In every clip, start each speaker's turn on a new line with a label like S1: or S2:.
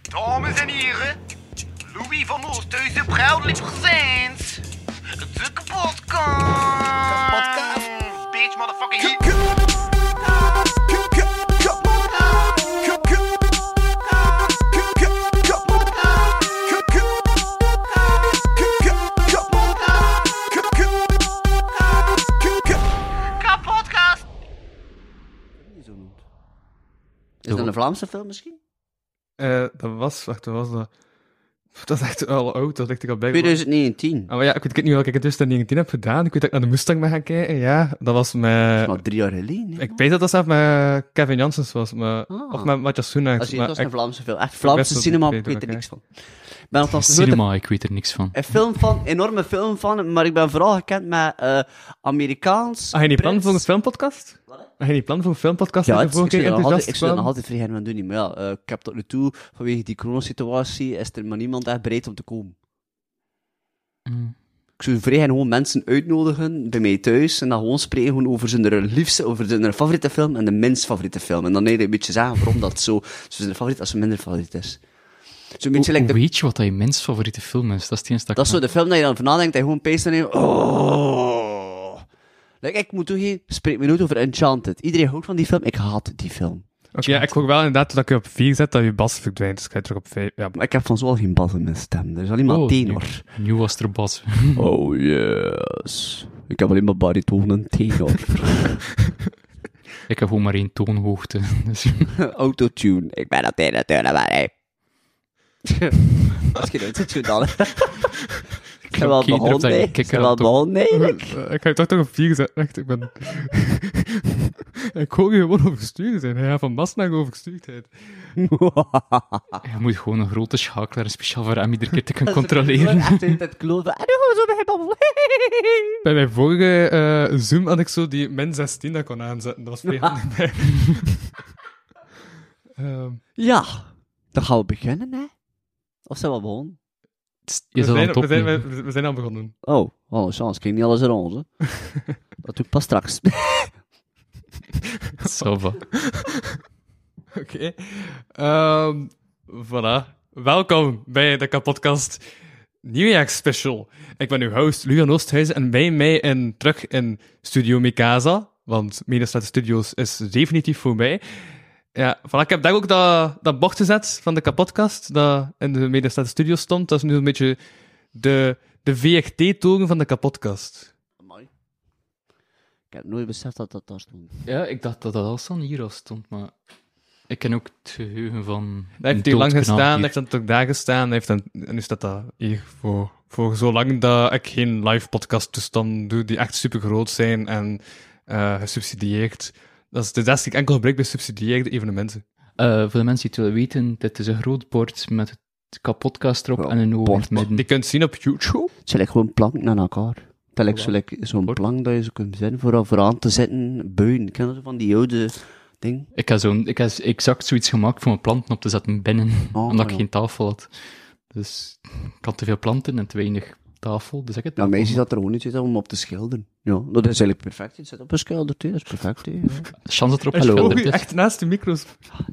S1: Dames en heren, Louis van Oosthuizen, proudly presents de kapotkast.
S2: Kapotkast.
S1: Bitch, motherfucking hit. Kapotkast.
S3: Is dat een Vlaamse film misschien?
S4: Eh, dat was, wacht, dat was dat? Dat is echt al oud, dat ligt ik al bij.
S3: dus- 2019.
S4: Ah, maar ja, ik weet ik weet niet welke ik in 2019 heb gedaan. Ik weet dat ik naar de Mustang ben gaan kijken, ja. Dat was met...
S3: Maar drie jaar geleden. hè?
S4: Ik weet dat dat zelf met Kevin Janssens was, maar...
S3: Ah.
S4: of met Matjas Soenaerts,
S3: Als je
S4: maar
S3: het was
S4: ik-
S3: een Vlaamse film. Echt Vlaamse
S4: best
S3: cinema,
S4: wel
S3: ik weet er
S4: oké.
S3: niks van. Ik ben althans een grote
S5: Cinema, ik weet er niks van.
S3: een film van, enorme film van, maar ik ben vooral gekend met eh, Amerikaans.
S4: Had je niet Ah, plan
S3: Brits.
S4: voor een filmpodcast? Had je niet plan voor een filmpodcast?
S3: Ja,
S4: dat je
S3: het, ik
S4: vorige keer
S3: zou dat nog altijd, ik
S4: enthousiast
S3: zou dat nog
S4: kwam?
S3: altijd vrij gaan doen, niet. maar ja, eh, ik heb tot nu toe, vanwege die coronasituatie, is er maar niemand echt bereid om te komen.
S5: Mm.
S3: Ik zou vrij gaan gewoon mensen uitnodigen bij mij thuis en dan gewoon spreken gewoon over zijn liefste, over zijn favoriete film en de minst favoriete film. En dan eigenlijk een beetje zeggen waarom dat zo, zo zijn favoriet als zijn minder favoriet is. Zo'n beetje
S5: Hoe,
S3: like de
S5: weet je wat dat je mens favoriete film is? Dat is het enige dat ik
S3: Dat is zo
S5: kan.
S3: de film dat je dan van nadenkt en gewoon peest en je- Oh. Like, ik moet toegeven, spreek me nooit over Enchanted. Iedereen houdt van die film, ik haat die film.
S4: Oké, ja, ik hoor wel inderdaad dat je op 4 zet, dat je bas verdwijnt. Dus ik ga je terug op 5. Ja,
S3: Maar ik heb van zoal geen bas in mijn stem, er is alleen maar
S5: Oh,
S3: tenor.
S5: Nu was er Bas.
S3: Oh yes. Ik heb alleen maar bariton en tenor.
S5: ik heb gewoon maar één toonhoogte. Dus,
S3: Autotune, ik ben dat tenor, tenor, maar hey. Als je nooit ziet, doe dan. Ik ben wel
S5: Oké, drop dat
S3: begonnen, nee.
S5: je
S3: Ik ben
S5: kikker
S3: wel
S5: op de-
S3: begonnen, nee.
S4: Eh, ik ga je toch toch op 4 zetten. Echt, ik ben... ik hoor je gewoon overstuurd zijn. Ja, van Bas naar overstuurdheid.
S5: je moet gewoon een grote schakelaar speciaal voor hem iedere keer te kunnen
S3: Ik
S5: controleren.
S3: ben echt het kloven. En nu gaan we zo bij hem babbelen.
S4: Bij mijn vorige eh, Zoom had ik zo die min 16 dat kon aanzetten. Dat was vrij handig bij. Ehm,
S3: Ja, dan gaan we beginnen, hè? Of zijn we al begonnen?
S5: Je
S4: we,
S5: zal
S4: zijn,
S5: het
S4: we, zijn,
S5: opnemen.
S4: we, we zijn al begonnen.
S3: Oh, oh, chance, ik ging niet alles rond, onze. Dat doe ik pas straks.
S5: Ça va.
S4: Oké. Ehm voilà. Welkom bij de kapotkast nieuwjaarsspecial. Ik ben uw host Luan Oosthuizen en bij mij in, terug in Studio Mikasa, want Medestad Studios is definitief voorbij. Ja, voilà, ik heb daar ook dat, dat bord gezet van de kapotkast dat in de Medestad Studios stond. Dat is nu een beetje de, de VRT-toren van de kapotkast.
S3: Mooi. Ik heb nooit beseft dat dat daar stond.
S5: Ja, ik dacht dat dat al staan hier al stond, maar... Ik ken ook het geheugen van...
S4: Daar heeft
S5: een
S4: hij lang
S5: doodkanaal
S4: gestaan,
S5: hier.
S4: heeft dan ook daar gestaan, heeft dan, en nu staat dat hier voor, voor zolang dat ik geen live podcast toestand doe, die echt super groot zijn en eh gesubsidieerd. Dat is de les die ik enkel gebruik bij subsidieerde evenementen.
S5: Eh, voor de mensen die het willen weten, dit is een groot bord met het kapotkast erop
S3: Wel,
S5: en een oog in het
S3: bord.
S5: midden.
S4: Die kunt zien op YouTube.
S3: Het zijn like gewoon planken aan elkaar. Dat is like zo like zo'n
S5: Hoor.
S3: plank dat je zo kunt zetten voor vooraan te zitten, buien. Ken je dat van die oude ding?
S5: Ik heb, zo'n, ik heb exact zoiets gemaakt voor mijn planten op te zetten binnen,
S3: Oh,
S5: omdat ik
S3: ja.
S5: geen tafel had. Dus ik had te veel planten en te weinig tafel, dus ik het
S3: Ja, mij is dat er gewoon iets is om op te schilderen. Ja, dat is eigenlijk perfect. Je zit op een schilder, hè. dat is perfect. hè, ja.
S5: Chance dat erop
S4: Ik
S5: geschilderd
S4: volg u
S5: is.
S4: echt naast de micro's.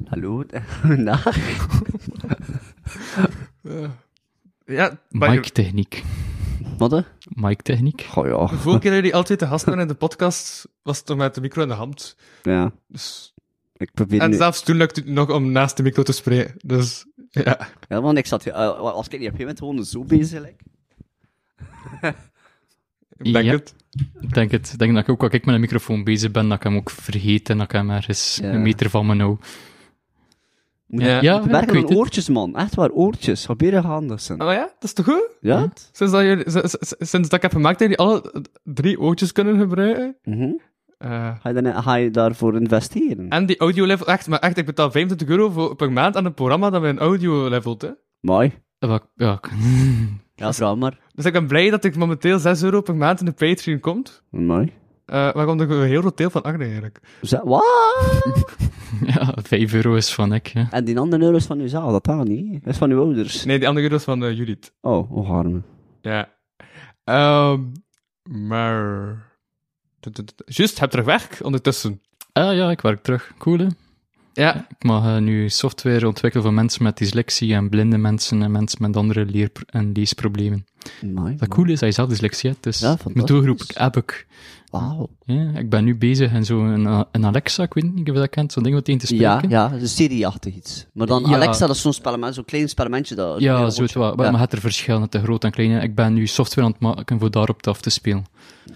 S3: Hallo, dag.
S4: Ja, maar je-
S5: Mic-techniek.
S3: Wat, hè?
S5: Mic-techniek.
S3: Goh,
S4: de
S3: ja.
S4: vorige keer dat jullie altijd te gast waren in de podcast, was het toch met de micro in de hand.
S3: Ja,
S4: Dus,
S3: ik probeer
S4: en
S3: nu...
S4: zelfs toen lukte het nog om naast de micro te spreken. Dus, ja.
S3: Ja, want ik zat... eh, als ik niet op een gegeven moment gewoon zo bezig like.
S4: Ik denk
S5: Ja.
S4: het.
S5: Ik denk, het, ik denk dat ik ook, als ik met een microfoon bezig ben, dat ik hem ook vergeet en dat ik hem ergens
S3: Ja.
S5: een meter van me nou.
S3: Moet
S4: Ja.
S3: je
S5: Ja,
S3: te
S5: ik
S3: werken
S5: weet
S3: aan
S5: het.
S3: oortjes, man. Echt waar, oortjes. Probeer handig zijn.
S4: Oh ja, dat is toch goed?
S3: Ja?
S4: Sinds dat, jullie, sinds, sinds- sinds dat ik heb gemaakt dat jullie alle drie oortjes kunnen gebruiken.
S3: Mhm.
S4: Eh,
S3: Ga, je dan, ga je daarvoor investeren?
S4: en die audio level, echt, maar echt, ik betaal 25 euro voor, per maand aan een programma dat mijn audio levelt. Hè.
S3: Mooi.
S5: Ja, ik- ja, ik-
S3: Ja, vrouw maar.
S4: Dus ik ben blij dat ik momenteel 6 euro per maand in de Patreon komt.
S3: Mooi.
S4: Eh waarom er een heel groot deel van Arne eigenlijk.
S3: Zo- Wat?
S5: ja, 5 euro is van ik. Hè.
S3: en die andere euro is van uw zaal, dat gaat niet. Dat is van uw ouders.
S4: Nee, die andere euro is van eh, Judith.
S3: Oh, oh arme.
S4: Ja. Ehm, maar. Juist, heb terug werk ondertussen.
S5: Ah ja, ik werk terug. Cool hè?
S4: Ja.
S5: Ik mag eh, nu software ontwikkelen voor mensen met dyslexie en blinde mensen en mensen met andere leer- en leesproblemen.
S3: Amai.
S5: Dat cool is dat je zelf dyslexie hebt, dus
S3: Ja, fantastisch.
S5: mijn doelgroep heb ik.
S3: Wauw.
S5: Ja, ik ben nu bezig en zo een, een Alexa, ik weet niet of je dat kent, zo'n ding wat in te spreken.
S3: Ja, ja, een serieachtig iets. Maar dan
S5: Ja.
S3: Alexa, dat is zo'n spellement, zo'n klein spellementje. Dat,
S5: Ja, zo het wel. Maar
S3: Ja.
S5: maar het er verschillen te groot en klein. hè. Ik ben nu software aan het maken voor daarop af te spelen.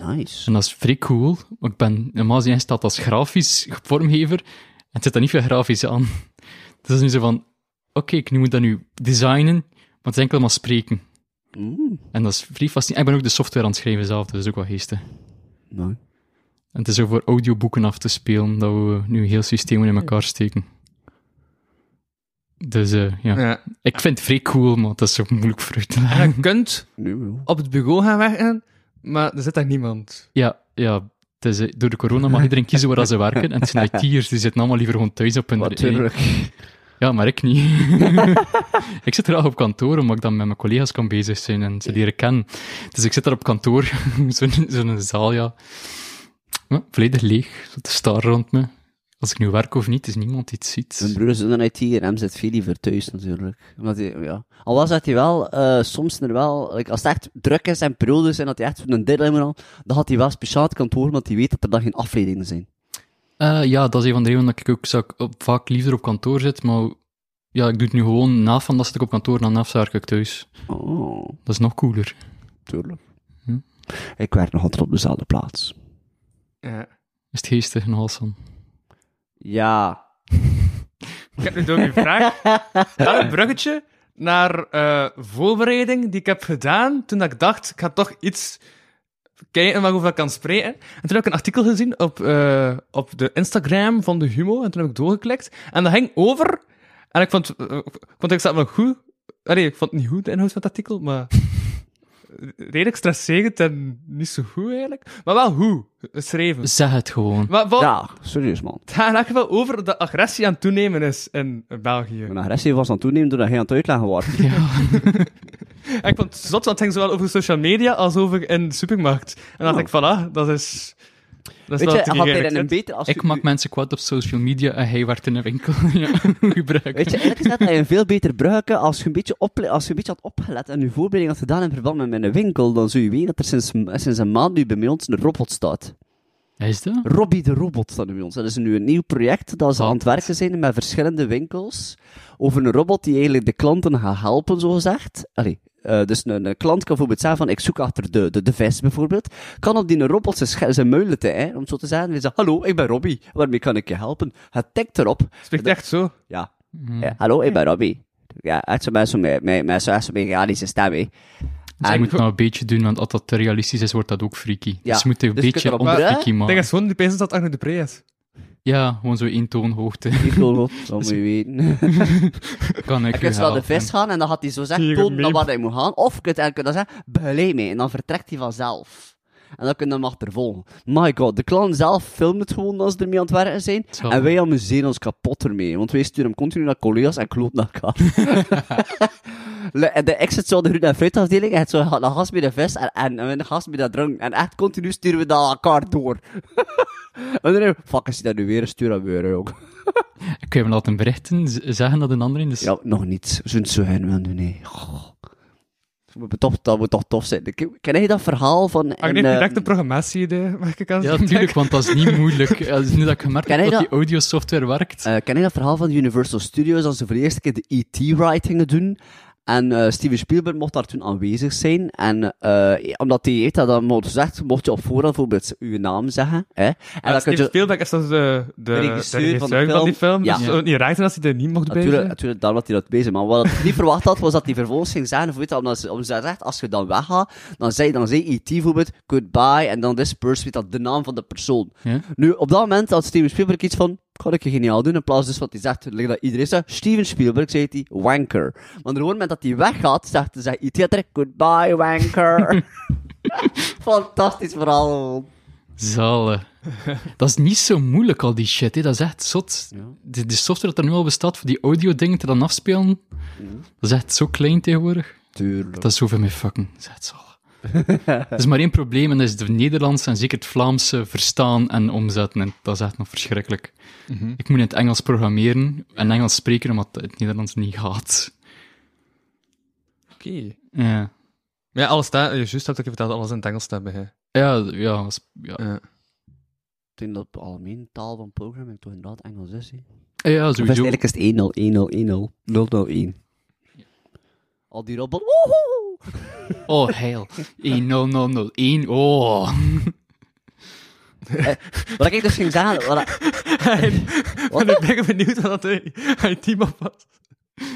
S3: Nice.
S5: En dat is vrij cool. want Ik ben normaal gezien ingesteld als grafisch vormgever. En het zit daar niet veel grafisch aan. Dus dat is nu zo van, oké, ik moet dat nu designen, maar het is enkel maar spreken.
S3: Mm,
S5: En dat is vrij fascinerend. Ik ben ook de software aan het schrijven zelf, dus dat is ook wel geestig.
S3: mooi.
S5: En het is ook voor audioboeken af te spelen, dat we nu heel systemen in elkaar steken. Dus eh, ja.
S4: Ja.
S5: ik vind het vrij cool, maar dat is ook moeilijk voor uit te leggen.
S4: En je kunt
S3: Nu wel.
S4: op het bureau gaan werken, maar er zit daar niemand.
S5: Ja, ja. Het is, eh, door de corona mag iedereen kiezen waar dat ze werken. En het zijn IT'ers, die zitten allemaal liever gewoon thuis op hun
S3: Wat terug.
S5: Ja, maar ik niet. ik zit graag op kantoor, omdat ik dan met mijn collega's kan bezig zijn en ze leren kennen. Dus ik zit daar op kantoor, zo'n zo'n zaal, ja. Ja, volledig leeg, de star rond me. Als ik nu werk of niet, is niemand iets
S3: Mijn
S5: ziet.
S3: broer is een IT en hem zit veel liever thuis natuurlijk. Omdat hij, ja. Al was dat hij wel, eh, soms er wel, like, als het echt druk is en periodes en dat hij echt een deadline moet halen, dan had hij wel speciaal het kantoor, want hij weet dat er dan geen afleidingen zijn.
S5: Eh, ja, dat is een van de redenen dat ik ook zou, op- vaak liever op kantoor zit, maar ja, ik doe het nu gewoon na van dat zit ik op kantoor, dan na werk ik thuis.
S3: Oh,
S5: Dat is nog cooler.
S3: tuurlijk.
S5: Hm.
S3: Ik werk nog altijd op dezelfde plaats.
S4: Ja.
S5: Is het geestig en awesome?
S3: Ja.
S4: Ik heb nu door uw vraag wel een bruggetje naar eh, voorbereiding die ik heb gedaan toen dat ik dacht, ik ga toch iets kijken waarover ik kan spreken. En toen heb ik een artikel gezien op, eh, op de Instagram van de Humo en toen heb ik doorgeklikt. En dat ging over... En ik vond, eh, ik vond ik zat wel goed... Nee, ik vond het niet goed, de inhoud van het artikel, maar... Redelijk stresserend en niet zo goed eigenlijk. Maar wel hoe, geschreven.
S5: Zeg het gewoon.
S4: Maar wat,
S3: Ja, serieus man.
S4: het gaat in elk geval over dat agressie aan het toenemen is in België.
S3: Mijn agressie was aan het toenemen doordat hij aan het uitleggen was.
S4: En ik vond het zot, want het ging zowel over social media als over in de supermarkt. En dan dacht ik, voilà, dat is...
S3: Oh.
S4: Dat is
S3: Weet
S4: wel
S3: je,
S4: het
S3: hij had
S4: idee
S3: er een
S4: eigenlijk.
S3: beter als
S5: Ik maak mensen kwaad op social media en hij werkt in een winkel. ja, gebruik.
S3: Weet je, eerlijk gezegd had je een veel beter gebruiken als je een beetje, ople- als je een beetje had opgelet en je voorbereiding had gedaan in verband met mijn winkel, dan zul je weten dat er sinds, sinds een maand nu bij mij ons een robot staat.
S5: Is dat?
S3: Robbie de Robot staat nu bij ons. Dat is nu een nieuw project dat ze aan het werken zijn met verschillende winkels over een robot die eigenlijk de klanten gaat helpen, zogezegd. Allee, eh, dus een, een klant kan bijvoorbeeld zeggen van, ik zoek achter de, de, de vis bijvoorbeeld, kan op die robot zijn, sche- zijn muilen te, hè, om het zo te zeggen. Hij zegt, hallo, ik ben Robbie, waarmee kan ik je helpen? Het tikt erop.
S4: Spreekt echt zo.
S3: Ja, eh, hallo, ik ben Robbie. Ja, echt zo mensen met, met, met zo'n mechanische stem, hè.
S5: Dus je
S3: En-
S5: moet nou een beetje doen, want als dat te realistisch is, wordt dat ook freaky.
S3: Ja,
S5: Dus je moet een
S3: dus je kunt
S5: beetje
S3: erop-
S5: onfreaky
S4: Ik denk
S5: maken.
S4: dat gewoon die pezen dat Agnew de Pre is.
S5: Ja, gewoon zo één toonhoogte.
S3: Ik wil het, dat moet je weten.
S5: kan ik
S3: Je
S5: u
S3: kunt wel de
S5: helpen.
S3: vis gaan en dan gaat hij zo zeggen,
S4: Hier,
S3: toon dan
S4: meep.
S3: waar hij moet gaan. Of je kunt eigenlijk dan zeggen, begeleid mij. En dan vertrekt hij vanzelf. En dan kun je hem achtervolgen. My god, de clown zelf filmt het gewoon als ze ermee aan het werken zijn.
S5: Zo.
S3: En wij amuseren ons kapot ermee. Want wij sturen hem continu naar collega's en kloot naar elkaar. Le- en de exit zo de groene en fruitafdeling. En zo gaat een gast met de vis en, en, en een gast met dat drank. En echt continu sturen we dat aan elkaar door. en dan, fuck, als hij dat nu weer stuurt, dan weer ook.
S5: Kun je me laten berichten, z- zeggen dat een ander in de...
S3: Ja, nog niet. We zullen het zo hen wel doen, nee. Goh. Dat moet toch, dat moet toch tof zijn. Ik- Ken je dat verhaal van... in,
S4: Agnew heeft
S3: eh,
S4: direct een programmatie-idee, mag ik aan
S5: Ja,
S4: zeggen.
S5: natuurlijk, want dat is niet moeilijk. Ja, dus nu dat ik gemerkt
S3: Ken
S5: heb
S3: jij
S5: dat
S3: dat?
S5: die audiosoftware werkt.
S3: eh, ken je dat verhaal van Universal Studios, als ze voor de eerste keer de E.T.-ride gingen doen? En eh, Steven Spielberg mocht daar toen aanwezig zijn. En eh, omdat hij heeft dat dan mocht gezegd, mocht je op voorhand bijvoorbeeld je naam zeggen. Hè? En dan
S4: En
S3: kun
S4: Steve
S3: je...
S4: Spielberg is dus de, de, de
S3: regisseur van de
S4: van
S3: film.
S4: die film.
S3: Ja.
S4: Dus het zou niet raar zijn als hij er niet mocht bij
S3: Natuurlijk,
S4: zijn.
S3: natuurlijk, daarom had hij dat bezig. Maar wat ik niet verwacht had, was dat hij vervolgens ging zeggen, of weet je, omdat ze, omdat ze zegt, als je dan weggaat, dan zei, dan zei E.T. bijvoorbeeld, goodbye, en dan this person, weet dat, de naam van de persoon.
S5: Ja.
S3: Nu, op dat moment had Steven Spielberg iets van, kan ik je geniaal doen, in plaats dus wat hij zegt, like dat iedereen zegt, Steven Spielberg, zei hij, wanker. Maar op het moment dat hij weggaat, zegt, zegt E E.T. letterlijk, goodbye, wanker. Fantastisch verhaal.
S5: Zalen. Dat is niet zo moeilijk, al die shit. Hè. Dat is echt zot.
S3: Ja.
S5: De, die software dat er nu al bestaat voor die audio-dingen te dan afspelen, dat is echt zo klein tegenwoordig.
S3: Tuurlijk.
S5: Dat is zoveel meer fucking. Dat is echt zalig. Er is maar één probleem en dat is het Nederlands en zeker het Vlaamse verstaan en omzetten. En dat is echt nog verschrikkelijk.
S3: Mhm.
S5: Ik moet in het Engels programmeren en Engels spreken omdat het Nederlands niet gaat.
S4: Oké.
S5: Ja,
S4: Maar Ja, alles staat... Juist heb ik je verteld, alles in het Engels staat bij je.
S5: ja, ja, dat is- ja.
S4: Ja.
S3: Ik denk dat de algemene taal van programming toch inderdaad Engels is. hè.
S5: ja
S3: Of is het
S5: sowieso.
S3: eigenlijk is het 1-0, 1-0, 1-0, 0-0-1. Al die robot, woehoe!
S5: Oh, heil. 10001, oh.
S3: Wat ik dus ging zeggen, wat ik-
S4: En ik ben benieuwd wat dat hij team op was.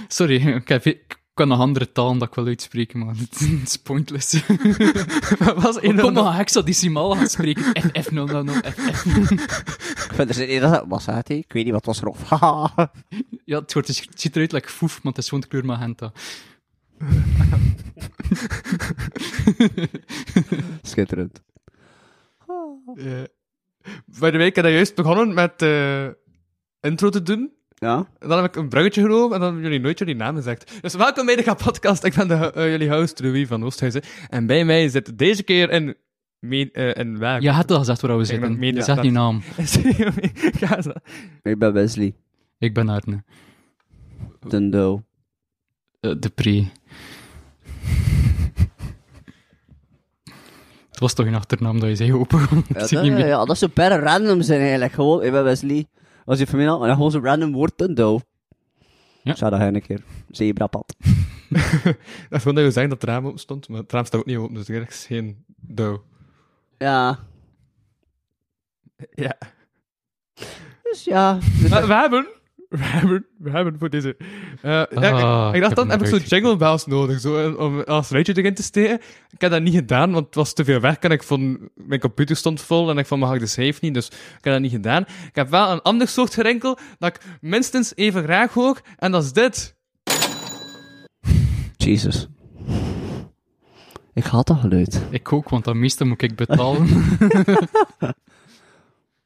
S5: Sorry, ik, heb, ik kan nog andere talen dat ik wil uitspreken, maar het is pointless.
S4: was
S5: Ik kom
S4: een
S5: maar hexadecimaal gaan spreken. FF000, FF.
S3: ik vind er zin in, dat was het, hè. ik weet niet wat was erop. Haha.
S5: Ja, het, wordt, het ziet eruit like foef, maar het is gewoon de kleur magenta.
S3: Schitterend.
S4: Eh, Bij de week heb ik juist begonnen met eh, intro te doen.
S3: Ja?
S4: En dan heb ik een bruggetje genomen en dan hebben jullie nooit jullie naam gezegd. Dus welkom bij de Ga Podcast. Ik ben de, eh, jullie host Louis van Oosthuizen. En bij mij zit deze keer een... Meen, eh een waar?
S5: Je had al gezegd waar we
S4: nog
S5: zitten.
S4: meer,
S5: Je
S4: ja,
S5: zegt
S4: dat-
S5: die naam.
S4: ja, zo.
S3: Ik ben Wesley.
S5: Ik ben Arne.
S3: Dundo.
S5: Eh, de pre. Het was toch een achternaam dat je zei open.
S3: Ja,
S5: Ik zie
S3: dat,
S5: niet meer.
S3: ja, dat is super random zijn eigenlijk. Gewoon, ik ben Wesley. Als je van mij had, maar gewoon zo'n random woord, Dundo.
S5: Ja.
S3: Zou dat een keer. Zebrapad.
S4: Ik vond dat je zeggen dat het raam open stond, maar het raam staat ook niet open, dus er is geen douw.
S3: Ja.
S4: Ja.
S3: Dus ja.
S4: Maar we hebben, we hebben, we hebben voor deze. eh, ja, ik, ik
S5: ik
S4: dacht
S5: heb
S4: dan
S5: hem
S4: heb ik zo'n
S5: uitgekeken.
S4: jingle bells nodig, zo, eh, om als rijtje erin te steken. Ik heb dat niet gedaan, want het was te veel werk en ik vond, mijn computer stond vol en ik vond, mag ik de save niet, dus ik heb dat niet gedaan. Ik heb wel een ander soort gerinkel dat ik minstens even graag hoor, en dat is dit.
S3: Jesus. Ik had dat geluid.
S5: Ik ook, want dat meeste moet ik betalen.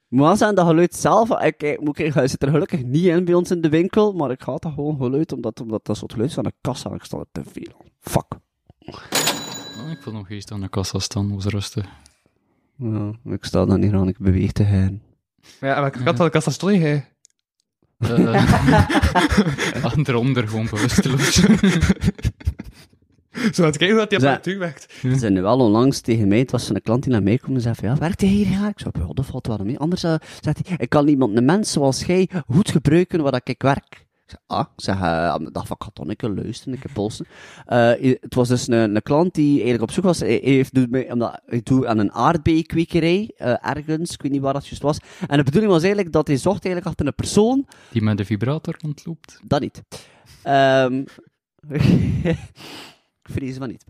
S3: Maar zijn dat geluid zelf, ik, ik, moet ik, hij zit er gelukkig niet in bij ons in de winkel, maar ik had dat gewoon geluid, omdat, omdat dat soort geluid van de kassa, ik sta er te veel aan. Fuck.
S5: Ah, ik vond nog eens aan de kassa staan, was rustig.
S3: Ja, ik sta dan hier aan, ik beweeg te heen.
S4: Ja, maar ik had wel de kassa stond je.
S5: Eh eronder Eh, gewoon bewusteloos.
S4: Zo, het kijken hoe dat die
S3: Ja.
S4: apparatuur werkt.
S3: Ze zijn nu wel onlangs tegen mij, het was een klant die naar mij kwam en zei van, ja, werkt hij hier ja? Ik zei, ja, dat valt wel mee. Anders eh, zegt hij, ik kan iemand, een mens zoals jij, goed gebruiken waar dat ik werk. Ik zei, ah, ik zeg, eh, aan de dag van katholieke luisteren, ik heb polsen. Eh, i- het was dus een, een klant die eigenlijk op zoek was. Hij, hij heeft, doet mij, omdat, hij doet aan een aardbeinkwekerij, eh, ergens, ik weet niet waar dat juist was. En de bedoeling was eigenlijk dat hij zocht eigenlijk achter een persoon,
S5: Die met de vibrator rondloopt.
S3: dat niet. Ehm ik vrees van niet.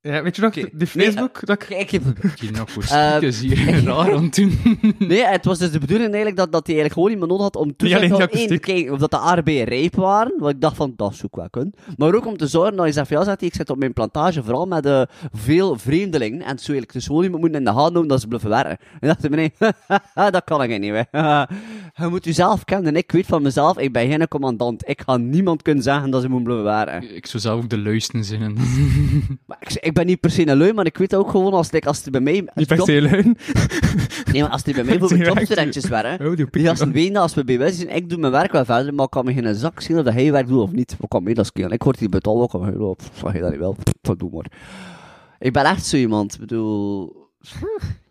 S4: Ja, weet je nog,
S3: Oké.
S4: die Facebook, dat ik...
S3: Kijk, ik heb-
S5: Die nakkoers.
S3: Eh,
S5: Het nou is hier raar aan het doen.
S3: Nee, het was dus de bedoeling eigenlijk dat, dat hij eigenlijk gewoon iemand nodig had om toe
S4: Niet alleen
S3: te
S4: dat
S3: één, te
S4: kostuum.
S3: kijken of dat de aardbeien rijp waren, want ik dacht van, dat zoek wel kunnen. Maar ook om te zorgen dat je zegt, van, ja, zegt hij, ik zit op mijn plantage vooral met eh, veel vreemdelingen, en zo eigenlijk dus gewoon iemand moeten in de hand houden dat ze blijven werken. En dacht ik, nee, dat kan ik niet meer. je moet jezelf kennen, ik weet van mezelf, ik ben geen commandant, ik ga niemand kunnen zeggen dat ze moeten blijven werken.
S5: Ik zou zelf ook de luisten zinnen.
S3: Maar ik, ik ben niet per se een lui, maar ik weet ook gewoon, als, like, als het bij mij...
S4: Niet per
S3: job-
S4: se leun.
S3: Nee, maar als het bij mij
S4: Die
S3: bijvoorbeeld
S4: werkt-
S3: jobstudentjes waren,
S4: Oh, die
S3: Die gasten weten dat als we bij wijze zijn, ik doe mijn werk wel verder, maar ik kan me geen zak zien of dat hij werk doet of niet. Wat kan mij dat schelen? Ik word hier betaald, wat kan mij dat Pff, Wat je dat niet wel? Pff, Wat doe maar. Ik ben echt zo iemand, ik bedoel...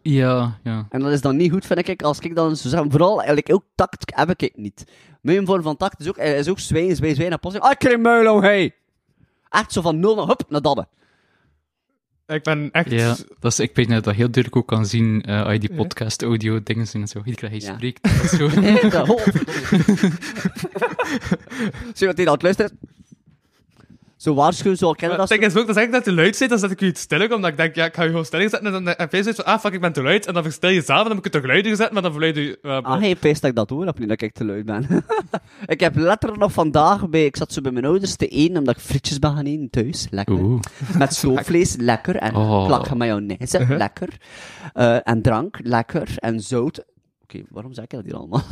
S5: Ja, ja.
S3: En dat is dan niet goed, vind ik, als ik dan zo zeg, vooral, eigenlijk ook tact heb ik niet. Mijn vorm van tact is ook, eh, is ook zwijgen, zwijgen, zwijgen, en pas, ah, ik krijg muil om, hey! Echt zo van nul naar hup, naar dadden.
S4: Ik ben echt...
S5: Ja, dat is, ik weet net dat heel duidelijk ook kan zien eh als je die podcast audio dingen en zo. Iedere keer hij
S3: Ja.
S5: spreekt. dat is Zo.
S3: Hey, de eh, hol. Zie je wat hij aan het luisteren is? Zo waarschuwen, zo al kennen
S4: Maar
S3: dat
S4: Het ding is ook, dat is eigenlijk dat je luid zit, dan zet ik je iets stiller, omdat ik denk, ja, ik ga je gewoon stelling zetten. En dan eh, heb je zoiets van, ah, fuck, ik ben te luid. En dan verstel je zelf, en dan moet ik het toch luider zetten, maar dan verluid je... eh,
S3: Ah, hey, pees dat ik dat hoor, heb niet dat ik te lui ben. ik heb letterlijk nog vandaag bij... Ik zat zo bij mijn ouders te eten, omdat ik frietjes ben gaan eten thuis. Lekker.
S5: Oeh.
S3: Met stoofvlees, lekker. En
S5: Oh.
S3: plakken mayonaise, lekker. Eh, en drank, lekker. En zout. Oké, waarom zeg ik dat hier allemaal?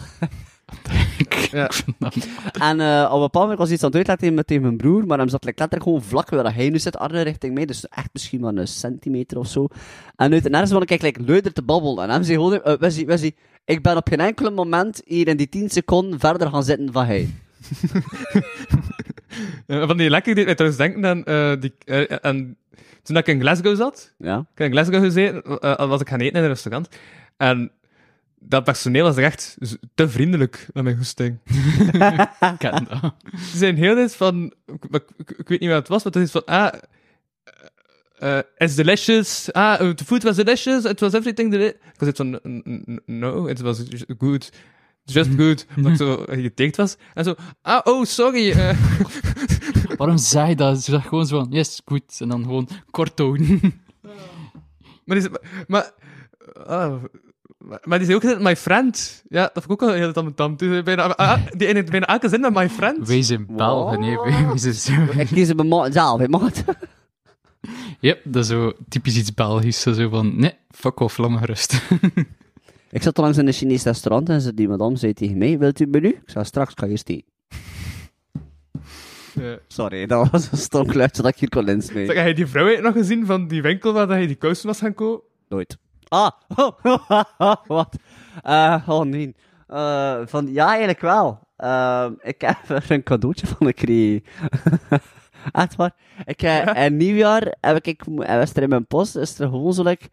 S5: Ik ik.
S4: Ja.
S5: Ik vind dat-
S3: En eh, op een bepaald moment was hij iets aan het uitleggen tegen, me- tegen mijn broer, maar hem zat like, letterlijk gewoon vlak waar dat hij nu zit, Arne richting mij, dus echt misschien maar een centimeter of zo. En uit de nergens van ik kijk like, luider te babbelen. En hem zei gewoon, eh, Wesley, Wesley, ik ben op geen enkele moment hier in die 10 seconden verder gaan zitten van hij.
S4: Eh, Van die lekker deed mij trouwens denken aan... eh, die, eh, aan- toen ik in Glasgow zat,
S3: Ja.
S4: ik heb in Glasgow gezeten, eh, was ik gaan eten in een restaurant. En dat personeel was er echt z- te vriendelijk naar mijn goesting.
S5: Ik ken dat.
S4: Ze zijn heel eens van... Ik, ik- ik weet niet wat het was, maar het is van... Ah, eh, eh, it's delicious. Ah, eh, the food was delicious. It was everything deli-" Ik was echt van... "N- n- n- No, it was ju- good. Just good. Omdat ik zo getekend was. En zo... Ah, oh, sorry. eh."
S5: Waarom zei je dat? Ze zag gewoon zo van, yes, goed. En dan gewoon kort houden.
S4: Maar die, is- maar, ah, maar, maar die zei ook altijd my friend. Ja, dat vond ik ook al heel tamtam. Dus bijna, ah, die in het bijna elke zin met my friend.
S5: Wees in België, nee, wees in zo.
S3: Ik kies mijn maat zelf, hè, maat.
S5: Yep, dat is zo typisch iets Belgisch. Zo van, nee, fuck off, laat me gerust.
S3: Ik zat onlangs in een Chinees restaurant en ze die madame zei tegen mij, wilt u een menu? Ik zei, straks ga je steen.
S4: Ja.
S3: Sorry, dat was een stom geluidje dat ik hier kon insmijten.
S4: Zeg, heb je die vrouw eigenlijk nog gezien van die winkel waar dat je die kousen was gaan kopen?
S3: Nooit. Ah, wat? Eh, oh nee. Eh, van, ja, eigenlijk wel. Ehm, ik heb er een cadeautje van gekregen. Echt waar. Ik heb, in nieuwjaar heb ik, en was er in mijn post, is er gewoon zo like,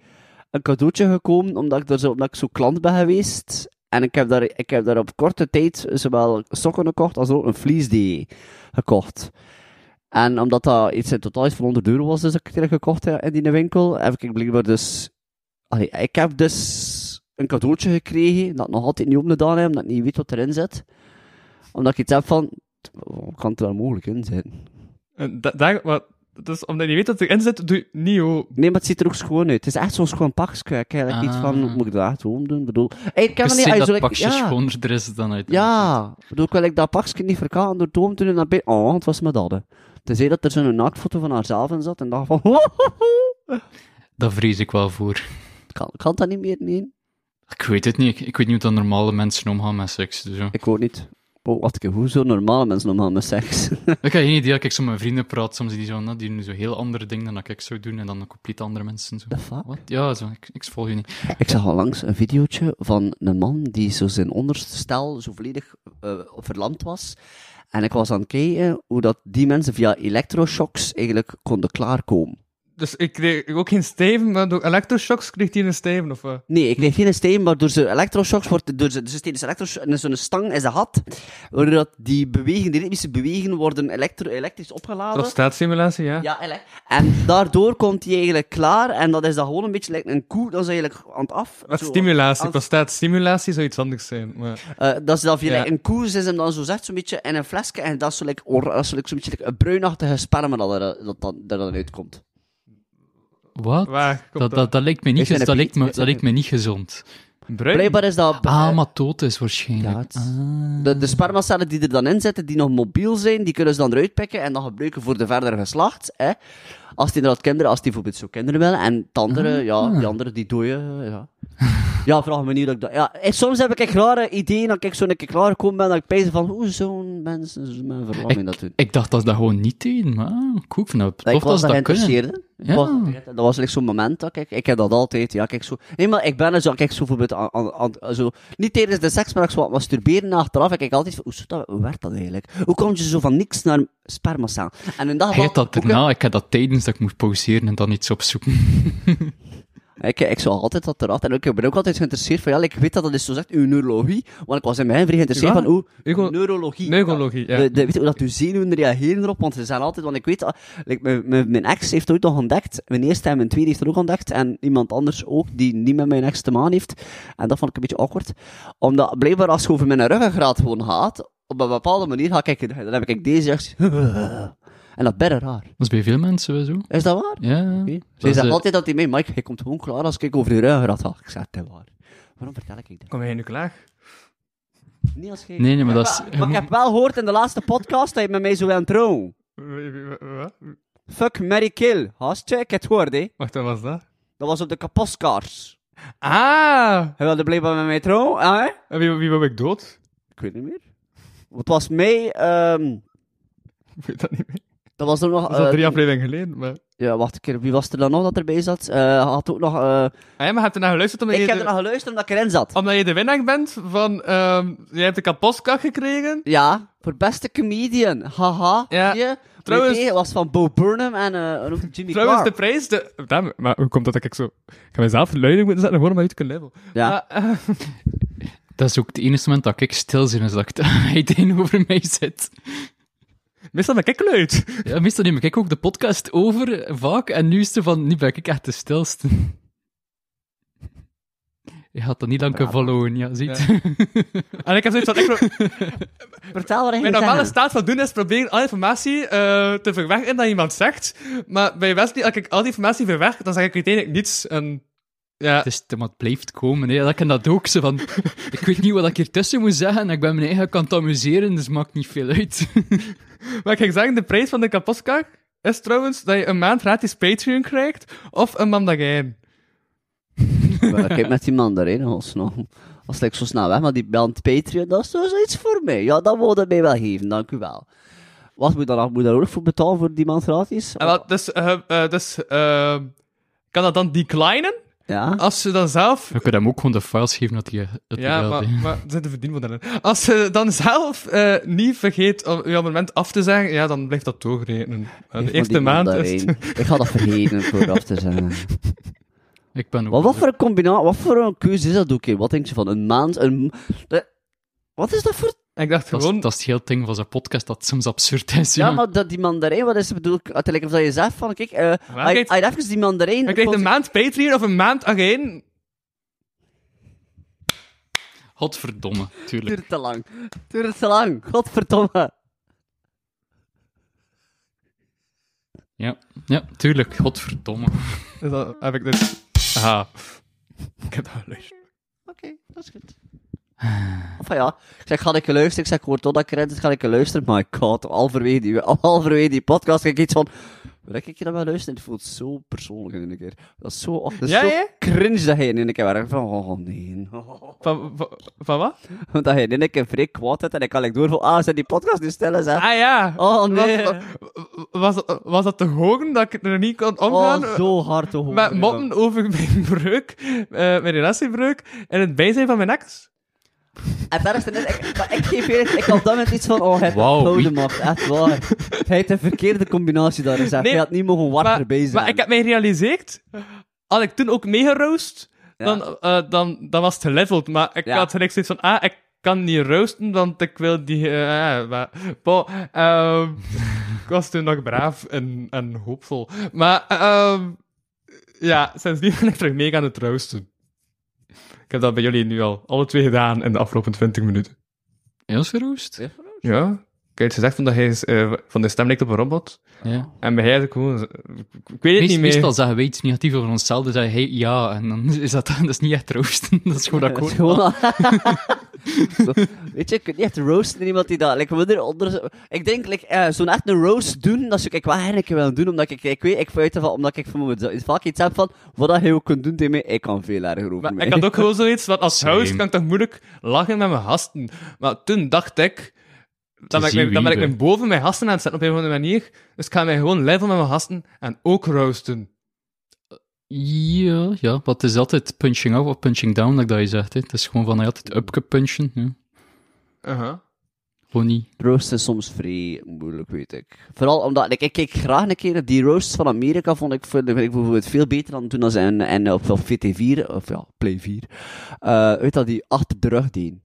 S3: een cadeautje gekomen, omdat ik, er zo, omdat ik zo klant ben geweest. En ik heb, daar, ik heb daar op korte tijd zowel sokken gekocht als ook een vliesdee gekocht. En omdat dat iets in totaal iets van 100 euro was, dus dat ik het gekocht heb in die winkel, heb ik blijkbaar dus... Allee, ik heb dus een cadeautje gekregen, dat ik nog altijd niet opgedaan heb, omdat ik niet weet wat erin zit. Omdat ik iets heb van... "Oh, Kan het er wel mogelijk in zijn?
S4: En da, daar- wat, dus omdat je weet dat het erin zit, doe je het niet hoor.
S3: Nee, maar het ziet er ook schoon uit. Het is echt zo'n schoon pakje. Ik heb eigenlijk iets van...
S5: Ah.
S3: Moet ik dat echt gewoon doen? Ik bedoel... Hey, ik heb
S5: Ik
S3: dat
S5: zie
S3: niet... als je zo-
S5: dat
S3: ik-
S5: pakje
S3: ja.
S5: schoner er is dan uit.
S3: Ja, ik bedoel, ik wil ik dat pakje niet verkalen door Toom toen naar binnen. Oh, het was me dat. hè. Tenzij dat er zo'n naaktfoto van haarzelf in zat en dacht van...
S5: Dat vrees ik wel voor.
S3: kan, kan dat niet meer? Nee.
S5: Ik weet het niet. Ik, ik weet niet hoe dat normale mensen omgaan met seks. Dus, ja.
S3: Ik ook niet. Oh, wat ik hoe zo normale mensen normaal met seks.
S5: Ik heb geen idee. Als ik zo met mijn vrienden praat, soms die zo, nou, die doen zo heel andere dingen dan dat ik zou doen. En dan compleet andere mensen. Zo.
S3: The fuck?
S5: Wat? Ja, zo, ik, ik volg je niet.
S3: ik zag al langs een videootje van een man die zo zijn onderste stel zo volledig eh, verlamd was. En ik was aan het kijken hoe dat die mensen via elektroshocks eigenlijk konden klaarkomen.
S4: Dus ik kreeg ook geen steven, maar door electroshocks kreeg hij een steven of wat?
S3: Nee, ik kreeg geen steen, maar door zijn elektroshocks wordt... Door zijn, dus tijdens elektros- en zo'n stang is een gat, waardoor dat die bewegingen, die ritmische bewegingen worden elektro- elektrisch opgeladen.
S4: Prostaatsimulatie, ja.
S3: Ja, eigenlijk. En daardoor komt hij eigenlijk klaar. En dat is dan gewoon een beetje like een koe. Dat is eigenlijk aan het af.
S4: Wat
S3: zo.
S4: stimulatie,
S3: Als-
S4: prostaatstimulatie zou iets anders zijn. Maar...
S3: Eh, dat is dan via
S4: Ja.
S3: like een koe. Ze is hem dan zo zegt, zo'n beetje in een flesje. En dat is zo like, or- dat is zo like zo'n beetje like een bruinachtige sperma dat er, eh, dat, dat, dat er uitkomt.
S5: Wat?
S4: Waar komt
S5: dat,
S4: dat?
S5: dat, dat lijkt me niet,
S3: Is het
S5: gez-
S3: een
S5: dat lijkt me,
S3: piet? Is
S5: dat
S3: het
S5: lijkt me niet gezond.
S4: Bruin?
S3: Blijkbaar is dat. eh,
S5: Ah, maar dood is waarschijnlijk.
S3: Ja, het-
S5: Ah.
S3: De, de spermacellen die er dan in zitten, die nog mobiel zijn, die kunnen ze dan eruit pikken en dan gebruiken voor de verdere geslacht. Hè? Als die inderdaad kinderen, als die bijvoorbeeld zo kinderen willen. En de andere,
S5: Ah.
S3: ja, die andere die dooien. Ja. ja, vraag me niet dat ik dat... Ja, en soms heb ik echt rare ideeën, dat ik zo een keer klaargekomen ben, dat ik pijzen van, hoe zo'n mensen, zo'n verlamming dat doen.
S5: Ik dacht dat ze dat gewoon niet deden, maar ah, cool, ik vind dat tof
S3: ik
S5: dat
S3: was
S5: ze
S3: daar
S5: dat kunnen.
S3: geïnteresseerd in. Ik
S5: Ja.
S3: was- dat was echt zo'n moment, dat ik, ik heb dat altijd, ja, kijk zo. Nee, maar ik ben er zo, kijk zo bijvoorbeeld aan, aan- aan- zo, niet tijdens de seks, maar ik zo aan het masturberen achteraf, ik kijk altijd van, hoe, zit dat, hoe werkt dat eigenlijk? Hoe kom je zo van niks naar spermacel? En in dat
S5: Hij had
S3: geval,
S5: dat erna, ik had dat tijdens dat ik moest pauzeren en dan iets opzoeken.
S3: ik, ik zo altijd dat eraf, en ook- ik ben ook altijd geïnteresseerd van, ja, ik weet dat dat is zo zegt, uw neurologie, want ik was in mijn vrij geïnteresseerd
S4: Ja?
S3: van, hoe,
S4: Ugo-
S3: neurologie.
S4: Neurologie, ja.
S3: De, de- weet je hoe dat uw zenuwen reageren erop? Want ze zijn altijd, want ik weet, dat- like, mijn, mijn, mijn ex heeft ooit nog ontdekt, mijn eerste en mijn tweede heeft er ook ontdekt, en iemand anders ook, die niet met mijn ex te maken heeft. En dat vond ik een beetje awkward. Omdat, blijkbaar, als je over mijn ruggengraat gewoon gaat, op een bepaalde manier ga ik, dan heb ik deze reactie. En dat is bijna raar.
S5: Dat is bij veel mensen wel zo.
S3: Is dat waar?
S5: Ja.
S3: Oké.
S5: Dat
S3: Ze
S5: is,
S3: zegt
S5: eh,
S3: altijd dat hij mee, Mike, je komt gewoon klaar als ik over je ruggengraat ga. Ik zeg, dat is waar. Waarom vertel ik dat?
S4: Kom jij nu klaar?
S3: Niet als jij-
S5: Nee, nee, maar dat is...
S3: Maar, maar ik heb wel gehoord in de laatste podcast dat je met mij zo aan trouw.
S4: Wat?
S3: Fuck, Mary Kill. Hastje, ik het hoorde. hè.
S4: Wacht, wat was dat?
S3: Dat was op de kaposkaars.
S4: Ah!
S3: Ah! Hij wilde blijkbaar met mij trouwen, hè?
S4: En wie, wie wou ik dood?
S3: Ik weet niet meer. Het was mij... ehm,
S4: Ik weet dat niet meer.
S3: dat was er nog...
S4: Dat is al
S3: eh,
S4: drie afleveringen geleden. Maar...
S3: ja, wacht een keer. Wie was er dan nog dat erbij zat? Eh, had ook nog... eh,
S4: Ah, ja, maar heb je naar geluisterd omdat,
S3: ik
S4: je
S3: heb
S4: de,
S3: er nog geluisterd omdat ik erin zat.
S4: omdat je de winnaar bent van... ehm jij hebt de kapotkak gekregen.
S3: Ja, voor beste comedian. Haha.
S4: Ja.
S3: zie je?
S4: Trouwens-
S3: Nee, het was van Bo Burnham en eh, hoe noemt het? Jimmy
S4: Trouwens, de
S3: Carr.
S4: prijs... De... Damn, maar hoe komt dat dat ik zo... Ik ga mezelf luiding moeten zetten gewoon om uit te kunnen level.
S3: Ja.
S4: eh,
S5: Dat is ook het enige moment dat ik stil zit, is dat ik- hij tegenover mij zit.
S4: meestal ben ik luid.
S5: Ja, meestal neem ik ook de podcast over, eh, vaak, en nu is het van, nu ben ik echt de stilste. Je had dat niet lang kunnen followen, ja, ziet.
S4: En ik heb zoiets van... Ik pro-
S3: Vertel wat je ging
S4: Mijn normale
S3: zeggen.
S4: staat van doen is proberen alle informatie eh, te verwerken dat iemand zegt. Maar bij Wesley, als ik al die informatie verwerk, dan zeg ik uiteindelijk niets. En, ja.
S5: Het, is, maar het blijft komen, hè. Dat kan dat ook, zo van, ik weet niet wat ik hier tussen moet zeggen, en ik ben mijn eigen kant amuseren, dus maakt niet veel uit.
S4: Maar ik ga zeggen, de prijs van de kapotkak is trouwens dat je een maand gratis Patreon krijgt of een mandagijn.
S3: Maar Kijk met die man daarin, godsnaam. Als ik zo snel weg, maar die band Patreon, dat is toch zoiets voor mij. Ja, dat wilde mij wel geven, dank u wel. Wat moet daar, moet daar ook voor betalen voor die man gratis?
S4: En wat, dus eh, eh, dus eh, kan dat dan declinen?
S3: Ja.
S4: Als ze dan zelf...
S5: We kunnen hem ook gewoon de files geven dat hij het
S4: Ja,
S5: wilt,
S4: maar,
S5: hè.
S4: maar er zitten verdienmodellen. in. Als ze dan zelf eh, niet vergeet om je abonnement af te zeggen, ja, dan blijft dat doorrekenen. En De
S3: Van die
S4: eerste
S3: man
S4: maand is het-
S3: daarin. Ik ga dat vergeten vooraf te zeggen.
S5: Ik ben ook...
S3: Wat, wat voor een combinatie, wat voor een keuze is dat ook? hè? Wat denk je van een maand? Een... de- Wat is dat voor
S4: En ik dacht
S5: Dat is,
S4: gewoon...
S5: dat is het hele ding van zijn podcast dat soms absurd is.
S3: Ja,
S5: Ja,
S3: maar dat, die mandarijn, wat is het bedoel? ik, Uiteindelijk of dat je zegt van, kijk, eh
S4: Maar
S3: als je-
S4: kijk-
S3: als je even die mandarijn...
S4: Ik kreeg een
S3: conse-
S4: maand Patreon of een maand Ageen.
S5: Godverdomme, tuurlijk.
S3: Duurt te lang. Duurt te lang. Godverdomme.
S5: Ja, ja tuurlijk, godverdomme.
S4: Dus dat heb ik dus... Aha. Ik heb dat geluisterd.
S3: Oké, dat is goed. Of ja, ik zeg, ga ik luisteren? Ik zeg, ik hoor tot dat ik erin zit, ga ik luisteren? My god, halverwege die, halverwege die podcast kijk ik iets van... Wil ik je dat wel luisteren? Het voelt zo persoonlijk in een keer. Dat is zo, oh, dat is
S4: Ja,
S3: zo
S4: hè?
S3: cringe dat hij in een keer werkt. Van, oh nee.
S4: Van, van, van wat?
S3: Dat hij in een keer vrij kwaad is en ik kan ik door van, ah, zijn die podcast nu stil? Zeg.
S4: Ah ja.
S3: Oh nee.
S4: Was, was, was dat te horen dat ik er niet kon omgaan?
S3: Oh, zo hard te horen.
S4: met moppen over mijn breuk, eh, mijn relatiebreuk, en het bijzijn van mijn ex.
S3: En daar is het net, ik, maar ik geef je, ik had dan met iets van, oh, hij
S5: Wauw,
S3: wow,
S5: wie-
S3: heeft macht, echt waar. Hij heeft een verkeerde combinatie daar gezegd.
S4: Nee,
S3: hij had niet mogen warter bezig
S4: maar ik heb mij gerealiseerd, had ik toen ook meegeroost, dan, eh, dan, dan was het geleveld. Maar ik
S3: Ja.
S4: had gelijk zoiets van, ah, ik kan niet roosten, want ik wil die... eh, eh, maar, bo, ehm, ik was toen nog braaf en, en hoopvol. Maar ehm, ja, sindsdien ben ik terug mee aan het roosten. Ik heb dat bij jullie nu al alle twee gedaan in de afgelopen 20 minuten.
S5: Heel verroest.
S4: Ja? Ik had gezegd van dat hij is, eh, van de stem lijkt op een robot.
S5: Ja.
S4: En bij hij gewoon... Ik weet het
S5: Meest-
S4: niet meer.
S5: Meestal zeggen wij iets negatiefs over onszelf, dus zeggen hey, ja, en dan is dat, dat is niet echt roosten. Dat is gewoon
S3: Dat is
S5: akkoord.
S3: gewoon... Zo, Weet je, je kunt niet echt roosten in iemand die dat... Like, we er onder, ik denk, like, eh, zo'n echt een roast doen, dat zou ik wel eigenlijk willen doen, omdat ik, ik weet, ik weet ervan, omdat ik voor mezelf vaak iets heb van, wat dat je ook kunt doen tegen mij, ik kan veel erger over
S4: Maar
S3: mij.
S4: ik had ook gewoon zoiets, want als
S5: Same.
S4: host kan ik toch moeilijk lachen met mijn gasten. Maar toen dacht ik, dan ben ik,
S5: zien
S4: mijn- dan ben ik
S5: wie
S4: mijn boven mijn gasten aan het zetten op een of andere manier. Dus ik ga mij gewoon level met mijn gasten en ook roosten.
S5: Ja, ja, wat is altijd punching up of punching down, like dat je zegt. Hè. Het is gewoon van, hij had het upke punchen. Ja. Gewoon niet.
S3: Roast is soms vrij moeilijk, weet ik. Vooral omdat like, ik kijk graag een keer die roasts van Amerika. Vond ik, vind ik bijvoorbeeld veel beter dan toen dat ze in, in, op, op VT4, of ja, Play 4, eh weet dat die achter de rug deden.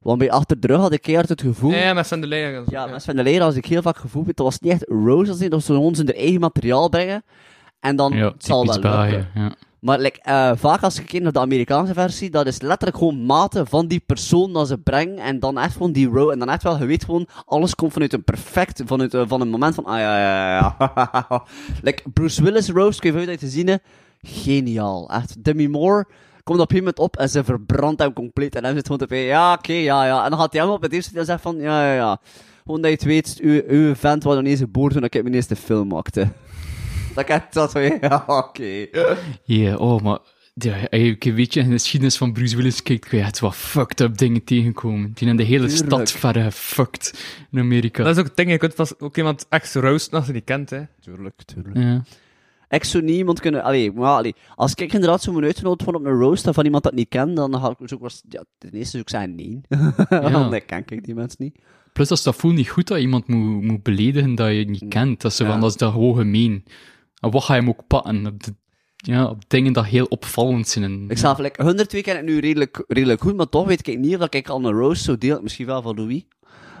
S3: Want bij achter de rug had ik keihard het gevoel.
S4: Ja, ja, met Sven de Leijer en zo.
S3: Ja, maar Sven de Leraar, als ik heel vaak gevoel weet, dat was niet echt roast, dat was ze ons hun eigen materiaal brengen. En dan
S5: Ja,
S3: het zal
S5: typisch
S3: wel lukken.
S5: België, Ja.
S3: Maar like, eh, vaak als je kijkt naar de Amerikaanse versie, dat is letterlijk gewoon maten van die persoon dat ze brengen. En dan echt gewoon die row. En dan echt wel, je weet gewoon, alles komt vanuit een perfect, vanuit eh, van een moment van, ah ja, ja, ja, ja. like, Bruce Willis roast, kun je dat je gezien hebt? Geniaal. Echt, Demi Moore komt op een moment op en ze verbrandt hem compleet. En hem zit gewoon te zeggen, ja, oké, ja, ja. En dan gaat hij hem op het eerste deel zeggen van, ja, ja, ja. Gewoon dat je het weet, uw, uw vent was ineens geboren toen ik mijn eerste film maakte. Dat ik echt dat van, ja, oké.
S5: Ja, oh, maar ja, eigenlijk een beetje in de geschiedenis van Bruce Willis kijkt, kun je echt wat fucked up dingen tegenkomen. Die in de hele
S3: Tuurlijk.
S5: stad verder gefucked in Amerika.
S4: Dat is ook het ding, je kunt vast ook iemand echt roosten als je die kent, hè.
S3: Tuurlijk, tuurlijk.
S5: Ja.
S3: Ik zou niet iemand kunnen... Allee, maar allee, als ik inderdaad zou worden uitgenodigd worden op een roast van iemand dat ik niet ken, dan ga ik dus ook... was- Ja, ten eerste zou ik zeggen nee. Want ik ken ik die mensen niet.
S5: Plus, dat is dat voelt niet goed dat iemand moet, moet beledigen dat je niet kent. Dat ze
S3: Mm. Ja.
S5: van, dat is dat gewoon gemeen. En wat ga je hem ook pakken? Op, de- ja, op dingen dat heel opvallend zijn. En-
S3: Ik zelf, like, 102 ken ik nu redelijk, redelijk goed, maar toch weet ik niet of dat ik al een roast zou delen. Misschien wel van Louis.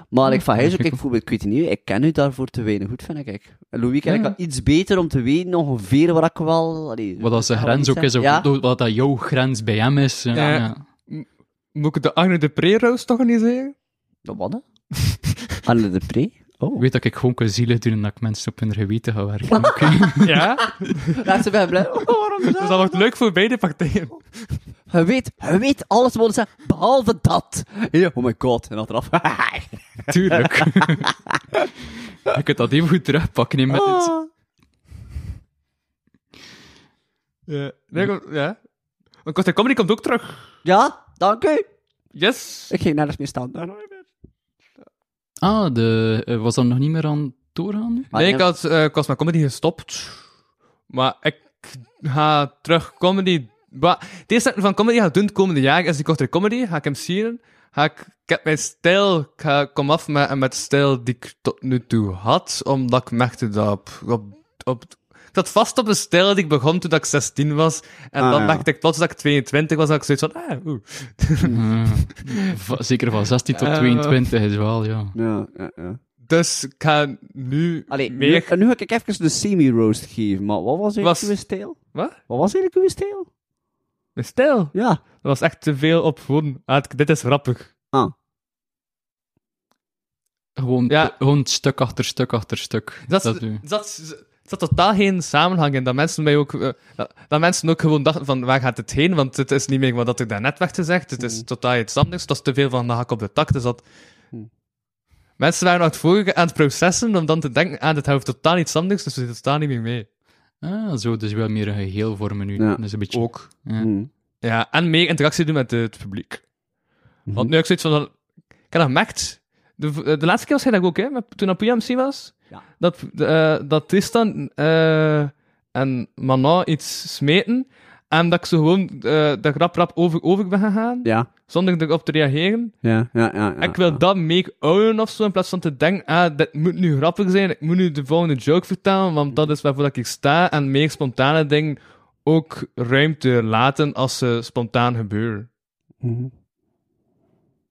S3: Maar ik van hij ook, ik voel, ik weet het niet, ik ken u daarvoor te weinig goed, vind ik. En Louis ken ik
S5: Ja.
S3: al iets beter om te weten ongeveer waar ik wel... Allee,
S5: wat dat zijn
S3: ik ga wel
S5: grens
S3: niet
S5: ook is, of
S3: zeggen. Ja?
S5: wat dat jouw grens bij hem is. Ja,
S4: Ja.
S5: ja.
S4: Moet ik de Agne de Pre-roast organiseren?
S3: Dat wat, hè? Anne de Pre? Oh.
S5: Ik weet dat ik gewoon kan zielig doen en dat ik mensen op hun geweten ga werken. Oké.
S4: Ja?
S3: Laat ze bij blij. Oh, waarom
S4: dus
S3: dat?
S4: dat wordt leuk voor beide partijen.
S3: Hij weet, hij weet alles wat ze zeggen, behalve dat. Ja, oh my god, en achteraf. Ah.
S5: Tuurlijk. je kunt dat even goed terugpakken hè, met
S3: Ah.
S5: het...
S4: Ja. Nee, ik- ja. Want Costa Comedy komt ook terug.
S3: ja, dank u.
S4: Yes.
S3: Ik ging nergens meer staan. Maar
S5: Ah, de, eh, was dat nog niet meer aan het doorgaan? nu?
S4: Nee,
S3: ja,
S4: ik had eh Cosma Comedy gestopt. Maar ik ga terug comedy... Wa- Het eerste dat ik van comedy ga doen het komende jaar is die kortere comedy. Ga ik hem zien. Ga ik, ik heb mijn stijl... Ik ga, kom af met, met de stijl die ik tot nu toe had. Omdat ik merkte dat op... op, op ik zat vast op een stijl die ik begon toen dat ik 16 was. En
S3: Ah,
S4: dan
S3: ja.
S4: merkte ik plots dat ik 22 was. Dat ik zoiets van... Ah, oeh.
S5: Eh, va- zeker van 16 tot
S4: Eh,
S5: 22 is wel, ja.
S3: ja, ja, ja.
S4: Dus ik ga nu
S3: Allee, nu,
S4: meer...
S3: en nu ga ik even de semi-roast geven, maar wat was eigenlijk
S4: Was-
S3: uw stijl?
S4: Wat?
S3: Wat was eigenlijk uw stijl?
S4: Mijn stijl?
S3: Ja.
S4: Dat was echt te veel op gewoon. ah, het- dit is grappig.
S3: Ah.
S5: Gewoon,
S4: Ja.
S5: gewoon stuk achter stuk achter stuk.
S4: Dat,
S5: Dat,
S4: dat,
S5: doe je.
S4: er zat totaal geen samenhang in. Dat mensen, mij ook, eh, dat- dat mensen ook gewoon dachten van waar gaat het heen? Want het is niet meer wat ik daarnet werd gezegd. Het is
S5: Hmm.
S4: totaal iets anders. Dat is te veel van de hak op de tak. Dus dat...
S5: Hmm.
S4: Mensen waren aan het vorige aan het processen om dan te denken aan dit hoofd totaal iets anders. Dus we zitten totaal niet meer mee.
S5: Ah, zo, dus wel meer een geheel vormen nu.
S3: Ja.
S5: Dat is een beetje...
S4: Ook.
S5: ja.
S3: Hm.
S4: Ja, en meer interactie doen met eh, het publiek.
S3: Mhm.
S4: Want nu heb ik zoiets van... Ik heb dat gemerkt. De, v- eh, de laatste keer was hij dat ook, hè? met- Toen Apuja MC was.
S3: Ja.
S4: Dat, de, eh, dat Tristan eh, en Manon iets smeten. En dat ik zo gewoon eh de grap rap over, over ben gegaan.
S3: Ja,
S4: Zonder erop te reageren.
S3: ja, ja, ja. ja,
S4: ik wil
S3: ja.
S4: dat make own of zo. In plaats van te denken, ah, dit moet nu grappig zijn. Ik moet nu de volgende joke vertellen. Want dat is waarvoor dat ik sta. En meer spontane dingen ook ruimte laten als ze spontaan gebeuren.
S3: Mhm.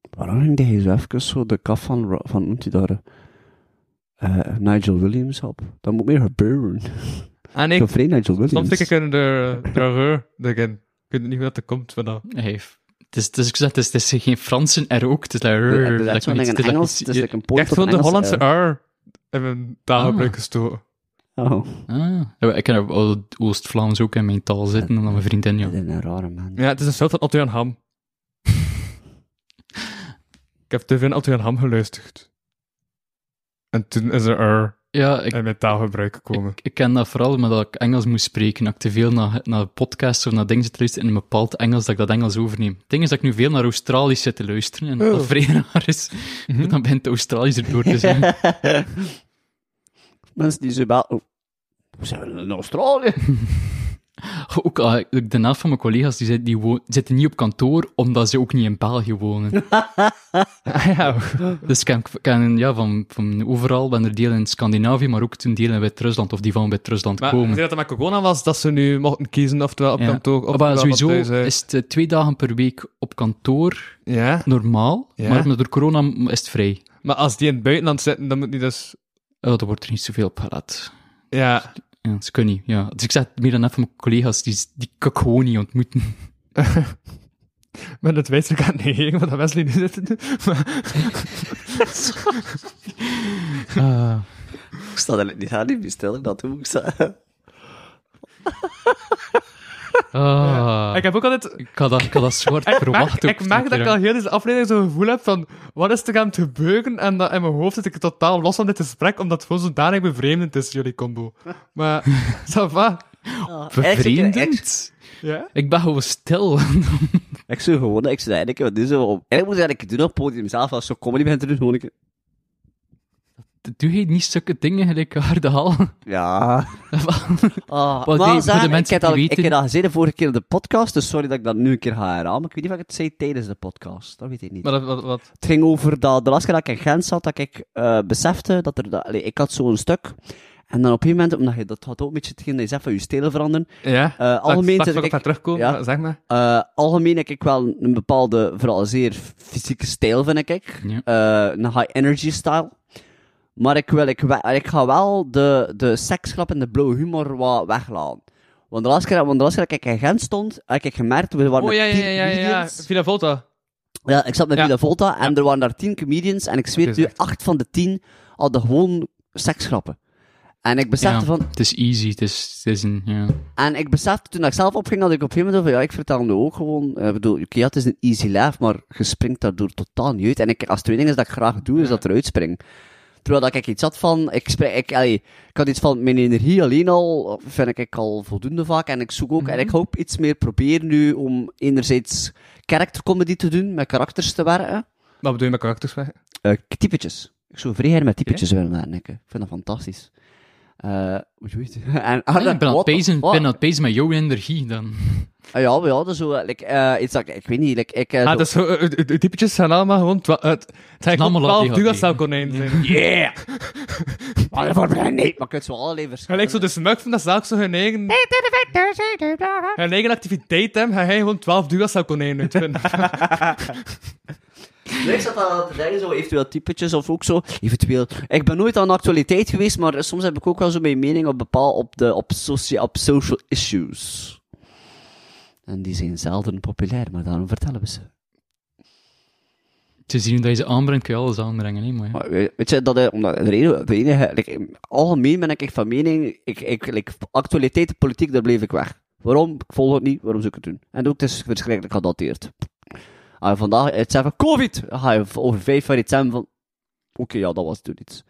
S3: Waarom ging hij zo even zo de kaf van, Ro- van noemt hij daar, eh, Nigel Williams op? Dat moet meer gebeuren.
S4: En
S3: Ik
S4: ik
S3: ben vrij Nigel Williams.
S4: Soms denk ik in de terreur erin. Ik weet niet hoe dat er komt van dat.
S5: Hey, f- het is, het is, ik zeg, het is, het is geen Fransen R ook. Het is like,
S3: Ja,
S5: rrr,
S3: het is
S5: like
S3: echt zo'n
S5: iets-
S3: ding in
S5: het is like
S3: Engels,
S5: iets-
S3: het is like een
S4: Ik
S3: poort
S4: echt
S3: op
S4: gewoon de
S3: een
S4: Hollandse
S3: Engelse
S4: R in mijn taalgebruik
S5: Ah.
S4: gestoken.
S3: R. Oh,
S5: Ah, ja, ik kan wel Oost-Vlaams ook in mijn taal zitten, omdat mijn vriendin, ja.
S3: dat is een rare man.
S4: Ja, het is een soort van Otto Jan Ham. ik heb te veel Otto Jan Ham geluisterd. En toen is er R
S5: Ja, ik,
S4: in mijn taalgebruik gekomen.
S5: ik, ik ken dat vooral omdat ik Engels moest spreken. Dat ik te veel naar, naar podcasts of naar dingen zit te luisteren in een bepaald Engels, dat ik dat Engels overneem. Het ding is dat ik nu veel naar Australisch zit te luisteren, en dat
S4: Oh.
S5: dat vrij raar is.
S4: Mhm.
S5: Dan begint het Australisch erdoor te zijn.
S3: Mensen die zo wel... Oh, we zijn in Australië.
S5: Ook ah, ik- de helft van mijn collega's die zit- die wo- zitten niet op kantoor, omdat ze ook niet in België wonen.
S4: Ah, ja.
S5: Dus ik ken, ik ken, ja, van, van overal, ben er deel in Scandinavië, maar ook toen deel in Wit-Rusland, of die van Wit-Rusland
S4: Maar
S5: komen.
S4: zei dat dat met corona was, dat ze nu mochten kiezen oftewel op
S5: Ja.
S4: kantoor of
S5: maar sowieso is het eh, twee dagen per week op kantoor
S4: Ja,
S5: normaal,
S4: Ja.
S5: maar door corona m- is het vrij.
S4: maar als die in het buitenland zitten, dan moet die dus...
S5: Oh, dan wordt er niet zoveel op gelet.
S4: Ja,
S5: Ja, ze kunnen niet, ja. Dus ik zeg meer dan even mijn collega's, die, die kan ik gewoon niet ontmoeten.
S4: maar dat weet ik aan het negeren, want dat Wesley nu zit.
S5: Ah.
S3: Ik sta daar niet aan, die stel ik dat toe. Ik sta...
S5: Ah.
S4: Ik heb ook altijd...
S5: Ik had dat, ik had dat zwart verwacht. ook
S4: ik merk dat ik al heel deze aflevering zo'n gevoel heb van... Wat is er aan het gebeuren? En dat in mijn hoofd zit ik totaal los van dit gesprek, omdat het gewoon zodanig bevreemdend is, jullie combo. Maar, ça va.
S5: Vervreemdend?
S4: Ja?
S5: Ik ben gewoon stil.
S3: Ik zou gewoon, ik zou eigenlijk, wat is er om? Eigenlijk moet je eigenlijk doen op het podium zelf, als je comedy bent te doen, gewoon een keer-
S5: Doe je niet zulke dingen gelijk haar de hal?
S3: Ja. Ah, maar
S5: Wat deed- voor de
S3: Zaan, ik
S5: mensen
S3: heb dat,
S5: die
S3: ik heb
S5: weten-
S3: dat gezegd de vorige keer op de podcast, dus sorry dat ik dat nu een keer ga herhalen, maar ik weet niet of ik het zei tijdens de podcast, dat weet ik niet.
S4: Maar dat- wat, wat?
S3: Het ging over dat de laatste keer dat ik in Gent zat, dat ik eh, besefte dat er... Dat, allee, ik had zo'n stuk... En dan op een moment, omdat je dat had ook een beetje hetgeen dat je zegt van je stijl veranderen.
S4: Ja?
S3: Eh, algemeen
S4: Straks
S3: zit
S4: wil ik
S3: ik-
S4: daar terugkomen,
S3: ja.
S4: maar zeg maar.
S3: Eh, algemeen heb ik wel een bepaalde, vooral zeer fysieke stijl, vind ik.
S5: Ja.
S3: Eh, een high-energy style. Maar ik, wil, ik, we- ik ga wel de, de seksgrap en de blauwe humor wat weglaten. Want de laatste keer, want de laatste keer dat ik in Gent stond, heb ik gemerkt, we waren
S4: Oh
S3: met
S4: ja, ja,
S3: tien
S4: ja, ja, ja.
S3: comedians.
S4: Villa Volta.
S3: Ja, ik zat met
S4: Ja.
S3: Vida Volta en er waren daar tien comedians en ik
S4: Het
S3: zweer
S4: is
S3: nu, acht van de tien hadden gewoon seksgrappen. En ik besefte
S5: Ja,
S3: van...
S5: Het is easy, het is, het is een... Ja.
S3: En ik besefte toen ik zelf opging, dat ik op een gegeven moment dacht van, ja, ik vertel nu ook gewoon... eh, Ik bedoel, oké, ja, het is een easy laugh, maar je springt daardoor totaal niet uit. En ik, als twee dingen is dat ik graag doe, is dat eruit springen. Terwijl dat ik iets had van, ik, spring, ik, allee, ik had iets van, mijn energie alleen al, vind ik al voldoende vaak. En ik zoek ook, en
S4: Mhm.
S3: ik hoop iets meer proberen nu om enerzijds charactercomedy te doen, met karakters te werken.
S4: Wat bedoel je met karakters? hè?
S3: Eh, k- typetjes. Ik zou vrijheid met typetjes willen maken. Ik Ik vind dat fantastisch. Eh, hoe doe je het?
S4: Ah,
S3: En, Ah,
S5: Ja, ik ben aan het
S3: wat-
S5: pezen, ik
S3: wat-
S5: ben aan het pezen met jouw energie dan.
S3: Ah, ja, maar ja, dat is zo. eh, Like, eh, iets dat, ik- ik weet niet. Like, ik, eh,
S4: Ah,
S3: zo-
S4: dus eh, eh, de typetjes zijn allemaal gewoon... twa- eh, Het zijn
S5: allemaal
S4: gewoon twaalf
S5: al die
S4: Duracell-konijnen zijn.
S3: Yeah! Wat voor planeet? Maar ik het zo alle
S4: Gelijk zo de smug van dat zaak zo hun eigen... Hun eigen activiteit hebben, ga jij gewoon twaalf Duracell-konijnen uitvinden.
S3: Ik zat al te denken, zo eventueel typetjes of ook zo. Eventueel. Ik ben nooit aan de actualiteit geweest, maar soms heb ik ook wel zo mijn mening op bepaal op, de, op, socia- op social issues. En die zijn zelden populair, maar daarom vertellen we ze.
S5: Te zien hoe dat je ze aanbrengt, kun je alles aanbrengen. Hè, maar ja.
S3: Maar we- weet je, dat, eh, omdat de reden, de enige, like, algemeen ben ik echt van mening, ik, ik, like, actualiteit, politiek, daar bleef ik weg. Waarom? Ik volg het niet, waarom zou ik het doen? En ook, het is verschrikkelijk gedateerd. Ah, vandaag, het zeggen, covid! Dan Ga je v- over vijf jaar iets hebben van, oké, ja, dat was toen iets.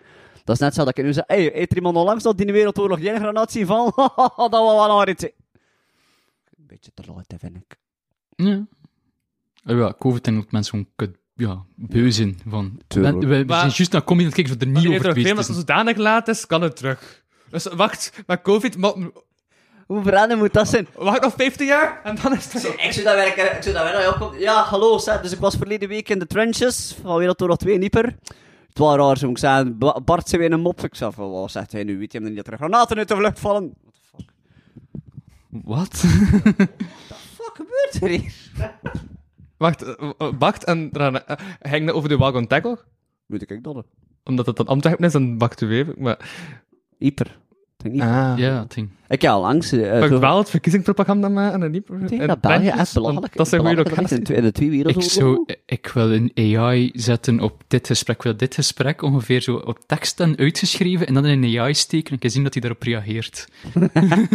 S3: Dat is net zo dat ik nu zeg, hey, heeft er iemand onlangs dat in de Wereldoorlog jij een granaat zien van? dat was wel hard iets. Een beetje te laat, vind ik.
S5: Ja. Ah, ja, COVID en dat mensen gewoon kut, ja, beu zijn van...
S3: Tuurlijk.
S5: We, we
S4: Maar-
S5: zijn juist naar comedy aan het kijken dat er niet
S4: Die heeft er
S5: over geweest
S4: veel, maar
S5: is.
S4: als het zodanig laat is, kan het terug. Dus wacht, maar COVID, mo-
S3: Hoe veranderd moet dat zijn?
S4: wacht nog 50 jaar en dan is het
S3: Zo, Ik zou dat werken, ik zou dat werken. Ja, kom. Ja, hallo, Seth. Dus ik was verleden week in de trenches van Wereldoorlog 2 Nieper. Het was raar, zo moet ik zeggen. Ba- Bart zei weer een mop. Ik zei van, wat zegt hij nu? Weet je hem niet dat er granaten uit de vlucht vallen? Wat de fuck?
S5: Wat?
S3: Fuck, gebeurt er hier?
S4: Wacht, eh, eh, wacht en dan eh, ging dat over de wagon tackle?
S3: Moet ik dat?
S4: Omdat het dan Antwerpen is, dan wacht u even. Maar...
S3: Ieper. Ik
S4: Ah.
S5: Ja, dat ding.
S3: heb al langs. eh,
S4: Pak
S3: zo-
S4: wel het verkiezingsprogramma maken en dan niet.
S3: Ik denk
S4: en
S3: dat België
S4: bandjes,
S3: echt belachelijk
S4: want Dat zijn goede
S3: belachelijk is in
S4: locaties.
S3: twee- in de twee
S5: Ik,
S3: werelden.
S5: zou, ik wil een AI zetten op dit gesprek. Ik wil dit gesprek ongeveer zo op teksten uitgeschreven en dan in een AI steken en ik kan zien dat hij daarop reageert.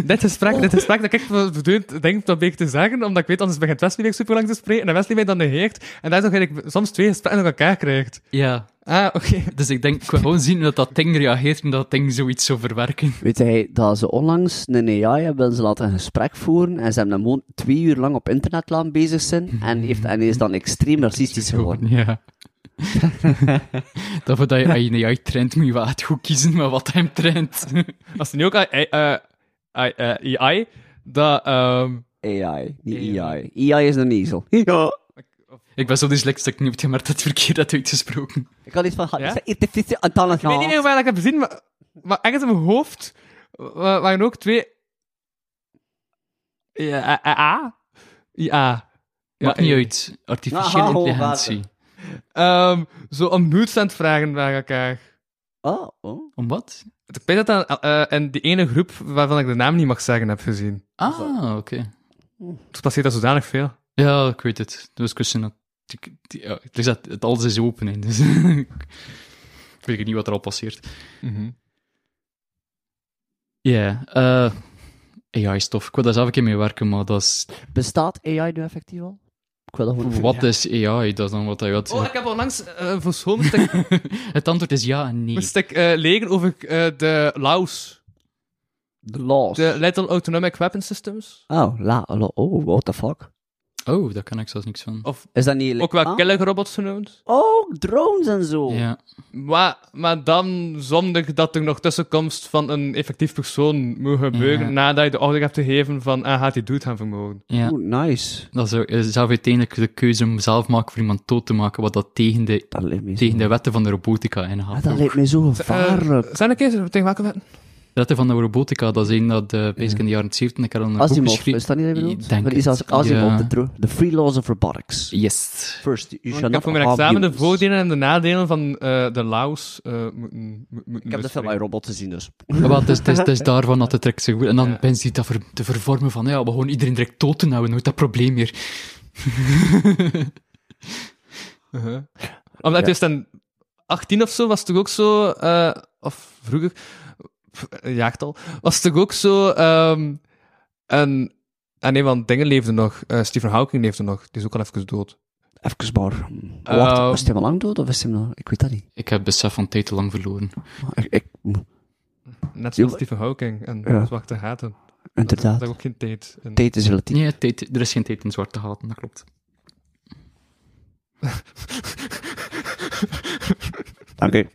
S4: Dit gesprek, dit gesprek dat ik verdeeld denk dat ik te zeggen, omdat ik weet, anders begint Wesley weer super lang te spreken en Wesley mij dan negeert. En daar is nog eigenlijk soms twee gesprekken aan elkaar krijgt.
S5: Ja.
S4: Ah, oké.
S5: Dus ik denk, ik wil gewoon zien hoe dat, dat ding reageert en dat dat ding zoiets zou verwerken.
S3: Weet jij dat ze onlangs een AI hebben ze laten een gesprek voeren en ze hebben hem gewoon twee uur lang op internet laten bezig zijn en, heeft, en is dan extreem racistisch geworden.
S5: Ja. dat voordat je AI een AI traint, moet je wel echt goed kiezen met wat hem traint.
S4: Als er nu ook AI, eh, AI, eh, AI dat... ehm,
S3: AI, niet
S4: AI.
S3: EI. EI is een ezel. Ja.
S5: ik ben zo dyslexisch dat ik niet heb gemerkt dat het verkeerd had uitgesproken.
S3: Ik had iets van,
S4: Ja?
S3: ja? is dit aan het aan het
S5: Oh.
S4: Ik weet niet meer waar ik dat heb gezien, maar, maar ergens in mijn hoofd wa- waren ook twee. Ja, A. A. Ja.
S5: Maakt
S4: Ja,
S5: niet
S4: eh,
S5: uit. Artificiële
S3: Aha, hoe
S5: intelligentie.
S4: ehm, zo om nudes aan het vragen waren elkaar.
S3: Oh, oh.
S5: Om wat?
S4: Ik weet dat dat eh, in die ene groep waarvan ik de naam niet mag zeggen heb gezien.
S5: Ah, oké.
S4: Het passeert dat zodanig veel.
S5: Ja, ik weet het. Dus kussen dat. ik- die- Ja, het is dat het alles is open in. Dus ik weet niet wat er al passeert.
S3: Mhm.
S5: Ja, eh AI-stof. Ik wil daar zelf een keer mee werken, maar dat is.
S3: Bestaat AI nu effectief al? Ik wil dat gewoon
S5: Wat is AI? Dat is dan wat hij had.
S4: Oh, ik heb onlangs eh voor school moest ik,
S5: Het antwoord is ja en nee.
S4: moest ik eh, leren over eh, de Laos.
S3: The Laws.
S4: De Little Autonomic Weapon Systems.
S3: Oh, la, la- oh, what the fuck?
S5: Oh, daar kan ik zelfs niks van.
S4: Of
S3: Is dat niet...
S4: ook wel
S3: Ah,
S4: killing robots genoemd.
S3: Oh, drones en zo.
S5: Ja.
S4: Maar, maar dan zonder dat er nog tussenkomst van een effectief persoon moet gebeuren
S5: Ja.
S4: nadat je de order hebt gegeven van ah, gaat die dude gaan vermogen.
S5: ja.
S3: Oeh, Oh, nice.
S5: Dat is ook- eh, zelf uiteindelijk de keuze om zelf maken voor iemand dood te maken, wat dat tegen de,
S3: Dat lijkt me zo,
S5: tegen de wetten van de robotica
S3: Ah,
S5: ingaat.
S3: dat lijkt me zo gevaarlijk.
S4: Eh, zijn er keer tegen welke wetten?
S5: De wetten van de robotica, dat is een dat de basic in de jaren 70 een keer al
S4: Eh,
S5: een boek
S3: Asimov,
S5: geschreven.
S3: is dat niet wat je bedoelt?
S5: Ik denk
S3: Maar die is als
S5: het.
S3: Asimov,
S5: Ja.
S3: de tro- The Free Laws of Robotics.
S5: Yes.
S3: First, you shall
S4: Ik
S3: not
S4: heb voor mijn
S3: have
S4: examen de
S3: humans.
S4: voordelen en de nadelen van eh, de Laos eh, moeten, mo-
S3: Ik
S4: moeten
S3: heb de film
S4: bespreken.
S3: iRobot gezien, dus...
S5: Ja, wel, het, is, het, is, het is daarvan dat het trekt zich goed. En dan
S4: Ja.
S5: ben je dat ver- te vervormen van, ja, we gewoon iedereen direct dood te houden, nooit dat probleem meer.
S4: Uh-huh. Omdat in 2018 of zo was het toch ook zo, eh, of vroeger, pff, een jaartal, was het toch ook zo, ehm en, en nee, want dingen leefde nog, eh, Stephen Hawking leefde nog, die is ook al even dood.
S3: Even maar. Wacht,
S4: Ehm.
S3: was hij al lang dood of is hij nog... Ik weet dat niet.
S5: Ik heb het besef van tijd te lang verloren.
S3: Maar Ik, ik,
S4: Net
S3: Jullie-
S4: zoals Stephen Hawking en
S3: Ja.
S4: Zwarte Gaten.
S3: inderdaad.
S4: Daar ook geen tijd in.
S3: Tijd is relatief.
S5: Nee, tijd, er is geen tijd in zwarte gaten, dat klopt.
S3: Dank u.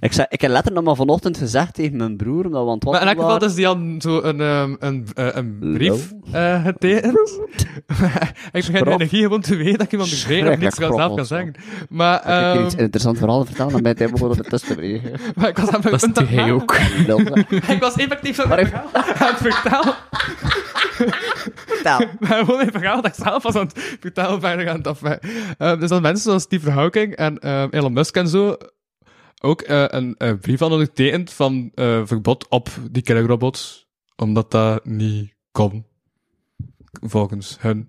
S3: Ik, zei, ik heb letterlijk nog maar vanochtend gezegd tegen mijn broer, omdat we aan het
S4: Maar in elk
S3: wandelen waren.
S4: geval is die al zo een, ehm, een, eh, een brief eh getekend. ik begin de
S3: Schroff.
S4: energie gewoon te weten dat ik iemand begreep of
S3: Schrikkelijk
S4: niks zelf kan
S3: schroffels,
S4: zeggen. Maar,
S3: Ik heb hier iets
S4: ehm,
S3: interessants verhaal vertellen, dan ben je begonnen met tussen te breken.
S4: maar ik was aan mijn
S5: Dat is
S4: punt aan
S5: die
S4: het
S5: hij
S4: maken.
S5: ook.
S3: Lul.
S4: Ik was effectief zo
S3: Maar
S4: aan
S3: even,
S4: het vertellen.
S3: vertel.
S4: Maar gewoon een verhaal dat ik zelf was aan het vertellen bijna aan het af. dus dat mensen zoals Steve Hawking en ehm, Elon Musk en zo ook eh, een eh, brief hadden ondertekend van eh, verbod op die killerrobots, omdat dat niet kon. Volgens hun.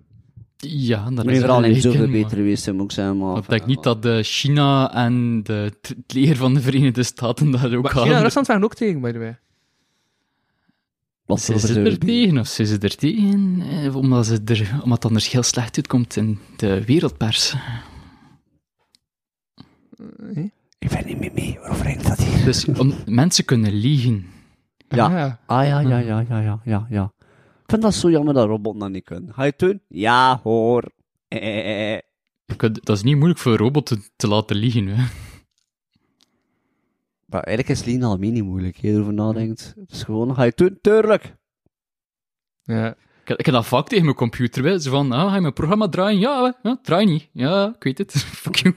S5: Ja, dat
S3: Mijn
S5: is
S3: verhaal
S5: een
S3: niet zoveel
S5: reken, maar-
S3: beter geweest, zijn, moet ik zeggen. Maar,
S5: Ik denk niet dat eh, China en de, t- het leger van de Verenigde Staten daar ook
S4: China en
S5: hadden.
S4: Rusland waren ook tegen, by the way.
S3: Wat
S5: Ze
S3: voor
S5: zitten er
S3: zeur-
S5: tegen, of ze zitten er tegen, eh, omdat, ze er, omdat het anders heel slecht uitkomt in de wereldpers.
S3: Ik ben niet meer mee, waarover ging dat hier?
S5: Dus om, mensen kunnen liegen.
S3: Ja. Ah ja, ja, ja, ja, ja, ja, ja. Ik vind dat zo jammer dat robots dat niet kunnen. Ga je het doen? Ja, hoor. Eh, eh, eh, eh.
S5: Je kunt- Dat is niet moeilijk voor een robot te, te laten liegen. Hè.
S3: Maar eigenlijk is Lean al mini moeilijk, je erover nadenkt. Het is gewoon, ga je het doen? Tuurlijk!
S4: ja.
S5: Ik, heb- ik heb dat vaak tegen mijn computer. Hè. Zo van, ah, ga je mijn programma draaien? Ja, hè. ja, draai niet. Ja, ik weet het. Fuck you.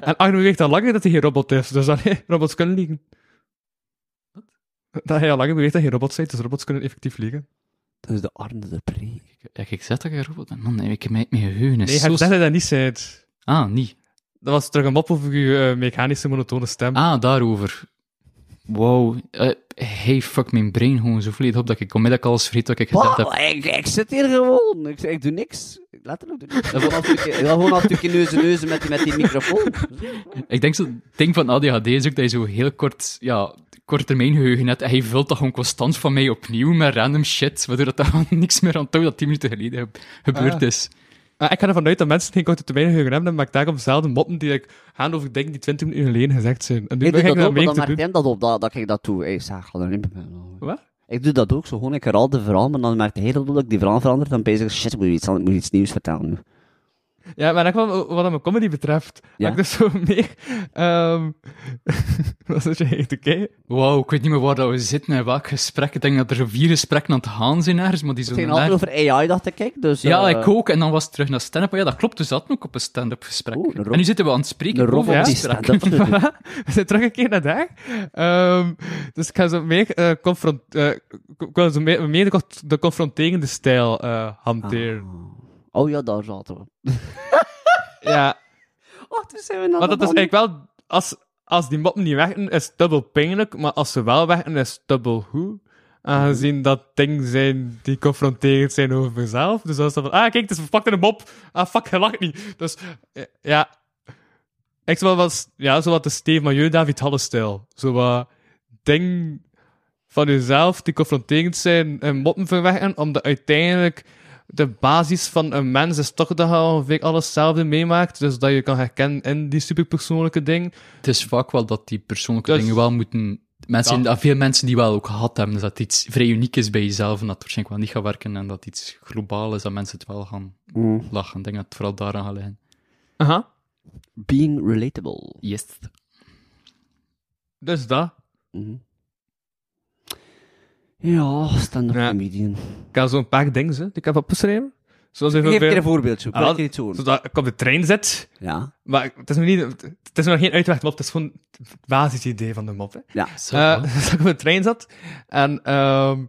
S4: En Arno weegt al langer dat hij geen robot is, dus dan, robots kunnen liegen. Dat hij al langer beweegt dat hij robot is, dus robots kunnen effectief liegen.
S3: Dat is de arme de pre.
S5: Ja, ik zeg dat ik een robot ben. Man, ik heb mijn, mijn geheugen is
S4: Nee, hij
S5: zo...
S4: zegt dat hij dat niet zei.
S5: Ah, niet.
S4: Dat was terug een mop over je eh, mechanische monotone stem.
S5: Ah, daarover. Wow. eh hey, fuck, mijn brein gewoon zo volledig op dat ik onmiddellijk alles vergeet wat ik gezegd heb.
S3: Wow, ik, ik zit hier gewoon. Ik, ik doe niks. Ik Letterlijk doe niks. Ik wil gewoon af en toe neuzen neuzen met, die- met die microfoon.
S5: Ik denk zo, het ding van ADHD is ook dat je zo heel kort, ja, korttermijn geheugen hebt. En hij vult dat gewoon constant van mij opnieuw met random shit, waardoor dat, dat gewoon niks meer aan dat 10 minuten geleden heb- gebeurd
S4: Ah.
S5: is.
S4: Maar ik ga ervan uit dat mensen geen korte termijn geheugen hebben, maar ik daarom zelden moppen die ik gaan over dingen die 20 minuten geleden gezegd zijn. En nu
S3: Ik doe
S4: begin
S3: dat
S4: ik dat
S3: ook, maar dan
S4: mee te
S3: merkt
S4: doen.
S3: hij dat op, dat, dat ik dat doe. Hey, zeg, ga er niet mee.
S4: Wat?
S3: Ik doe dat ook zo gewoon. Ik herhaal de verhaal, maar dan merkt hij dat ik die verhaal verandert. Dan ben ik, shit, ik moet iets, anders- ik moet iets nieuws vertellen nu.
S4: Ja, maar dat kwam wat aan mijn comedy betreft.
S3: Ja.
S4: Ja. Ik dus zo meer... ehm was dat je echt oké?
S5: Wow, ik weet niet meer waar dat we zitten en welk gesprek. Ik denk dat er vier gesprekken aan het gaan zijn ergens, maar die
S3: Het ging
S5: zullen
S3: altijd
S5: daar-
S3: over AI, dacht ik. ik, Dus,
S5: Ja,
S3: eh,
S5: ik ook. En dan was het terug naar stand-up. Maar ja, dat klopt. Dus dat ook op een stand-up gesprek.
S3: Oeh, een rob-
S5: en nu zitten we aan het
S3: De
S5: spreken over
S3: robot
S5: een
S3: die
S5: gesprek.
S3: stand-up te doen.
S4: We zijn terug een keer naar daar. Ehm, dus ik ga zo meer, eh, confront, eh, ik wil zo meer, meer de, cont- de confronterende stijl eh, hanteren.
S3: Oh ja, daar zaten we. Ah.
S4: Ja,
S3: Oh, toen zijn we naar
S4: Maar
S3: de
S4: dat is
S3: man-
S4: eigenlijk wel... Als, als die moppen niet werken, is het dubbel pijnlijk. Maar als ze wel werken, is het dubbel hoe. Aangezien dat dingen zijn die confronterend zijn over mezelf. Dus als dat van... Ah, kijk, het is verpakt in een mop. Ah, fuck, hij lacht niet. Dus eh, ja... Ik zou wel wat... Ja, zo wat de Steve Major, David Halle-stijl. Zo wat... Ding van jezelf die confronterend zijn en moppen verwerken, omdat uiteindelijk de basis van een mens is toch dat je ongeveer alles hetzelfde meemaakt, dus dat je kan herkennen in die superpersoonlijke ding.
S5: Het is vaak wel dat die persoonlijke
S4: Dus-
S5: dingen wel moeten Mensen,
S4: Ja.
S5: dat veel mensen die wel ook gehad hebben, dus dat het iets vrij uniek is bij jezelf en dat het waarschijnlijk wel niet gaat werken en dat het iets globaal is dat mensen het wel gaan lachen. Ik denk dat het vooral daaraan gaat liggen.
S4: Aha.
S3: Being relatable.
S5: Yes.
S4: Dus dat.
S3: Mhm. Ja, stand-up
S4: Ja.
S3: comedian.
S4: Ik had zo'n paar dingen hè, die ik heb opgeschreven. Zoals
S3: Geef een keer een
S4: even...
S3: voorbeeldje.
S4: Ah, wel,
S3: Laat je iets horen.
S4: Zodat ik op de trein zit.
S3: Ja.
S4: Maar ik- het is nog, niet, het is nog geen uitweg mop, het is gewoon het basisidee van de mop. Hè.
S3: Ja.
S5: Zo,
S4: Eh,
S5: ja.
S4: dat ik op de trein zat en ehm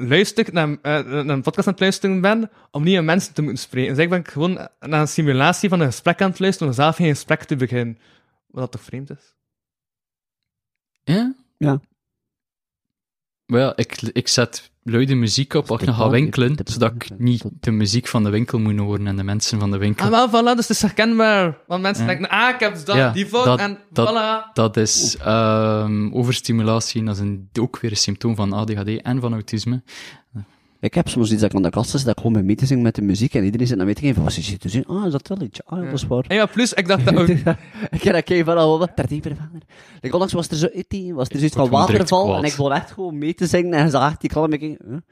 S4: luister naar, eh, naar een podcast aan het luisteren ben om nieuwe mensen te moeten spreken. Dus ik ben gewoon naar een simulatie van een gesprek aan het luisteren om zelf geen gesprek te beginnen. Wat dat toch vreemd is?
S5: Ja?
S3: Ja.
S5: Maar ja, ik, ik zet luide muziek op als ik nog ga winkelen, zodat ik niet de muziek van de winkel moet horen en de mensen van de winkel.
S4: Ah, wel, voilà, dus het is herkenbaar. Want mensen
S5: Ja.
S4: denken, ah, ik heb dat,
S5: Ja,
S4: die voor,
S5: dat-
S4: en
S5: dat-
S4: voilà.
S5: Dat is ehm, overstimulatie en dat is een, ook weer een symptoom van ADHD en van autisme.
S3: Ik heb soms iets dat ik aan de kast is, dat ik gewoon mee mee te zingen met de muziek en iedereen zit naar mee te kijken van, wat is dit te zien? Ah, is dat wel iets? Ah, ja, dat is waar.
S4: En ja, plus, ik dacht, dat ook-
S3: ik ken dat kei van al wat, daar dieper verder. Like, onlangs was er zo iets, was er zoiets van
S5: gewoon direct
S3: waterval
S5: kwaad.
S3: en ik wil echt gewoon mee te zingen en ze echt die kalm ik huh? Ik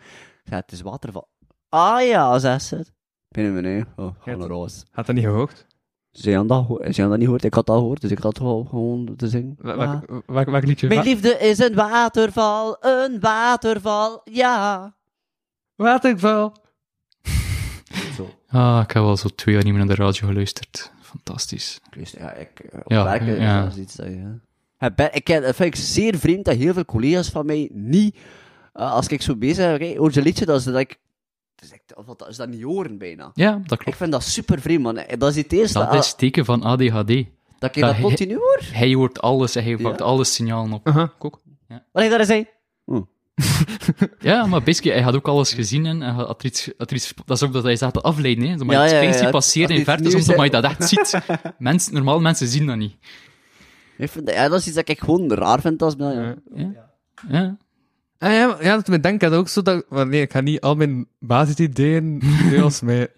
S3: zei, het is waterval. Ah ja, zei ze. Binnen beneden. Oh,
S4: Ja,
S3: gewoon een roos.
S4: had dat niet gehoord?
S3: Ze hadden dat, geho- ze hadden dat niet gehoord, ik had dat gehoord, dus ik had wel gewoon te zingen.
S4: Welk,
S3: Ja.
S4: welk, welk, welk liedje?
S3: Mijn
S4: Wa-
S3: liefde is een waterval, een waterval, ja.
S4: Waterval.
S3: Zo.
S5: Ah, ik heb al zo twee jaar niet meer naar de radio geluisterd. Fantastisch.
S3: Dus ja, ik, eh, op
S5: Ja,
S3: werken is
S5: ja.
S3: dat iets dat je... Ja, ben- ik, ken- dat vind ik zeer vreemd dat heel veel collega's van mij niet, eh, als ik zo bezig ben, oké, hoor je liedje, dat is dat ik... dat is echt- of dat- dat is dat niet horen bijna.
S5: Ja, dat
S3: Ik
S5: klopt.
S3: vind dat super vreemd, man. Eh, Dat is het eerste
S5: Dat
S3: dat,
S5: is teken van ADHD.
S3: dat ik
S5: dat
S3: dat
S5: he-
S3: continu hoor.
S5: Hij hoort alles en hij pakt alle signalen op.
S3: Uh-huh.
S4: Aha, ik ook.
S3: Wat ik daar eens zei.
S5: Ja, maar basically, hij had ook alles gezien en hij had had er iets, had er iets- dat is ook dat hij zaten afleiden. Hè. Maar
S3: Ja,
S5: iets
S3: ja, ja,
S5: kleins die
S3: ja.
S5: passeert
S3: Als
S5: in
S3: iets
S5: verte,
S3: nieuws,
S5: soms
S3: hè.
S5: omdat je dat echt ziet. Mensen, normaal mensen zien dat niet.
S3: Ik vind, dat- ja, dat is iets dat ik gewoon raar vind als... Ja,
S4: Ja.
S5: Ja.
S4: Ah, ja, maar- ja, dat me denken dat ook zo dat... Maar nee, ik ga niet al mijn basisideeën deels mee...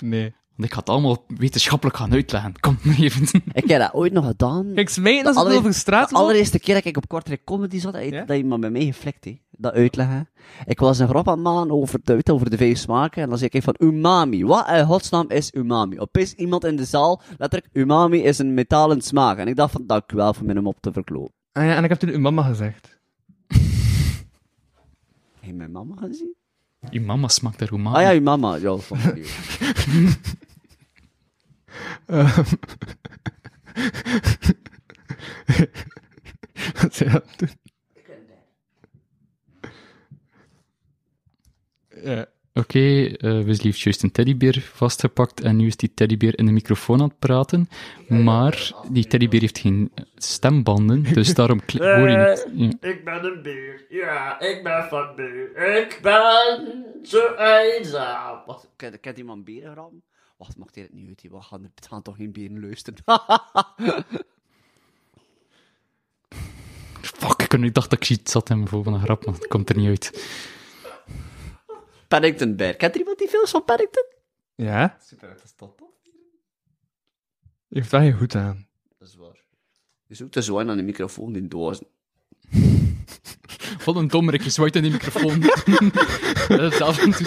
S4: Nee.
S5: Want ik had het allemaal wetenschappelijk gaan uitleggen. Kom even.
S3: Ik heb dat ooit nog gedaan.
S4: Ik smijt als
S3: De
S4: ik
S3: allereer-
S4: over straat
S3: De allereerste keer dat ik op kortere comedy zat, dat,
S4: Ja?
S3: dat iemand met mij geflikt, hè. dat uitleggen. Ik was een grap aan het maken over de, weet je, over de vijf smaken, en dan zei ik van umami. Wat in godsnaam is umami? Opeens iemand in de zaal, letterlijk, umami is een metalen smaak. En ik dacht van, dank u wel voor mijn mop te verklopen.
S4: Ah ja, en ik heb toen uw mama gezegd.
S3: Heb je mijn mama gezien?
S5: Je mama smaakt daar umami.
S3: Ah ja, uw mama. Ja, sorry.
S4: Wat zei dat toen? Ja.
S5: Oké, eh Wesley heeft juist een teddybeer vastgepakt en nu is die teddybeer in de microfoon aan het praten. Maar die teddybeer heeft geen stembanden, dus daarom kli- hoor je het.
S3: Eh.
S5: Ja.
S2: Ik ben een beer. Ja, ik ben van beer. Ik ben zo eenzaam.
S3: Wacht, kent, kent iemand beren ram? Wacht, mag dit niet uit? hè? We gaan, we gaan toch geen beren luisteren?
S5: Fuck, ik, ik dacht dat ik iets zat in mijn voor van een grap, maar het komt er niet uit.
S3: Paddington Bear. Kent er iemand die films van Paddington?
S4: Ja?
S3: Super, dat is top.
S4: Je hebt daar heel goed aan.
S3: Dat is waar. Je zoekt de zwijn aan de microfoon in dozen.
S5: Wat een dommerik, je zwaait in die microfoon. dat is af en toe...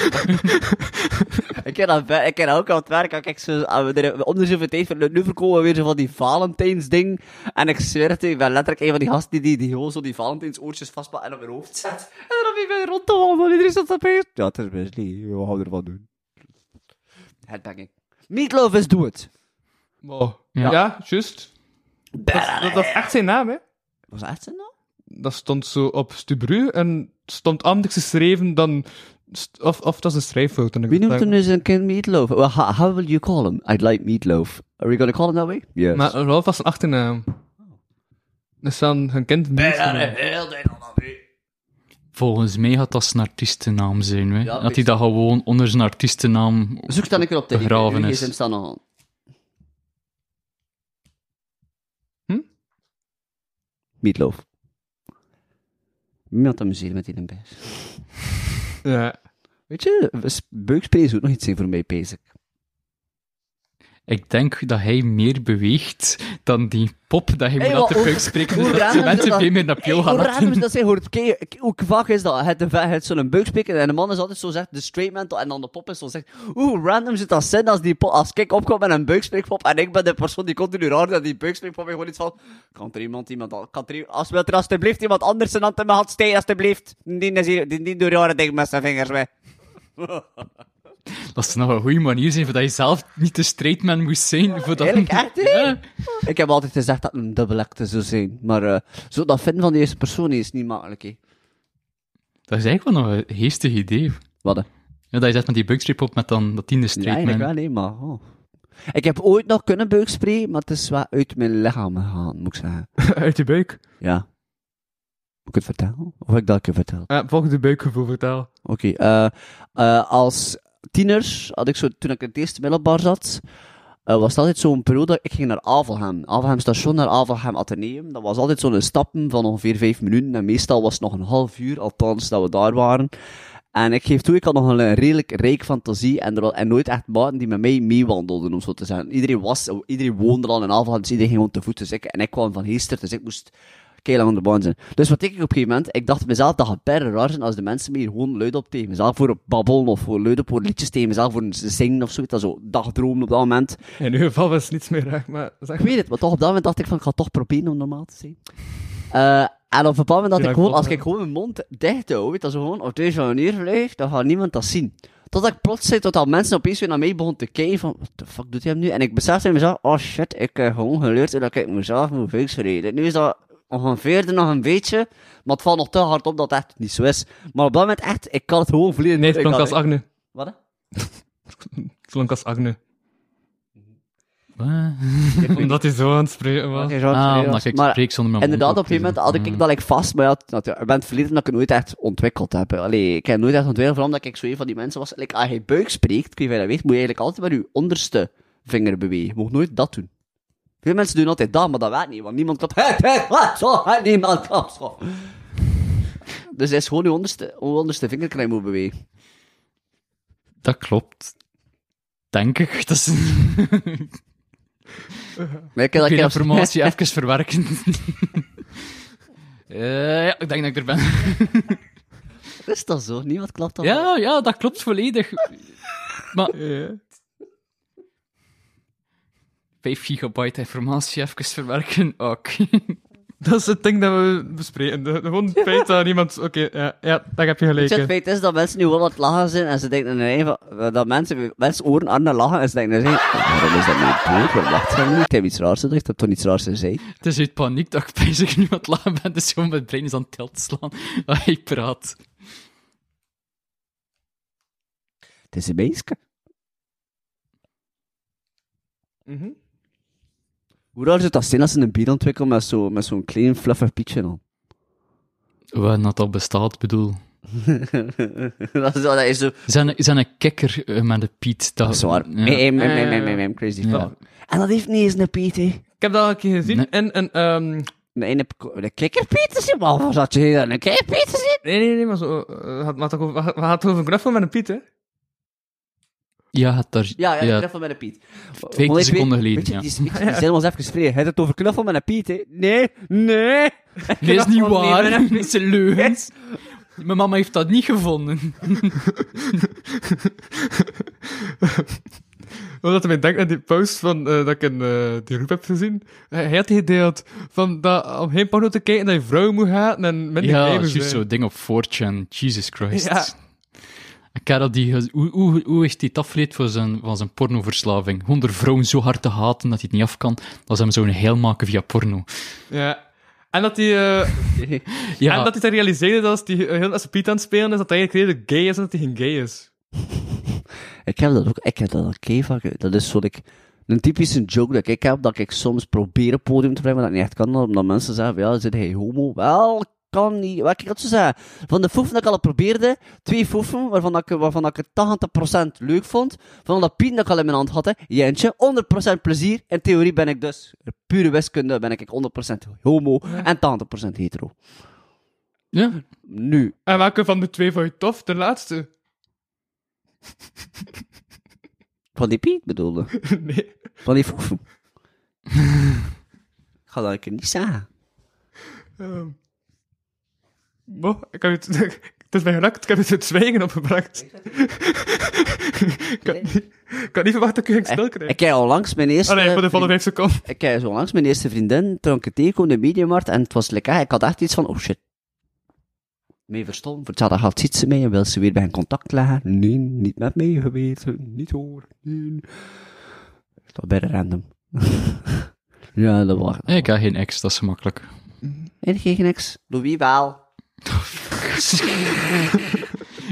S3: Ik heb dat, bij- ik heb dat ook aan het werk. Kijk, zo, aan- we er- om de zoveel tijd, ver- nu verkopen we weer zo van die Valentijnsding. En ik zweer het, u, ik ben letterlijk een van die gasten die, die, die gewoon zo die Valentijnsoortjes vastpakt en op mijn hoofd zet. En dan heb ik weer rond te wandelen. Iedereen zat opeens. Ja, het is best niet. We gaan ervan doen. Headbanging. Meatloaf is do it.
S4: Ja,
S5: Ja.
S4: juist. Dat, dat, dat is echt zijn naam, hè.
S3: Was dat echt zijn naam?
S4: Dat stond zo op Stubru en stond anders geschreven dan... st- Of, of dat is een schrijffout. en ik
S3: Wie noemt
S4: denk-
S3: hem nu zijn kind Meatloaf? Well, ho- how will you call him? I'd like Meatloaf. Are we gonna call him that way? Yes.
S4: Maar Rolf was een achternaam. Dus dan een kind niet. genoemd.
S3: heel ding al
S5: Volgens mij gaat dat zijn artiestennaam zijn, hè.
S3: Ja,
S5: dat hij dat gewoon onder zijn artiestennaam...
S3: Zoek dan een keer op de
S5: Begraven
S3: Nu
S5: is.
S3: gsm staan nog aan.
S4: Hm?
S3: Meatloaf. Met amuseren met die best.
S4: Ja.
S3: Weet je, we- s- buikspray zou ook nog iets zijn voor mij, bezig.
S5: Ik denk dat hij meer beweegt dan die pop dat hij
S3: Hey,
S5: moet
S3: wat-
S5: laten
S3: hoe-
S5: uitspreken.
S3: hoe
S5: Dus dat
S3: raar
S5: de
S3: is
S5: mensen
S3: dat-
S5: veel meer naar Pio
S3: Hey,
S5: gaan
S3: hoe raar is
S5: laten.
S3: dat zij hoort, kijk, ik- hoe vaak is dat? Het, het zo'n buik spreken en de man is altijd zo zegt, de straight man, to- en dan de pop is zo zegt, oeh, random zit dat zin als, die pop, als ik opkom met een buikspreekpop en ik ben de persoon die continu raar dat die buikspreekpop en gewoon iets van, kan er iemand, iemand, al- kan er, i- als wil er alstublieft iemand anders zijn hand in mijn hand steken, alstublieft. Die is hier, die, die doet rare dingen met zijn vingers mee.
S5: Dat zou nou een goede manier zijn voordat je zelf niet de straight man moest zijn. Voordat...
S3: Eerlijk, echt, hè?
S5: Ja.
S3: Ik heb altijd gezegd dat een dubbel acte zou zijn, maar eh, zo dat vinden van de eerste persoon is niet makkelijk, hè.
S5: Dat is eigenlijk wel nog een geestig idee.
S3: Wat, hè?
S5: Ja, dat je zegt met die buckstrip op met dan dat tiende
S3: Ja,
S5: straight man.
S3: eigenlijk wel, nee, maar... oh. Ik heb ooit nog kunnen buikspray, maar het is wel uit mijn lichaam gegaan, moet ik zeggen.
S4: Uit je buik.
S3: Ja. Moet ik het vertellen? Of heb ik dat een keer verteld?
S4: Ja, volg de buikgevoel vertel.
S3: Oké, eh, eh, als tiener had ik zo, toen ik in het eerste middelbaar zat, eh, was het altijd zo'n periode, ik ging naar Avelhem. Avelhem station naar Avelhem Atheneum. Dat was altijd zo'n stappen van ongeveer vijf minuten. En meestal was het nog een half uur, althans, dat we daar waren. En ik geef toe, ik had nog een redelijk rijk fantasie en, er, wa- en nooit echt maten die met mij meewandelden, om zo te zeggen. Iedereen, was, iedereen woonde al in Avelhem, dus iedereen ging gewoon te voet. Dus ik, en ik kwam van Heester, dus ik moest keilang aan de baan zijn. Dus wat deed ik op een gegeven moment, ik dacht mezelf, dat gaat bijna raar zijn als de mensen me hier gewoon luid op tegen mezelf voor babbelen, of voor luid op voor liedjes tegen mezelf, voor een zingen of zoiets, dat zo dagdromen op dat moment.
S4: In uw geval was het niets meer raak, maar zeg
S3: Ik weet het, maar toch op dat moment dacht ik van, ik ga toch proberen om normaal te zijn. Eh, en op een bepaald moment dacht
S4: Ja,
S3: ik gewoon,
S4: klopt,
S3: als
S4: ja.
S3: ik gewoon mijn mond dicht hou, weet je, dat zo gewoon op deze manier blijft, dan gaat niemand dat zien. Totdat ik plots zei, totdat mensen opeens weer naar mij begonnen te kijken van, wat de fuck doet hij hem nu? En ik besefte in mezelf, oh shit, ik heb gewoon geleerd hoe dat ik mezelf moet verreden. Nu is dat ongeveer nog een beetje, maar het valt nog te hard op dat het echt niet zo is. Maar op dat moment echt, ik kan het gewoon vliegen.
S4: Nee,
S3: Ik
S4: het klonk
S3: had-
S4: als Agne.
S3: Wat? hè?
S4: Het klonk als Agne.
S5: Wat?
S4: Omdat hij zo aan het spreken was.
S3: Oké, zo,
S5: Ah,
S3: serieus.
S5: omdat ik
S3: Maar-
S5: spreek zonder mijn mond
S3: Inderdaad, op een
S5: te
S3: gegeven
S5: doen.
S3: moment had ik
S5: Ah.
S3: dat ik vast, maar ja, het- ik ben verleden dat ik het nooit echt ontwikkeld heb. hè. Allee, ik heb nooit echt ontwikkeld, vooral omdat ik zo een van die mensen was. Like, als je buik spreekt, ik weet niet of je dat weet, moet je eigenlijk altijd met je onderste vinger bewegen. Je mag nooit dat doen. Veel mensen doen altijd dat, maar dat werkt niet, want niemand klapt. Hey, hey, wat, zo, hey, niemand klapt, zo. Dus het is gewoon je onderste, je onderste vinger kan je moet bewegen.
S5: Dat klopt. Denk ik. Dat is...
S3: Maar ik heb dat
S5: Ik wil
S3: keer
S5: die
S3: op-
S5: informatie even verwerken. Eh, ja, ik denk dat ik er ben.
S3: Is dat zo? Niemand klapt dat.
S5: Ja, ja, dat klopt volledig. Maar
S4: Ja.
S5: 5 gigabyte informatie even verwerken, ook.
S4: Dat is het ding dat we bespreken. De- Gewoon het feit dat niemand... Oké, ja, ja, daar heb je gelijk.
S3: Het
S4: hè.
S3: feit is dat mensen nu wel aan het lachen zijn en ze denken nee, van- dat mensen, mensen oren aan naar lachen en ze denken nee, waarom is dat mijn broer? Waarom lacht hij niet? Ik heb iets raars gezegd, ik heb toch iets raars gezegd?
S5: Het is uit paniek dat ik bezig nu aan het lachen ben, dus gewoon mijn brein is aan het tilt slaan. Ah, ik praat.
S3: Het is een meisje.
S4: Mhm.
S3: Hoe raar zou dat zijn als ze een bier ontwikkelen met zo'n met zo'n klein fluffig pietje dan?
S5: Waar dat al bestaat, bedoel.
S3: dat is wel- dat is zo...
S5: Zijn, zijn een kikker eh, met een piet. Dat,
S3: Dat is waar. eh.
S5: Ja.
S3: Mem, mem, mem, mem, mem, mem, crazy
S5: Ja.
S3: fuck. En dat heeft niet eens een piet, hè.
S4: Ik heb dat al een keer gezien
S5: Nee.
S4: in een... ehm,
S3: Een ene... Een kikkerpiet is je man, of zat je hier dan een kikkerpiet te zien?
S4: Nee, nee, nee, maar zo... eh, had- maar toch over- We hadden het over een knuffel met een piet, hè?
S5: Ja, het daar,
S3: Ja,
S5: ja,
S3: ja, een knuffel met een piet.
S5: Twee
S3: Moet ik
S5: seconden
S3: weer-
S5: geleden,
S3: Weet je,
S5: ja.
S3: die is, die is helemaal eens even vrij. Hij had het over knuffel met een piet, hè. Nee, nee.
S5: Nee, is niet
S3: Knuffel met
S5: waar.
S3: een
S5: Dat is een leugen. Mijn mama heeft dat niet gevonden.
S4: Omdat ik denk aan die post van, eh, dat ik in eh, die groep heb gezien. Hij hij had die gedeeld van dat om geen porno te kijken dat je vrouw moet haten en minder
S5: Ja,
S4: kleven
S5: juist
S4: zijn.
S5: zo'n ding op 4chan. Jesus Christ.
S4: Ja.
S5: Een kerel die... gez- Hoe, hoe, hoe heeft hij het afgeleid voor zijn, van zijn pornoverslaving? Gewoon door vrouwen zo hard te haten dat hij het niet af kan, dat ze hem zo'n heel maken via porno.
S4: Ja. En dat hij... eh,
S5: Ja,
S4: En dat hij zich realiseerde dat als hij eh, heel de tijd zijn piet aan het spelen is, dat hij eigenlijk redelijk gay is en dat hij geen gay is.
S3: Ik heb dat ook, ik heb dat al kei vaak. Dat is zo'n ik, een typische joke dat ik heb, dat ik soms probeer op podium te brengen, maar dat niet echt kan, omdat mensen zeggen, van, ja, zit hij homo? Wel, kan niet. Wat ik had zo zeggen, van de foefen dat ik al probeerde, twee foefen, waarvan ik, waarvan ik het 80% leuk vond, van dat pien dat ik al in mijn hand had, hè, Jentje, 100% plezier, in theorie ben ik dus, pure wiskunde, ben ik 100% homo en 80% hetero.
S5: ja.
S3: Nu,
S4: En welke van de twee vond je tof? De laatste?
S3: van die pien bedoelde.
S4: nee.
S3: Van die foefoe. Ik ga dat een keer niet zeggen.
S4: Ehm. Bo, ik heb het, het is mij gelukt, ik heb het het zwijgen opgebracht. ik, had niet, ik had niet verwacht dat ik u ging stil krijgen.
S3: Ik heb onlangs mijn eerste...
S4: Allee, voor de, voor de
S3: vriend-
S4: vijf seconden.
S3: Ik heb zo langs mijn eerste vriendin, dronk ik tegenkomen in de mediamarkt, en het was lekker, ik had echt iets van, oh shit. Mee verstopt, voor hetzelfde geld ziet ze mij en wil ze weer bij een contact leggen. Nee, niet met mij geweten, niet hoor, nee. Dat was bijna random. ja, dat was...
S5: Ik heb geen ex, dat is makkelijk.
S3: En geen niks. Louis wel.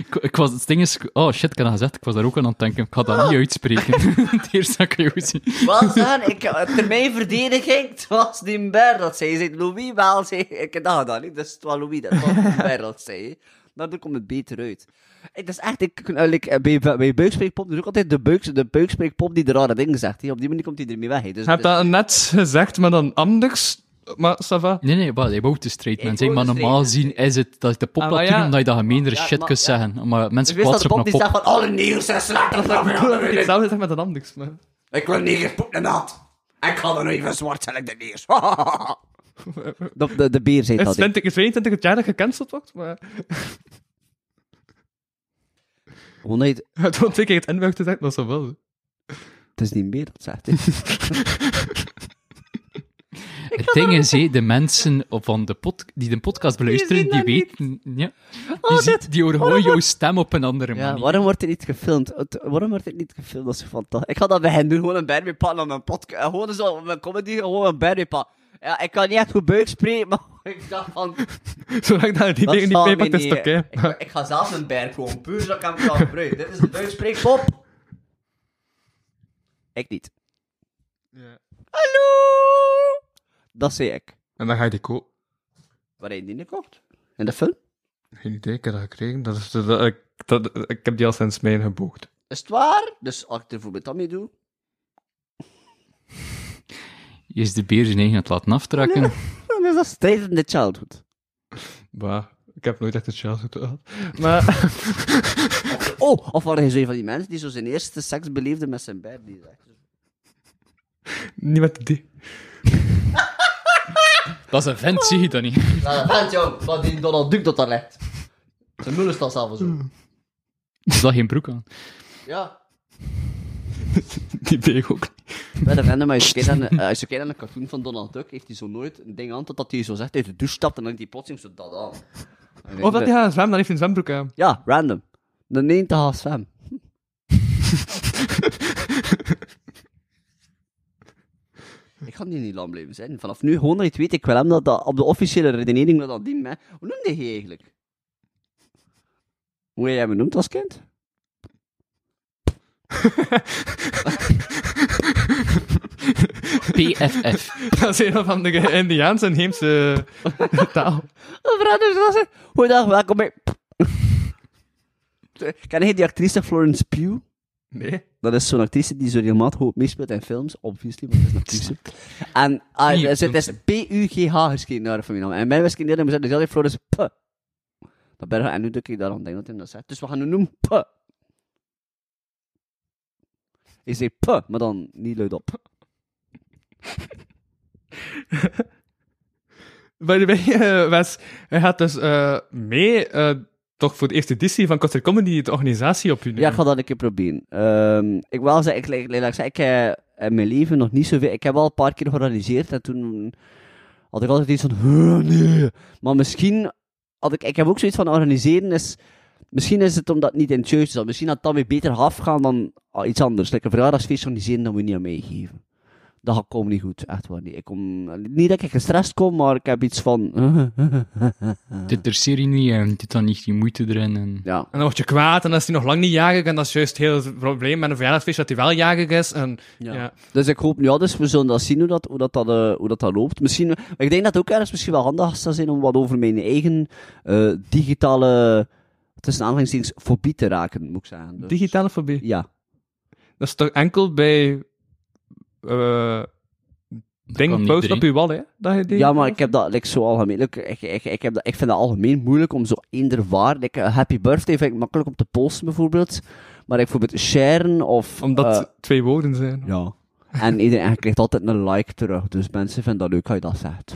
S5: Ik, ik was, het ding is, oh shit, ik had dat gezegd, ik was daar ook aan aan het denken. Ik ga dat niet uitspreken. het eerste dat ik jou zie.
S3: Wat dan? Ik, ter mijn verdediging, het was die Ber dat zei. Zei Louis wel, zei ik. Dat had dat niet, dus het was Louis dat was die Ber dat zei. Daardoor komt het beter uit. Ik, dat is echt, ik, eh, like, eh, bij, bij buikspreekpop is ook altijd de, buiks, de buikspreekpop die de rare dingen zegt. hè. Op die manier komt hij ermee weg. hè. Dus,
S4: Je hebt
S3: dus-
S4: dat net gezegd, maar dan anders. Maar, ça va.
S5: Nee, nee, wat, hij wou te straight
S3: Ik
S5: man zijn,
S3: wou
S5: maar
S3: te
S5: normaal
S3: straight
S5: zien is het dat je de pop
S4: Ah,
S5: laat
S4: maar
S5: doen,
S4: ja.
S5: omdat je dat gemeenere
S3: Ja,
S5: shit
S3: maar- ja.
S5: kunt zeggen. Maar mensen
S3: ik dus wist dat de
S5: kwaad
S3: pop
S5: op
S3: die
S5: naar pop.
S3: zegt van alle negers zijn slecht, dat is ook wel
S4: Ik
S3: weer-
S4: zou zeggen met een anders, maar...
S3: Ik wil negers poep en nat. Ik ga er nog even zwart zijn, ik de negers. de, de, de beer zei
S4: Het
S3: dat.
S4: is
S3: hè.
S4: 20 is 22 het jaar dat gecanceld wordt, maar...
S3: Oh nee, het
S4: Het wordt twee keer het N-woord gezegd, dat is wel wel.
S3: is niet meer dat zegt. hè.
S5: Het ding is, hé, de mensen van de pod, die de podcast beluisteren, die, weten... Ja,
S3: Oh,
S5: die, zien- die horen gewoon jouw stem op een andere
S3: Ja,
S5: manier.
S3: waarom wordt dit niet gefilmd? Het- waarom wordt dit niet gefilmd? Dat is fantastisch. Ik ga dat bij hen doen, gewoon een Barbie pakken aan mijn podcast. eh, Gewoon zo, op mijn comedy, gewoon een Barbie pakken. Ja, ik kan niet echt goed buik spreken, maar ik dacht van...
S4: Zolang ik daar die
S3: Dat
S4: dingen niet
S3: zal
S4: mee
S3: mij
S4: pakt, is het
S3: niet,
S4: oké.
S3: eh, Ik, ik ga zelf een berg komen, puur zodat ik hem kan gebruiken. Dit is een buik spreekpop. Ik niet. Hallo! Dat zei ik.
S4: En dan ga je die kopen.
S3: Waar heb je die gekocht? In de film?
S4: Geen idee, ik heb dat gekregen. Dat is, dat, ik, dat, ik heb die al sinds mijn geboekt.
S3: Is het waar? Dus als ik er bijvoorbeeld dat mee doe...
S5: Je is de beer zijn eigen aan het laten aftrekken.
S3: Dan is dat straight in the childhood.
S4: Maar ik heb nooit echt een childhood gehad. Maar
S3: Oh, of waren je zo een van die mensen die zo zijn eerste seks beleefde met zijn bed? Die zegt.
S4: niet met die.
S5: Dat is een vent, zie je dat niet?
S3: Nou, dat vent, jong, van die Donald Duck dat daar legt. Zijn moeder staat zelf zo.
S5: Er zat geen broek aan.
S3: Ja.
S4: Die deeg ook niet.
S3: Bij de vrienden, maar als je kijkt aan, eh, als je kijkt aan een cartoon van Donald Duck, heeft hij zo nooit een ding aan totdat hij zo zegt uit de douche stapt en dan heeft hij plotseling zo dat aan. En ik
S4: Of dat
S3: ben-
S4: hij gaat zwemmen, dan heeft hij een zwembroek aan.
S3: Ja, random. Dan neemt hij haar zwem. ik ga die niet lang blijven zijn. Vanaf nu, gewoon dat je het weet, ik wil hem dat, dat op de officiële redenering dat dat dient. hè. Hoe noemde hij eigenlijk? Hoe heb je hem genoemd als kind?
S5: PFF.
S4: Dat is een van de Indiaanse en heemse taal.
S3: Mevrouw de Zasse. Goeiedag, welkom bij... Ken je die actrice Florence Pugh?
S4: Nee.
S3: Dat is zo'n actrice die zo regelmatig goed meespeelt in films, obviously, want dat is een actrice. En ah,
S5: Hier,
S3: dus het is P-U-G-H geschreven naar de familienaam. En mijn wiskunde is altijd Florence P. Dat ben ik, en nu druk ik daar aan denk dat hij dat zegt. Dus we gaan nu noemen P. Ik zeg P, maar dan niet luid op.
S4: By the way, eh, Wes, hij gaat dus eh, mee, eh, toch voor de eerste editie van Costa Comedy, de organisatie op je
S3: Ja, ik ga dat een keer proberen. Ehm, ik wil zeggen, ik, ik, ik, zeg, ik heb in mijn leven nog niet zoveel... Ik heb wel een paar keer georganiseerd en toen had ik altijd iets van... "Huh, Nee. Maar misschien had ik... Ik heb ook zoiets van organiseren is... Misschien is het omdat het niet in church is. Misschien had het dan weer beter afgaan dan ah, iets anders. Like een verjaardagsfeest organiseren, dat moet je niet aan meegeven. Dat gaat komen niet goed, echt waar niet. Ik kom, niet dat ik gestrest kom, maar ik heb iets van...
S5: Dit er serie niet en dit dan niet die moeite erin. En...
S3: ja.
S4: En dan word je kwaad, en dan is hij nog lang niet jarig, en dat is juist heel het probleem met een verjaardagsfeest, dat hij wel jarig is. En,
S3: Ja.
S4: ja.
S3: Dus ik hoop, ja, dus we zullen dat zien hoe dat, hoe dat, dat, eh, hoe dat, dat loopt. Misschien, maar ik denk dat het ook ergens misschien wel handig zou zijn om wat over mijn eigen eh, digitale, tussen aanhalingstekens, fobie te raken, moet ik zeggen. Dus-
S4: Digitale fobie.
S3: Ja.
S4: Dat is toch enkel bij... eh
S5: kan
S4: ding
S5: niet
S4: posten op
S5: iedereen.
S4: je wal, hè? Dat je die...
S3: ja, maar ik heb dat like, zo algemeen. like, ik, ik, ik, heb dat, ik vind dat algemeen moeilijk om zo eender waar. Like, eh, happy birthday vind ik makkelijk om te posten, bijvoorbeeld. Maar ik bijvoorbeeld sharen of.
S4: Omdat
S3: eh,
S4: het twee woorden zijn.
S3: Ja. En iedereen en je krijgt altijd een like terug. Dus mensen vinden dat leuk als je dat zegt.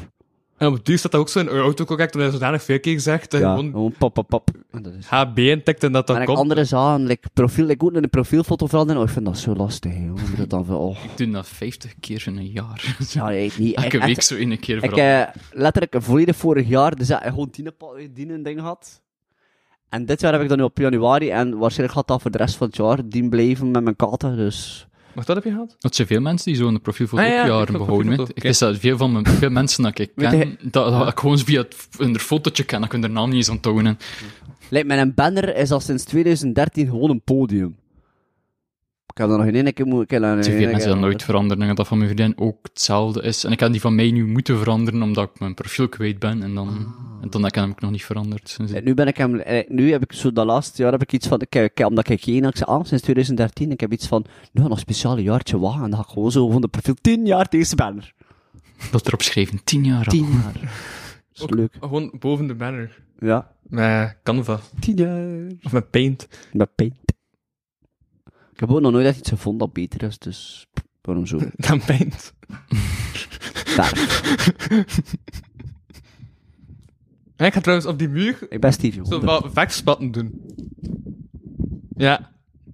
S4: En op het duur staat dat ook zo in autocorrect, omdat je zodanig veel keer zegt. En
S3: Ja,
S4: Eh, gewoon
S3: gewoon pap, pap, pap. En dat is...
S4: HB intikt en dat
S3: Maar
S4: dan
S3: ik
S4: komt.
S3: andere zagen, like, profiel, ik moet een profielfoto veranderen. Oh, ik vind dat zo lastig, hè. Hoe moet dat dan van, oh.
S5: Ik doe dat 50 keer in een jaar.
S3: Ja, nee, niet echt.
S5: Elke week
S3: echt.
S5: zo één keer
S3: Ik
S5: vooral.
S3: eh, letterlijk volledig vorig jaar dus, ja, gewoon tien, tien een ding gehad. En dit jaar heb ik dat nu op januari. En waarschijnlijk gaat dat voor de rest van het jaar dien blijven met mijn kater. Dus
S4: Mag dat heb je gehad?
S5: Want er zijn veel mensen die zo'n profielfoto
S4: Ah, ja,
S5: ook
S4: ik heb
S5: jaren
S4: ook
S5: behouden. hè.
S4: profielfoto,
S5: Ik
S4: oké.
S5: wist dat veel van mijn, veel mensen dat ik
S3: Weet
S5: ken,
S3: je-
S5: dat, dat ik gewoon via het, f- hun fotootje ken, dat ik hun naam niet eens onthouden.
S3: lijkt mij een banner is al sinds 2013 gewoon een podium. Ik heb dat nog geen ene keer moeten...
S5: Er zijn veel mensen dat nooit veranderen en dat van mijn vriendin ook hetzelfde is. En ik heb die van mij nu moeten veranderen omdat ik mijn profiel kwijt ben en dan, en dan heb ik hem ook nog niet veranderd. Dus sinds-
S3: Nu ben ik hem, Ah. eh, nu heb ik zo dat laatste jaar heb ik iets van, ik, ik, omdat ik geen, ik zei, ah, sinds 2013, ik heb iets van, nu nog een speciaal jaartje wagen, en dan ga ik gewoon zo van de profiel 10 jaar deze banner.
S5: Dat erop schrijven, tien jaar al.
S3: 10 jaar. is
S4: Ook
S3: leuk.
S4: Gewoon boven de banner.
S3: Ja.
S4: Met Canva.
S3: 10 jaar.
S4: Of met Paint.
S3: Met paint. Ik heb ook nog nooit echt iets gevonden dat beter is, dus pff, waarom zo?
S4: Dan Paint.
S3: Daar.
S4: En ik ga trouwens op die muur
S3: Ik ben Stevie
S4: zo
S3: Wonder.
S4: wel vekspatten doen. Ja.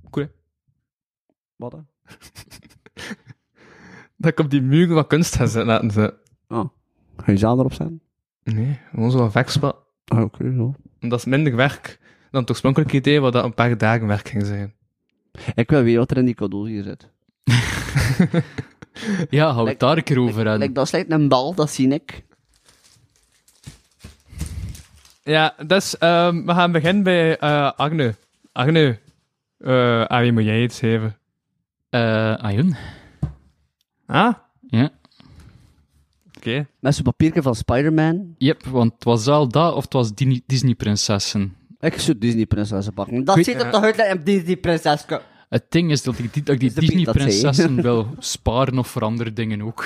S4: Cool, hè?
S3: Wat dan?
S4: Dat ik op die muur wat kunst ga zetten, laten ze.
S3: Ah. Ga je zaal erop staan?
S4: Nee, gewoon zo wat vekspat.
S3: Ah, oké, zo.
S4: En dat is minder werk dan het oorspronkelijke idee wat dat een paar dagen werk ging zijn.
S3: Ik wil weten wat er in die cadeau hier zit.
S5: Ja, hou
S3: Lijkt-
S5: het daar een keer over hebben.
S3: Like, dat slijt een bal, dat zie ik.
S4: Ja, dus ehm, we gaan beginnen bij eh, Agne. Agne, eh aan wie moet jij iets geven?
S5: Eh, Ayun?
S4: Ah, oké.
S5: Ja.
S3: Met zo'n papiertje van Spider-Man.
S5: Yep, want het was al dat of het was Dini- Disney-prinsessen.
S3: Ik zou Disney-prinsessen pakken. Dat
S5: Goed,
S3: ziet er toch uit als een Disney-prinsesje.
S5: Het ding is dat ik die, dat ik die
S3: Is de piet dat
S5: Disney-prinsessen wil sparen of voor andere dingen ook.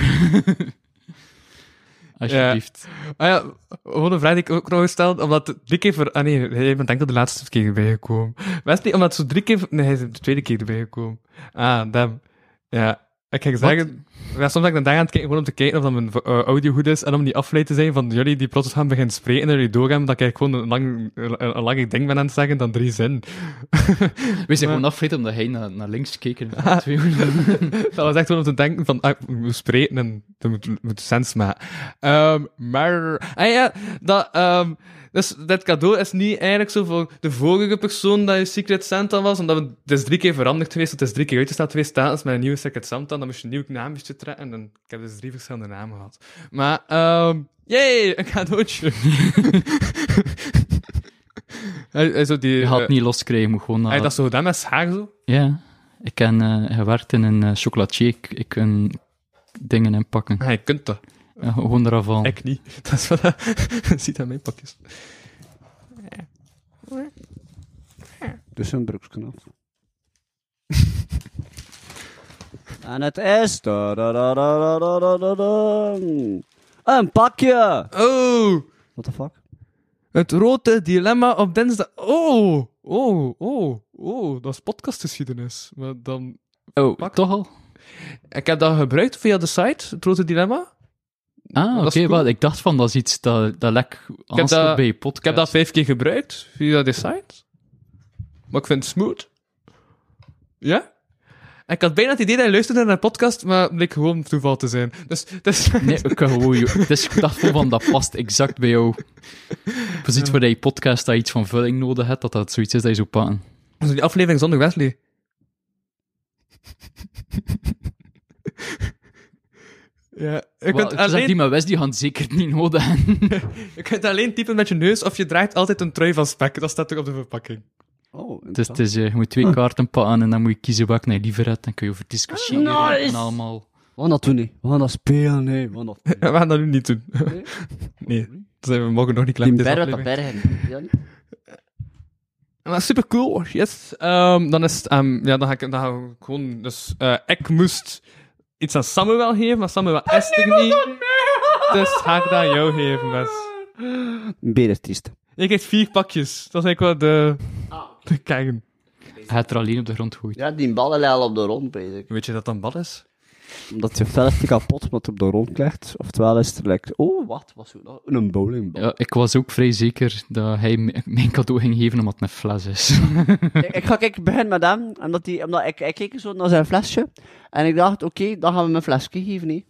S5: Alsjeblieft.
S4: Ah ja, gewoon een vraag die ik ook nog stelde, omdat het drie keer voor... Ah nee, jij bent denk ik dat de laatste keer erbij gekomen. Wesley, omdat zo drie keer... Nee, hij is de tweede keer erbij gekomen. Ah, damn. Ja, ik ga zeggen... Ja, soms ben ik dan daar aan het kijken, gewoon om te kijken of dat mijn eh, audio goed is, en om niet afgeleid te zijn van jullie die plots gaan beginnen spreken en jullie doorgaan, dat ik gewoon een, lang, een, een langer ding ben aan het zeggen dan drie zinnen.
S5: We zijn gewoon afgeleid omdat hij naar, naar links keek. en naar twee hoeken.
S4: Dat was echt gewoon om te denken van, ah, we moeten spreken en dat moet, moet sens maken. Ehm, maar, ah ja, dat, ehm, dus dit cadeau is niet eigenlijk zo voor de vorige persoon dat je Secret Santa was, omdat we- het is drie keer veranderd geweest, het is drie keer uitgesteld geweest, telkens met een nieuwe Secret Santa, dan moest je een nieuw naamje trekken en ik heb dus drie verschillende namen gehad. Maar, ehm yay, een cadeautje. hij, hij zo die,
S5: Je
S4: eh,
S5: gaat het niet loskrijgen, je moet gewoon naar...
S4: hij had dat zo gedaan met zijn haar zo.
S5: Ja, ik heb eh, gewerkt in een eh, chocolatier. Ik, ik kan dingen inpakken.
S4: Ah, je kunt dat.
S5: Ja, gewoon eraf al.
S4: Ik niet. Dat is wat dat ziet aan mijn pakjes.
S3: Dus een broeksknop. en het is... da, da, da, da, da, da, da, da, da. Een pakje!
S4: Oh,
S3: What the fuck?
S4: het rode dilemma op dinsdag. Oh, oh, oh, oh, dat is podcastgeschiedenis. Maar dan...
S5: Oh,
S4: pak.
S5: toch al?
S4: Ik heb dat gebruikt via de site, het rode dilemma.
S5: Ah, oké.
S4: is cool.
S5: wel, ik dacht van, dat is iets dat, dat lek aansluit
S4: dat-
S5: bij je
S4: Ik heb
S5: podcast.
S4: dat vijf keer gebruikt via de site. Maar ik vind het smooth. Ja? Ik had bijna het idee dat je luisterde naar een podcast, maar het bleek gewoon toeval te zijn. Dus het is...
S5: Nee, ik kan gewoon... joh. Het is ik dacht gewoon van, dat past exact bij jou. Precies voor dat je podcast dat je iets van vulling nodig hebt, dat dat zoiets is dat je zo pakken.
S4: Dus die aflevering zonder Wesley. ja, je
S5: Wel,
S4: kunt,
S5: het is dat
S4: alleen,
S5: die met Wes, die gaan het zeker niet nodig hebben.
S4: je kunt alleen typen met je neus of je draagt altijd een trui van spek. Dat staat ook op de verpakking.
S3: Oh,
S5: Dus het is, eh, je moet twee kaarten pakken en dan moet je kiezen welke je liever hebt. Dan kun je over discussiëren en allemaal.
S3: We gaan dat doen niet. We gaan dat spelen, nee. We gaan dat...
S4: We gaan dat nu niet doen. nee, dat zijn we mogen nog niet klaar
S3: Die
S4: met deze
S3: berg, dat
S4: aflevering.
S3: bergen. Ja, niet?
S4: Maar super cool, yes. Ehm, dan is het, ehm, ja, dan ga ik, dan ga ik gewoon, dus, eh, ik moest iets aan Samuel geven, maar Samuel is er niet. Dus ga ik dat aan jou geven, Wes.
S3: Berentriest.
S4: Ik kreeg vier pakjes. Dat is eigenlijk wel de... de kern.
S5: Hij gaat er alleen op de grond gooien.
S3: Ja, die ballen liggen al op de rond, bezig.
S4: Weet je dat dan bal is?
S3: Omdat je fel is die kapot omdat op de grond ligt. Oftewel is het er like, oh, wat was het nou? Een bowlingbal.
S5: Ja, ik was ook vrij zeker dat hij m- mijn cadeau ging geven omdat het een fles is.
S3: ik, ik ga kijk, beginnen met hem, omdat, die, omdat ik, ik keek zo naar zijn flesje. En ik dacht, oké, dan gaan we hem een flesje geven, hè.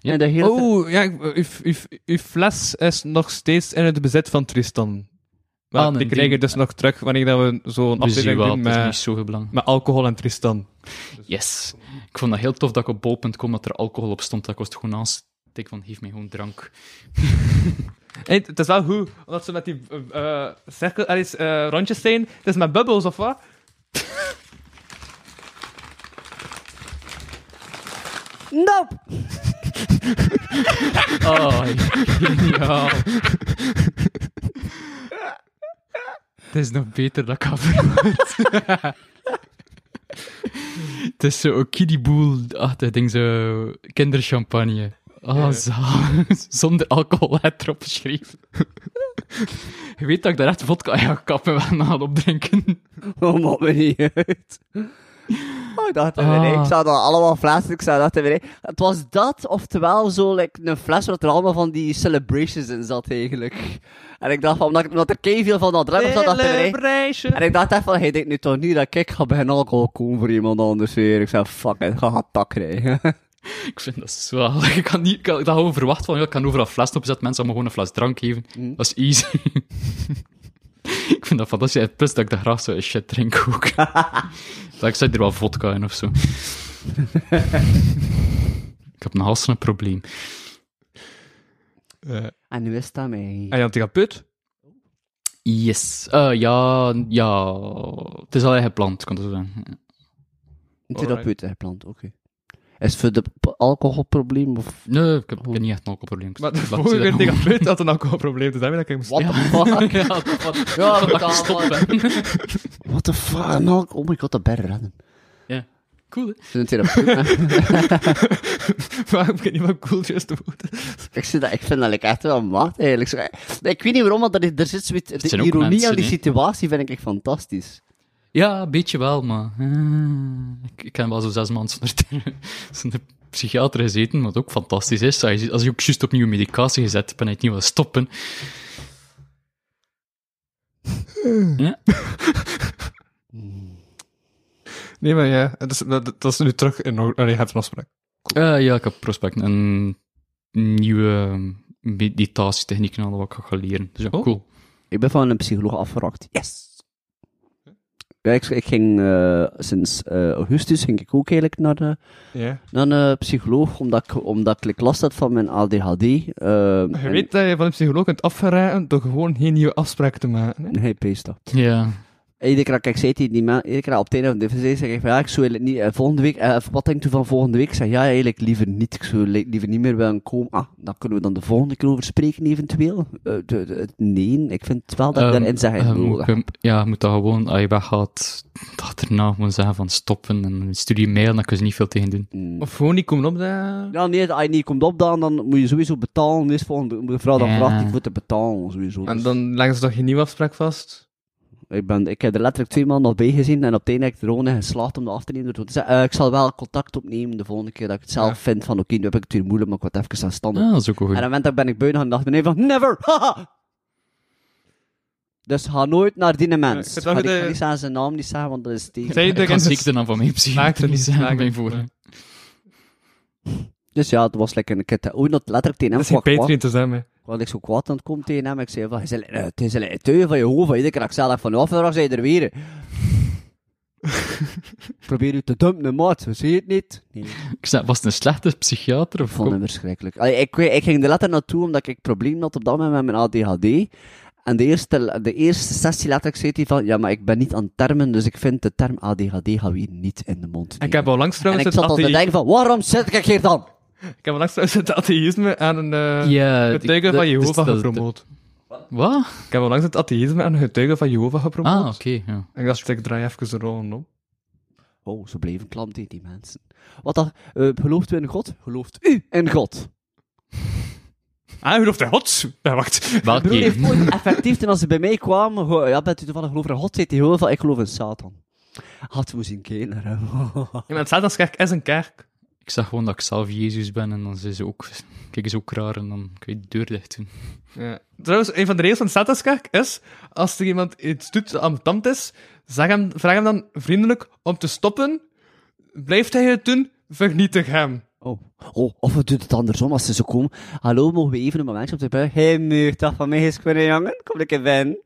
S5: Ja.
S3: En de hele tijd-
S4: Oh, ja, ik- uw, uw, uw fles is nog steeds in het bezit van Tristan. Maar
S5: Ah, nee,
S4: die
S5: die-
S4: krijg je dus nog terug wanneer dat we zo'n
S5: Dus zie
S4: aflevering
S5: wel,
S4: doen
S5: het is
S4: met,
S5: niet zo belangrijk.
S4: met alcohol en Tristan.
S5: Yes. Ik vond dat heel tof dat ik op bol.com dat er alcohol op stond. Dat kost gewoon aanstek van, geef mij gewoon drank.
S4: Hey, het is wel goed, omdat ze met die eh, eh, cirkel, er is, eh, rondjes zijn. Het is met bubbels, of wat?
S3: Nope!
S5: Oh, geniaal. Het is nog beter dan ik had verwacht. Het is zo kiddieboel-achtig ding, zo kinderchampagne. Oh, zalig. Zonder alcohol het erop geschreven. Je weet dat ik daar echt vodka aan ga kappen en gaan opdrinken.
S3: Oh, maakt me niet uit. Oh, ik dacht er weer in.
S5: Ah.
S3: Ik zag dat allemaal flessen, ik zag dat er weer in. Het was dat, oftewel zo like, een fles waar er allemaal van die celebrations in zat, eigenlijk. En ik dacht, van, omdat, omdat er veel van dat druk zat, dacht ik er in. En ik dacht echt van, hey, denk nu toch niet dat ik ga beginnen alcohol kopen voor iemand anders weer. Ik zei, fuck it, ga gaan tak krijgen.
S5: Ik vind dat zwaar. Ik had, niet, ik had, ik had gewoon verwacht van, ja, ik kan overal flessen opzetten, mensen allemaal gewoon een fles drank geven.
S4: Mm.
S5: Dat is easy. ik vind dat fantastisch. Plus dat ik dat graag zo shit drink ook. dat ik zet er wel vodka in of zo. ik heb een hals een probleem.
S4: Eh,
S3: en nu is dat mij.
S4: en je therapeut?
S5: Yes. Eh, ja, ja. Het is al gepland, kan dat zo zeggen.
S3: Een therapeut gepland, oké. Is het voor de p- alcoholprobleem of...
S5: Nee, ik heb, ik heb niet echt een alcoholprobleem.
S4: Oh. Maar de
S5: Laat
S4: vorige
S5: ze
S4: keer
S5: dat
S4: therapeut had een alcoholprobleem, dus daarmee dat ik hem
S3: What the fuck?
S5: Ja, wat,
S3: Ja,
S5: wat ik
S3: betaal
S5: gestopt
S3: maar.
S5: ben.
S3: What the fuck? Een alco- Oh my god, dat ben random.
S5: Cool, hè?
S3: Zo'n therapeut, hè.
S4: Maar ik weet niet wat koeltjes te worden.
S3: Ik, zie dat, ik vind dat like, echt wel maat, eigenlijk. Zo, eh, Ik weet niet waarom, maar er, er zit zoiets... De
S5: zijn ook
S3: ironie aan
S5: mensen,
S3: die
S5: hè?
S3: situatie vind ik echt fantastisch.
S5: Ja, een beetje wel, maar... eh, ik, ik ken wel zo zes maanden zonder, ter- zonder psychiater gezeten, wat ook fantastisch is. Als je, als je ook juist op nieuwe medicatie gezet hebt en het niet wil stoppen... Ja,
S4: Nee, maar ja, dat is, dat, dat is nu terug in orde. Allee, je hebt een afspraak.
S5: Eh, ja ik heb prospect en nieuwe meditatietechnieken en al wat ik ga gaan leren. Dus ja,
S4: Oh.
S5: cool.
S3: Ik ben van een psycholoog afgerakt. Yes! Ja, ik, ik ging eh, sinds eh, augustus ging ik ook eigenlijk naar de,
S4: Ja.
S3: naar een psycholoog, omdat ik, omdat ik last had van mijn ADHD. eh,
S4: Je
S3: en-
S4: weet dat je van een psycholoog kunt afgeraden door gewoon geen nieuwe afspraak te maken. hè?
S3: Nee, pees dat.
S5: Ja.
S3: Iedere keer dat ik zei tegen die man, iedere keer dat op het einde van de DVD zeg ik van ja, ik zou eigenlijk niet, eh, volgende week, eh, wat denk je van volgende week? Ik zeg ja, eigenlijk liever niet, ik zou li- liever niet meer willen komen. Ah, dan kunnen we dan de volgende keer over spreken eventueel. Eh, de- de- nee, ik vind wel dat ik
S5: Ehm,
S3: daarin zeg
S5: ehm,
S3: nodig
S5: ik- ja, je moet dat gewoon, als je weggaat, dat erna gewoon zeggen van stoppen en stuur je mail, dan kun je niet veel tegen doen.
S3: Mm.
S4: Of gewoon niet komen op daar.
S3: Ja, nee, als je niet komt opdagen, dan moet je sowieso betalen. Eerst volgende moet de vrouw dan
S5: Ja.
S3: vraagt die voor te betalen, sowieso.
S4: En
S3: Dus
S4: dan leggen ze toch geen nieuwe afspraak vast?
S3: ik, ben, ik heb er letterlijk twee maanden nog bij gezien en op het einde heb ik er gewoon in geslaagd om dat af te nemen. door te zeggen, eh, ik zal wel contact opnemen de volgende keer dat ik het zelf
S4: Ja.
S3: vind van, oké, nu heb ik het weer moeilijk, maar ik word even aan standaard.
S5: Ja, Ah, dat is ook wel goed.
S3: En op het moment dat ben ik buiten gaan, dacht ik meneer van, never, haha. Dus ga nooit naar die
S4: ik
S3: mens.
S4: vind dat
S3: ga,
S4: je
S3: ik ga
S4: de-
S3: niet aan zijn naam niet zeggen, want dat is tegen.
S4: Zij
S5: Ik
S4: de
S5: kan zeker de naam van mijn
S4: Maakt
S5: psychiater
S4: het
S5: niet
S4: niet, maakt
S5: zeggen, bij
S4: het
S5: voor.
S4: niet.
S3: Dus ja, het was lekker een kit. Hoe dat letterlijk tegen
S4: Dat
S3: hem
S4: is geen
S3: kwam.
S4: Patreon te zijn, hè.
S3: Ik was like zo kwaad aan het komen tegen hem. Ik zei van, "Je bent een- het is een tuin van Jehovah. Iedere keer dat ik zelf van "Oh, de afdrag zei er weer. Probeer u te dumpen, maat. Ze zie je het niet. Nee,
S5: Ik zei, was het een slechte psychiater? Of
S3: ik vond hem verschrikkelijk. Allee, ik, weet- ik ging er letter naartoe omdat ik problemen had op dat moment met mijn ADHD. En de eerste, de eerste sessie letterlijk zei hij van, ja, maar ik ben niet aan termen, dus ik vind de term ADHD gaan we hier niet in de mond
S4: En ik heb
S3: nemen."
S4: al langs
S3: en
S4: trouwens
S3: ik
S4: het,
S3: zat al te
S4: athe-
S3: denken van, waarom zit ik hier dan?
S4: ik heb al langs trouwens het atheïsme aan een eh,
S5: Ja, ik-
S4: getuige
S5: dat- dus
S4: van Jehovah
S5: dat- dat-
S4: gepromoot.
S5: Wat?
S4: Ik heb al langs het atheïsme aan een getuige van Jehovah gepromoot.
S5: Ah, oké. ja.
S4: En ik dacht, ik draai even de rollen om.
S3: Oh, ze bleven klamp tegen die mensen. Wat dat, eh, gelooft u in God? Gelooft u in God?
S4: Ah, u loopt de hot. Ja, wacht.
S5: Welke?
S3: Broer heeft ooit effectief, toen als ze bij mij kwamen, gewoon, ja, bent u toevallig geloven in God, zei hij heel veel, ik geloof in Satan. Had we zien kijken naar hem.
S4: Ja, maar het staat als kerk is een kerk.
S5: Ik zag gewoon dat ik zelf Jezus ben en dan zijn ze ook, kijken ze ook raar en dan kun je de deur dicht doen.
S4: Ja. Trouwens, een van de regels van de Sataskerk is, als er iemand iets doet dat ambetant is, zeg hem, vraag hem dan vriendelijk om te stoppen. Blijft hij het doen, vernietig hem.
S3: Oh. oh, of we doen het andersom als ze zo komen. Hallo, mogen we even een momentje op de buik? Hé, hey, muur, dag van mij is kunnen, jongen. Kom ik ben.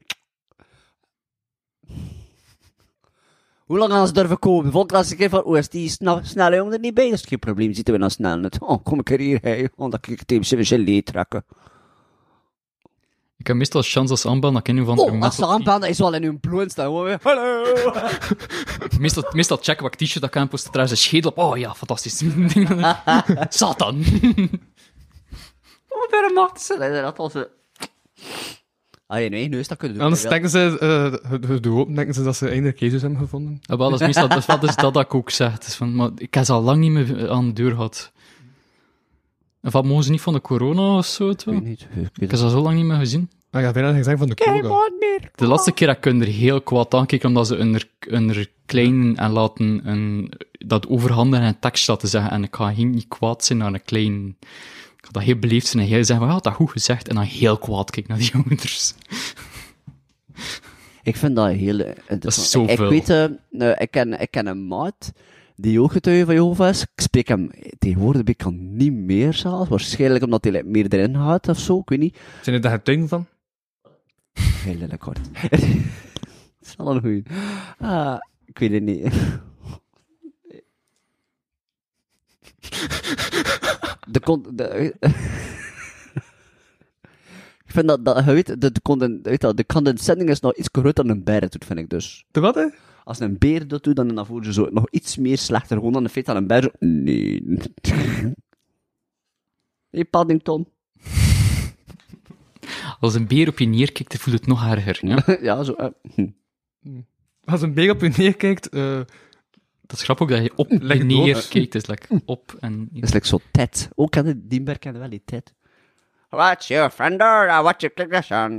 S3: Hoe lang gaan ze durven komen? Volgende als ik van OST snel, nou snel jongen er niet bij. Dat is geen probleem, zitten we dan snel net. Oh, kom ik er hier, hé. Omdat ik het even zijn leed trekken.
S5: Ik heb meestal chance als aanbaan dat ik in een of andere
S3: Oh,
S5: moment-
S3: als ze aanbellen, is wel in hun bloed staan. hoor. Hallo!
S5: Meestal, meestal check wat t-shirt dat ik aan posten, trouwens een schedel op. Oh ja, fantastisch. Satan.
S3: Hoe ver macht ze? Nee, Dat was ze. Ah, je nee, neus, dat kunnen we
S4: Anders denken ze, eh, het- het doel, denken ze dat ze eindelijk Jezus hebben gevonden.
S5: Ja, Ah, wel, dat is meestal dat, is wel dus dat, dat ik ook zeg. Het is van, maar ik heb ze al lang niet meer aan de deur gehad. En wat mogen ze niet van de corona of zo? het wel?
S3: Ik weet niet. Ik weet
S5: Ik heb ze al zo lang niet meer gezien.
S4: Ah, ja, bijna gezegd van de koga.
S3: meer.
S5: De laatste keer heb ik hun er heel kwaad aankeken omdat ze hun er, hun er klein en laten een, dat overhanden en tekst laten zeggen. En ik ga geen niet kwaad zijn naar een klein. Ik ga dat heel beleefd zijn en heel zeggen, "Wat, ja, dat goed gezegd. En dan heel kwaad kijk naar die ouders.
S3: Ik vind dat heel eh, interessant.
S5: zoveel.
S3: Ik, ik weet, eh, eh, ik, ken, ik ken een maat die ook getuige van Jehovah is. Ik spreek hem tegenwoordig ik kan niet meer zelfs. Waarschijnlijk omdat hij like, meer erin gaat of zo, ik weet niet.
S4: Zijn er daar getuigen van?
S3: Heel lelijk kort. Het is wel een goeie. Ah, ik weet het niet. De kon... De, ik vind dat, dat je weet, de, de, conden, weet dat, de condescending is nog iets groter dan een beer doet, vind ik dus.
S4: De wat, hè?
S3: Als een beer dat doet, dan is dat voor ze zo nog iets meer slechter. Gewoon dan de feit dat een beer zo... Nee. Nee, Paddington.
S5: Als een beer op je neerkijkt, dan voelt het nog erger. Ja?
S3: ja, zo... eh, hm.
S4: Als een beer op je neerkijkt, eh,
S5: Dat is grappig ook dat je op en
S4: door.
S5: neer kijkt. Het is lekker op en
S3: Dat is like zo Ted. Ook aan de Dienberg kende wel die Ted. What's your friender? Uh, what's your connection?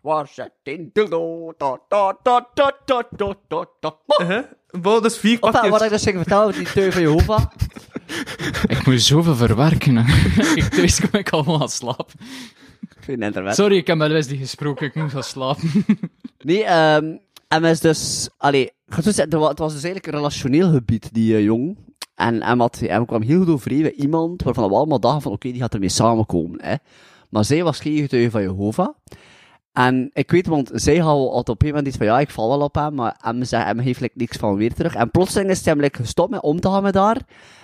S3: Was it in dildo? Da, da, da, da, da, da, da, da.
S4: hè? Wow, dat is vier
S3: Enfin, wat
S4: pakjes.
S3: ik dus ging vertellen over die teun van Jehovah.
S5: Ik moet zoveel verwerken. hè. ik, thuis kom ik allemaal aan slapen.
S3: Ik vind het net
S5: Sorry, ik heb met Wesley gesproken. Ik moet gaan slapen.
S3: Nee, ehm MS dus... Allee, ik ga het zo zeggen, er wa- het was dus eigenlijk een relationeel gebied, die eh, jong. En hem, had, hem kwam heel goed overeen met iemand waarvan we allemaal dachten van, oké, die gaat ermee samenkomen, hè. Maar zij was geen getuige van Jehovah. En ik weet, want zij had al had op een moment iets van, ja, ik val wel op hem, maar hem, zei, hem heeft like, niks van weer terug. En plotseling is hij hem like, gestopt met om te gaan met haar.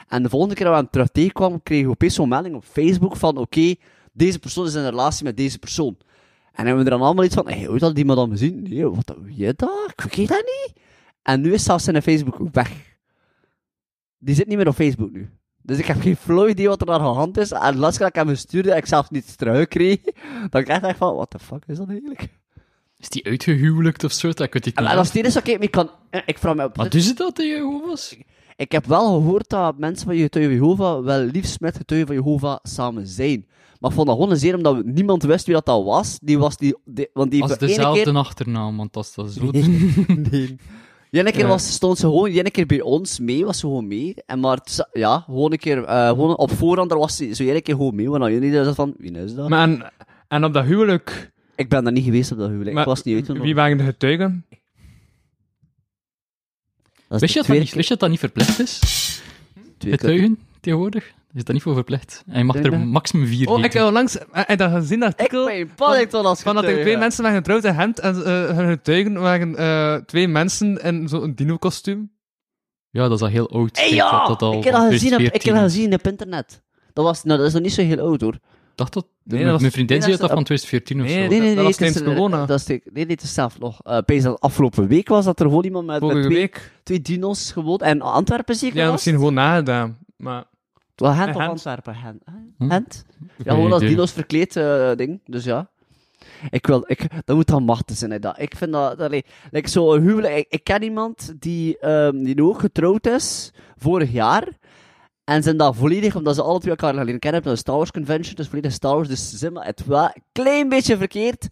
S3: En de volgende keer dat we hem terug tegenkwam, kreeg ik opeens zo'n melding op Facebook van, oké, deze persoon is in een relatie met deze persoon. En hebben we er dan allemaal iets van, hey, hoe dat die me dan gezien? Nee, wat doe je daar? Ik weet dat niet. En nu is zelfs zijn Facebook ook weg. Die zit niet meer op Facebook nu. Dus ik heb geen flow idee wat er aan de hand is. En laatst keer dat ik hem gestuurd heb, ik zelfs niet terugkreeg. Dan krijg ik echt van, what the fuck is dat eigenlijk?
S5: Is die uitgehuwelijkd of zo? Dat ik weet het
S3: En,
S5: niet.
S3: en als die is, oké, ik kan... eh, Ik vraag me op...
S5: Wat is het dat tegen Jehovah's?
S3: Ik heb wel gehoord dat mensen van Getuigen van Jehovah wel liefst met Getuigen van Jehovah samen zijn. Maar ik vond dat gewoon een zeer, omdat niemand wist wie dat, dat was. Die was die... die- want die
S5: Als
S3: ene keer-
S5: dezelfde achternaam, want als dat zo...
S3: nee. Jenne keer was, stond ze gewoon, jenne keer bij ons mee, was ze gewoon mee. En maar, het za- ja, gewoon een keer, eh, gewoon op voorhand, daar was ze zo jenne keer gewoon mee. Want dan jullie dachten van, wie is dat?
S4: Maar en, en op dat huwelijk,
S3: ik ben daar niet geweest op dat huwelijk,
S4: Maar
S3: ik was niet uit.
S4: wie waren de getuigen?
S5: Wist je, dat dat niet, wist je dat dat niet verplicht is? Getuigen, tegenwoordig? Is dat niet voor verplicht? En je mag
S3: Denk
S5: er
S3: dat-
S5: maximum vier
S4: Oh, ik
S5: weten.
S4: heb langs en dat gezien dat
S3: Ik
S4: artikel
S3: ben Paddington als
S4: van dat er
S3: getuige.
S4: twee mensen waren getrouwd in Gent en eh, hun getuigen waren eh, twee mensen in zo'n dino-kostuum.
S5: Ja, dat is al heel oud.
S3: Hey,
S5: Ik denk
S3: ja!
S5: dat dat al
S3: ik heb dat gezien, op, ik heb
S5: 2014
S3: dat
S5: is.
S3: gezien op internet. Dat, was, nou, dat is nog niet zo heel oud, hoor.
S5: Ik dacht dat...
S4: Nee,
S5: mijn-
S4: dat was-
S5: Mijn vriendin
S3: nee,
S5: zei
S3: dat
S5: dat dat
S3: is-
S5: van 2014 of
S4: Nee,
S5: zo.
S3: Nee, nee,
S4: dat
S3: nee.
S4: was
S3: het is
S4: tijdens
S3: er-
S4: corona.
S3: Dat is, tegen- nee, nee, het is zelf nog. eh Pees dat afgelopen week was dat er gewoon iemand met, met
S4: Vorige
S3: twee,
S4: week.
S3: twee dino's gewoon... En Antwerpen zeker
S4: Ja,
S3: was?
S4: misschien gewoon nagedaan. Maar
S3: Wel, Gent of
S4: Gent.
S3: Antwerpen? Gent. hè?
S5: Hm?
S3: Gent? Ja,
S5: Geen
S3: gewoon als
S5: idee.
S3: dino's verkleed eh, ding. Dus ja. Ik wil, ik, dat moet dan machtig zijn. hè, Dat. Ik vind dat, dat allee, like, zo'n huwelijk. Ik, ik ken iemand die, ehm, die nu ook getrouwd is, vorig jaar. En zijn dat volledig, omdat ze alle twee elkaar alleen kennen, hebben een Star Wars convention, dus volledig Star Wars. Dus ze zijn maar het wel een klein beetje verkeerd.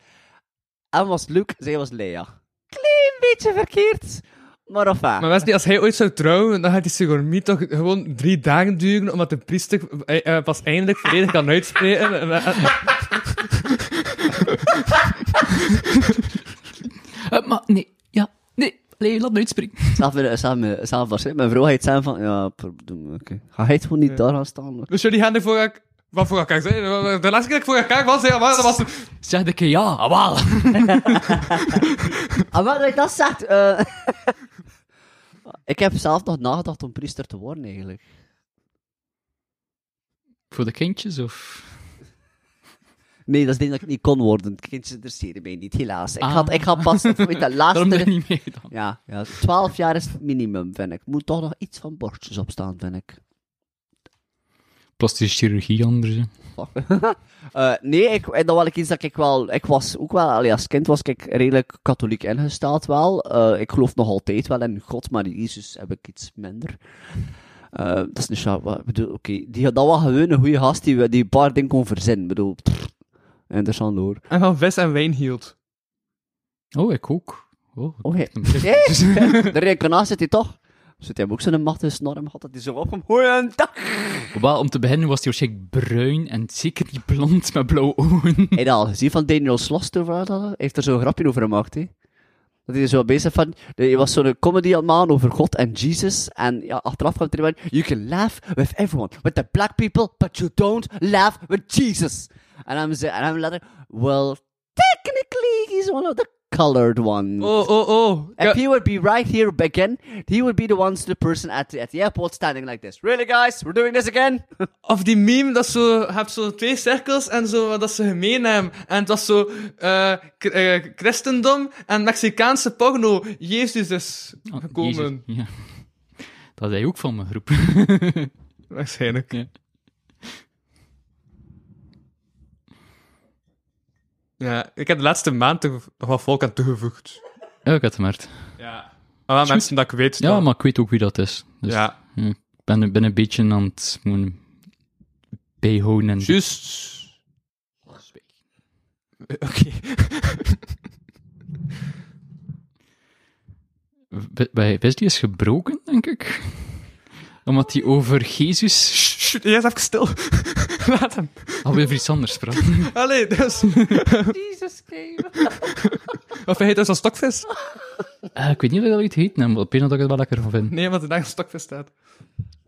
S3: En was Luke, zij was Leia. Klein beetje verkeerd. Maar enfin.
S4: Maar Wesley, als hij ooit zou trouwen, dan gaat die sodomie toch gewoon drie dagen duren, omdat de priester eh, eh, pas eindelijk volledig kan uitspreken. En, eh, eh,
S5: Eh, maar nee, ja, nee. Nee, laat me uitspringen.
S3: Zelf, eh, zelf, mijn- zelf waarschijnlijk. Mijn vrouw gaat zeggen van, ja, pr- doe maar, oké. Ga hij het gewoon niet daar gaan staan? hoor.
S4: dus jullie gaan er voor elkaar... Wat voor elkaar zijn? De laatste keer dat ik voor elkaar was, ja, maar dat was...
S5: Zeg ik ja, awal.
S3: Ah, wat ik dat zegt, eh, ik heb zelf nog nagedacht om priester te worden, eigenlijk.
S5: Voor de kindjes, of...
S3: Nee, dat is denk dat ik niet kon worden. Kindjes interesseren mij niet, helaas. Ik,
S5: Ah.
S3: had, ik had pas met dat
S5: Daarom ben ik
S3: laatste...
S5: niet meegedaan.
S3: Ja, ja, 12 jaar is het minimum, vind ik. Moet toch nog iets van borstjes opstaan, vind ik.
S5: Plastische chirurgie anders, hè.
S3: Eh, nee, ik, en dat wil ik iets dat ik wel... Ik was ook wel... allee, als kind was ik redelijk katholiek ingesteld wel. Eh, ik geloof nog altijd wel in God, maar in Jezus heb ik iets minder. Eh, dat is niet zo... wat- ik bedoel, Oké, die- dat was gewoon een goede gast die, die een paar dingen kon verzinnen. Ik bedoel, pff, interessant hoor.
S4: En van vis en wijn hield.
S5: Oh, ik ook. Oh,
S3: Oké.
S5: Dus-
S3: De rekenaar zit hij toch? Zit hij ook zo'n machtige snor in gehad dat hij zo opkomt? Goeiedag!
S5: Wel, om te beginnen was hij waarschijnlijk bruin en zeker niet blond met blauwe ogen.
S3: Heb je dat al gezien van Daniel Sloster? waar dat- Hij heeft er zo'n grapje over gemaakt, hè? Dat hij zo bezig van... nee, Hij was zo'n comedy aan het maken over God en Jesus. En ja, achteraf kwam hij erbij... You can laugh with everyone. With the black people, but you don't laugh with Jesus. En dan zei en dan later... Well, technically, he's one of the colored ones.
S4: Oh, oh, oh.
S3: If
S4: Ja,
S3: he would be right here again, he would be the ones, the person at the, at the airport standing like this. Really, guys? We're doing this again?
S4: of die meme, dat zo, je hebt zo twee cirkels en zo, dat ze gemeen hebben. En het was zo, eh, k- eh, christendom en Mexicaanse porno. Jezus is gekomen.
S5: Jezus, Ja. Dat is hij ook van mijn groep.
S4: Waarschijnlijk.
S5: Ja.
S4: Ja, ik heb de laatste maand er nog wat volk aan toegevoegd.
S5: ja, ik had hem hard.
S4: Ja. Maar wel mensen dat ik weet.
S5: Ja,
S4: dat-
S5: maar ik weet ook wie dat is. Dus
S4: Ja.
S5: ja, ik ben, ben een beetje aan het moeten bijhouden. En...
S4: Juist. Oké.
S5: Bij- Bij Wesley is gebroken, denk ik. Omdat hij over Jezus
S4: Sst, Jij is even stil. Laat hem.
S5: alweer over iets anders sprak.
S4: Allee, dus...
S3: Jesus, Christ.
S4: Of hij heet dus een stokvis?
S5: Eh, ik weet niet of ik dat ooit heet, maar ik weet dat ik het wel lekker van vind.
S4: Nee, want de dag een stokvis staat.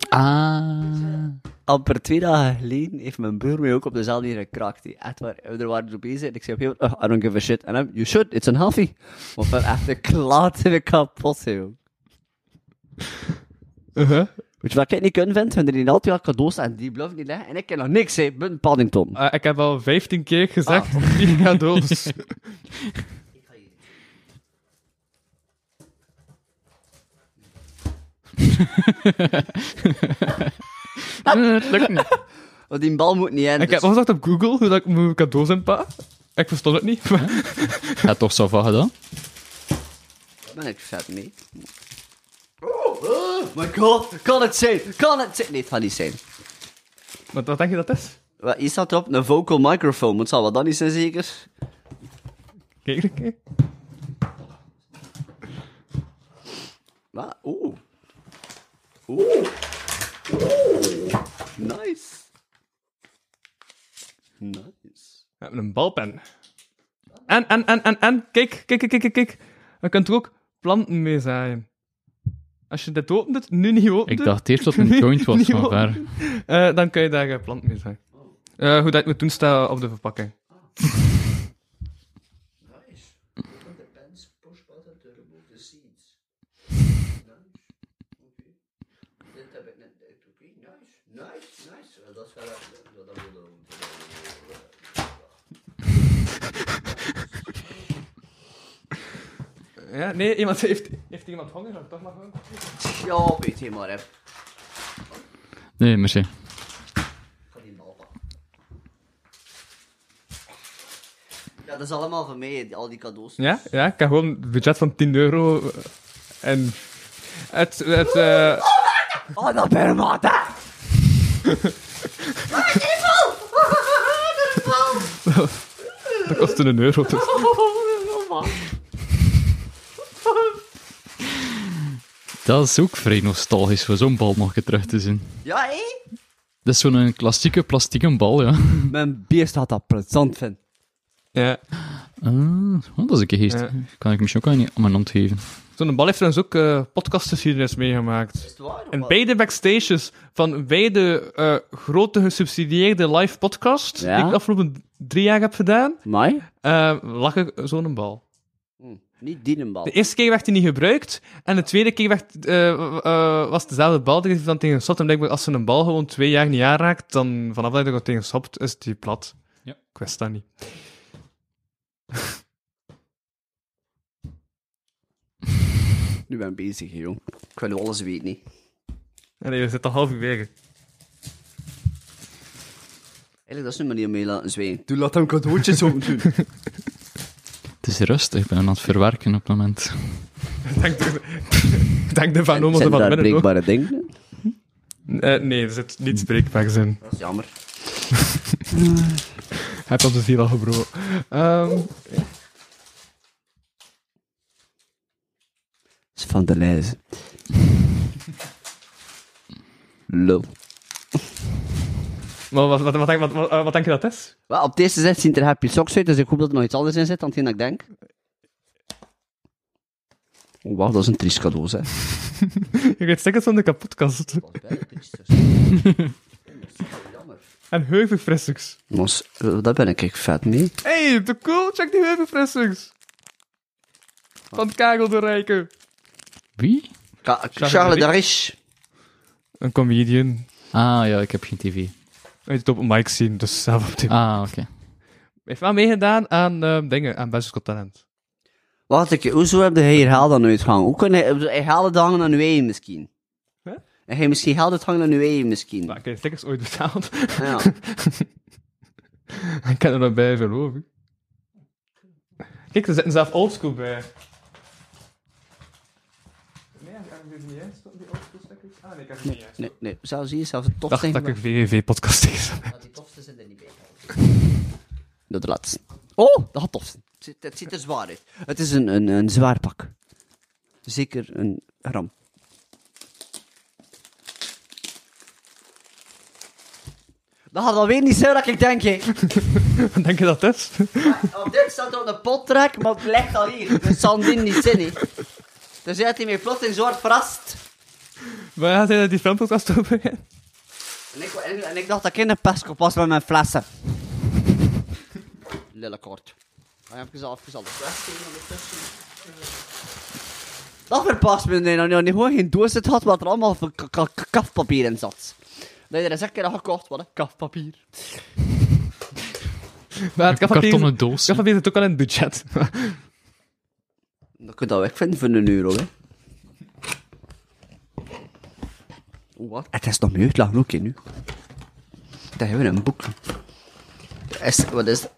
S5: Ah.
S3: amper twee dagen geleden heeft mijn broer mij ook op dezelfde manier gekraakt. Die echt waar, we waren zo bezig en ik zei op een gegeven moment, "Ugh, I don't give a shit. En hem, you should, it's unhealthy. Want van echt de klaten weer kapot, joh.
S4: Uh-huh.
S3: Weet je wat ik niet kunnen vind? Hun er niet altijd wel cadeaus en die bluff niet leggen. En ik ken nog niks, hè. Bun Paddington.
S4: Eh, ik heb al 15 keer gezegd,
S5: Ah.
S4: die gaat dood.
S5: Het lukt
S4: Ah.
S5: niet.
S3: Want Oh, die bal moet niet in.
S4: Ik heb
S3: dus-
S4: opgezocht op Google hoe dat ik mijn cadeaus inpa. Ik verstond het niet. maar-
S5: Ja, toch zo van gedaan.
S3: ben ik vet mee. Oh, oh my god, kan het zijn? Kan het zijn? Nee, het gaat niet zijn.
S4: Wat, wat denk je dat is?
S3: Wat, Hier staat op, een vocal microphone. Het zal wel dat niet zijn, zeker?
S4: Kijk een keer.
S3: Wat? Oeh. Oeh. Oeh. Nice. Nice.
S4: We hebben een balpen. En, en, en, en, en. Kijk, kijk, kijk, kijk, kijk. Je kunt er ook planten mee zaaien. Als je dit opent, het nu niet opent,
S5: Ik dacht eerst dat het een joint was,
S4: Niet
S5: maar
S4: openen.
S5: waar.
S4: eh, dan kun je daar eh, planten mee zaaien. Eh, hoe dat ik moet doen, staat op de verpakking. Ja, nee, iemand heeft, heeft iemand honger, dan toch maar gewoon.
S3: Ja, weet je maar, hè.
S5: Nee, merci.
S3: Ja, dat is allemaal van mij, die- al die cadeaus.
S4: Ja, ja, ik heb gewoon een budget van 10 euro. eh, En het, het, eh,
S3: Oh, dat ben ik maar, hè.
S4: dat kostte een euro. Dus.
S5: Dat is ook vrij nostalgisch voor zo'n bal nog een keer terug te zien.
S3: Ja, hé?
S5: Dat is zo'n eh, klassieke plastieke bal, ja.
S3: Mijn beest had dat plezant vinden.
S4: Ja.
S5: Ah, oh, dat is een keer geest.
S4: Ja.
S5: Kan ik misschien ook aan je- aan mijn hand geven.
S4: Zo'n bal heeft trouwens ook eh podcastgeschiedenis meegemaakt. En beide backstages van beide eh, grote gesubsidieerde live podcast
S3: Ja?
S4: die ik de afgelopen drie jaar heb gedaan,
S3: Mai?
S4: eh lag ik zo'n bal.
S3: Niet die een bal.
S4: De e- eerste keer werd hij niet gebruikt en de tweede keer werd, eh, eh, was dezelfde bal die dan tegen stopt. En blijkbaar als ze een bal gewoon twee jaar niet aanraakt, dan vanaf dat je er tegen stopt, is die plat.
S5: Ja.
S4: Ik wist dat niet.
S3: Nu ben ik bezig, hè, jong. Ik wil nu alles weten, hè.
S4: Allee, we zitten al half uur weg.
S3: Eigenlijk, dat is een manier om mee laten zwijgen. Doe, laat hem cadeautjes om doen.
S5: Het is rustig, ik ben aan het verwerken op het moment.
S4: Dank de, dank de Van Ommel
S3: Zijn
S4: van
S3: daar
S4: binnen ook.
S3: breekbare dingen?
S4: Eh, nee, er zit niet spreekbaars in.
S3: Dat is jammer.
S4: Heb onze ziel al gebroken. Ehm,
S3: Dat is van de lijst. Lul.
S4: maar wat, wat, wat, denk- wat, wat, eh, wat denk je dat is?
S3: Wel, op deze zet ziet er happy socks uit, dus ik hoop dat er nog iets anders in zit dan hetgeen dat ik denk. Oh, wauw, dat is een triest cadeau, hè.
S4: Je krijgt stickers van de kapotkast. En heuvelfrissers.
S3: Mos, eh, daar ben ik echt vet mee.
S4: Hey, te cool. Check die heuvelfrissers. Van Karel de Rijke.
S5: Wie?
S3: Ka- Charles de Rich.
S4: Een comedian.
S5: Ah ja, ik heb geen tv.
S4: Uit het open mic zien, dus zelf op tv.
S5: Ah, oké.
S4: Heeft wel meegedaan aan ehm, dingen, aan Best Got Talent.
S3: Wacht, ik, hoezo heb je herhaal dan uitgehangen? Hoe kan hij herhalen dan hangen aan uw eigen misschien?
S4: Hè?
S3: En hij misschien haalt het hangen aan uw eigen misschien.
S4: Maar Nou, ik heb stickers ooit betaald.
S3: Ja.
S4: ik kan er nog bij geloven. Kijk, er zitten zelf oldschool bij. Nee, ik heb niet eens die oldschool stickers. Ah, nee, ik heb het niet eens.
S3: Nee, nee, zelfs hier, zelfs het
S4: dacht
S3: tofste.
S4: dat ik een VVV-podcast tegen
S3: Maar die tofste zit er niet bij. Dat de laatste. Oh, dat had tofste. Het ziet, het ziet er zwaar uit. Het is een, een, een zwaar pak. Zeker een ram. Dat gaat alweer niet zo dat ik denk, hé.
S4: Wat denk je dat het is?
S3: Op dit staat er op de pottrek, maar het ligt al hier. Dus Sandin niet zin, hé. Dus hij had hij mij plots in zwart verrast.
S4: Maar ja, zijn dat die filmpodcast toe beginnen?
S3: En ik, en, en ik dacht dat ik in de pestkop was met mijn flessen. Lille kort. Ga je even, even al de fles geven ondertussen? Dat verbaast me nee, dat je gewoon geen doos het had wat er allemaal voor ka- ka- ka- kafpapier in zat. Dat je er eens een keer had gekocht, wat een kafpapier.
S4: Maar het
S5: Kartonnen doos.
S4: Ik zit ook al in het budget.
S3: Dan kun je dat wegvinden voor een euro, hè. Oh, Wat? Het is nog meer uitlagen ook, hè, nu. Daar hebben we een boek. Is, wat is dat?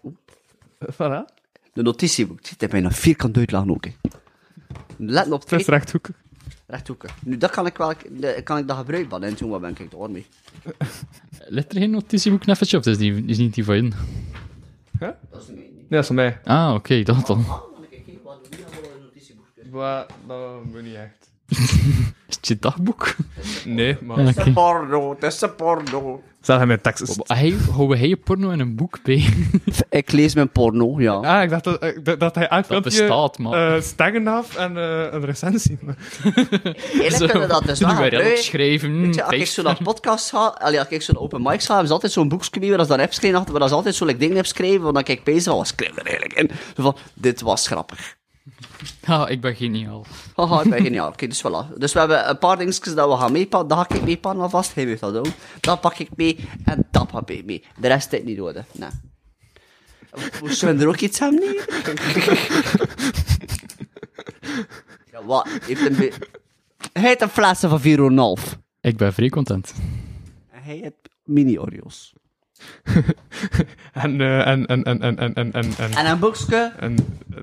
S4: voilà.
S3: De notitieboek. Het zit bijna vierkant uitlagen ook. Hè. Let op
S4: Het
S3: twee
S4: is rechthoek.
S3: rechthoeken. Nu, dat kan ik wel de- kan ik dat gebruiken van en toen wat ben ik er mee.
S5: Ligt er geen notitieboekneffetje op? Dat is, die, is niet die van in.
S3: Dat is niet
S4: Nee, dat is van mij.
S5: Ah, oké, dat dan.
S4: Maar dat moet niet echt.
S5: Is het je dagboek?
S4: Nee, maar...
S5: Ja, oké.
S2: Porno, dat is een porno.
S4: Zelf in mijn tekst.
S5: Hij, houden hij je porno in een boek bij?
S3: Ik lees mijn porno, ja.
S4: Ah, ik dacht dat, ik dacht dat hij aan het
S5: Dat
S4: filmpje,
S5: bestaat, man.
S4: eh, sterren af en eh, een recensie. Maar
S3: Eerlijk kunnen dat dus wel
S5: Zullen we wel
S3: gebruiken.
S5: opschrijven?
S3: Weet je,
S4: Hm,
S3: als ik
S5: Tekst.
S3: zo naar podcasts ga, allee, als ik zo naar open mics ga, hebben ze altijd zo'n boekje mee waar ze dan heb schrijven achter, waar ze altijd zo like, dingen heb schrijven, want dan kijk ik bezig van, wat schrijf ik er eigenlijk in? Zo van, dit was grappig.
S5: Ah, ik ben geniaal.
S3: Haha, ik ben geniaal. Oké, dus voilà. Dus we hebben een paar dingetjes dat we gaan meepakken. Dat ga ik meepakken alvast. Hij weet dat ook. Dat pak ik mee en dat pak ik mee. De rest is niet nodig. Nee. Moest we er ook iets aan nemen? ja, wat? Heeft een be- Hij heeft een flessen van 4,5. En
S5: Ik ben vrij content.
S3: hij heeft mini-Oreos.
S4: en, eh, en, en, en, en, en, en, en, en,
S3: En een boekje.
S4: en,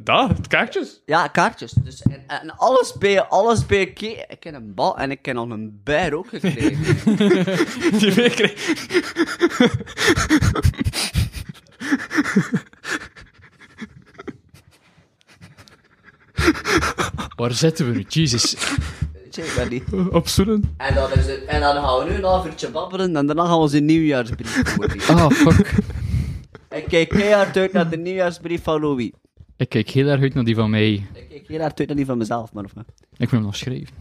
S4: dat, het kaartjes.
S3: Ja, kaartjes. Dus en, en alles bij, alles bij elkaar. Ik ken een bal en ik ken al een beer ook gekregen.
S4: Die we kregen.
S5: Waar zitten we nu? Jezus.
S3: Weet je, blijkbaar niet.
S4: Opzoenen.
S3: En dan, is het, en dan gaan we nu een half uurtje babbelen en daarna gaan we onze nieuwjaarsbrief voorlezen.
S5: Ah, fuck.
S3: Ik kijk keihard uit naar de nieuwjaarsbrief van Louis.
S5: Ik kijk heel erg uit naar die van mij.
S3: Ik kijk keihard uit naar die van mezelf, maar of wat?
S5: Ik wil hem nog schrijven.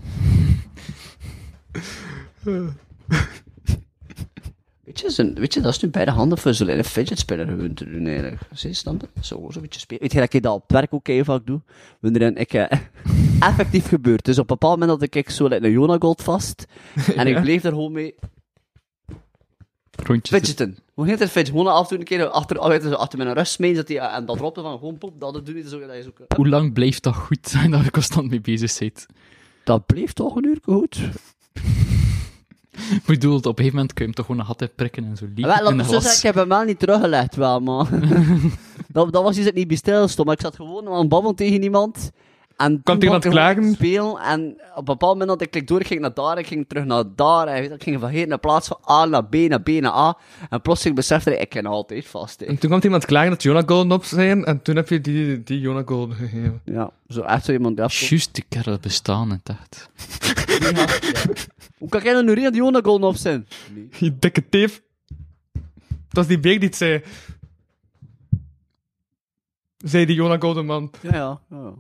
S3: Weet je, zo'n- weet je, dat is nu bij de handen voor zo'n fidget spinner gewoon te doen eigenlijk. Zie je, snap je? Zo, zo'n beetje spelen. Weet je dat ik dat op het werk ook heel vaak doe? Wanneer dan ik eh, effectief gebeurt. Dus op een bepaald moment had ik zo like, een Jonagold vast. En ik bleef er gewoon mee
S5: Rondjes.
S3: fidgeten. Hoe heet het fidget? Gewoon af en toe een keer achter, achter, achter mijn rust mee. Dat die, en dat dropte van gewoon pop, dat doe je zo. Dat, is ook, eh,
S5: Hoe lang blijft dat goed zijn dat je constant mee bezig bent?
S3: dat bleef toch een uur goed.
S5: Ik bedoel, op een gegeven moment kun je hem toch gewoon een gat in prikken en zo liep
S3: Wel,
S5: in
S3: laat ik
S5: de
S3: zo zeggen,
S5: glas.
S3: ik heb hem wel niet teruggelegd, wel, man. dat, dat was iets dat niet bij stilstond, maar ik zat gewoon aan het babbelen tegen iemand. En
S4: Kwam
S3: toen
S4: tegen
S3: mocht
S4: aan het
S3: ik gewoon
S4: klagen?
S3: Spelen, en op een bepaald moment dat ik klik door, ik ging naar daar, ik ging terug naar daar, en ik ging van hier naar plaats van A naar B, naar B naar A. En plotseling besefte ik, ik ken altijd vast, hè.
S4: En toen kwam iemand klagen dat Jonah Golden op zijn en toen heb je die, die Jonah Golden gegeven.
S3: Ja, zo echt zo iemand die afkomt.
S5: Juist, die kerel bestaan in het echt.
S3: Hoe kan jij nou nu reden die Jonagon op zijn?
S4: Die dikke teef. Dat is die beek die het zei. Zei die Jonah Golden man.
S3: Ja, ja, ja.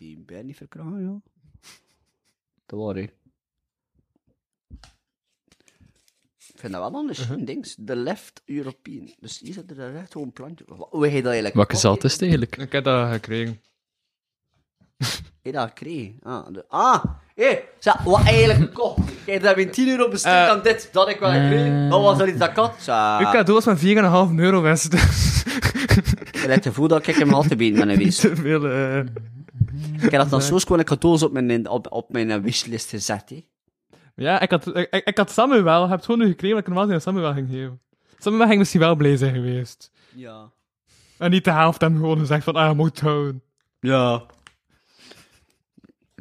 S3: Die ben niet verkragen, ja. Dat waar, hè. Ik vind dat wel
S5: Uh-huh.
S3: een schoon ding. De left European. Dus hier zit er een recht gewoon plantje. Wa- Hoe heet dat eigenlijk?
S5: Welke zat is het eigenlijk?
S4: Ik heb dat gekregen.
S3: Heet dat gekregen? Ah, de- ah hé. Zeg, wat eigenlijk gekocht? Ik heb daar weer 10 euro besteed
S4: Eh.
S3: aan dit. Dat ik wel gekregen. Dat was er iets dat kan. Zeg.
S4: Uw cadeau was van 4,5 euro best.
S3: Ik heb het gevoel dat ik hem altijd ben met een wees.
S4: Te veel. eh.
S3: Ik heb dat dan zo schoon cadeaus op mijn, op, op mijn eh, wishlist gezet, hè.
S4: Ja, ik had, ik, ik ik had Samuel wel. Ik heb het gewoon nu gekregen dat ik normaal gezien aan Samuel ging geven. Samuel ging misschien wel blij zijn geweest.
S3: Ja.
S4: En niet de helft hem gewoon gezegd van, ah, je moet houden.
S3: Ja.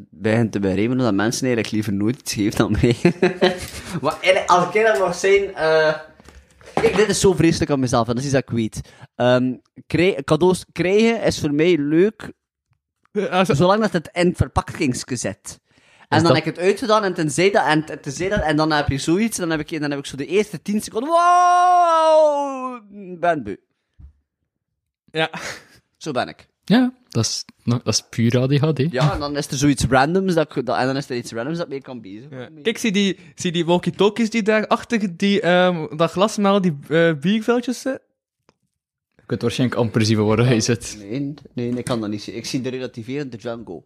S3: Begint te beremen dat mensen eigenlijk liever nooit iets geven dan mij. maar eigenlijk, als ik dat mag zijn. eh, Kijk, dit is zo vreselijk aan mezelf en dat is iets dat ik weet. Ehm, krij- cadeaus krijgen is voor mij leuk
S4: Eh, als-
S3: zolang dat het in verpakkingsje zit. En dan
S5: dat-
S3: heb ik het uitgedaan en tenzij dat, en t- tenzij dat, en dan heb je zoiets, dan heb ik, dan heb ik zo de eerste 10 seconden. Wow! Ben bu.
S4: Ja.
S3: Zo ben ik.
S5: Ja, dat is, nog- dat is puur ADHD.
S3: Ja, en dan is er zoiets randoms dat, ik- dat- en dan is er iets randoms dat mee kan bezig.
S4: Ja. Kijk, zie die, zie die walkie-talkies die daarachter, die, ehm dat glas met die eh bierveldjes zitten?
S5: Je kunt waarschijnlijk amper zien waar hij zit.
S3: Nee, nee, ik kan dat niet zien. Ik zie de relativerende Django.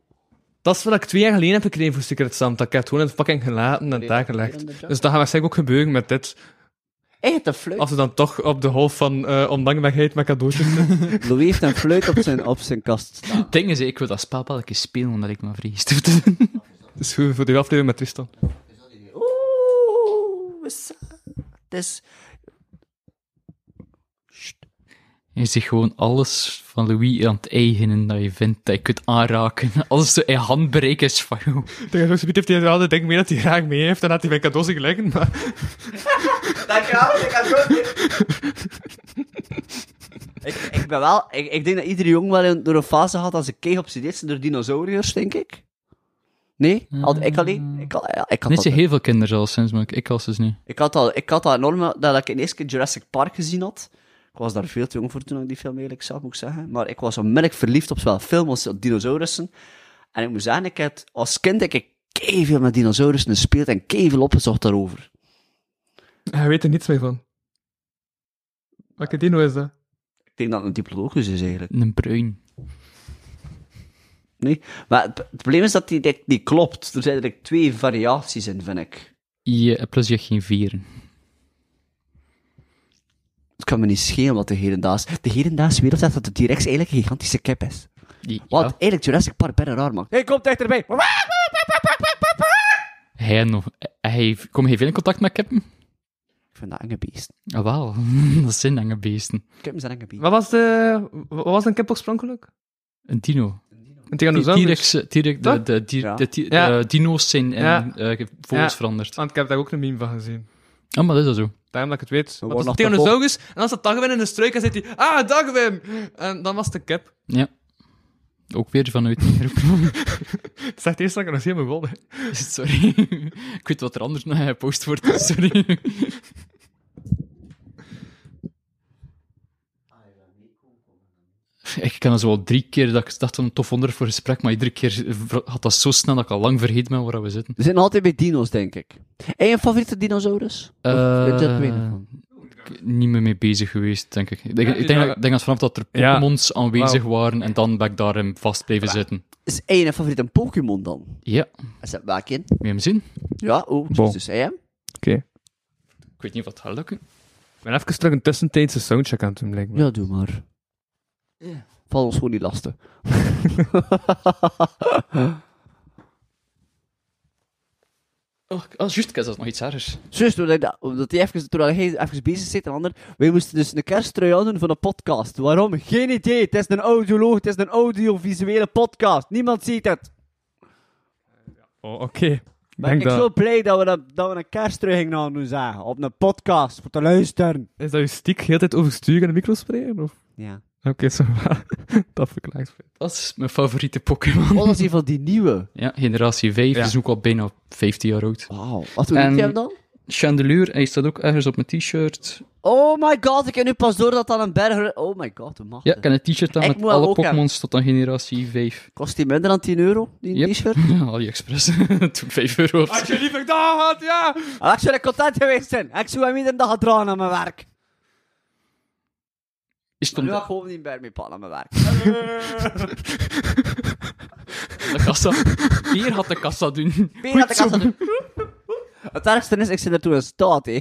S4: Dat is wat ik twee jaar geleden heb gekregen voor Secret Santa. Ik heb het gewoon in het fucking gelaten en daar gelegd. Dus dat gaat waarschijnlijk ook gebeuren met dit.
S3: Echt een fluit.
S4: Als we dan toch op de golf van eh ondankbaarheid met cadeautjes zitten.
S3: Louis heeft een fluit op zijn, op zijn kast staan.
S5: Het ding is, ik wil dat spel wel een keer spelen, omdat ik me vrees te doen.
S4: Dus goed voor de aflevering met Tristan.
S3: Oeh, we zijn- het is...
S5: Je ziet gewoon alles van Louis aan het eigenen dat je vindt, dat je kunt aanraken. Alles zo in handbereik is van jou.
S4: Tegen zo'n heeft hij wel de ding mee dat hij graag mee heeft. En had hij bij cadeaus liggen. Maar
S3: Dankjewel, ik heb ik, ik ben wel... Ik, ik denk dat iedere jongen wel een- door een fase had als een keeg op zijn eerste door dinosauriërs, denk ik. Nee? Had, ik alleen? Ik, had- ja, ik had
S5: Niet zo
S3: dat-
S5: heel veel kinderen al sinds, maar ik, ik was dus niet.
S3: Ik had al, ik had al enorm, dat ik in eerste keer Jurassic Park gezien had. Ik was daar veel te jong voor toen ik die film eigenlijk zag, moet ik zeggen. Maar ik was onmiddellijk verliefd op zowel film als op dinosaurussen. En ik moet zeggen, ik had, als kind heb ik veel met dinosaurussen gespeeld en veel opgezocht daarover.
S4: hij weet er niets mee van. Welke dino is dat?
S3: Ik denk dat het een diplodocus is dus eigenlijk.
S5: Een bruin.
S3: Nee? Maar het, het probleem is dat die, die, die klopt. Er zijn eigenlijk twee variaties in, vind ik.
S5: Je, plus je hebt geen vieren.
S3: Het kan me niet schelen wat de hedendaagse... De hedendaagse wereld zegt dat de T-Rex eigenlijk een gigantische kip is.
S5: Die-
S3: Wat
S5: ja.
S3: eigenlijk Jurassic Park bijna raar maakt. Hé, hey, kom dichterbij!
S5: Hij en of, hij, kom je veel in contact met kippen?
S3: Ik vind dat enge beest.
S5: Ah, wel. dat zijn enge beesten.
S3: Kippen zijn enge beest.
S4: Wat was, de, wat was een kip oorspronkelijk?
S5: Een dino.
S4: Een
S5: Die
S4: Tyrannosaurus.
S5: T-Rex, eh, T-Rex, de, de, die-
S3: Ja.
S5: de, die-
S4: Ja.
S5: eh, dino's zijn in
S4: Ja.
S5: eh, vogels
S4: Ja.
S5: veranderd.
S4: Want ik heb daar ook een meme van gezien.
S5: Ja, maar dat is dat zo.
S4: Daarom dat ik het weet. Want
S3: worden
S4: dat is
S3: nog
S4: Tegenosaurus. En als dat Dagwin in een struik en zit hij... Ah, Dagwin! En dan was het een kip.
S5: Ja. Ook weer vanuit neergeroepen.
S4: Het zegt eerst dat ik er nog helemaal wilde.
S5: Sorry. ik weet wat er anders naar gepost wordt. dus Sorry. Ik ken dat zo al drie keer dat ik dacht een tof onderwerp voor gesprek, maar iedere keer had dat zo snel dat ik al lang vergeten ben waar we zitten.
S3: We zijn altijd bij dino's, denk ik. En je favoriete dinosaurus? Of
S5: Eh,
S3: weet je dat weinig van?
S5: Ik ben Niet meer mee bezig geweest, denk ik. Ik denk, ik
S4: die
S5: denk,
S4: zou-
S5: dat- ik denk dat vanaf dat er
S4: Ja.
S5: Pokémons aanwezig waren en dan ben ik daarin vast blijven zitten.
S3: Is één een favoriet een Pokémon dan?
S5: Ja,
S3: Is dat welk in?
S5: moet je hem zien?
S3: Ja, oh,
S4: Bon.
S3: dus hij hem?
S5: Ik weet niet wat het gaat lukken.
S4: Ik ben even terug een tussentijdse soundcheck aan het doen, lijkt me.
S3: Ja, doe maar. Val ons gewoon niet lastig.
S5: Oh, ah, juist, ik heb zelfs nog iets ergers.
S3: Zus, doordat ik dat- omdat hij even, terwijl hij even bezig zit en ander, wij moesten dus een kersttrui aan doen van een podcast. Waarom? Geen idee. Het is een audioloog, het is een audiovisuele podcast. Niemand ziet het.
S4: Oh, oké.
S3: Maar
S4: Denk
S3: ik ben
S4: dat...
S3: zo blij dat we, dat, dat we een kersttrui gingen aan doen zagen. Op een podcast, voor te luisteren.
S4: Is dat je stiek heel de tijd oversturen en de micro spreken? Of...
S3: Ja.
S4: Oké, zo waar. dat verklaart veel.
S5: Dat is mijn favoriete Pokémon.
S3: Oh, dat is een van die nieuwe.
S5: Ja, generatie 5,
S4: Ja.
S5: dus ook al bijna 15 jaar oud.
S3: Wauw. Wat doe
S5: En-
S3: je hem dan?
S5: Chandelure, hij staat ook ergens op mijn t-shirt.
S3: Oh my god, ik heb nu pas door dat dat een berger... Oh my god, hoe mag
S5: Ja,
S3: dat?
S5: ik heb een t-shirt aan
S3: Ik
S5: met
S3: moet hem
S5: alle
S3: ook
S5: Pokémons tot aan generatie 5.
S3: Kost die minder dan 10 euro, die
S5: Yep.
S3: t-shirt?
S5: Ja, AliExpress. Toen 5 euro of zo.
S4: je liever dat had, ja!
S3: Ah, Ik zou er content geweest zijn. Ik zou hem iedere dag gedragen aan mijn werk.
S5: Is het
S3: Maar nu ga ik
S5: omdat
S3: gewoon niet meer mee pakken aan mijn werk.
S5: de kassa... Hier had de kassa doen.
S3: Meer aan de kassa doen. Het ergste is, ik zit ertoe in staat, hè.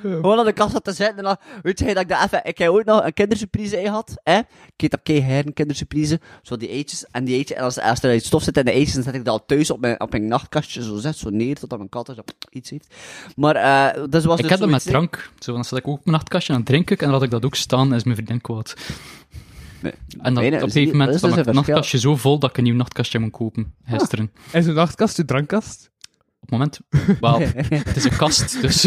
S3: Gewoon aan de kassa te zitten en dan, weet je, dat ik dat even... Ik heb ooit nog een kindersurprise gehad, hè. Ik eet op keihard een kindersurprise. Zo die eitjes en die eitjes. En als, als er iets stof zit in de eitjes, dan zet ik dat al thuis op mijn, op mijn nachtkastje zo zet, zo neer, totdat mijn kat er zo iets heeft. Maar, eh, dat was
S5: Ik
S3: dus
S5: heb dat met
S3: zoiets, hè.
S5: drank. Zo, dan zat ik ook op mijn nachtkastje en dan drink ik en dan had ik dat ook staan en is mijn vriendin kwaad.
S3: Nee.
S5: En
S3: Nee,
S5: dan,
S3: nee,
S5: op een
S3: dat is
S5: gegeven
S3: niet- dat
S5: moment
S3: is dus
S5: stond mijn
S3: een verschil.
S5: nachtkastje zo vol dat ik een nieuw nachtkastje moet kopen. Gisteren.
S4: Is uw nachtkast uw drankkast?
S5: Op het moment... Wel, het is een kast, dus...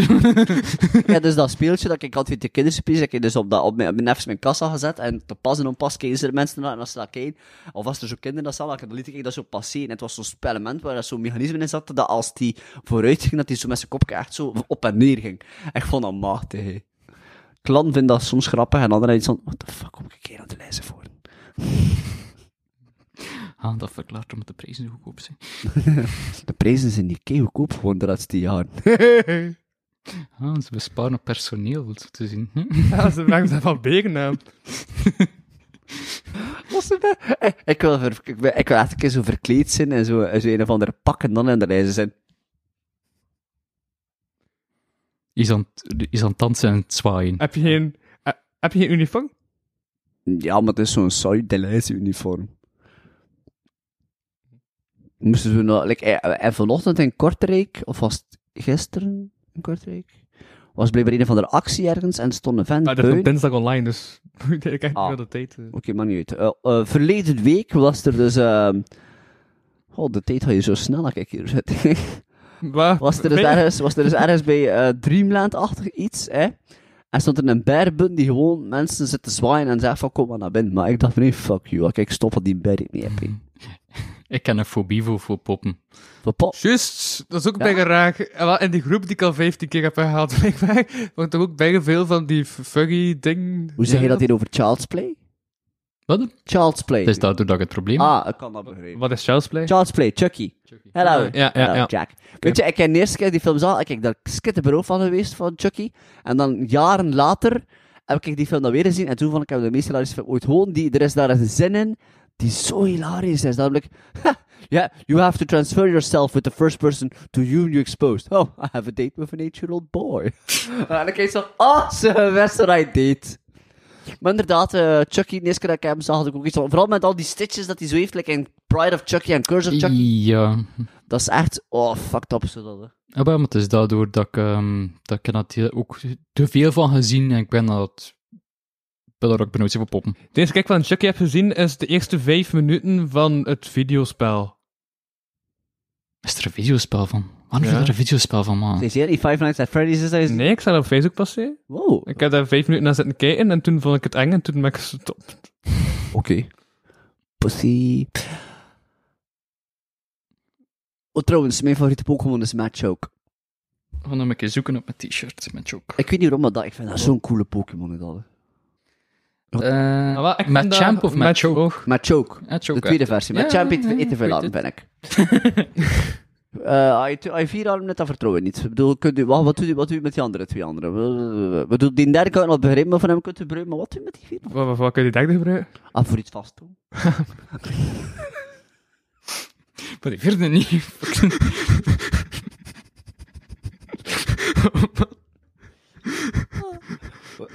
S3: Ja, dus dat speeltje dat ik altijd de kinderspies, heb ik dus op, dat, op mijn, op mijn nefs mijn kassa gezet. En te pas en onpas keken ze de mensen naar en als ze dat keken, of als er zo kinderen dat zagen, dan liet ik dat zo passeren. En het was zo'n spellement waar dat zo'n mechanisme in zat, dat als die vooruit ging, dat die zo met zijn kopje echt zo op en neer ging. En ik vond dat machtig, hè. Klanten vinden dat soms grappig en anderen iets van, what the fuck, kom ik een keer aan de lijst voor?
S5: Ah, dat verklaart omdat de prijzen zo goedkoop zijn.
S3: De prijzen zijn niet keihardkoop gewoon de laatste jaren.
S5: Ah, ze besparen op personeel, wil zo te zien. Hm?
S4: Ja, ze brengen ze van Begennaam.
S3: Ik- Ik wil, ver- ik, wil, ik wil echt een keer zo verkleed zijn en zo, en zo een of andere pak en dan in de lijst zijn.
S5: Is aan, het- is aan het dansen en het zwaaien.
S4: Heb je geen... eh, Heb je geen uniform?
S3: Ja, maar het is zo'n saai Deleuze uniform. Moesten we nou, like, en, en vanochtend in Kortrijk, of was het gisteren in Kortrijk? Was blijkbaar een van de actie ergens en Ah, stond een vent
S4: Maar dat is op
S3: buiten.
S4: dinsdag online, dus... Ik krijg niet
S3: Ah.
S4: veel de tijd. eh.
S3: Oké, maar niet uit. Eh, eh, verleden week was er dus... ehm Oh, de tijd ga je zo snel als ik hier zit.
S4: Waar?
S3: Was er dus
S4: Ben je-
S3: ergens, was er dus ergens bij eh, Dreamland-achtig iets, hè? En stond er een bearbun die gewoon mensen zit te zwaaien en zei van kom maar naar binnen. Maar ik dacht van nee, fuck you, kijk, stop wat die bear ik niet heb. hè.
S5: Ik ken een fobie voor, voor poppen.
S3: Van, "Pa,
S4: Juist, dat is ook
S3: Ja.
S4: bijna raar. En wel, in die groep die ik al 15 keer heb herhaald, blijkbaar, want er ook bijna veel van die f- furry ding...
S3: Hoe zeg je dat hier over child's play?
S5: Wat?
S3: Child's play.
S5: Het is daardoor dat ik het probleem heb.
S3: Ah, ik kan dat begrijpen.
S4: Wat is Child's Play?
S3: Child's play, Chucky. Hello.
S4: Ja, ja,
S3: Hello,
S4: ja.
S3: Jack. Weet je, ik ken de eerste keer die film zag, ik heb daar skitterbureau van geweest, van Chucky. En dan jaren later heb ik die film dan weer gezien. En toen vond ik hem de meest hilarische film ooit. Gewoon, die, er is daar een zin in die zo hilarisch is. Namelijk, ha, yeah, you have to transfer yourself with the first person to whom you exposed. Oh, I have a date with an eight-year-old boy. en dan kijk je zo, oh, ze wedstrijd date. Maar inderdaad, eh, Chucky, de eerste keer dat ik hem zag, had ik ook iets van... Vooral met al die stitches dat hij zo heeft, like in Pride of Chucky en Curse of Chucky.
S5: Ja.
S3: Dat is echt... Oh, fucked up zo dat, hè.
S5: Ah, wel, maar het is daardoor dat ik, ehm, dat ik er dat heel- ook te veel van gezien en ik ben dat... Ik ben daar ook benieuwd voor poppen.
S4: De eerste kijk van Chucky heb gezien is de eerste vijf minuten van het videospel.
S5: Is er een videospel van? Waarom zou er een videospel van maken?
S3: Is hier niet Five Nights at Freddy's? Is dat is-
S4: Nee, ik zat op Facebook passeren.
S3: Wow. Oké.
S4: Ik heb daar vijf minuten naar zitten kijken en toen vond ik het eng en toen ben ik gestopt.
S3: Pussy. Oh, trouwens, mijn favoriete Pokémon is Machoke.
S5: Van hem een keer zoeken op mijn t-shirt, met joke.
S3: Ik weet niet waarom, maar dat, ik vind dat zo'n coole Pokémon. en dat.
S5: Eh, eh,
S4: Ah, wel, ik
S5: met
S4: vind dat-
S5: champ of met
S4: Machoke.
S5: choke?
S3: Machoke.
S5: Met
S3: De
S5: choke.
S3: tweede versie. Met
S5: Ja,
S3: Champ eet
S5: ja, ja,
S3: eet te
S5: ik
S3: veel aan,
S5: weet
S3: ben ik. Eh, I- I vier armen net dat vertrouwen niet. Ik bedoel, kunt u, wat, wat, doet u, wat doet u met die andere twee anderen? Eh, Ik bedoel, die derde kan ik nog begrijpen, maar van hem kunt u gebruiken. Maar wat doet u met die vier?
S4: Wat, wat, wat kun je die derde gebruiken?
S3: Ah, voor iets vast doen.
S5: Maar die vierde niet.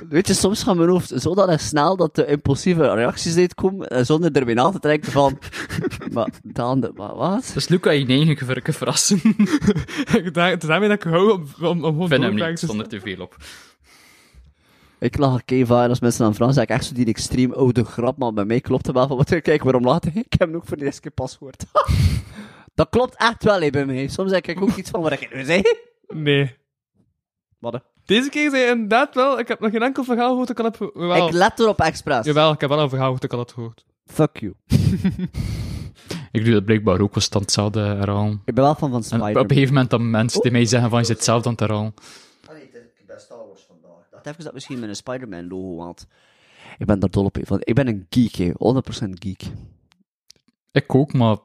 S3: Weet je, soms gaat mijn hoofd zo dat snel dat de impulsieve reacties uitkomen, eh, zonder erbij na te trekken van... maar, dan, de- maar wat?
S5: Dus Luca je negen verrukken verrassen.
S4: Ik dacht- Het is daarmee dat ik hou om, om, om gewoon door
S5: Ik ben hem
S4: te
S5: niet,
S4: gaan.
S5: stond er te veel op.
S3: Ik lach keihard als mensen aan Frans zeggen, echt zo die extreem oude grap, maar bij mij klopt het wel van, wat, kijk, waarom laat ik? Ik heb hem ook voor de eerste keer pas gehoord. dat klopt echt wel, hè, bij mij. Soms zeg ik ook iets van, wat ik nu zei.
S4: Nee.
S3: Wat, hè?
S4: Deze keer zei je inderdaad wel, ik heb nog geen enkel verhaal gehoord, ik had het... Jawel,
S3: Ik let erop expres.
S4: jawel, ik heb wel een verhaal gehoord, ik had het gehoord.
S3: Fuck you.
S5: Ik doe dat blijkbaar ook constant hetzelfde herhalen.
S3: Ik ben Oh. wel van van
S5: En op
S3: Spider-Man.
S5: een gegeven moment dat mensen tegen mij zeggen van je zit hetzelfde aan het herhalen.
S3: ik ben Star Wars vandaag. Ik dacht even dat misschien met een Spider-Man logo had. Ik ben daar dol op, hè, want ik ben een geek, hè. 100% geek.
S5: Ik ook, maar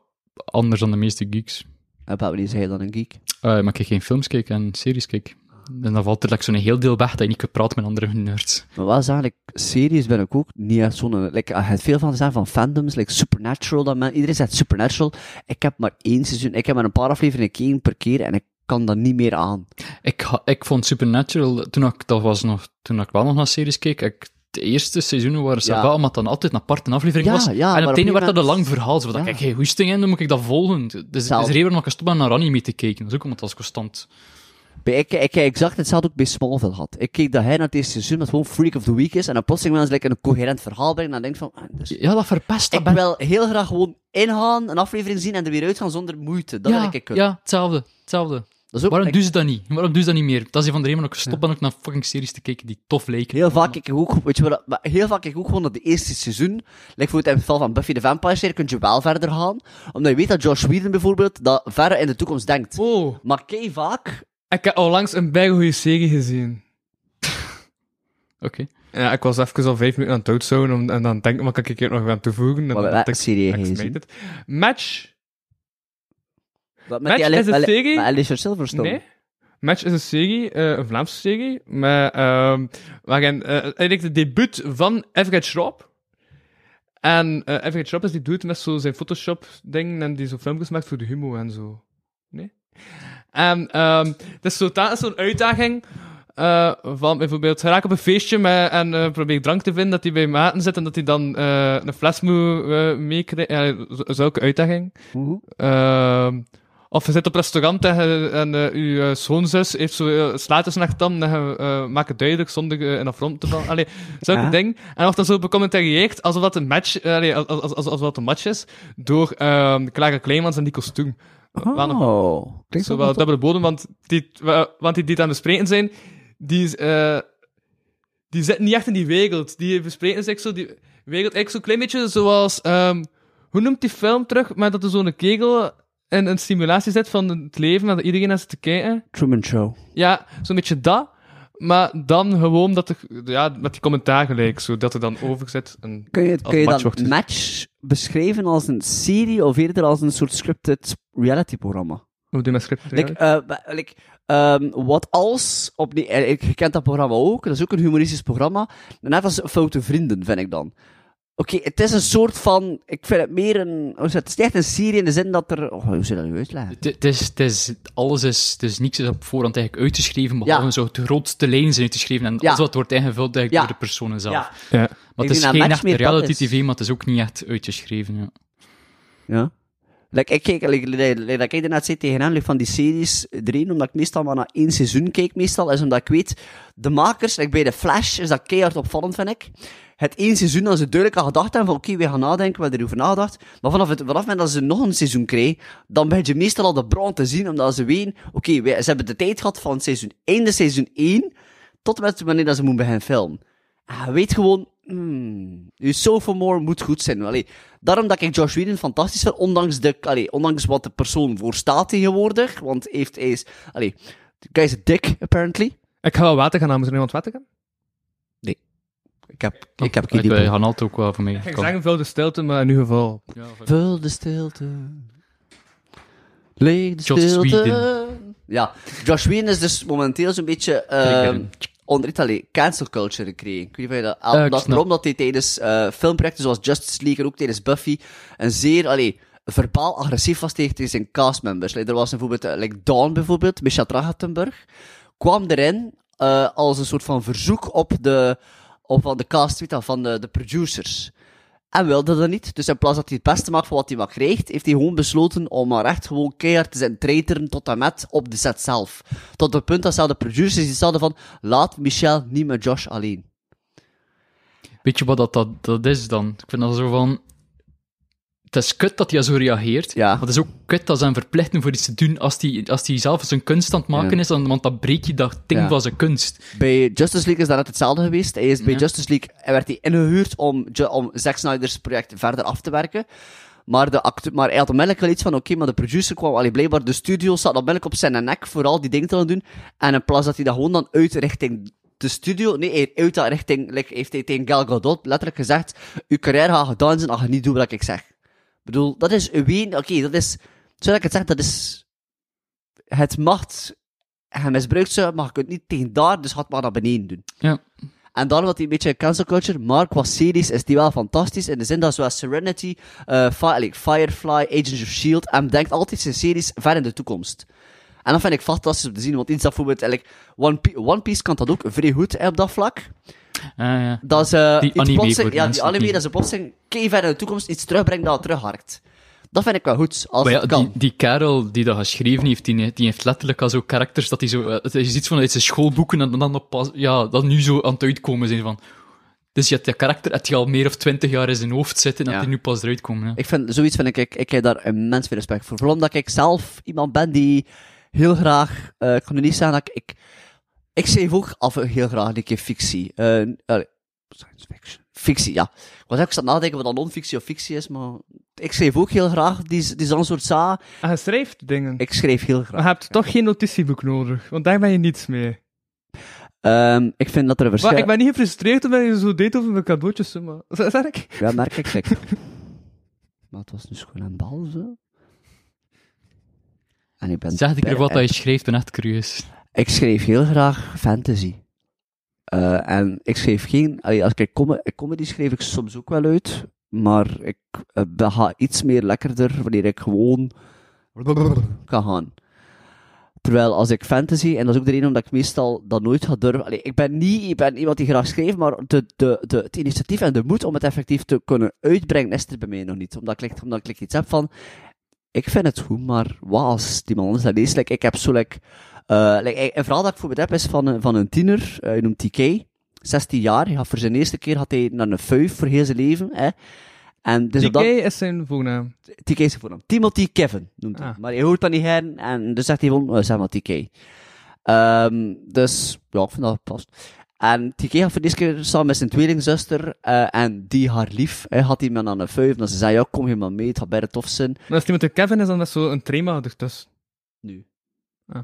S5: anders dan de meeste geeks.
S3: En wanneer zei je dan een geek?
S5: Eh, maar ik geen films kijk en series kijk. En dan valt er like, zo'n heel deel weg dat je niet kunt praten met andere nerds.
S3: Maar wel is eigenlijk, series ben ik ook niet echt zo'n... Like, er gaat veel van zijn van fandoms, like Supernatural. Dat men, iedereen zegt Supernatural. Ik heb maar één seizoen, ik heb maar een paar afleveringen één per keer en ik kan dat niet meer aan.
S5: Ik, ha- ik vond Supernatural, toen ik, dat was nog, toen ik wel nog naar series keek, ik, de eerste seizoenen waren ze
S3: Ja.
S5: wel, maar dan altijd een aparte aflevering
S3: Ja,
S5: was.
S3: ja, maar
S5: en op
S3: op
S5: het
S3: een
S5: einde werd dat een
S3: moment-
S5: lang verhaal. Zo, dat
S3: Ja.
S5: ik geen hoesting in, dan moet ik dat volgen. Dus het is de
S3: Zelf.
S5: reden waarom ik gestopt ben naar anime te kijken. Dat is ook omdat dat is constant...
S3: Bij, ik, ik, ik zag hetzelfde ook bij Smallville had. Ik keek dat hij naar het eerste seizoen, dat gewoon Freak of the Week is, en dan plotseling wel eens like, een coherent verhaal brengen, en dan denk ik van... ah, dus-
S5: Ja, dat verpest. Dat
S3: ik
S5: ben-
S3: wil heel graag gewoon ingaan, een aflevering zien en er weer uitgaan zonder moeite. Dat wil
S5: ja,
S3: ik ik kunnen.
S5: ja, hetzelfde. hetzelfde.
S3: Dat is ook,
S5: Waarom
S3: ik-
S5: doen ze dat niet? Waarom doen ze dat niet meer? Dat is een van de redenen waarom ik gestopt ben ook naar fucking series te kijken die tof leken.
S3: Heel vaak kijk ik ook, weet je wat, dat- maar heel vaak kijk ik ook gewoon naar de eerste seizoen. Like voor het in het geval van Buffy the Vampire Slayer kun je wel verder gaan. Omdat je weet dat Josh Whedon bijvoorbeeld dat verder in de toekomst denkt.
S4: Oh,
S3: Maar kei vaak,
S4: ik heb onlangs een bijgoeie serie gezien.
S5: Oké.
S4: Ja, ik was even al vijf minuten aan het doodzoen om, en dan denk ik, wat kan ik hier nog aan toevoegen? En
S3: Wat-
S4: dan
S3: wat
S4: dacht ik,
S3: serie
S4: ik
S3: heb je
S4: smijt het. Match?
S3: wat met
S4: Match
S3: die Ali-
S4: is een
S3: Ali-
S4: serie?
S3: met Alicia Silverstone.
S4: Nee. Match is een serie, eh, een Vlaamse serie, maar, ehm waarin eh, eigenlijk de debuut van Everett Schraub. En eh Everett Schraub is die doet met zo zijn Photoshop-ding en die zo filmpjes maakt voor de humo en zo. Nee? En ehm het is zo- dat is zo'n uitdaging eh, van bijvoorbeeld, raak op een feestje met, en eh, probeer drank te vinden dat hij bij maten zit en dat hij dan eh, een fles moet eh meekrijgen. Eh, zo- zulke uitdaging.
S3: Mhm.
S4: Ehm, of je zit op restaurant en, je- en eh, uw eh, schoonzus heeft zo uh, slatersnacht dan en je, eh, maakt het duidelijk zonder eh, in affront te vallen. Allee, zulke
S3: Ja.
S4: ding. En of dat zo becommentarieert alsof dat een match, eh, allee, als, als, als, alsof dat een match is door ehm Clara Kleimans en die kostuum. Wel nog
S3: Oh, klinkt
S4: zo wel dubbele bodem, want die, wa- want die die het aan het bespreken zijn, die, is, eh, die zitten niet echt in die wereld. Die bespreken zich zo, die wereld eigenlijk zo'n klein beetje zoals, ehm, hoe noemt die film terug, maar dat er zo'n kegel in een simulatie zit van het leven, en dat iedereen naar zit te kijken.
S3: Truman Show.
S4: Ja, zo'n beetje dat. Maar dan gewoon dat er, ja, met die commentaar gelijk, zodat er dan over zit. En
S3: Kun je, het-
S4: Als
S3: kun je
S4: match
S3: dan
S4: wordt het-
S3: match beschrijven als een serie of eerder als een soort scripted reality programma?
S4: hoe doe je met script?
S3: Like, eh, ba- like, ehm, wat als, op die, eh, ik je kent dat programma ook, dat is ook een humoristisch programma, net als Foute Vrienden, vind ik dan. Oké, het is een soort van, ik vind het meer een, hoe is het, het is echt een serie in de zin dat er, oh, hoe zit dat nu uitleggen?
S5: Het- Het is, het is, alles is, het is niks is op voorhand eigenlijk uitgeschreven, behalve
S3: Ja.
S5: zo de grootste lijnen zijn uitgeschreven en
S3: Ja.
S5: alles wat wordt ingevuld eigenlijk
S3: Ja.
S5: door de personen zelf.
S3: Ja.
S4: Ja.
S5: Maar
S3: Ik
S5: het
S3: denk
S5: is
S3: dat
S5: geen
S3: Max
S5: echte
S3: meer dat
S5: reality
S3: is.
S5: tv, maar het is ook niet echt uitgeschreven. Ja.
S3: Ja. Like, ik kijk, like, like, like dat ik daarnet zei tegen hen, like, van die series, de reden omdat ik meestal maar naar één seizoen kijk, meestal, is omdat ik weet, de makers, like bij de Flash, is dat keihard opvallend, vind ik. Het één seizoen, als ze duidelijk aan gedacht hebben van, oké, we gaan nadenken, we hebben erover nagedacht. Maar vanaf het, vanaf het moment dat ze nog een seizoen krijgen, dan begin je meestal al de brand te zien, omdat ze weten, oké, wij- ze hebben de tijd gehad van seizoen 1, de seizoen 1, tot en met wanneer dat ze moeten beginnen filmen. Ah, weet gewoon, hmm, je Sophomore moet goed zijn. Allee, daarom dat ik Josh Whedon fantastisch vind, ondanks, de, allee, ondanks wat de persoon voor staat tegenwoordig. Want heeft, hij is, allee, de guy is dik, apparently.
S4: Ik ga wel water gaan halen. Moet er iemand water gaan?
S3: Ik heb, ik heb geen
S5: Ik ben
S3: idee.
S5: Hanalto ook wel voor mij.
S4: Ik
S5: Kom.
S4: zeg veel de stilte, maar in ieder geval...
S3: Vul de stilte. Leeg de
S5: Josh
S3: stilte.
S5: Whedon.
S3: Ja, Josh Whedon is dus momenteel zo'n beetje... ehm
S5: Triggeren.
S3: onder Italië cancel culture gekregen. Ik weet niet of je dat...
S5: Eh, ik
S3: dat
S5: snap.
S3: waarom dat hij tijdens eh, filmprojecten zoals Justice League en ook tijdens Buffy een zeer... Allee, verbaal agressief was tegen tegen zijn castmembers. Like, er was bijvoorbeeld... eh, like Dawn bijvoorbeeld, Michelle Trachtenberg, kwam erin eh, als een soort van verzoek op de... Op van de cast, weet je wel, van de, de producers. En wilde dat niet. Dus in plaats dat hij het beste maakt van wat hij maar krijgt, heeft hij gewoon besloten om maar echt gewoon keihard te zijn treiteren tot en met op de set zelf. Tot het punt dat zelfs de producers die zeiden van, laat Michel niet met Josh alleen.
S5: Weet je wat dat, dat, dat is dan? Ik vind dat zo van... Het is kut dat hij zo reageert.
S3: Ja.
S5: Maar het is ook kut dat ze hem verplichten voor iets te doen als hij als die zelf zijn kunst aan het maken
S3: Ja.
S5: is. dan- Want dan breek je dat ding
S3: Ja.
S5: van zijn kunst.
S3: Bij Justice League is dat net hetzelfde geweest. Hij is bij Justice League hij werd hij ingehuurd om, Ju- om Zack Snyder's project verder af te werken. Maar, de actu- maar hij had onmiddellijk wel iets van, oké, maar de producer kwam, allee, blijkbaar de studio zat onmiddellijk op zijn nek voor al die dingen te gaan doen. En in plaats dat hij dat gewoon dan uit richting de studio, nee, hij- uit dat richting, like, heeft hij tegen Gal Gadot letterlijk gezegd, uw carrière gaat gedaan zijn als je niet doet wat ik zeg. Ik bedoel, dat is ween, oké, dat is, zoals ik het zeg, dat is het macht hij misbruikt ze, maar je kunt niet tegen daar, dus had maar naar beneden doen.
S5: Ja.
S3: En daarom had hij een beetje een cancel culture, maar qua series is die wel fantastisch. In de zin dat zoals Serenity, eh, Fi- like Firefly, Agents of S.H.I.E.L.D. en denkt altijd zijn series ver in de toekomst. En dat vind ik fantastisch om te zien, want iets dat bijvoorbeeld... like, One, Pi- One Piece kan dat ook vrij goed hè, op dat vlak.
S5: Ah, Ja, ja.
S3: Dat ze
S5: Die
S3: iets
S5: anime
S3: plotseling-
S5: voor de
S3: ja, die
S5: mensen
S3: anime,
S5: die-
S3: dat ze plotseling keihard in de toekomst iets terugbrengt dat het terugharkt. Dat vind ik wel goed, als
S5: Maar ja,
S3: het kan.
S5: die, die kerel die dat geschreven heeft, die, die heeft letterlijk al zo karakters dat hij zo... eh, Het is iets van uit zijn schoolboeken en dan op pas, ja, dat nu zo aan het uitkomen zijn van... Dus je hebt dat karakter dat je al meer of twintig jaar in zijn hoofd zit en dat
S3: Ja.
S5: die nu pas eruit komen. Ja.
S3: Ik vind, zoiets vind ik, ik, ik heb daar immens veel respect voor. Vooral omdat ik zelf iemand ben die heel graag, eh, ik kan nu niet zeggen dat ik, ik, ik schrijf ook af en toe heel graag een keer fictie. Eh, allee, science fiction. Fictie, ja. Ik was ook eens aan het nadenken wat dan non-fictie of fictie is, maar ik schrijf ook heel graag die, die zo'n soort za.
S4: Ah, je schrijft dingen.
S3: Ik schrijf heel
S4: Maar
S3: graag.
S4: je hebt toch geen notitieboek nodig, want daar ben je niets mee.
S3: Ehm, ik vind dat er een verschil...
S4: Maar ik ben niet gefrustreerd omdat je zo deed over mijn cadeautjes, maar... Z- Zeg ik?
S3: Ja, merk ik zeker. maar het was dus gewoon een bal, zo. En ik ben...
S5: Zeg ik er wat
S3: bij-
S5: dat je schrijft, ben echt curieus.
S3: Ik schreef heel graag fantasy. Eh, en ik schreef geen... allee, als ik com comedy schreef ik soms ook wel uit. Maar ik eh, ben- ga iets meer lekkerder wanneer ik gewoon kan gaan. Terwijl als ik fantasy, en dat is ook de reden omdat ik meestal dat nooit ga durven. Allee, ik ben niet ik ben iemand die graag schreef, maar de, de, de, het initiatief en de moed om het effectief te kunnen uitbrengen is er bij mij nog niet. Omdat ik, licht- omdat ik licht iets heb van, ik vind het goed, maar wat als die man anders dat leest? Like, ik heb zo, like, eh, like, eh, een verhaal dat ik voor me heb is van, een- van een tiener, eh, je noemt TK, 16 jaar. Hij had voor zijn eerste keer had hij naar een vuif voor heel zijn leven. Hè. En dus op
S4: TK
S3: dat-
S4: is zijn voornaam.
S3: TK is de voornaam. Timothy Kevin noemt hij.
S4: Ah.
S3: Maar je hoort dat niet her. En dus zegt hij gewoon, eh, zeg maar TK. Ehm, dus, ja, ik vind dat past. En TK had voor deze keer samen met zijn tweelingzuster, eh, en die haar lief, hè, had hij me aan een vuif. En ze zei, ja, kom helemaal mee, het gaat bijna tof zijn.
S4: Maar als iemand een Kevin is, dan is zo een Dus, trema ertussen.
S3: Nu.
S4: Ah.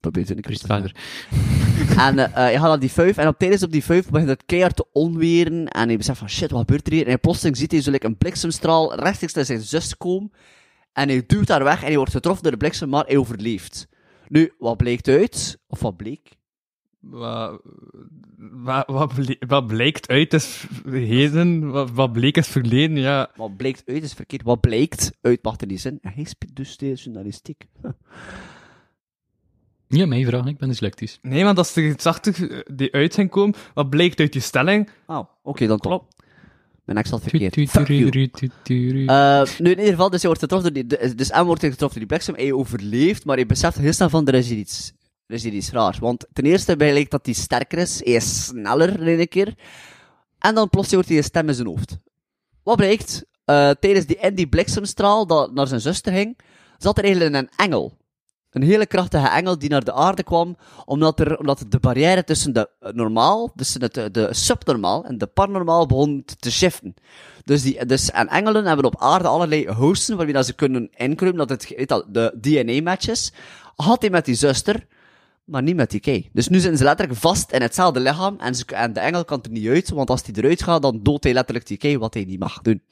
S3: Probeer het in de
S5: Priest
S3: te
S5: verder.
S3: En eh, eh, je gaat aan die vuif, en op tijdens op die vuif begint het keihard te onweren, en hij beseft van shit, wat gebeurt er hier? En hij plotseling ziet hij zo like, een bliksemstraal rechtstreeks naar zijn zus komen, en hij duwt haar weg, en hij wordt getroffen door de bliksem, maar hij overleeft. Nu, wat bleek uit? Of wat bleek?
S4: Wat, wat, wat, ble- wat blijkt uit is heden, wat, wat bleek is verleden, ja.
S3: Wat bleek uit is verkeerd. Wat blijkt uit mag er niet zijn. En hij speelt dus de journalistiek.
S5: Niet aan mij vragen, ik ben dyslectisch.
S4: Nee, want eh,
S3: Ah,
S4: als er iets achter die uit zijn komen, wat blijkt uit die stelling?
S3: Oh, oké, dan klopt. Mijn ex had verkeerd. Fuck you.
S5: Tututututututu.
S3: Eh, nu, in ieder geval, dus je wordt getroffen door die, dus M wordt getroffen door die bliksem en je overleeft, maar je beseft heel snel van, er is hier iets, er is hier iets raar. Want ten eerste blijkt dat hij sterker is, hij is sneller in een keer. En dan plots hoort hij een stem in zijn hoofd. Wat blijkt, eh, tijdens die, in die bliksemstraal dat naar zijn zuster ging, zat er eigenlijk een engel. Een hele krachtige engel die naar de aarde kwam, omdat, er, omdat de barrière tussen de eh, normaal, tussen het, eh, de subnormaal en de paranormaal begon te- te shiften. Dus, die, dus en engelen hebben op aarde allerlei hosten waarmee dat ze kunnen inkruimen, dat het weet dat, de DNA-matches. Had hij met die zuster, maar niet met die kei. Dus nu zitten ze letterlijk vast in hetzelfde lichaam en, ze, en de engel kan er niet uit, want als hij eruit gaat, dan doodt hij letterlijk die kei, wat hij niet mag doen.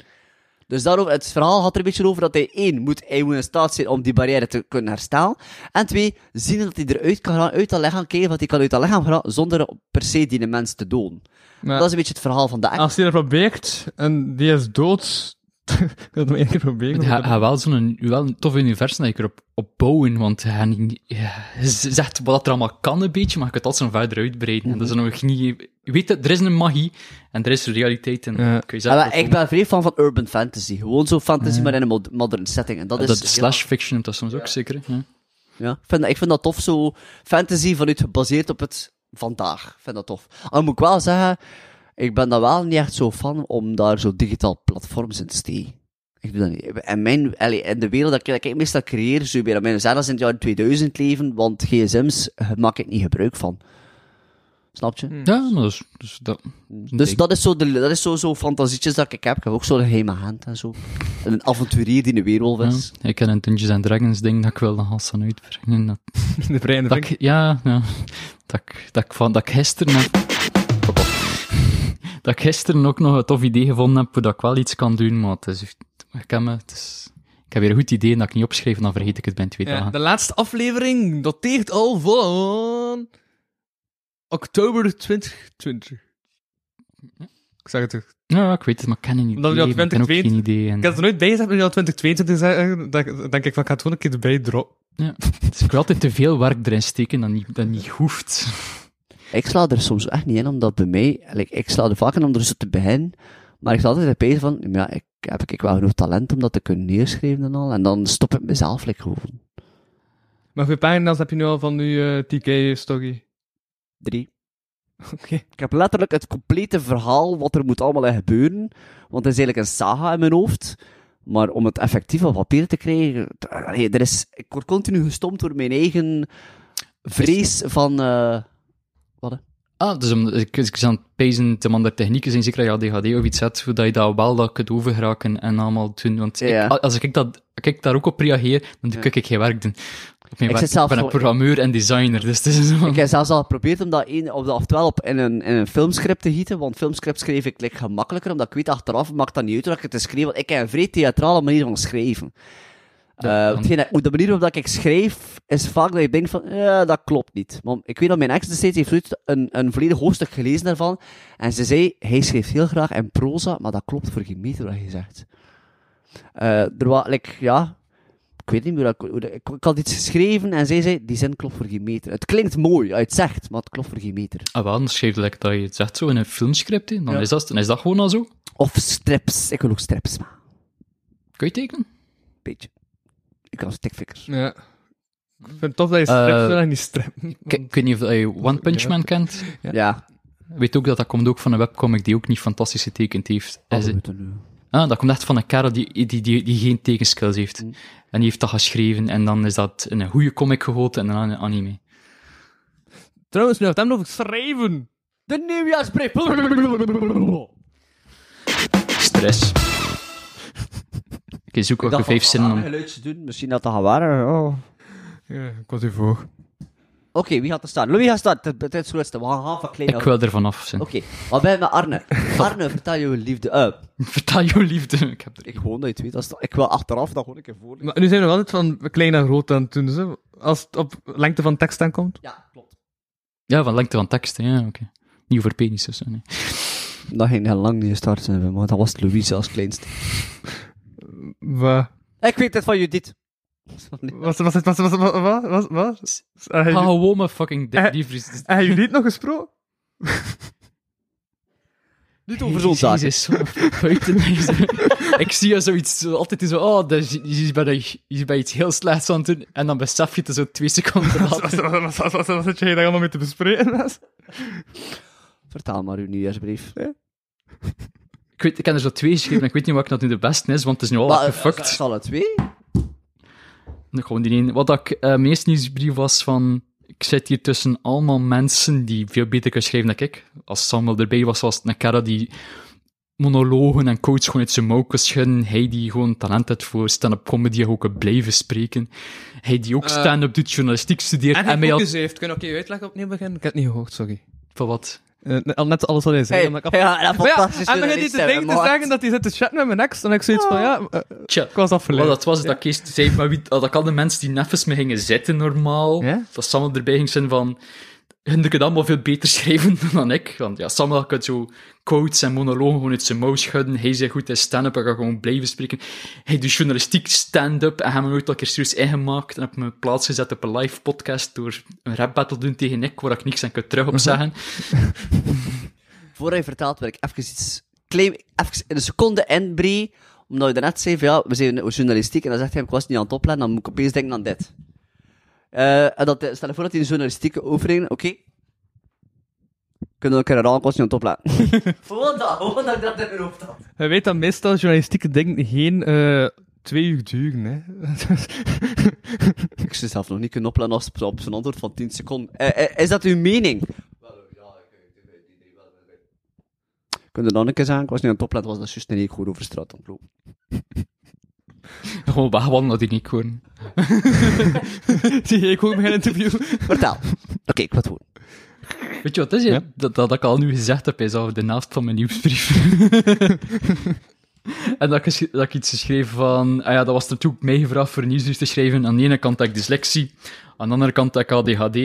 S3: Dus daarover, het verhaal had er een beetje over dat hij één, moet, hij moet in staat zijn om die barrière te kunnen herstellen. En twee, zien dat hij eruit kan gaan, uit dat lichaam, kijken wat hij kan uit dat lichaam gaan, zonder per se die mens te doden.
S4: Maar-
S3: Dat is een beetje het verhaal van de engel.
S4: Als hij dat probeert en die is dood, dat is maar één keer proberen.
S5: Ja, ja, wel zo'n wel een tof universum dat je erop op bouwen, want hij niet- ja, hij zegt wat er allemaal kan een beetje, maar je kunt dat zo verder
S3: Mhm.
S5: uitbreiden. En dat is nog niet... Je weet dat er is een magie en er is realiteit en
S4: Ja.
S5: kun je
S3: Ja, Ah,
S5: zelf
S3: maar ik ben vrij fan van urban fantasy. Gewoon zo fantasy, maar in een mod- modern setting. En dat,
S5: dat,
S3: is
S5: is slash fiction, noemt dat soms ook zeker. hè? Ja.
S3: Ja, ik, vind dat, ik vind dat tof, zo fantasy vanuit gebaseerd op het vandaag. Ik vind dat tof. Al moet ik wel zeggen, ik ben daar wel niet echt zo van om daar zo digitaal platforms in te steken. Ik doe dat niet. En mijn, allee, in de wereld dat ik, dat ik meestal creëer, zo bij mijn zelfs in het jaar 2000 leven, want gsm's eh, maak ik niet gebruik van. Snap je?
S5: Ja, maar dat is, dus dat,
S3: Dus dat is zo, de, dat is zo, zo fantasietjes dat ik heb. Ik heb ook zo'n geheime hand en zo. En een avonturier die een weerwolf is.
S5: ja. Ik ken een Dungeons and Dragons ding dat ik wilde Hassan uitbrengen. Dat,
S4: de brein
S5: dat ik, ja, ja. Dat ik, dat ik, van, dat ik gisteren... Pop, pop. dat ik gisteren ook nog een tof idee gevonden heb hoe dat ik wel iets kan doen, maar het is... echt- Ik, ken me, het is, ik heb weer een goed idee en dat ik niet opschrijf en dan vergeet ik het bij twee
S4: Ja,
S5: dagen.
S4: de laatste aflevering dateert al van oktober 2020. Ik zag het. Ik
S5: Ja, ja, ik weet het, maar ik ken het niet.
S4: Omdat je al
S5: ik ken ook
S4: 20,
S5: geen idee. En,
S4: had er nooit bij gezegd, maar nu al 2022 zeggen, dat ik- denk ik van, ik ga het gewoon een keer erbij droppen.
S5: ja. Dus ik wil altijd te veel werk erin steken dat niet, dat niet hoeft.
S3: Ik sla er soms echt niet in, omdat bij mij... Like, ik sla er vaak in om er zo te beginnen. Maar ik sta altijd bij van... Ja, ik, heb ik wel genoeg talent om dat te kunnen neerschrijven en al? En dan stop ik mezelf like, gewoon.
S4: Maar hoeveel pagina's heb je eh, nu al van nu TK Stoggy?
S3: Drie.
S4: Oké.
S3: Ik heb letterlijk het complete verhaal wat er moet allemaal in gebeuren. Want het is eigenlijk een saga in mijn hoofd. Maar om het effectief op papier te krijgen... t- allee, er is, ik word continu gestompt door mijn eigen vrees van... eh,
S5: Ah, dus om, ik, ik was aan het pezen te andere technieken zijn, zeker dat je ADHD of iets hebt, hoe dat je dat wel dat kunt overgeraken en allemaal doen. Want ik-
S3: Ja.
S5: als ik, dat, als ik daar ook op reageer, dan kan ik geen werk doen. Op mijn
S3: Ik
S5: werk,
S3: zit zelf
S5: ik ben een
S3: zo-
S5: programmeur en designer, dus het is zo...
S3: Ik heb zelfs al geprobeerd om dat één of dat, oftewel op in een, in een filmscript te gieten, want filmscript schreef ik like, gemakkelijker, omdat ik weet achteraf maakt dat niet uit hoe ik het te schreef, want ik heb een vrij theatrale manier van schrijven. Eh, hetgeen dat- hoe de manier waarop dat ik schrijf, is vaak dat je denkt van, ja, dat klopt niet. Want ik weet dat mijn ex destijds heeft ooit een, een volledig hoofdstuk gelezen daarvan, en ze zei, hij schreef heel graag in proza, maar dat klopt voor geen meter wat je zegt. Eh, er was, like, ja, ik weet niet meer, hoe dat- hoe dat- ik, ik had iets geschreven en zij zei, die zin klopt voor geen meter. Het klinkt mooi, uit zegt, maar het klopt voor geen meter.
S5: Ah, wel, dan schrijf je lekker dat je het zegt zo in een filmscript, hè. dan, is dat, dan is dat gewoon al zo.
S3: Of strips, ik wil ook strips maken,
S5: Kun je tekenen?
S3: beetje. Ik kan stikvikkers.
S4: Ja. Ik vind het tof dat je
S5: Eh,
S4: stript en niet stript.
S5: Ik, ik weet niet of je One Punch Man kent.
S3: Ja,
S5: Weet ook dat dat komt ook van een webcomic die ook niet fantastisch getekend heeft.
S3: dat
S5: Is-
S3: doen Oh, we dan nu.
S5: Ah, dat komt echt van een kerel die, die, die, die geen tekenskills heeft.
S3: Mm.
S5: En die heeft dat geschreven en dan is dat in een goede comic gegoten en dan een anime.
S4: Trouwens, nu had hem over schrijven.
S3: De nieuwjaarsbrief!
S5: Stress. Oké, zoek ook de vijf zinnen om...
S3: geluidjes doen, misschien dat dat gaat waren. oh. Oké,
S4: Ja, ik was u voor.
S3: wie gaat er staan? Louis gaat staan, het, het is het grootste, we gaan gaan verkleinen.
S5: Ik wil er vanaf zijn.
S3: Oké, wat ben je met Arne? Arne, vertel je liefde. eh
S5: Vertel jouw liefde. Ik heb er
S3: ik gewoon dat je het weet, dat is- ik wil achteraf dat gewoon een keer voorlezen.
S4: Maar nu zijn we wel altijd van klein naar groot aan het doen, dus, hè. als het op lengte van tekst aankomt.
S3: Ja, klopt.
S5: Ja, van lengte van teksten, ja, oké. Niet over penis of zo, nee.
S3: Dat ging heel lang niet gestart zijn, maar dat was Louise als kleinste.
S4: Wat?
S3: Ik weet het van Judith.
S4: Was was was was was was was was?
S3: Eh,
S4: Hebben
S5: Ga
S4: jullie-
S5: gewoon mijn fucking dick,
S4: Eh.
S5: die vries.
S4: hebben jullie het nog gesproken?
S3: Niet over zo'n zaak.
S5: Jezus, zo buiten deze. Ik zie je zoiets, zo, altijd zo, oh, dat is, je, is bij, de- je is bij iets heel slechts aan het doen, en dan besef je het zo twee seconden
S4: Wat
S5: later.
S4: zit jij daar allemaal mee te bespreken?
S3: Vertaal maar uw nieuwjaarsbrief. Hè?
S5: Ik, weet, ik heb er zo twee geschreven, en ik weet niet wat dat nu de beste is, want het is nu al gefucked.
S3: Zal het twee?
S5: Nee, Gewoon die ene. Wat dat ik eh, meest nieuwsbrief was van... Ik zit hier tussen allemaal mensen die veel beter kunnen schrijven dan ik. Als Samuel erbij was, was het een kerel die monologen en quotes gewoon uit zijn mouw kon schudden. Hij die gewoon talent had voor stand-up comedy en ook kon blijven spreken. Hij die ook stand-up doet, journalistiek studeert. En,
S4: En hij
S5: mij had...
S4: focus heeft. Kun je oké uitleggen opnieuw beginnen? Ik heb het niet gehoord, sorry.
S5: Van wat?
S4: Eh, al net alles wat hij zei. omdat ik af-
S3: ja, dat
S4: Maar ja, en dan gaat hij te denken te zeggen dat hij zit te chatten met mijn ex. En ik zoiets van, ja, eh,
S5: Tja.
S4: ik was
S5: Wat
S4: afgeleid.
S5: dat was, is dat Kees zei, maar wie, oh, dat ik al de mensen die neffens me gingen zitten normaal,
S4: Ja?
S5: dat Sam erbij ging zijn van, hun kan allemaal veel beter schrijven dan ik. Want ja, Sam kan zo quotes en monologen gewoon uit zijn mouw schudden. Hij zei goed in stand-up, hij kan gewoon blijven spreken. Hij doet journalistiek stand-up en hij heeft me ooit al een keer serieus ingemaakt en heb me plaats gezet op een live podcast door een rap battle doen tegen ik, waar ik niks aan kan terug op zeggen.
S3: Voor hij vertaald werd ik even iets... Claim, even in een seconde en Brie, omdat je daarnet zei van ja, we zijn journalistiek. En dan zegt hij, ik was niet aan het opletten, dan moet ik opeens denken aan dit. Eh, en dat, stel je voor dat hij een journalistieke overheen... Oké. Kunnen we elkaar herhalen, ik was niet aan het opletten. gewoon dat, gewoon dat ik dat in mijn hoofd had.
S4: Je weet dat meestal journalistieke dingen geen eh, twee uur duren, hè. Dus,
S3: Ik zou zelf nog niet kunnen opletten als op zijn antwoord van 10 seconden. Eh, eh, is dat uw mening? Kun je dan een keer zeggen, ik was niet aan het opletten, was dat juist niet goed over straat aan het lopen.
S5: Gewoon wegwandelen, dat hij niet hoor.
S4: Zie je, ik hoor mijn interview.
S3: Vertel. Oké, ik wat horen.
S5: Weet je wat het is? hè?
S4: Ja.
S5: Dat, dat ik al nu gezegd heb, is al de naast van mijn nieuwsbrief. en dat ik, gesch- dat ik iets geschreven van... Ah ja, dat was natuurlijk mij gevraagd voor een nieuwsbrief te schrijven. Aan de ene kant heb ik dyslexie, aan de andere kant heb ik ADHD.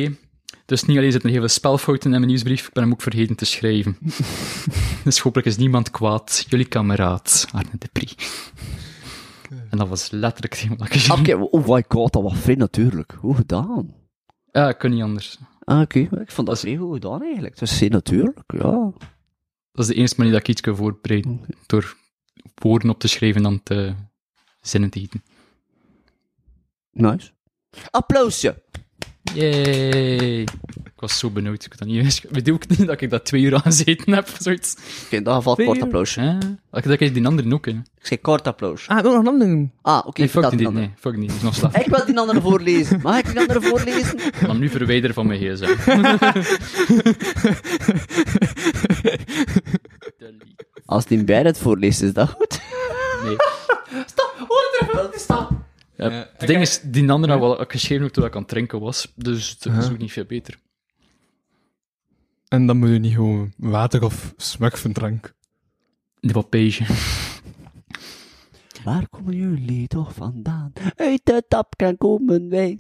S5: Dus niet alleen zitten er heel veel spelfouten in mijn nieuwsbrief, ik ben hem ook vergeten te schrijven. dus hopelijk is niemand kwaad. Jullie kameraad, Arne de Prie. En dat was letterlijk het thema dat ik geschreven
S3: Oké, oh my god, dat was vrij natuurlijk. Hoe gedaan?
S5: Ja, ik kon niet anders.
S3: Ah, oké. Ik vond dat vrij goed gedaan eigenlijk. Het was zeer natuurlijk, ja.
S5: Dat is de enige manier dat ik iets kan voorbereiden. Door woorden op te schrijven en dan te zinnen te gieten.
S3: Nice. Applausje.
S5: Yay! Ik was zo benauwd. Ik had dat niet eens... Ik bedoel ook niet dat ik dat twee uur aan gezeten heb. of Zoiets.
S3: Oké, in dat geval
S4: Twee
S3: kort
S4: uur.
S3: applausje.
S5: Hè? Dat ik dat ik die andere ook, hè.
S3: Ik zei kort applausje.
S4: Ah, ik wil nog een ander doen.
S3: Ah, oké,
S5: Nee, fuck
S3: vertel
S5: die
S3: die
S5: niet.
S3: andere.
S5: Nee, fuck die. Nog slaap.
S3: Ik wil die andere voorlezen. Mag ik die andere voorlezen?
S5: Ik kan nu verwijderen van mijn gsm.
S3: Als die bij het voorleest, is dat goed?
S5: Nee.
S3: Hoor er wel te staan.
S5: Ja, het ding is, die andere had wel geschreven ook toen ik aan het drinken was. Dus dat is ook niet veel beter.
S4: En dan moet je niet gewoon water of smuk van drank.
S5: De papage.
S3: Waar komen jullie toch vandaan? Uit de tapkraan komen wij.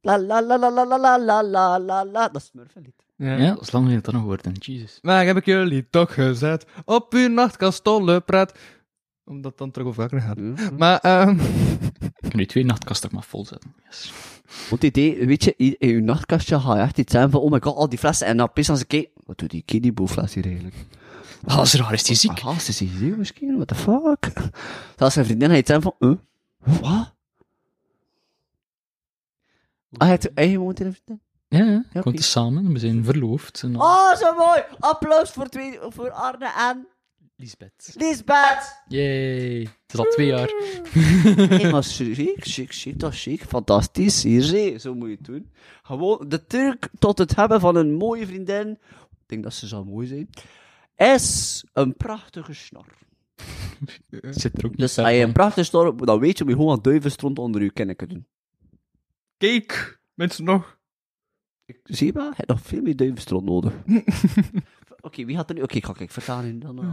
S3: La la la la la la la la la la la. Dat is Smurfenlied.
S5: Ja, dat is lang geleden dat dat nog wordt, hè. Jesus.
S4: Maar heb ik jullie toch gezet op uw nachtkastolle praat. Omdat het dan terug over elkaar gaat. Maar, ehm
S5: Ik kan nu twee nachtkasten maar vol zetten. Yes.
S3: Want het idee, weet je, in in je nachtkastje ga je echt iets zijn van, oh my god, al die flessen. En dan pis als ik kijk, wat doet die kiddieboefles hier eigenlijk?
S5: Ah, dat is raar. Is die ziek?
S3: Ah, ze is hij ziek misschien? What the fuck? Zelfs zijn vriendin had iets zijn van, huh? Wat? Ah, je hebt je eigen momenteel een vriendin?
S5: Ja, ja.
S3: oké.
S5: Komt samen. We zijn verloofd. En dan...
S3: Oh, zo mooi! Applaus voor, twee, voor Arne en
S5: Lisbeth.
S3: Lisbeth!
S5: Yay. Het is al twee jaar.
S3: Nee, maar chic, chic, chic, dat is chic. Fantastisch, hier zie je, zo moet je het doen. Gewoon, de truc tot het hebben van een mooie vriendin, ik denk dat ze zal mooi zijn, is een prachtige snor.
S5: Zit er ook niet
S3: Dus
S5: ver
S3: als je
S5: van.
S3: een prachtige snor hebt, dan weet je hoe je gewoon duivenstront onder je kennen doen.
S4: kijk, mensen nog.
S3: Zie je maar, je hebt nog veel meer duivenstront nodig. Oké, wie had er nu... Oké, ik ga kijk, vertaan in dan. nog.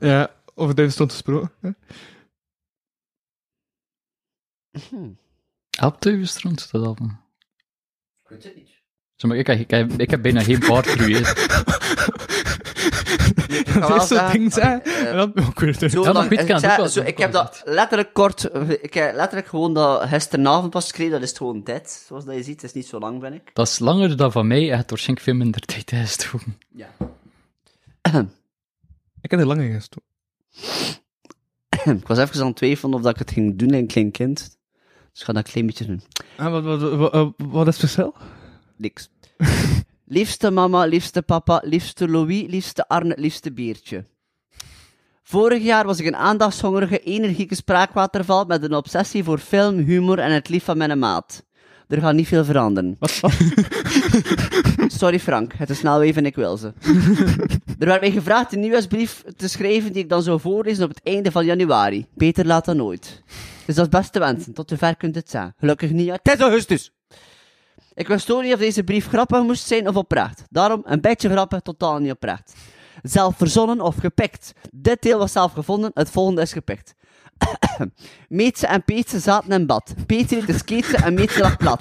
S4: Ja, over David stond gesproken. hè.
S3: Hm.
S5: Helpt Duivenstrand staat al van.
S3: Ik weet het niet.
S5: Zeg maar, ik, ik, ik, ik heb bijna geen baard voor u. hè.
S4: Dat is zo'n ding, hè.
S3: eh,
S4: En dan, oh, ik weet het
S3: Zo
S5: Ja, maar
S3: lang-
S5: goed,
S3: ik
S5: kan
S3: zei-
S5: ook wel,
S3: zo,
S5: kan
S3: ik
S5: ook
S3: heb
S5: wel
S3: dat letterlijk kort, ik heb letterlijk gewoon dat gisteravond pas gekregen, dat is het gewoon dit, zoals dat je ziet, het is niet zo lang ben ik.
S5: Dat is langer dan van mij en het waarschijnlijk veel minder tijd is.
S3: Ja.
S4: Ik heb er lang in gestoken.
S3: Ik was even aan het twijfelen of dat ik het ging doen in een klein kind. Dus ik ga dat een klein beetje doen.
S4: Ah, wat, wat, wat, wat, wat is speciaal?
S3: Niks. liefste mama, liefste papa, liefste Louis, liefste Arne, liefste Beertje. Vorig jaar was ik een aandachtshongerige, energieke spraakwaterval met een obsessie voor film, humor en het lief van mijn maat. Er gaat niet veel veranderen. Sorry Frank, het is snel even en ik wil ze. er werd mij gevraagd een nieuwsbrief te schrijven die ik dan zou voorlezen op het einde van januari. Beter laat dan nooit. Dus dat is beste wensen, tot ver kunt het zijn. Gelukkig niet, het is augustus! Ik wist ook niet of deze brief grappig moest zijn of oprecht. Daarom een beetje grappig, totaal niet oprecht. Zelf verzonnen of gepikt. Dit deel was zelf gevonden, het volgende is gepikt. Meetse en Peetse zaten in bad. Peetse liet de sketen en Meetse lag plat.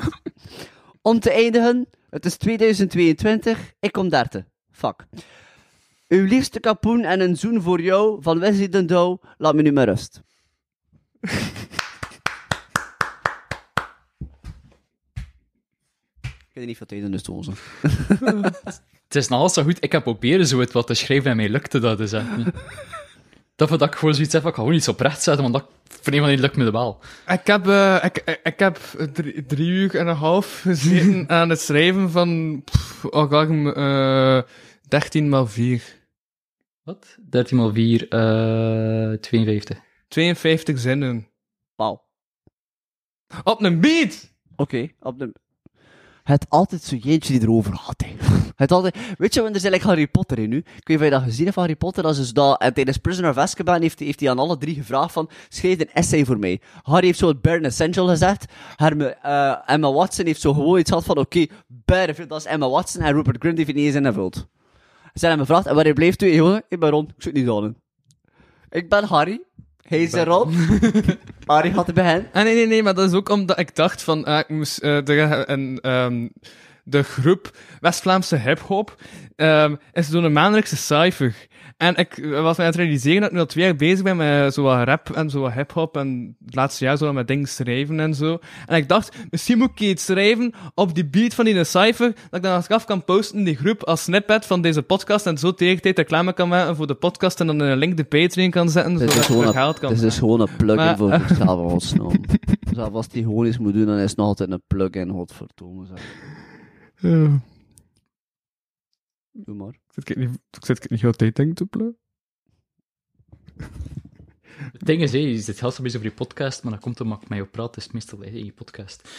S3: Om te eindigen, het is 2022, ik kom derde. Fuck. Uw liefste kapoen en een zoen voor jou van Wesley den Douw, laat me nu maar rust. Ik heb er niet veel tijd in de stoel. Zo.
S5: Het is nog altijd zo goed. Ik heb proberen zo het wat te schrijven en mij lukte dat dus echt niet. Dat we dat ik gewoon zoiets heb, van, ik ga gewoon iets oprecht zetten, want dat voor een van die lukt me de wel.
S4: Ik heb, eh, ik, ik, ik heb drie, drie uur en een half gezeten aan het schrijven van. Pff, oh, ga ik hem, eh, 13 x 4.
S5: Wat? 13 x 4, eh 52.
S4: 52 zinnen.
S3: Wauw.
S4: Op een beat!
S3: Oké, op de... Het altijd zo jeentje die erover had, hè. Het altijd... Weet je, want er is eigenlijk Harry Potter in nu. Ik weet niet of je dat gezien hebt van Harry Potter. Dat is dus dat... En tijdens Prisoner of Azkaban heeft, hij- heeft hij aan alle drie gevraagd van... Schrijf een essay voor mij. Harry heeft zo het Bare Essential gezegd. Herme, eh, Emma Watson heeft zo gewoon iets gehad van... Oké, Bare, dat is Emma Watson. En Rupert Grint heeft het niet eens ingevuld. Ze hebben hem gevraagd, en waar blijft u? Jongen, ik ben Ron. Ik zit niet aan Ik ben Harry. Hij is er Ron. Harry gaat er bij hen.
S4: Ah, nee, nee, nee, maar dat is ook omdat ik dacht van, ah, ik moest eh, de, en, ehm, de groep West-Vlaamse hip-hop ehm, is door een maandelijkse cijfer. En ik was mij aan het realiseren dat ik nu al twee jaar bezig ben met zo wat rap en zo wat hip-hop en het laatste jaar zo wat met dingen schrijven en zo. En ik dacht, misschien moet ik iets schrijven op die beat van die cijfer, dat ik dan achteraf kan posten in die groep als snippet van deze podcast en zo tegen de tijd reclame kan maken voor de podcast en dan een link de Patreon kan zetten,
S3: Het
S4: zodat
S3: is
S4: ik
S3: gewoon
S4: er
S3: een,
S4: geld kan
S3: het is dus gewoon een plugin
S4: Maar-
S3: voor zichzelf ontsnappen. dus als die gewoon iets moet doen, dan is het nog altijd een plugin, godverdomme. zeg.
S4: maken. Ja.
S3: Doe maar.
S4: Ik zit niet, ik zit niet heel tijd denk te plannen.
S5: Het ding is, hé, je zit heel veel bezig over je podcast, maar dan komt omdat ik met jou praat, is het meestal in je podcast.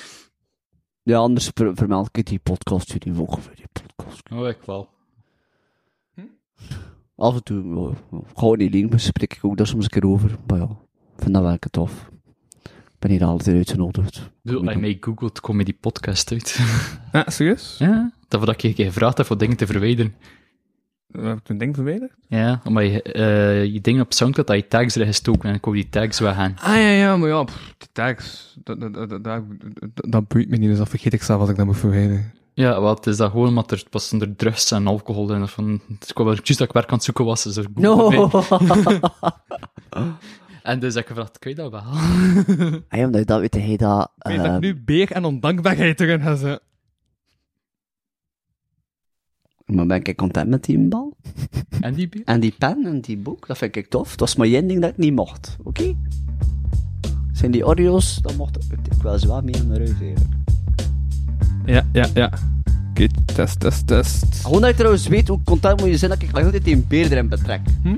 S3: Ja, anders ver- vermeld ik het die podcast, jullie volgen voor die podcast.
S5: Oh, ik wel.
S3: Af en toe, eh, gewoon die link bespreek ik ook daar soms een keer over. Maar ja, ik vind dat wel lekker tof. Ik ben hier altijd uitgenodigd.
S5: Doe,
S3: Kom je
S5: I
S3: doen.
S5: may googled, kom je die podcast uit.
S4: Ah, serieus?
S5: ja? Dat we dat ik je een keer gevraagd heb voor dingen te verwijderen.
S4: Heb ik een ding verwijderd?
S5: Ja, omdat je, eh, je dingen op Soundcloud, dat je tags erin gestoken en ik wou die tags weggaan.
S4: Ah ja, ja, maar ja, pff, de tags. Dat, dat, dat, dat, dat, dat boeit me niet, dus dat vergeet ik zelf als ik dat moet verwijderen.
S5: Ja, wat is dat gewoon, omdat er was er drugs en alcohol in. of Van, het kwam wel juist dat ik werk aan het zoeken was, dus er
S3: No!
S5: Google bij. En dus heb ik gevraagd, kun je dat wel?
S3: Hey, Ah omdat je dat weet, hij dat...
S4: Ik weet dat
S3: eh,
S4: ik nu beer en ondankbaarheid erin ga zetten.
S3: Maar ben ik content met die bal?
S5: en die bier?
S3: En die pen en die boek, dat vind ik tof. Het was maar één ding dat ik niet mocht, oké? Zijn die Oreos, dan mocht ik wel zwaar mee aan de reus eigenlijk.
S4: Ja, ja, ja. Oké, test, test, test.
S3: Gewoon dat je trouwens weet hoe content moet je zijn dat ik nog altijd die beer erin betrek.
S4: Hm?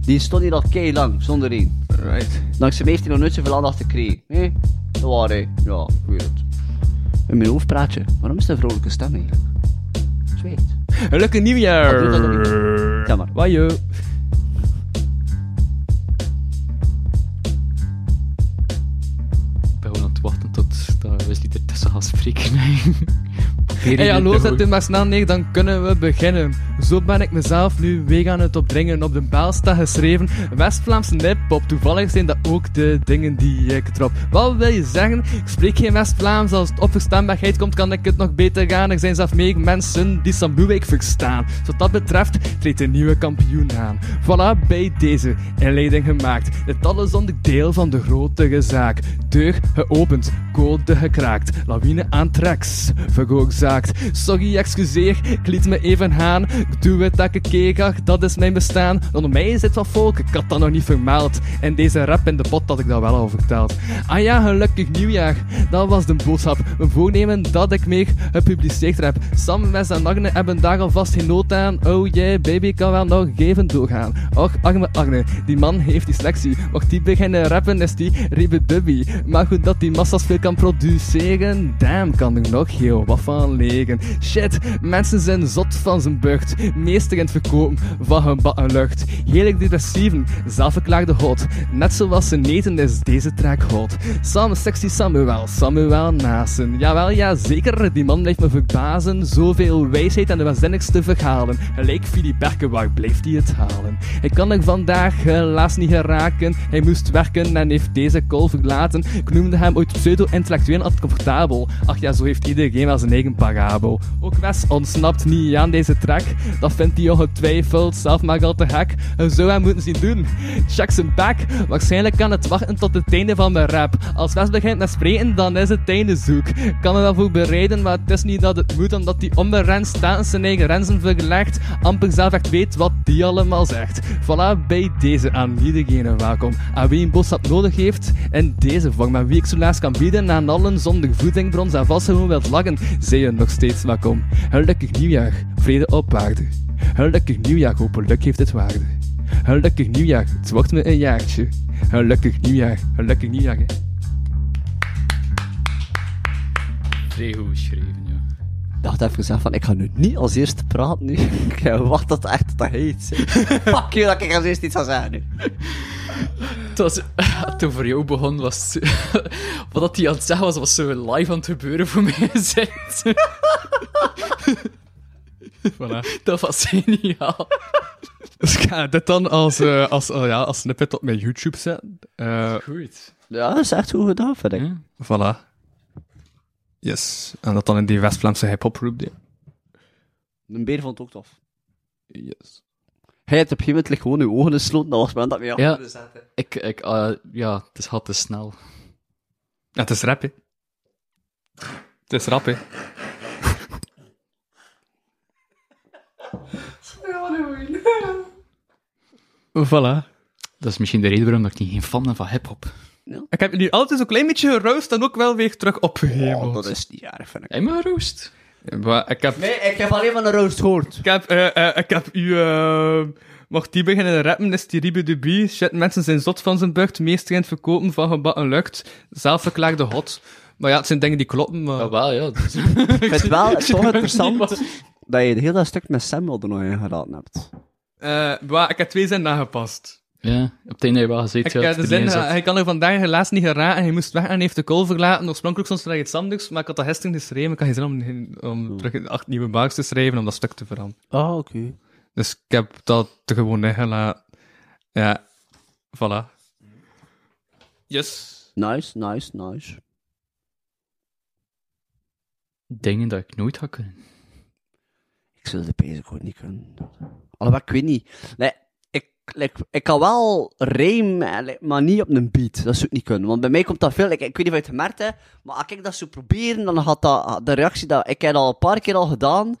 S3: Die stond hier al kei lang, zonder één.
S4: Right.
S3: Dankzij mij heeft hij nog nooit zoveel aandacht gekregen. Nee, dat waar hè. Ja, ik weet het. In mijn hoofd praat je. Waarom is dat een vrolijke stem eigenlijk? Zweet. Wat
S4: Gelukkig
S3: doet dat dan
S4: nieuwjaar!
S3: Jammer.
S4: Wajo.
S5: Ik ben gewoon aan het wachten tot dat Wesley ertussen gaat spreken. Probeer
S4: Hey,
S5: je
S4: hallo,
S5: te
S4: zet
S5: houden.
S4: dit maar snel neer, dan kunnen we beginnen. Zo ben ik mezelf nu weer aan het opdringen. Op de baal staat geschreven West-Vlaamse nip-hop. Toevallig zijn dat ook de dingen die ik drop. Wat wil je zeggen? Ik spreek geen West-Vlaams. Als het op verstaanbaarheid komt, kan ik het nog beter gaan. Er zijn zelf meer mensen die Sambuweek verstaan. Dus Wat dat betreft treedt een nieuwe kampioen aan. Voilà, bij deze inleiding gemaakt. Dit alles onderdeel van de grotere zaak. Deur geopend, code gekraakt. Lawine aan tracks, veroorzaakt. gemaakt. Sorry, excuseer, ik liet me even gaan. Ik doe het elke keer, ach, dat is mijn bestaan. Onder mij is het wat volk, ik had dat nog niet vermeld. En deze rap in de pot had ik dat wel al verteld. Ah ja, gelukkig nieuwjaar. Dat was de boodschap. Mijn voornemen dat ik meer gepubliceerd heb. Sam, Wes en Agne hebben daar alvast geen nood aan. Oh yeah, baby kan wel nog even doorgaan. Och, arme Agne, die man heeft dyslexie. Mocht die beginnen rappen is die ribedubby. Maar goed dat die massa's veel kan produceren. Damn, kan er nog heel wat van liggen. Shit, mensen zijn zot van zijn bucht. Meester in het verkopen van gebakken lucht. Heerlijk depressieven, zelfverklaarde hot. Net zoals ze neten is deze track hot. Sam, sexy Samuel, Samuel Nasen. Jawel, ja zeker, die man blijft me verbazen. Zoveel wijsheid en de waanzinnigste verhalen. Gelijk Philip Berken, waar blijft hij het halen? Hij kan er vandaag eh, helaas niet geraken. Hij moest werken en heeft deze call verlaten. Ik noemde hem ooit pseudo-intellectueel en altijd comfortabel. Ach ja, zo heeft iedereen wel zijn eigen parabel. Ook Wes ontsnapt niet aan deze track. Dat vindt hij ongetwijfeld zelf maar al te hek. En zou hem moeten zien doen. Check zijn back. Waarschijnlijk kan het wachten tot het einde van mijn rap. Als Wes begint met spreken, dan is het einde zoek. Ik Kan er wel voor bereiden, maar het is niet dat het moet, omdat hij onberend staat en zijn eigen renzen verlegt. Amper zelf echt weet wat die allemaal zegt. Voilà, bij deze aan iedereen welkom. Aan wie een boodschap nodig heeft, in deze vorm. Aan wie ik zo laatst kan bieden aan allen zonder voedingbron en vast gewoon wilt lachen, zijn je nog steeds welkom. Gelukkig nieuwjaar, vrede op aarde. Gelukkig nieuwjaar, hopelijk heeft het waarde. Gelukkig nieuwjaar, het wordt me een jaartje. Gelukkig nieuwjaar, gelukkig nieuwjaar. hè.
S5: Vrij goed geschreven, ja.
S3: Ik dacht even gezegd van, ik ga nu niet als eerste praten nu. Ik wacht tot echt dat heet. Fuck you dat ik als eerste iets ga zeggen nu.
S5: Het was, toen voor jou begon, was het- wat dat hij aan het zeggen was, was zo live aan het gebeuren voor mij gezet.
S4: Voilà.
S5: Dat was geniaal.
S4: Dus ik ga dit dan als, eh, als, eh, ja, als snippet op mijn YouTube zetten. Eh,
S5: Goed.
S3: Ja, dat is echt goed gedaan, vind ik.
S4: Voilà. Yes. En dat dan in die West-Vlaamse hip-hop roep deed.
S3: Een beer vond het ook tof.
S4: Yes.
S3: Hij had op een gegeven moment gewoon uw ogen gesloten, dat was het moment dat ik me
S5: Ja,
S3: af- zetten.
S5: ik, ik, eh, ja, het is had te snel.
S4: Ja, het is rap, hè. Het is rap, hè. Voilà.
S5: Dat is misschien de reden waarom dat ik niet geen fan ben van hip-hop.
S4: Ik heb nu altijd een klein beetje geroost en ook wel weer terug
S3: Oh,
S4: opgehemeld.
S3: dat is niet erg, vind ik.
S5: Jij maar roost.
S4: Maar ik heb,
S3: Nee, ik heb alleen van een roast gehoord.
S4: ik heb, eh, eh, ik heb u... eh mocht die beginnen rappen, is die riebe de bie. Shit, mensen zijn zot van zijn bucht. Meester in het verkopen van gebakken lucht. Zelfverklaarde hot. Maar ja, het zijn dingen die kloppen, maar...
S5: Ja, wel, ja. Dus,
S3: Ik vind het wel toch interessant
S5: wat-
S3: dat je heel dat stuk met Samuel er nog in geraden hebt.
S4: Eh, maar ik heb twee zinnen aangepast.
S5: ja, op het einde heb je wel gezeten.
S4: Ik,
S5: ja,
S4: eh,
S5: het
S4: de
S5: er
S4: zin,
S5: niet in
S4: eh,
S5: zat.
S4: hij kan er vandaag helaas niet geraken. Hij moest weg en heeft de call verlaten. Oorspronkelijk stond er nog iets anders, maar ik had dat gisteren geschreven. Ik had geen zin om, om terug acht nieuwe baars te schrijven om dat stuk te veranderen.
S3: Ah, oké.
S4: Dus ik heb dat er gewoon in gelaten. Ja, voilà. Yes.
S3: Nice, nice, nice.
S5: Dingen dat ik nooit had kunnen.
S3: Ik zou de pezen gewoon niet kunnen. Alhoewel, ik weet niet. Nee, ik, like, ik kan wel rijm, eh, like, maar niet op een beat. Dat zou ik niet kunnen. Want bij mij komt dat veel. like, ik weet niet of je het gemerkt hebt, maar als ik dat zou proberen, dan had dat de reactie dat ik heb dat al een paar keer al gedaan.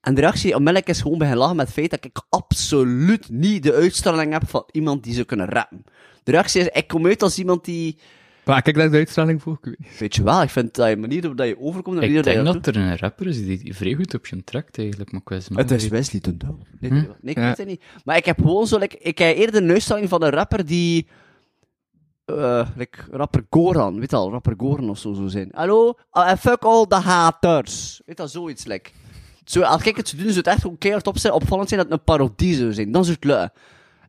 S3: En de reactie onmiddellijk is gewoon beginnen lachen met het feit dat ik absoluut niet de uitstraling heb van iemand die zou kunnen rappen. De reactie is, ik kom uit als iemand die...
S4: Maar kijk daar de uitstraling voor. Ik weet niet.
S3: Weet je wel, ik vind dat je manier waarop dat je overkomt... en de manier
S5: Ik
S3: waarop
S5: denk
S3: je
S5: dat er een rapper is die vrij goed op je trekt, eigenlijk. Maar ik wist
S3: Het is Wesley Dundal. Nee, nee, nee, ik
S4: Ja.
S3: weet het niet. Maar ik heb gewoon zo... Like, ik heb eerder een uitstraling van een rapper die... eh like, rapper Goran, weet je al, rapper Goran of zo zou zijn. Hallo, Ah, en fuck all the haters. Weet dat, zoiets, like. Zo, als ik het zou doen, zou het echt gewoon keihard op zijn, opvallend zijn dat het een parodie zou zijn. Dan zou het lukken.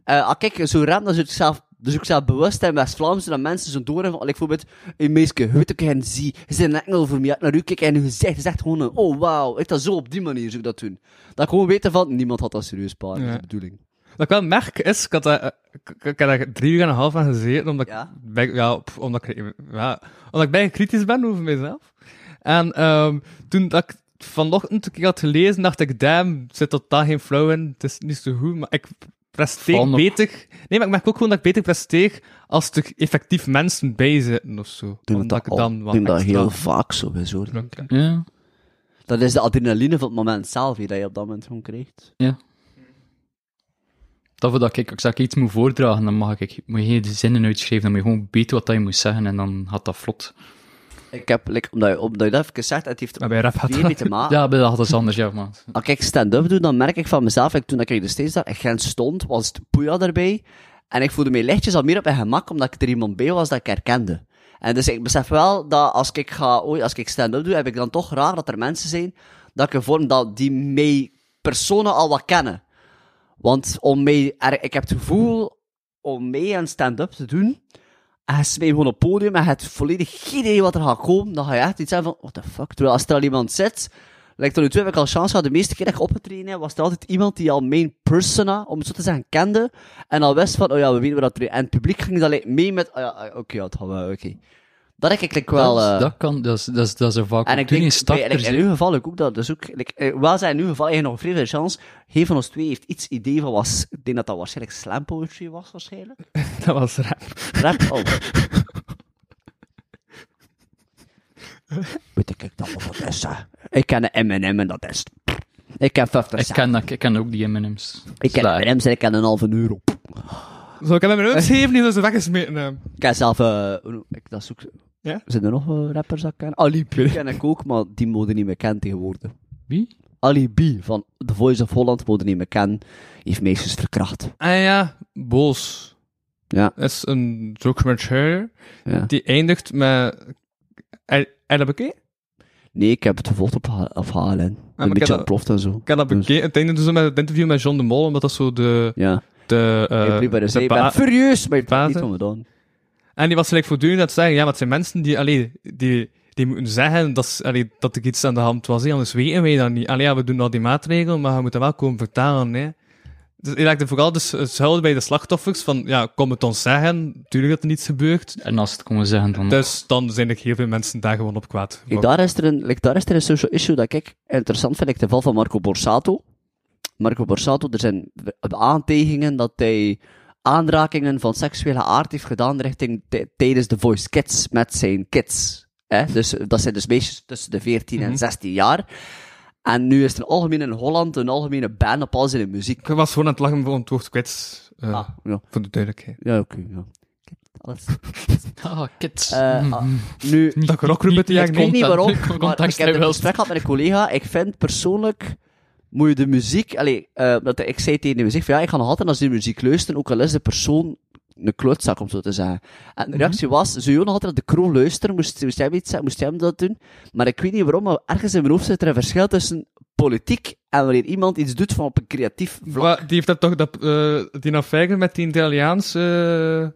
S3: Eh, als ik zo rap, dan zou ik zelf, dus ik zelf bewust in West-Vlaams zijn dat mensen zo door hebben. van, like, bijvoorbeeld, een meisje, weet ik hen zie, is een engel voor mij, uit naar u kijk en u gezegd, is echt gewoon een, oh wauw. Weet dat, zo op die manier zou ik dat doen. Dat ik gewoon weten van, niemand had dat serieus, paar, dat is
S4: Ja.
S3: de bedoeling.
S4: Wat ik wel merk is, ik had daar, eh, ik- ik- ik heb daar drie uur en een half aan gezeten, omdat,
S3: Ja.
S4: ik, bij- ja, pff, omdat, ik, ja, omdat ik bijna kritisch ben over mezelf. En ehm, toen dat ik het vanochtend een keer had gelezen, dacht ik, damn, er zit totaal geen flow in, het is niet zo goed, maar ik presteer
S5: Val nog.
S4: beter. Nee, maar ik merk ook gewoon dat ik beter presteer als er effectief mensen bij zitten of zo.
S3: Ik denk
S4: omdat
S3: dat,
S4: ik
S3: al-
S4: dan
S3: ik
S4: wat
S3: denk dat
S4: extra
S3: heel vaak zo is, hoor.
S4: druk heb.
S5: Ja.
S3: Dat is de adrenaline van het moment zelf, die je op dat moment gewoon krijgt.
S5: Ja. Dat voordat ik, als ik iets moet voordragen, dan mag ik, moet je geen zinnen uitschrijven, dan moet je gewoon weten wat dat je moet zeggen en dan gaat dat vlot.
S3: Ik heb, like, omdat, je, omdat je dat even zegt, het heeft
S4: Ah, Maar bij rap gaat
S3: veel
S4: dat-
S3: mee te maken.
S5: Ja, bij dat gaat dat anders, ja, man.
S3: Als ik stand-up doe, dan merk ik van mezelf, ik, toen ik er steeds daar in Gent stond, was het poeja erbij. En ik voelde mij lichtjes al meer op mijn gemak, omdat ik er iemand bij was dat ik herkende. En dus ik besef wel dat als ik, ga, oei, als ik stand-up doe, heb ik dan toch raar dat er mensen zijn dat ik een vorm dat die mij personen al wat kennen. Want om mij, er- ik heb het gevoel om mee aan stand-up te doen, en ze mij gewoon op het podium en je hebt volledig geen idee wat er gaat komen, dan ga je echt iets hebben van, what the fuck. Terwijl als er al iemand zit, lijkt er nu twee heb ik al chance gehad, de meeste keer dat ik opgetreden heb, was er altijd iemand die al mijn persona, om het zo te zeggen, kende. En al wist van, oh ja, we weten waar dat er... En het publiek ging dat like, mee met, oh ja, ah, oké, ja, het gaat wel, oké. Dat heb ik like, wel...
S5: dat,
S3: eh,
S5: dat kan, dat is, dat is, dat is een vaak.
S3: en ik denk, bij- like, in
S5: starters.
S3: uw geval ook dat. Dus ook, like, eh, wel zijn in uw geval eigenlijk nog een vrij veel kans. Geen van ons twee heeft iets idee van was. Ik denk dat dat waarschijnlijk slam poetry was, waarschijnlijk.
S4: Dat was rap.
S3: Rap, oh. Weet ik dat wat dat is, hè. Ik ken de M&M en dat is het. Ik ken 50
S5: Ik
S3: cent.
S5: ken, dat- ik ken ook die M&M's.
S3: Ik ken
S5: Slaag.
S3: M&M's en ik ken een halve euro.
S4: Zo, ik heb hem een geven, die is weg gesmeten. eh.
S3: Ik ken zelf... eh, hoe noem- ik, dat zoek...
S4: Ja?
S3: Zijn er nog eh, rappers dat ik ken? Ali B ken ik ook, maar die mode niet meer ken tegenwoordig.
S5: Wie?
S3: Ali B van The Voice of Holland, mode niet meer ken, heeft meisjes verkracht.
S4: Ah ja, Boos.
S3: Ja.
S4: Is een documentaire
S3: Ja.
S4: die eindigt met... eh, En dat bekeken?
S3: Nee, ik heb het gevolgd op, H- op HLN.
S4: Ah, maar
S3: een
S4: ik heb
S3: beetje
S4: dat-
S3: ontploft en zo.
S4: Ik heb dat
S3: Dus-
S4: bekeken. Het eindigt dus met het interview met John de Mol, omdat dat zo de...
S3: Ja,
S4: de, eh,
S3: ik liep bij de zee, ik ben
S4: ba-
S3: furieus, maar je hebt het
S4: bazen.
S3: niet ongedaan.
S4: En die was gelijk voortdurend aan het zeggen, ja, maar het zijn mensen die, allee, die, die moeten zeggen dat, ze- allee, dat er iets aan de hand was, hè, anders weten wij dat niet. Allee, ja, we doen al die maatregelen, maar we moeten wel komen vertalen, hè. Dus je raakte vooral dus schuil bij de slachtoffers van, ja, kom het ons zeggen, tuurlijk dat er niets gebeurt.
S5: En als het komen zeggen,
S3: Hm.
S5: dan...
S4: Dus dan zijn er heel veel mensen daar gewoon op kwaad.
S3: Kijk, daar is, er een, like, daar is er een social issue dat ik interessant vind. Ik de val van Marco Borsato. Marco Borsato, er zijn aantijgingen dat hij aanrakingen van seksuele aard heeft gedaan richting t- tijdens de Voice Kids met zijn kids. hè? Dus, eh, dat zijn dus meisjes tussen de 14 en 16 jaar. En nu is er algemeen in Holland een algemene ban op al zijn muziek.
S4: Ik was gewoon aan het lachen voor het woord kwets, eh,
S3: Ah, ja,
S4: voor de duidelijkheid.
S3: ja oké. ja. Alles.
S5: Ah, kids.
S3: Eh, ah, nu,
S5: Niet-
S4: Dat rockgroep
S5: niet-
S4: uit de jaren
S5: niet-
S3: Ik weet niet waarom,
S5: Contact-
S3: maar
S5: contact
S3: ik heb een
S5: wel.
S3: gesprek gehad met een collega. Ik vind persoonlijk, moet je de muziek... Allee, eh, dat, ik zei tegen de muziek, van, ja, ik ga nog altijd naar die muziek luisteren, ook al is de persoon een klootzak, om zo te zeggen. En
S5: Mhm.
S3: de reactie was, zou je nog altijd naar de crew luisteren? Moest, moest, jij iets, zeggen? moest jij hem dat doen? Maar ik weet niet waarom, maar ergens in mijn hoofd zit er een verschil tussen politiek en wanneer iemand iets doet van op een creatief vlak.
S4: Maar die heeft dat toch, dat, eh, die affaire met die Italiaans, eh,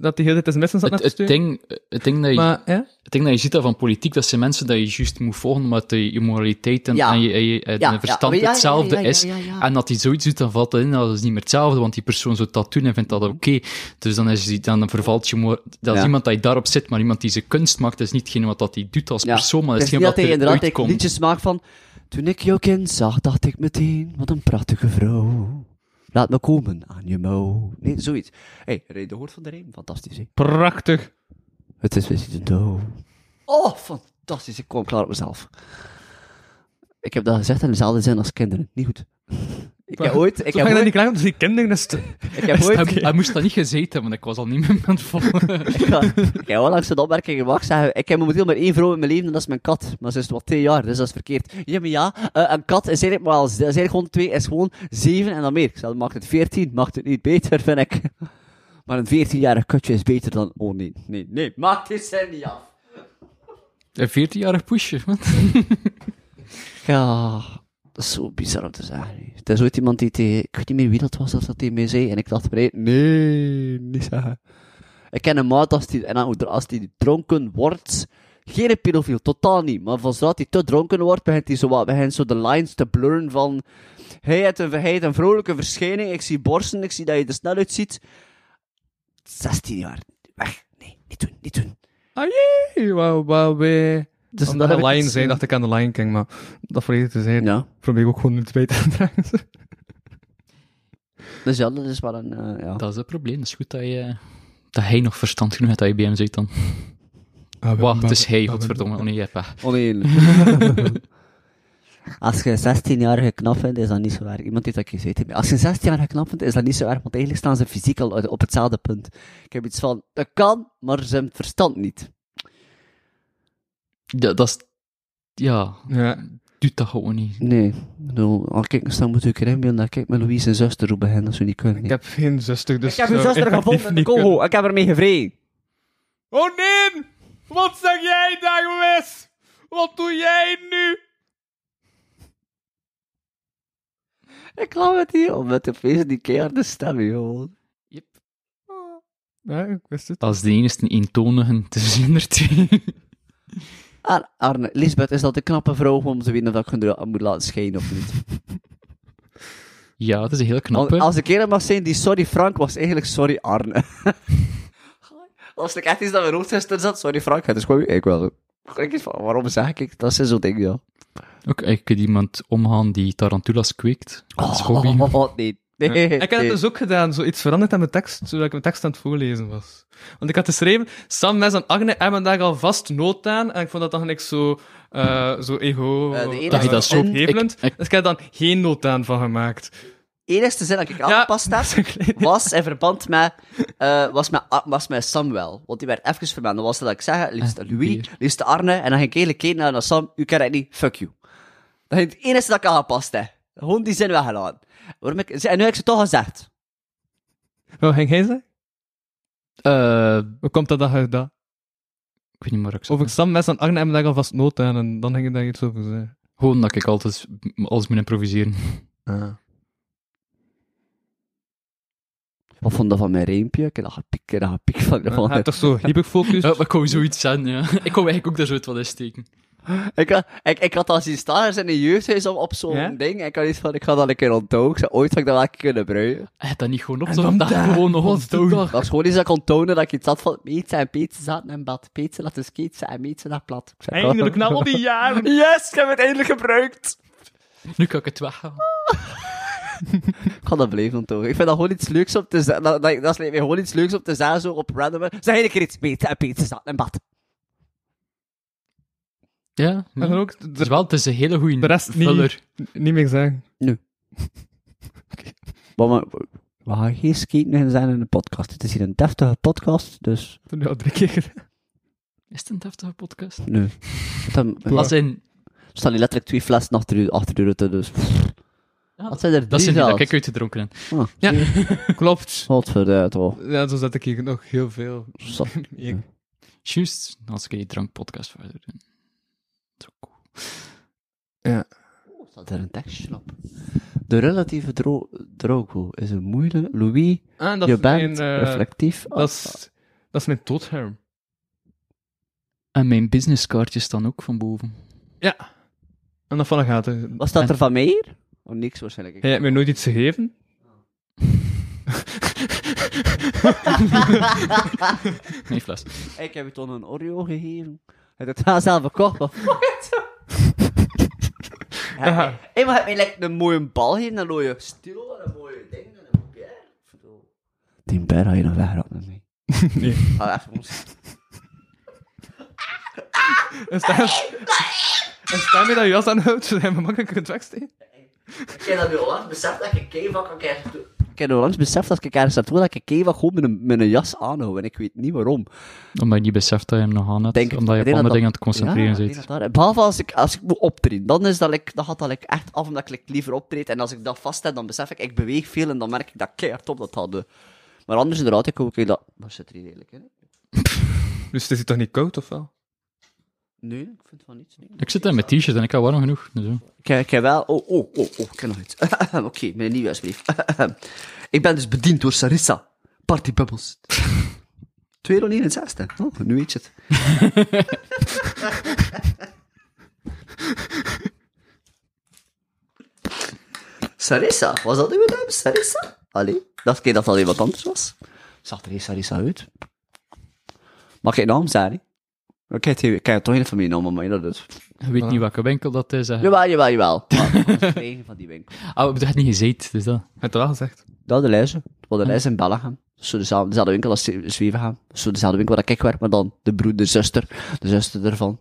S4: dat die heel de tijd sms'en zat na
S5: het,
S4: te
S5: het,
S4: sturen?
S5: ding, het, ding dat je,
S4: Maar, ja?
S5: het ding dat je ziet dat van politiek, dat zijn mensen dat je juist moet volgen, maar dat je je moraliteit en,
S3: Ja.
S5: en je, en je- en
S3: Ja,
S5: je
S3: ja,
S5: verstand
S3: maar ja, ja,
S5: hetzelfde
S3: ja, ja,
S5: is.
S3: ja, ja.
S5: En dat hij zoiets doet, dan valt dat in, dat is niet meer hetzelfde, want die persoon zou dat doen en vindt dat oké. Dus dan, is, die- dan vervalt je... mor- Dat is
S3: Ja.
S5: iemand dat je daarop zit, maar iemand die zijn kunst maakt, dat is niet hetgene wat dat hij doet als
S3: Ja.
S5: persoon, maar
S3: Het
S5: dat is
S3: is niet
S5: hetgene
S3: dat
S5: wat
S3: hij inderdaad
S5: er
S3: like,
S5: uitkomt.
S3: liedjes maakt van... Toen ik jouw kind zag, dacht ik meteen, wat een prachtige vrouw. Laat me komen aan je mouw. Nee, zoiets. Hé, hey, de hoort van de Rijn. Fantastisch, hè?
S4: Prachtig.
S3: Het is weer de dood. Oh, fantastisch. Ik kwam klaar op mezelf. Ik heb dat gezegd in dezelfde zin als kinderen. Niet goed. Ik heb ooit... Ik
S4: Ik
S3: heb
S4: heb
S3: ooit...
S4: niet klaar om die kinderen dus
S3: Ik heb
S5: Hij,
S3: ooit...
S5: hij moest dat niet gezeten hebben, want ik was al niet meer aan het volgen.
S3: Ja, ik heb onlangs een opmerking gemaakt. Zeggen, ik heb momenteel maar één vrouw in mijn leven en dat is mijn kat. Maar ze is wat twee jaar, dus dat is verkeerd. Ja, maar ja, eh, een kat is eigenlijk, maar als, is eigenlijk gewoon twee, is gewoon zeven en dan meer. Ik zei, maakt het veertien, maakt het niet beter, vind ik. Maar een veertienjarig kutje is beter dan... Oh nee, nee, nee, maak dit zin niet af.
S5: Een 14-jarig poesje, man.
S3: Ja, dat is zo bizar om te zeggen. Het is ooit iemand die tegen... Ik weet niet meer wie dat was dat dat tegen mij zei. En ik dacht bij nee, niet zeggen. Ik ken een maat als die, en dan hoe- als die dronken wordt... Geen pedofiel, totaal niet. Maar van zodra hij te dronken wordt, begint hij zo, wat- begint zo de lines te blurren van... Hij heeft een, hij heeft een vrolijke verschijning, ik zie borsten, ik zie dat je er snel uitziet. 16 jaar, weg. Nee, niet doen, niet doen.
S4: Ah jee, wauw, wauw, wee.
S3: Dus
S4: Omdat
S3: heb
S4: de
S3: ik
S4: Lion
S3: iets-
S4: zijn, dacht ik aan de Lion King, maar dat vergeten te zijn.
S3: Ja.
S4: Probeer ik ook gewoon niet beter te Ah, dragen.
S3: Dus ja, dat is wel een... eh, ja.
S5: Dat is het probleem. Het is goed dat, je, dat hij nog verstand genoeg heeft dat je bij hem zit dan. Wacht, het is hij, godverdomme. Oh nee, jeppa.
S3: Oneerlijk.
S6: Als je een 16-jarige knap vindt, is dat niet zo erg. Iemand heeft dat gezeten. Als je een 16-jarige knap vindt, is dat niet zo erg, want eigenlijk staan ze fysiek al op hetzelfde punt. Ik heb iets van, dat kan, maar ze hebben het verstand niet.
S5: Ja, dat is... Ja,
S4: Ja.
S5: doet dat gewoon niet.
S3: Nee. Nou, al kijk, dan moet ik erin dat ik met Louise en zuster roepen hen, dat ze niet kunnen.
S4: Ik heb geen zuster, dus...
S6: Ik heb uw
S4: zou
S6: zuster
S4: effectief
S6: gevonden in de
S4: niet
S6: Congo.
S4: kunnen.
S6: Ik heb ermee gevreden.
S4: Oh nee! Wat zeg jij daar, Wes? Wat doe jij nu?
S6: Ik laat het hier om met de feest die keer stemmen, gewoon.
S4: Ja, ik wist het.
S5: Als de ene is een eentonige, het is er twee.
S3: Ar Arne, Lisbeth, is dat de knappe vrouw om te weten of ik hun moet laten schijnen of niet?
S5: Ja, het is een heel
S3: Al-
S5: knappe.
S3: Als ik eerlijk mag zijn, die sorry Frank was eigenlijk sorry Arne. Als ik echt iets dat mijn hoofdzuster zat, sorry Frank, het is gewoon ik wel. zo. Ik denk van, waarom zeg ik? Dat is zo'n ding, ja.
S5: Ook, ik kan iemand omgaan die tarantulas kweekt. Dat is hobby.
S3: Oh, oh, nee. Nee,
S4: Ik heb het
S3: nee.
S4: dus ook gedaan, zoiets veranderd aan mijn tekst, zodat ik mijn tekst aan het voorlezen was. Want ik had geschreven, Sam, Mes en Agne hebben daar al vast nood aan, en ik vond dat dan niks zo, eh, zo ego...
S3: Eh, de enige
S5: Dat je dat zo... Ik,
S4: ophevelend.
S5: ik,
S4: Dus ik heb daar dan geen nood aan van gemaakt.
S3: enigste zin dat ik aangepast heb, was in verband met, eh, was met, ah, was met Samuel. Want die werd even vermeld. Dan was dat ik zeg, liefste
S5: Ah,
S3: Louis,
S5: weer.
S3: liefste Arne, en dan ging ik eigenlijk kijken naar naar Sam, u kent het niet, fuck you. Dat is het enige dat ik aangepast heb. Gewoon die zin weggelaten. Waarom ik, en nu heb ik ze toch gezegd.
S4: Wat ging jij zeggen?
S5: eh,
S4: Hoe komt dat dat je dat?
S5: ik weet niet meer wat ik zou
S4: Over Sam, Mes en Agne hebben daar al vast nood aan, en dan ging ik daar iets over zeggen.
S5: Gewoon dat ik altijd m- alles moet improviseren.
S3: Ah. Wat vond dat van mijn reempje? Ik heb dat gepiek, ik heb dat gepiek van.
S4: Ja,
S3: van-
S4: hij had toch zo hyperfocus?
S3: Oh,
S5: Ja, maar ik wou zoiets zijn, ja. Ik wou eigenlijk ook daar zoiets wat in steken.
S3: ik, had- ik, ik had dat zien staan er zijn een jeugdhuis op, op zo'n
S4: Ja?
S3: ding. En ik had iets van, ik ga dat een keer onthouden. Ik zei, ooit ga ik dat wel een keer kunnen bruien.
S5: Heb dat niet gewoon op zo'n dag gewoon nog ontdoen.
S3: Dat was gewoon iets dat ik onthouden dat ik iets had van Peetsen en Peetsen zaten in bad. Peetsen laten sketsen en Peetsen naar plat. Ik zei,
S4: Eindelijk, na al die jaren!
S3: Yes, ik heb het eindelijk gebruikt.
S5: Nu kan ik het weghalen.
S3: Ik ga dat blijven onthouden. Ik vind dat gewoon iets leuks om te zeggen. Dat, dat, dat lijkt mij gewoon iets leuks om te zeggen, zo op random. Zeg een keer iets. Peetsen en Peetsen zaten in bad.
S5: Ja, nee.
S4: En dan ook,
S5: Het is wel, het is een hele goede
S4: De rest niet.
S5: vuller.
S4: niet meer zeggen.
S6: Maar, maar we gaan geen skaten en zijn in de podcast. Het is hier een deftige podcast, dus...
S4: Toen al drie keer gedaan.
S5: Is het een deftige podcast?
S3: Nee. Dan
S4: Ja.
S5: Als in,
S3: er staan hier letterlijk twee flessen achter, u- achter de rutte, dus...
S5: Ja,
S3: Wat zijn er
S5: dat
S3: drie
S5: zijn die dat
S3: zelfs?
S5: ik uitgedronken heb.
S4: Klopt.
S3: Godverduid, hoor.
S4: Ja, zo zet ik hier nog heel veel.
S3: Zat.
S4: Ik-
S5: Juist, als ik die drankpodcast verder doe. Zo cool.
S3: Staat er een tekstje op? De relatieve dro droogte is een moeilijke... Louis,
S4: Ah, dat
S3: je
S4: is
S3: bent
S4: mijn, eh,
S3: reflectief.
S4: dat, is, dat is mijn doodherm.
S5: En mijn businesskaartje staan ook van boven.
S4: Ja. En dat van de gaten.
S3: Wat staat er van mij hier? Oh, niks waarschijnlijk.
S4: Jij hebt mij nooit iets gegeven?
S5: Nee, fles.
S3: Ik heb je toen een Oreo gegeven. Hij had het wel zelf gekocht, maar fuck it. Ja, hey, maar heb mij lijkt een mooie bal hier, een mooie stilo en een mooie ding en een beer. Die beer had je nog weggerapt met mij.
S4: Nee.
S3: Ah, even ons.
S4: En sta, en sta je dat je jas aanhoudt, zodat je me makkelijker kunt wegsteken?
S3: Ik heb dat nu onlangs beseft dat ik keivak kan krijgen. Ik heb nu onlangs beseft dat ik ergens naartoe dat ik keivak gewoon met een, met een jas aanhoud. En ik weet niet waarom.
S5: Omdat je niet beseft dat je hem nog aan hebt.
S3: Denk het.
S5: omdat je
S3: Ik
S5: op
S3: denk
S5: andere
S3: dat
S5: dingen aan het
S3: Ja,
S5: concentreren
S3: ik denk
S5: bent.
S3: dat daar- Behalve als ik, als ik moet optreden, dan, is dat, ik- dan gaat dat ik echt af omdat ik like, liever optreed. En als ik dat vast heb, dan besef ik, ik beweeg veel en dan merk ik dat keihard op dat dat doet. Maar anders inderdaad, ik ook, dat... Maar zit er hier redelijk in? hè?
S4: Dus het is hier toch niet koud, of wel?
S3: Nee, ik vind van niets. nee.
S5: Ik zit daar met t-shirt en ik heb warm genoeg. Dus, ja.
S3: Ik, heb- ik heb wel... Oh, oh, oh, oh, ik heb nog iets. Oké, mijn nieuwe brief. ik ben dus bediend door Sarissa. Party Bubbles. 269. Oh, nu weet je het. Sarissa, was dat uw naam? Sarissa? Allee, dacht ik dat dat iemand anders was. Zag er geen Sarissa uit. Mag ik naam zeggen? hè? Ik heb het- ik heb het toch geen familienaam, maar dat dus.
S5: Je weet niet welke winkel dat is. hè.
S3: Jawel, jawel, jawel. Maar dat was de eigen van die winkel.
S5: Ah, we hebben het niet gezeten, dus dat.
S4: Heb je het wel gezegd?
S3: Dat de lijzen. Wat de lijzen in Bellen gaan. Zo dezelfde, dezelfde winkel als Ze- Zweven gaan. Zo dezelfde winkel waar ik werk, maar dan de broer, de zuster. De eh, zuster ervan.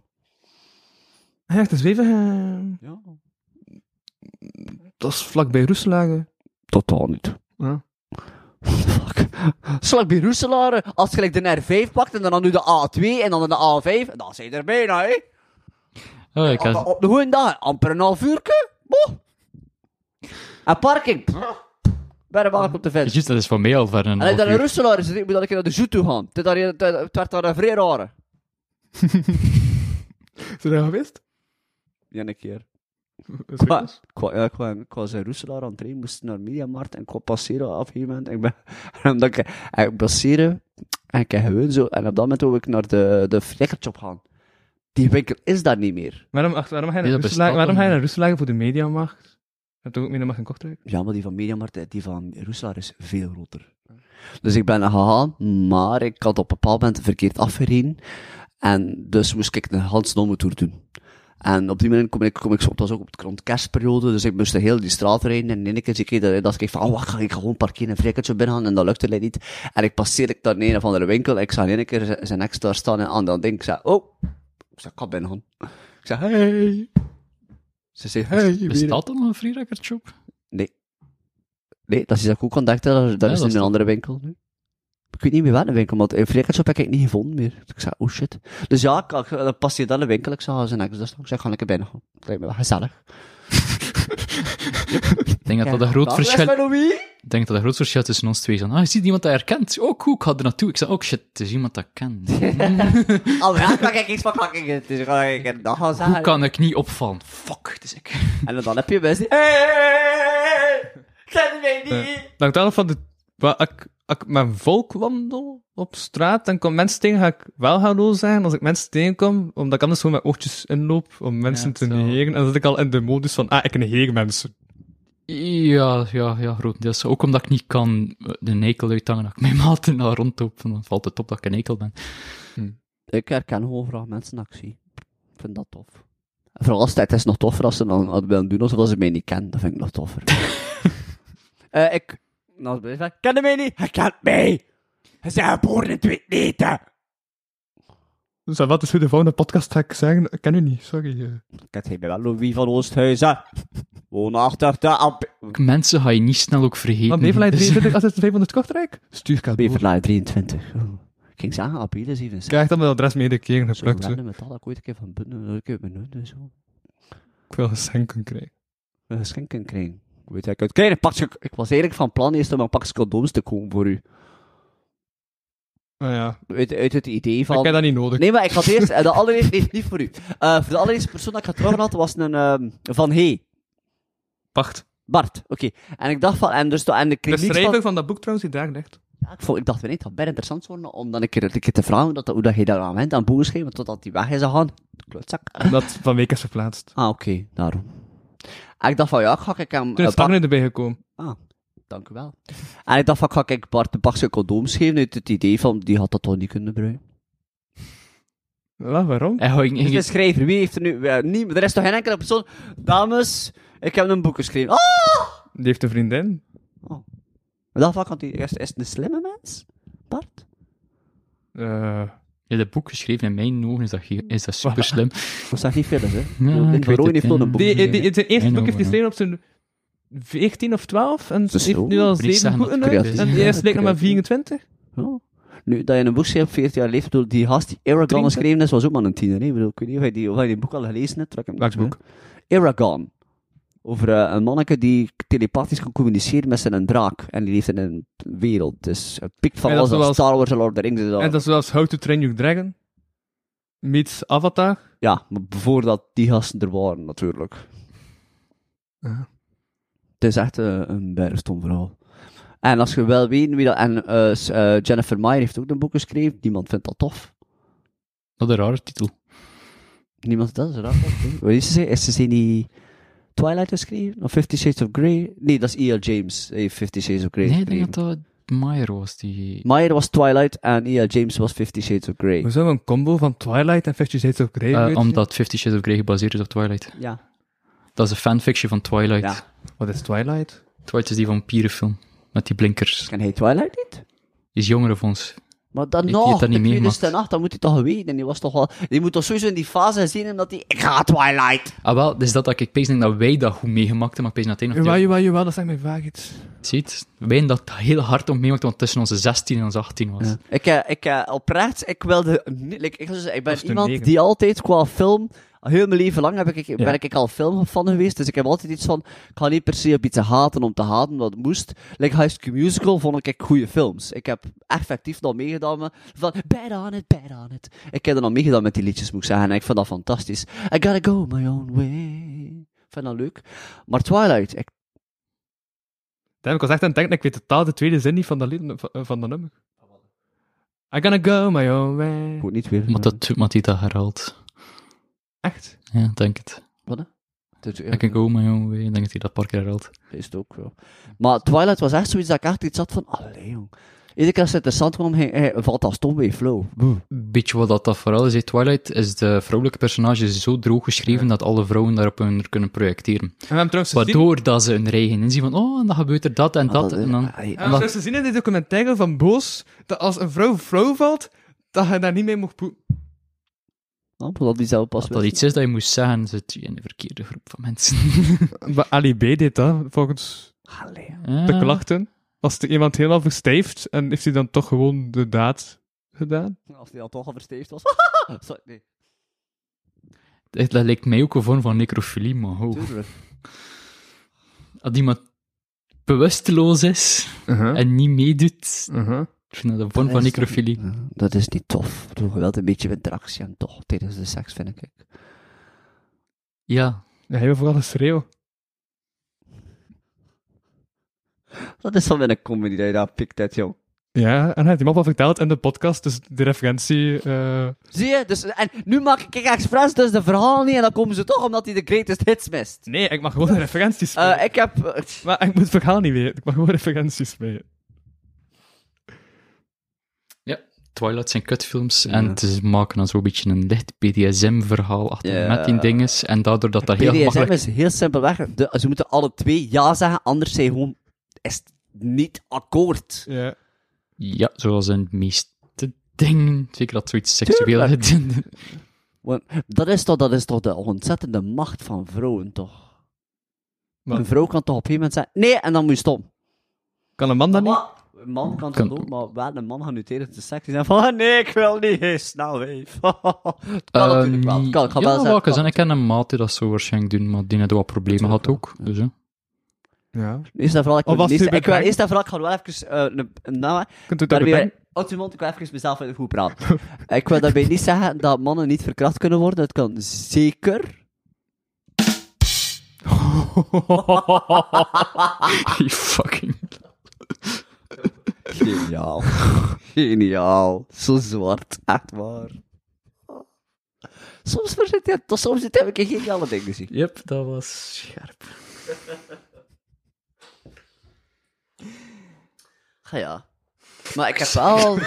S4: Hij heeft een zweven.
S3: Ja.
S4: Dat is vlakbij Roeselage.
S3: Totaal niet.
S4: Ja.
S3: Fuck. Slag bij Roeselare, als je like, de R5 pakt en dan nu de A2 en dan de A5, dan zijn je er bijna, hè?
S5: Oh, ik
S3: Op,
S5: had...
S3: op de goede dag, amper een half uurke. Boh. En parking. Bijna makkelijk op de vent.
S5: Juist, dat is voor mij al ver een
S3: En als je
S5: half
S3: naar een
S5: uur.
S3: Roeselaar zit, moet je dan een keer naar de Zoet toe gaan. Het, is daar- het, het werd daar een vrij rare.
S4: Zijn jullie geweest?
S3: Ja, een keer.
S4: Dat is
S3: Maar, qua, ja, qua, qua zijn Roeselaar aan het trainen, moest naar Mediamarkt en qua passeren op een gegeven moment. Ik ben, en omdat ik, en ik passeren en ik heb gewoon zo. En op dat moment wil ik naar de, de flikkershop gaan. Die winkel is daar niet meer.
S4: Waarom, wacht, waarom ga je
S5: Ja,
S4: naar
S5: dat
S4: Roeselagen-
S5: bestaat
S4: waarom ga je
S5: dan.
S4: naar Roeselagen voor de mediamarkt? Je hebt toch ook mediamarkt in Kortrijk?
S3: Ja, maar die van Mediamarkt, eh, die van Roeselaar is veel groter. Dus ik ben er gegaan, maar ik had op een bepaald moment verkeerd afgereden. En dus moest ik een Hans tour doen. En op die moment kom ik, kom ik zo, het was ook op het rond kerstperiode, dus ik moest de hele die straat rijden. En in één keer zie ik dat, dat ik van, oh, wacht, ga ik gewoon parkeren en vrikketje binnen gaan. En dat lukte mij niet. En ik passeer ik daar in een of andere winkel. Ik zag in één keer zijn- zijn ex daar staan en aan dat ding. Ik zei, oh, ik zei, ik ga binnen gaan. Ik zei, hey. Ze zei, hey. weer-
S5: Bestaat er nog een freerecord shop?
S3: Nee, dat is dat ik ook contact had. Dat, dat
S5: Ja,
S3: is
S5: dat
S3: in
S5: is
S3: een andere winkel nu. Ik weet niet meer welke winkel, want in Vrekertshop heb ik niet gevonden meer. Dus ik zei, oh shit. Dus ja, ik, ik, dan passeerde aan de winkel. Ik zag zijn ex daar staan. Ik zei, ga lekker binnen gaan. Het lijkt me wel gezellig.
S5: Ik denk dat dat een groot
S3: Dag, les
S5: verschil...
S3: bij Louis.
S5: Ik denk dat dat een groot verschil tussen ons twee is. Ah, je ziet iemand dat herkent. Oh, cool, ik ga er naartoe. Ik zei, oh shit, het is iemand dat ik ken.
S3: Al raak maar kijk iets van kijk ik het. Dus ga ik een dag gaan
S5: Hoe
S3: zeggen.
S5: kan ik niet opvallen? Fuck, het is ik.
S3: En dan heb je mensen die, hey, ken mij niet.
S4: Dank daarvan van de... Waar ik, ik mijn volk wandel op straat, dan kom mensen tegen, ga ik wel hallo zeggen als ik mensen tegenkom, omdat ik anders gewoon met oortjes inloop om mensen
S5: Ja,
S4: te
S5: zo.
S4: negeren. En dan zit ik al in de modus van, ah, ik negeer mensen.
S5: Ja, ja, ja, grotendeels. Ook omdat ik niet kan eh, de nekel uithangen dat ik mijn maten naar rondloop. Dan valt het op dat ik een nekel ben.
S3: Ik herken gewoon graag mensen in actie. Ik vind dat tof. En Vooral als het, het is nog toffer als ze dan het willen doen alsof ze mij niet kennen. Dat vind ik nog toffer. Eh ik... Nou, is het Ken je mij niet? Hij kent mij! Hij zei, hij boer in twee neten!
S4: Dus wat is weer de volgende podcast ga ik zeggen, ik ken u niet, sorry. eh.
S3: Kent hij mij wel, Louis van Oosthuizen? Woon achter de amp...
S5: Ook mensen ga je niet snel ook vergeten.
S3: Ah,
S4: Maar Beverlijn
S5: Dus-
S4: 23, als het 500 Kortrijk, stuur ik door.
S3: Beverlaai 23. Oh. Ik ging zeggen, april is even...
S4: Ik krijg dan mijn adres medekeren geplukt, hè.
S3: Random metaal dat ik ooit een keer van binnen... Ik heb mijn en zo.
S4: ik wil geschenken krijgen.
S3: een geschenk kan krijgen. Ik weet dat ik uit kleine pakjes... Ik was eigenlijk van plan eerst om een pakje condooms te kopen voor u.
S4: Nou ja,
S3: Uit, uit het idee van...
S4: ik heb dat niet nodig.
S3: Nee, maar ik had eerst... eh, De allereerste... Nee, niet voor u. Eh, voor de allereerste persoon dat ik getroffen had, was een ehm, Van Hey.
S4: Wacht.
S3: Bart, oké. En ik dacht van... En, dus, en ik
S4: De
S3: kreeg niets
S4: schrijver
S3: van...
S4: van... dat boek trouwens, die daar ligt.
S3: Ja, ik, vond, ik dacht, weet niet, dat best interessant worden om dan een keer, een keer te vragen dat, hoe dat je daar aan bent aan boeken schrijven, totdat die weg is gegaan. Klotzak.
S4: Dat van week is verplaatst.
S3: Ah, oké. daarom. En ik dacht van, ja, ga ik hem...
S4: Toen
S3: eh,
S4: is
S3: Bart-
S4: Arne Dus erbij gekomen.
S3: Dank u wel. En ik dacht van, ga ik Bart een pakje condooms geven uit het idee van, die had dat toch niet kunnen gebruiken.
S4: Wel, waarom?
S5: En ga ik-
S3: Dus
S5: ging
S3: de
S5: ik-
S3: schrijver, wie heeft er nu... eh, niet, er is toch geen enkele persoon... Dames, ik heb een boek geschreven. Ah!
S4: Die heeft een vriendin.
S3: Maar dat vak had hij eerst is het een slimme mens, Bart.
S4: Eh,
S5: Ja, dat boek geschreven in mijn ogen is dat, ge- is dat super slim.
S3: Dat zijn niet veel, hè.
S5: Ja, ik
S3: Nick van
S5: weet
S3: Rooyen
S5: het,
S3: heeft nog een boek.
S5: ja.
S4: die, die, die- zijn eerste
S5: Mijn
S4: boek
S5: ogen,
S4: heeft hij geschreven op zijn 14 of 12. En
S3: is
S4: heeft
S3: zo.
S4: nu al
S5: Moet niet
S4: 7
S5: zeggen dat
S4: boeken
S5: het
S4: uit.
S5: kut is.
S4: En
S5: Ja,
S4: die eerste leek nog maar
S3: kut, ja.
S4: 24.
S3: Ja. Oh. Nu, dat je een boek schrijft op 14 jaar leeftijd, bedoel, die gast die Aragon
S4: Drieëndertig.
S3: geschreven is, was ook maar een tiener. Hè? Ik, bedoel, ik weet niet of hij die, of hij die boek al gelezen hebt. Welk
S4: Welk boek?
S3: Aragon. Over eh, een manneke die telepathisch kan communiceren met zijn draak. En die leeft in een wereld. Dus een pik van
S4: En dat
S3: alles
S4: is
S3: als
S4: wel
S3: Star Wars en Lord of the Rings. en zo.
S4: En dat is zoals How to Train Your Dragon. Meets Avatar.
S3: Ja, maar voordat die gasten er waren, natuurlijk.
S4: Ja.
S3: Het is echt eh, een bergstom verhaal. En als je wel weet wie dat... En eh, s- eh, Jennifer Meyer heeft ook een boek geschreven. Niemand vindt dat tof.
S5: Wat een rare titel.
S3: Niemand dat is raar. Wat is ze? Is ze niet Twilight geschreven? Of Fifty Shades of Grey? Nee, dat is E.L. James. Hij heeft Fifty Shades of Grey
S5: Nee, ik denk
S3: geschreven.
S5: dat dat Meyer was die...
S3: Meyer was Twilight en E.L. James was Fifty Shades of Grey.
S4: We zouden een combo van Twilight en Fifty Shades of Grey
S5: eh,
S4: willen zien.
S5: omdat Fifty Shades of Grey gebaseerd is op Twilight.
S3: Ja.
S5: Dat is een fanfiction van Twilight.
S3: Ja.
S4: Wat is Twilight?
S5: Twilight is die vampierenfilm. Met die blinkers.
S3: Ken hij Twilight niet?
S5: Die is jonger van ons.
S3: Maar dan
S5: Heeft hij
S3: nog,
S5: het dan niet
S3: de
S5: meegemaakt?
S3: 2008, dan moet hij toch geweten. En die was toch al... Die moet toch sowieso in die fase gezien hebben dat hij... Ik ga Twilight!
S5: Ah, wel, dus dat, dat ik pees denk dat wij dat goed meegemaakt hebben, maar ik pees dat hij nog
S4: Jawel,
S5: niet
S4: jawel, jawel, dat zijn mijn vaag iets.
S5: ziet. Wij hebben dat heel hard om meegemaakt, want tussen onze 16 en onze 18 was.
S3: Ik, eh, ik eh, oprecht, ik wilde... niet- like, ik, zou zeggen, ik
S4: Of
S3: ben
S4: de
S3: iemand
S4: negen.
S3: die altijd qua film... Heel mijn leven lang heb ik, ben ik al filmfan geweest, dus ik heb altijd iets van... Ik ga niet per se op iets haten om te haten, wat moest. Like High School Musical vond ik goede films. Ik heb effectief nog meegedaan met... Van, bad on it, bad on it. Ik heb er nog meegedaan met die liedjes, moet ik zeggen. En ik vond dat fantastisch. I gotta go my own way. Ik vind dat leuk. Maar Twilight, ik...
S4: Damn, ik was echt aan het denken, ik weet totaal de tweede zin niet van dat, lied, van, eh, van dat nummer. I gonna go my own way.
S3: Goed, niet weer.
S5: Maar dat maar die dat herhaalt.
S4: Echt?
S5: Ja, ik denk het.
S3: Dat-
S5: Ik kan go my own way. Ik denk oh, dat hij dat een paar keer herhaalt.
S3: Is het ook wel. Maar Twilight was echt zoiets dat ik echt iets had van, allee jong. Iedere keer als het interessant kwam, hij, hij valt dat stom bij flow.
S5: Beetje wat dat, dat vooral is, hè. Twilight is de vrouwelijke personage zo droog geschreven dat alle vrouwen daarop hun kunnen projecteren.
S4: En we hebben trouwens gezien,
S5: Waardoor dat ze hun eigen inzien van, oh, en dan gebeurt er dat en dat. En dan...
S4: we hebben trouwens gezien in die documentaire van Boos, dat als een vrouw vrouw valt, dat je daar niet mee mocht poepen.
S3: dat die zelf pas
S5: Dat dat
S3: weten.
S5: iets is dat je moest zeggen, zit je in de verkeerde groep van mensen.
S4: Maar Ali B deed dat, volgens
S3: Allee, jong.
S5: Ja.
S4: de klachten. Was er iemand helemaal verstijfd en heeft hij dan toch gewoon de daad gedaan?
S3: Als die al toch al versteefd was. Sorry, nee.
S5: Dat dat lijkt mij ook een vorm van necrofilie, maar ho.
S3: Tuurlijk.
S5: Als iemand bewusteloos is
S4: Uh-huh.
S5: en niet meedoet, ik vind dat een vorm
S3: Dat
S5: van
S3: is toch
S5: necrofilie.
S3: niet- ja, Dat is niet tof. Doe je wel een beetje interactie en toch tijdens de seks, vind ik.
S5: Ja,
S4: Ja, heel vooral een schreeuw.
S3: Dat is van mijn comedy dat je daar pikt, uit, jong.
S4: Ja, en hij heeft hem al verteld in de podcast, dus de referentie... eh,
S3: Zie je? Dus, en nu maak ik expres dus de verhaal niet en dan komen ze toch omdat hij de greatest hits mist.
S4: Nee, ik mag gewoon de referenties
S3: Eh,
S4: spelen.
S3: ik heb... eh,
S4: Maar ik moet het verhaal niet weten, ik mag gewoon referenties spelen.
S5: Twilight zijn kutfilms en ze maken dan zo'n beetje een licht BDSM-verhaal achter
S3: Ja.
S5: met die dinges. En daardoor dat dat heel
S3: BDSM
S5: makkelijk...
S3: is heel simpelweg. De, ze moeten alle twee ja zeggen, anders zijn gewoon is het niet akkoord.
S4: Ja.
S5: Ja, zoals in de meeste dingen. Zeker dat zoiets seksueel is.
S3: Want dat is toch, dat is toch de ontzettende macht van vrouwen, toch?
S4: Maar-
S3: Een vrouw kan toch op een gegeven moment zeggen, nee, en dan moet je stom.
S4: Kan een man dat niet?
S3: Maar Een man kan
S5: Kan-
S3: dat ook, maar wel een man gaat nu tijdens de seks die zeggen van, "Ah, nee, ik wil niet, hey, snel weef. dat kan natuurlijk
S4: Ehm,
S3: wel. Kan, ik ga
S5: Ehm, ja,
S3: wel
S5: wel
S3: zeggen,
S5: eens,
S3: kan.
S5: en ik ken een maat die dat zo waarschijnlijk doen, maar die net wat problemen had ook. Dus, hè.
S4: Ja.
S3: Eerst en vooral, ik
S4: Of
S3: wil,
S4: was
S3: eerst, ik
S4: het
S3: wil
S4: beperkt?
S3: eerst en vooral, ik ga wel even eh, een, een naam
S4: Kunt u dat
S3: Daar weer,
S4: bedenken?
S3: houd je mond, ik wil even mezelf in de goed praten. ik wil daarbij niet zeggen dat mannen niet verkracht kunnen worden. Dat kan zeker.
S5: Die fucking...
S3: Geniaal. Geniaal. Zo zwart. Echt waar. Soms verzit hij, tot soms zit hij een keer geniale dingen zien.
S5: Yep, dat was scherp.
S3: Ja, ja. Maar ik heb wel...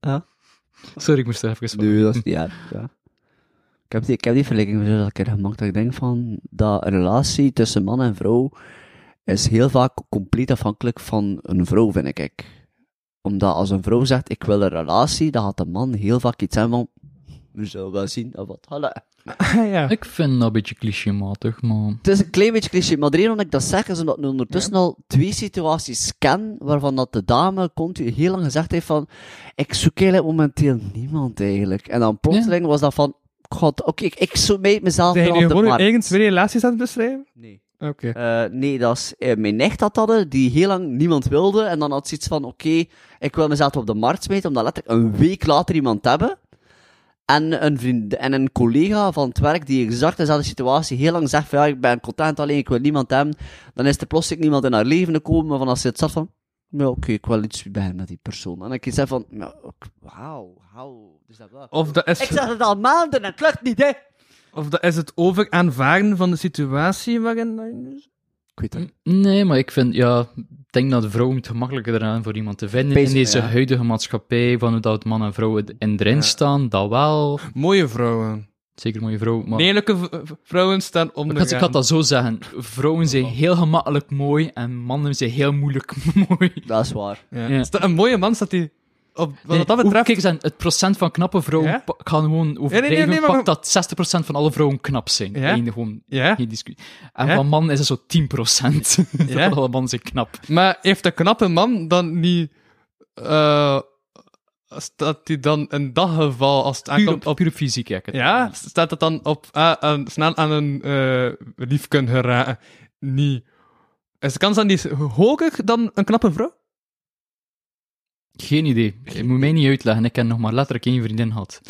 S5: Sorry, ik moest er even...
S3: Nu, dat is niet erg, ja. Ik heb die, ik heb die vergelijking zo dat keer gemaakt, dat ik denk van, dat een relatie tussen man en vrouw is heel vaak compleet afhankelijk van een vrouw, vind ik. ik. Omdat als een vrouw zegt, ik wil een relatie, dan gaat de man heel vaak iets zijn van, we zullen wel zien, of wat. Hallo.
S4: ja.
S5: Ik vind dat een beetje clichématig, maar...
S3: Het is een klein beetje cliché, maar de reden dat ik dat zeg is omdat ik ondertussen al twee situaties ken waarvan dat de dame continu heel lang gezegd heeft van ik zoek eigenlijk momenteel niemand eigenlijk. En dan plotseling was dat van god, oké, ik, ik zoek mij mezelf
S4: Zijn
S3: wel
S4: jullie
S3: op de
S4: gewoon uw
S3: markt.
S4: eigen twee relaties aan het beschrijven?
S3: Nee.
S4: Oké.
S3: Eh, nee, dat is eh, mijn nicht dat hadden, die heel lang niemand wilde. En dan had ze iets van, oké, ik wil mezelf op de markt smijten, omdat letterlijk een week later iemand te hebben. En een vriend en een collega van het werk die exact dezelfde situatie heel lang zegt van, ja, ik ben content alleen, ik wil niemand hebben. Dan is er plotseling niemand in haar leven gekomen, waarvan als ze het zat van, ja, oké, ik wil iets bij met die persoon. En dan zeg van, ja, ok, wauw, wauw, is dat wel...
S4: Of, dat
S3: Ik
S4: is,
S3: zeg het al maanden en het lukt niet, hè.
S4: of dat is het over aanvaarden van de situatie waarin...
S3: Ik weet het.
S5: Nee, maar ik vind, ja, ik denk dat de vrouw het gemakkelijker eraan voor iemand te vinden
S3: Bezig,
S5: in deze
S3: ja.
S5: huidige maatschappij, van hoe dat man en vrouw in erin staan, dat wel.
S4: Mooie vrouwen.
S5: Zeker mooie vrouw, maar...
S4: Lelijke v- v- vrouwen staan
S5: Ik
S4: onder.
S5: had, ik had dat zo zeggen. Vrouwen zijn heel gemakkelijk mooi en mannen zijn heel moeilijk mooi.
S3: Dat is waar.
S4: Ja.
S5: Ja.
S4: Staat een mooie man staat die. Op, wat
S5: Nee,
S4: dat
S5: hoe-
S4: betreft.
S5: Kijk eens aan, het procent van knappe vrouwen
S4: Ja?
S5: pa- ik ga gewoon overdrijven.
S4: nee, nee, maar-
S5: pak dat 60% van alle vrouwen knap zijn.
S4: Ja?
S5: Eén, gewoon,
S4: Ja.
S5: geen discussie. En
S4: Ja?
S5: van mannen is het zo 10%.
S4: Ja?
S5: Van alle mannen zijn knap.
S4: Maar heeft een knappe man dan niet. eh, staat die dan in dat geval, als het
S5: Puur
S4: aankomt
S5: op,
S4: op.
S5: puur op fysiek, ja. ik het-
S4: Ja, staat dat dan op. ah, aan- snel aan een eh lief kunnen geraken? Niet. Is de kans dan niet hoger dan een knappe vrouw?
S5: Geen idee. Je moet mij niet uitleggen. Ik heb nog maar letterlijk één vriendin gehad.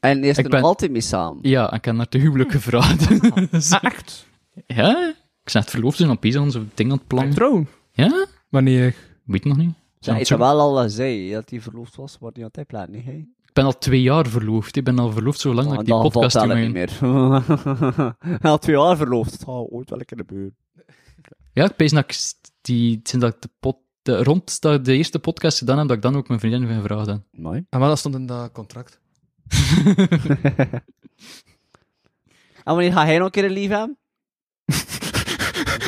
S3: En je is
S5: Ik
S3: er
S5: ben-
S3: altijd mee samen.
S5: Ja, en ik heb haar te huwelijk gevraagd. Dus-
S3: Ah,
S4: echt?
S5: ja? Ik zat verloofd zijn aan Pisa, zo'n ding aan het plannen.
S4: Trouw.
S5: Ja?
S4: Wanneer?
S5: Weet nog niet.
S3: Zij
S5: Ja,
S3: heeft
S5: zo-
S3: er wel al gezegd dat hij verloofd was, maar die had hij plaat niet. Hè?
S5: Ik ben al twee jaar verloofd. Ik ben al verloofd zo lang dat ik die
S3: dan
S5: podcast
S3: valt
S5: doe.
S3: dat
S5: mijn-
S3: niet meer. hij had twee jaar verloofd. Het zou ooit wel een keer gebeuren.
S5: Ja, ik pees dat ik st- die, sinds dat ik de pod, de, rond dat ik de eerste podcast gedaan heb, dat ik dan ook mijn vriendin van gevraagd heb.
S3: Mooi.
S4: En wat stond in dat contract?
S3: En wanneer ga hij nog een keer een lief hebben?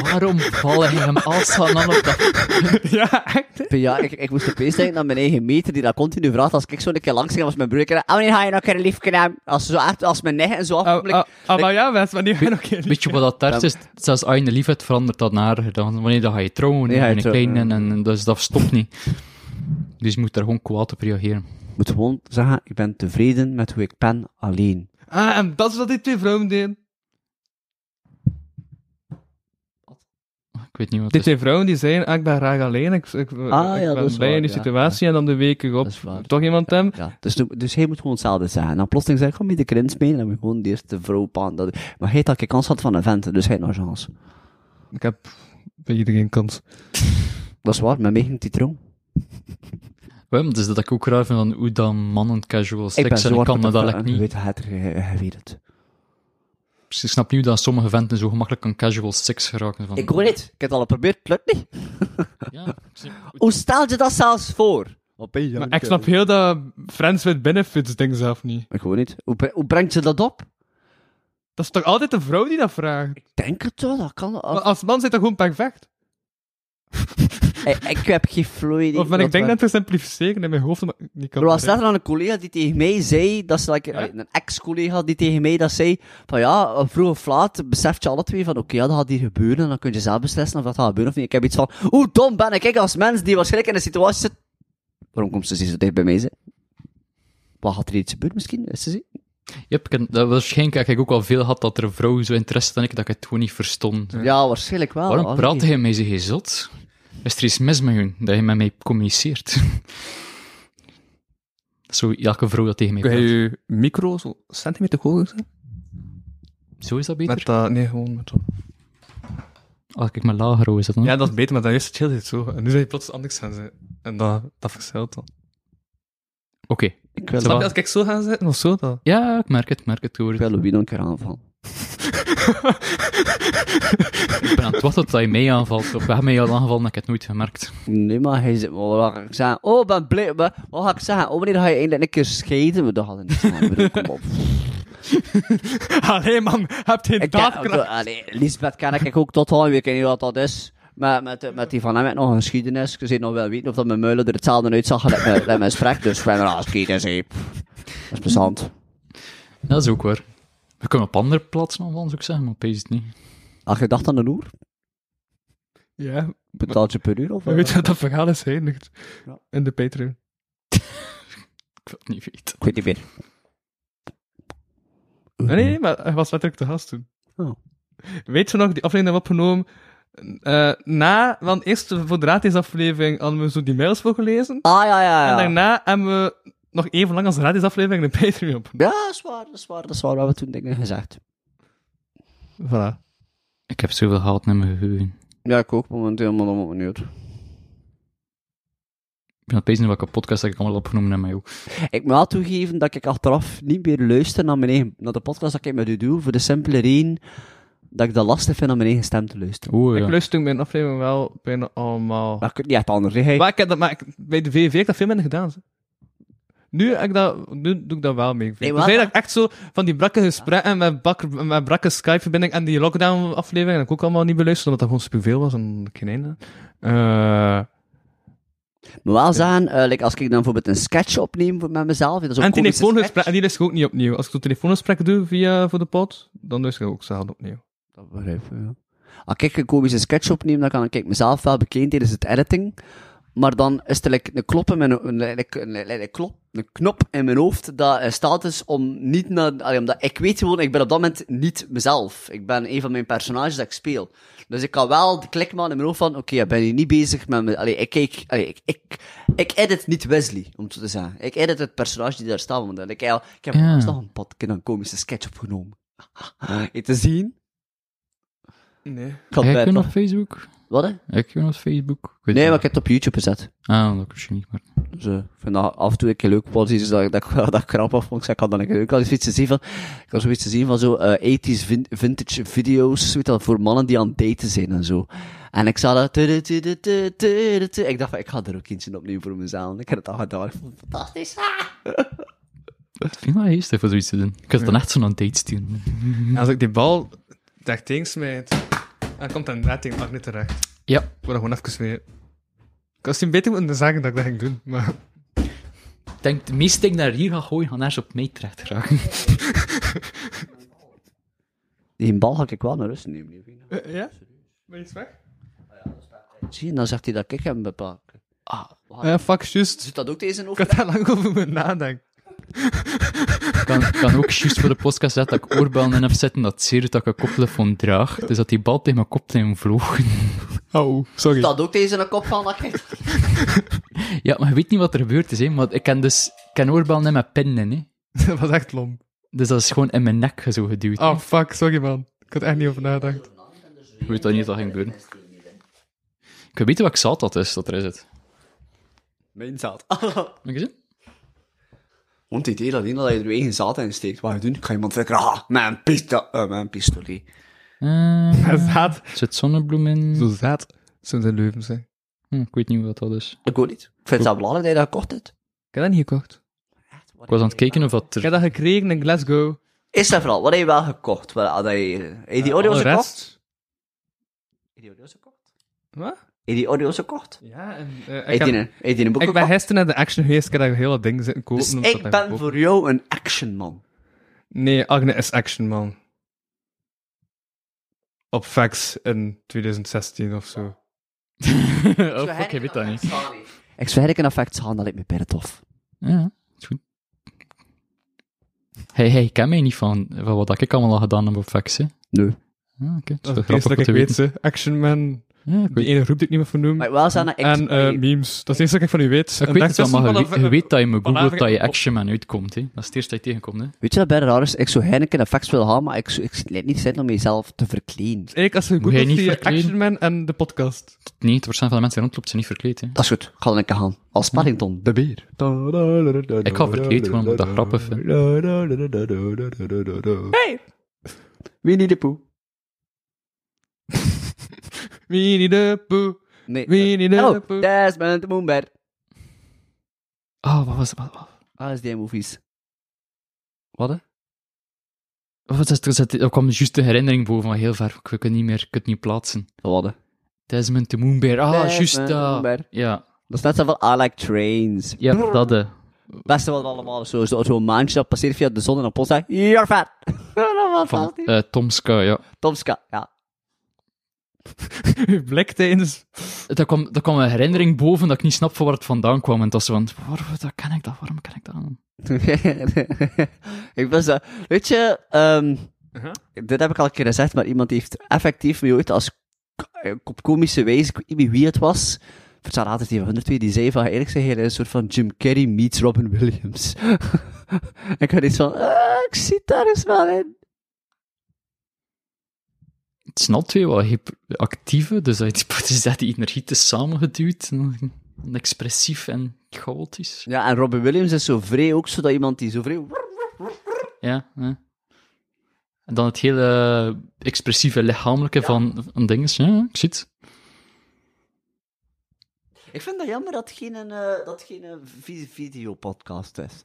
S5: Waarom vallen hem als van dan op dat...
S4: ja, echt?
S3: Ja, ik, ik moest opeens denken aan mijn eigen meter die dat continu vraagt als ik zo een keer langs ging als mijn broer. En wanneer ga je nog een keer een lief kunnen hebben? Als, ze zo echt, als mijn nek en zo
S4: Ah,
S3: afkomelijk.
S4: ah, ah, maar ja, mensen, wanneer gaan ook jullie-
S5: Weet je wat dat daar is? Zelfs als je een liefheid verandert dat naar dan, wanneer dan ga je trouwen
S3: Ja,
S5: en
S3: je
S5: een
S3: trouwt,
S5: klein en, en dus dat stopt niet. Dus je moet daar gewoon kwaad op reageren.
S3: Ik moet gewoon zeggen, ik ben tevreden met hoe ik ben alleen.
S4: Ah, en dat is wat die twee vrouwen deden.
S5: Ik weet niet wat
S4: Die
S5: het is.
S4: twee vrouwen die zeiden, ah, ik ben graag alleen, ik, ik,
S3: Ah, ja,
S4: ik
S3: dat
S4: ben
S3: is
S4: blij
S3: waar,
S4: in die
S3: ja.
S4: situatie, en dan de weken erop
S3: Dat is waar.
S4: toch iemand hem.
S3: Ja, dus, nu- dus hij moet gewoon hetzelfde zeggen. En dan plotseling zeg ik, ga mee de krins mee. En dan moet je gewoon de eerste vrouw paan. Dat... Maar hij had dat ik kans had van een vent, dus hij had nog een chance.
S4: Ik heb bij iedereen kans.
S3: Dat is waar, met mij ging die trouw.
S5: Ja, maar dus dat ik ook raar vind van hoe dan mannen casual
S3: Ik ben
S5: seks
S3: zo
S5: en ik
S3: hard
S5: kan
S3: met
S5: dat
S3: de
S5: eigenlijk
S3: vrouw- Je
S5: niet.
S3: weet het, je, je weet het.
S5: Dus ik snap niet hoe dat sommige venten zo gemakkelijk aan casual seks geraken. Van,
S3: Ik hoor het. Ik heb het al geprobeerd, het lukt niet.
S5: Ja, ik snap-
S3: Hoe stel je dat zelfs voor?
S4: Maar ik snap heel dat Friends with Benefits ding zelf niet.
S3: Ik hoor niet. Hoe, bre- hoe brengt ze dat op?
S4: Dat is toch altijd de vrouw die dat vraagt?
S3: Ik denk het wel, dat kan.
S4: Maar als man zit dat gewoon perfect.
S3: Eh, ik, ik heb geen fluid.
S4: Of ben ik denk dat te simplificeren in mijn hoofd, maar ik niet kan.
S3: Er was later aan een collega die tegen mij zei, dat ze, like,
S4: Ja?
S3: een ex-collega die tegen mij dat zei, van ja, vroeg of laat beseft je alle twee van, oké, ja, dat gaat hier gebeuren, en dan kun je zelf beslissen of dat gaat gebeuren of niet. Ik heb iets van, hoe dom ben ik, ik als mens die waarschijnlijk in een situatie zit... Waarom komt ze zo dicht bij mij zitten? Wat gaat er iets gebeuren misschien? Is ze zie?
S5: Ja, ik heb- dat waarschijnlijk heb ik ook wel veel gehad dat er een vrouw zo interesse had en ik dat ik het gewoon niet verstond.
S3: Ja, waarschijnlijk wel.
S5: Waarom
S3: Allee.
S5: praat hij met zich zot? Is er iets mis met hun dat je met mij communiceert? zo elke vrouw dat tegen mij
S4: Kun je
S5: praat.
S4: je micro zo centimeter hoger zijn?
S5: Zo is dat
S4: Met
S5: beter?
S4: dat, nee, gewoon met dat.
S5: Als ik maar lager hoor, is dat dan?
S4: Ja, dat is beter, maar dan is het heel dit zo. En nu zijn je plots anders gaan zitten. En dat, dat verzeilt dan.
S5: Oké.
S3: Ik wil,
S5: Zowel-
S4: Snap je, als ik zo ga zitten, of zo dan?
S5: Ja, ik merk het, ik merk het. ik hoor
S3: ik
S5: het.
S3: wil Louis nog een keer aanvallen.
S5: Ik ben aan het wachten tot hij mij aanvalt. Of we hebben mij al aangevallen en ik heb het nooit gemerkt.
S3: Nee, maar hij zit maar wat ga ik zeggen? Oh, ik ben blij. Wat wat ga ik zeggen? Oh, wanneer ga je eindelijk een keer scheiden? We dachten niet van, ik bedoel, kom op.
S4: Allee man, heb geen
S3: Ik ken, ik- allee, Lisbeth ken ik ook tot al, ik weet niet wat dat is. Maar met, met die van hem heb ik nog een geschiedenis. Ik zou nog wel weten of dat mijn muilen er hetzelfde uitzag als met, met mijn sprek. Dus we hebben een geschiedenis, hé. Pff, Dat is plezant.
S5: Ja, Dat is ook waar. We kunnen op andere plaatsen aanvallen, zou ik zeggen, maar opeens het niet.
S3: Had je gedacht aan een oer?
S4: Ja,
S3: Betaalt je per uur? Of,
S4: maar
S3: eh?
S4: weet je dat dat verhaal is eindigd?
S3: Ja.
S4: In de Patreon.
S5: Ik wil het niet weten.
S3: Ik weet niet meer.
S4: Nee, nee, maar hij was letterlijk te gast toen.
S3: Oh.
S4: Weet je nog, die aflevering hebben we opgenomen eh, na, want eerst voor de raadjesaflevering hadden we zo die mails voorgelezen.
S3: Ah, ja, ja,
S4: En
S3: ja.
S4: daarna hebben we nog even lang als raadjesaflevering de Patreon op.
S3: Ja, dat is waar, dat is waar, dat is waar. We hebben toen dingen gezegd.
S4: Voilà.
S5: Ik heb zoveel gehad naar mijn geheugen.
S3: Ja, ik ook momenteel, maar helemaal benieuwd.
S5: Ik ben opeens nu welke podcast dat ik allemaal opgenomen heb mij ook.
S3: Ik moet wel toegeven dat ik achteraf niet meer luister naar, mijn eigen, naar de podcast dat ik met u doe, voor de simpele reden dat ik dat lastig vind om mijn eigen stem te luisteren.
S5: Oh,
S4: Ik
S5: ja.
S4: luister toen mijn aflevering wel bijna allemaal.
S3: Maar ik kan niet echt anders, hè.
S4: Maar ik heb dat, maar ik- bij de VVV heb ik dat veel minder gedaan. zo. Nu, heb ik dat, nu doe ik dat wel mee. Ik
S3: Nee,
S4: vind
S3: wat?
S4: dat ik echt zo van die brakke gesprekken met, bak, met brakke Skype-verbinding en die lockdown-aflevering heb ik ook allemaal niet beluisterd, omdat dat gewoon superveel was en geen einde. Eh,
S3: Maar wel zeggen, eh, like, als ik dan bijvoorbeeld een sketch opneem voor- met mezelf, dat is ook
S4: en
S3: komische sketch.
S4: telefoongesprekken, die luister ik ook niet opnieuw. Als ik zo'n telefoongesprek doe via, voor de pod, dan luister ik ook zelden opnieuw.
S3: Dat begrijp ik, ja. Als ik een komische sketch opneem, dan kan ik like, mezelf wel bekijken tijdens het editing. Maar dan is er like, een, klop in mijn, een, like, een, like, een klop, een knop in mijn hoofd dat eh, staat is om niet naar... allee, omdat ik weet gewoon, ik ben op dat moment niet mezelf. Ik ben een van mijn personages dat ik speel. Dus ik kan wel de klik maken in mijn hoofd van, oké, ik ben hier niet bezig met... mijn- Allee, ik, kijk, allee, ik, ik, ik edit niet Wesley, om het zo te zeggen. Ik edit het personage die daar staat. Want ik, ik heb
S5: Ja.
S3: nog een pad, ik heb een komische sketch opgenomen. Je te zien...
S4: Nee.
S3: Ik had
S5: Heb
S3: bij-
S5: je nog Facebook?
S3: Wat, hè?
S5: Heb je nog Facebook? Ik weet
S3: Nee, maar
S5: het
S3: ik heb het op YouTube gezet.
S5: niet. Ah, dat is niet, maar...
S3: Dus eh, ik vind dat af en toe een keer leuk. Was iets dat, ik- dat, ik- dat ik grap af vond. Ik zei, ik had dan een keer leuk. Ik had zoiets te zien van, ik had zoiets te zien van zo eh 80s vin- vintage video's. Weet je wel, voor mannen die aan het daten zijn en zo. En ik zag dat. tudu, tudu, tudu, tudu, tudu. Ik dacht, van, ik ga er ook eentje opnieuw voor mezelf. Ik heb het al gedaan. Ik vond het fantastisch.
S5: Ik vind dat geestig voor zoiets te doen. Ik had dan echt zo'n date sturen.
S4: En als ik die bal daar tegen smijt, dan komt een net tegen Agne terecht.
S5: Ja.
S4: Ik word er gewoon even mee. Ik was hem beter moeten zeggen dat ik dat ging doen, maar...
S5: Ik denk, de meeste dingen die ik naar hier ga gooien, gaan ergens op mij terecht geraken.
S3: Die bal ga ik wel naar rust nemen. lieve.
S4: Eh, ja? Ben je weg?
S3: Zie je, dan zegt hij dat ik hem bepaak. Ah, wat?
S4: Ja, Eh, fuck, juist.
S3: Zit dat ook deze in
S4: Ik had daar lang over moeten nadenken.
S5: Ik kan, kan ook juist voor de podcast zetten dat ik oorbellen in heb zitten, dat zeer dat ik een koptelefoon draag. Dus dat die bal tegen mijn koptelefoon vloog.
S4: Oh, sorry.
S3: Zit dat ook deze in de kop van? Dat ik-
S5: Ja, maar je weet niet wat er gebeurd is, hè. Want ik kan dus... Ik kan oorbellen in mijn pinnen, hè.
S4: Dat was echt lom.
S5: Dus dat is gewoon in mijn nek zo geduwd.
S4: Oh, fuck, sorry man. Ik had er echt niet over nagedacht.
S5: Ik weet dat niet dat ging gebeuren. Ik weet niet wat ik zat dat is, dat er is het.
S3: Mijn zaad.
S5: Heb je gezien?
S3: Want het idee dat niet dat je er weer geen zaad in steekt. Wat je doen? Ik ga iemand verkrachten. Ah, mijn pistool. eh, mijn pistolet.
S5: Eh,
S4: Maar zaad.
S5: er zit zonnebloem in.
S4: Zo zaad. Zo zijn leuven zijn.
S5: Hm, ik weet niet wat dat is.
S3: Ik ook niet. Ik vind het wel belangrijk dat je dat gekocht hebt.
S4: Ik heb dat niet gekocht.
S5: Ik was aan het kijken of dat
S4: Ik
S5: er...
S4: heb dat gekregen in
S3: Oh,
S4: Glasgow.
S3: Is dat vooral? Wat heb je wel gekocht? Wel, had je, heb je die audio's
S4: Alle
S3: gekocht?
S4: rest.
S3: Heb je die audio's gekocht?
S4: Wat?
S3: Heb je die audio's gekocht?
S4: Ja, en... eh,
S3: Heb je
S4: ik,
S3: die
S4: heb-
S3: een- heb je die een boek
S4: ik ben
S3: gekocht?
S4: gisteren naar de Action geweest. Ik heb dat hele ding zitten kopen.
S3: Dus
S4: omdat
S3: ik
S4: dat
S3: ben
S4: goedkoop
S3: voor jou een actionman.
S4: Nee, Agne is Action Man. Op fax in 2016 of zo.
S5: oh, fuck, je weet dat niet.
S3: Ik zweer ik een effect gaan, dat lijkt me bijna tof.
S5: Ja, is goed. Hij hey, kent mij niet van, van wat ik allemaal al gedaan heb op fax, hè.
S3: Nee.
S5: Ah, oké. Dat is
S4: Dat
S5: wel
S4: is het eerste dat
S5: grappig om
S4: ik
S5: te
S4: weet,
S5: weten.
S4: ze. Action Man.
S5: Ja, ik
S4: Die
S5: weet,
S4: ene groep die ik niet meer van noem.
S3: Maar ik wil zeggen, ik...
S4: En eh, memes. Dat is het eerste dat ik van u weet.
S5: ik
S4: En
S5: weet het wel, maar je,
S4: daartussen
S5: weet- je weet dat je me googelt dat je
S4: Palaver-
S5: Action Man uitkomt, hè. Dat is het eerste dat je tegenkomt, hè.
S3: Weet je wat bijna raar is? Ik zou eigenlijk een effect willen gaan, maar ik, zou- ik lijkt niet zin om mezelf te verkleden.
S4: Eigenlijk, als je
S5: Moet jij
S4: googelt,
S5: niet
S4: zie je
S5: verkleden?
S4: Action Man en de podcast.
S5: 90% van de mensen die rondloopt zijn niet verkleed, hè.
S3: Dat is goed, ga dan een keer gaan. Als Paddington, de beer.
S5: Ik ga verkleed, want ik dat grappig vind.
S3: Winnie de Pooh.
S4: Winnie de Pooh.
S3: Nee.
S4: Winnie de
S3: Hallo,
S4: Pooh.
S3: Desmond de Moonbear.
S5: Oh, wat was, wat, wat,
S3: Ah, ASD-movies.
S5: wat was het? Er zat- Er kwam juist de herinnering boven, maar heel ver. Ik kan het niet meer, ik kan het niet plaatsen.
S3: Wat? hè?
S5: Desmond de Moonbear. Ah,
S3: Desmond
S5: juist
S3: de
S5: dat.
S3: Moonbear.
S5: Ja,
S3: Dat is net zo van I like trains.
S5: ja, dat eh.
S3: Beste wat allemaal. Zo'n zo, zo'n maandje dat passeert via de zon en op ons zegt, you're fat. dat was
S5: Van eh, Tomska, ja.
S3: Tomska, ja.
S4: Uw blik tijdens...
S5: Daar kwam, daar kwam een herinnering boven dat ik niet snap van waar het vandaan kwam. En dat was van, waar, dat ken ik dat? Waarom ken ik dat?
S3: ik was zo, weet je, ehm, dit heb ik al een keer gezegd, maar iemand heeft effectief mij ooit als k- op komische wijze, ik weet niet meer wie het was, vertel later die van hun twee, die zei van, eerlijk gezegd, een soort van Jim Carrey meets Robin Williams. ik had iets van, "Ah, ik zit daar eens wel in.
S5: Het zijn al twee wel hip- actieve, dus dat die dat is dat die energie te samengeduwd. En expressief en chaotisch.
S3: Ja, en Robin Williams is zo vrij ook, zodat iemand die zo vrij...
S5: Ja, ja. En dan het hele expressieve lichamelijke van, van dingen. Ja, ik zie het.
S3: Ik vind dat jammer dat het geen, eh, dat het geen eh, vi- videopodcast is.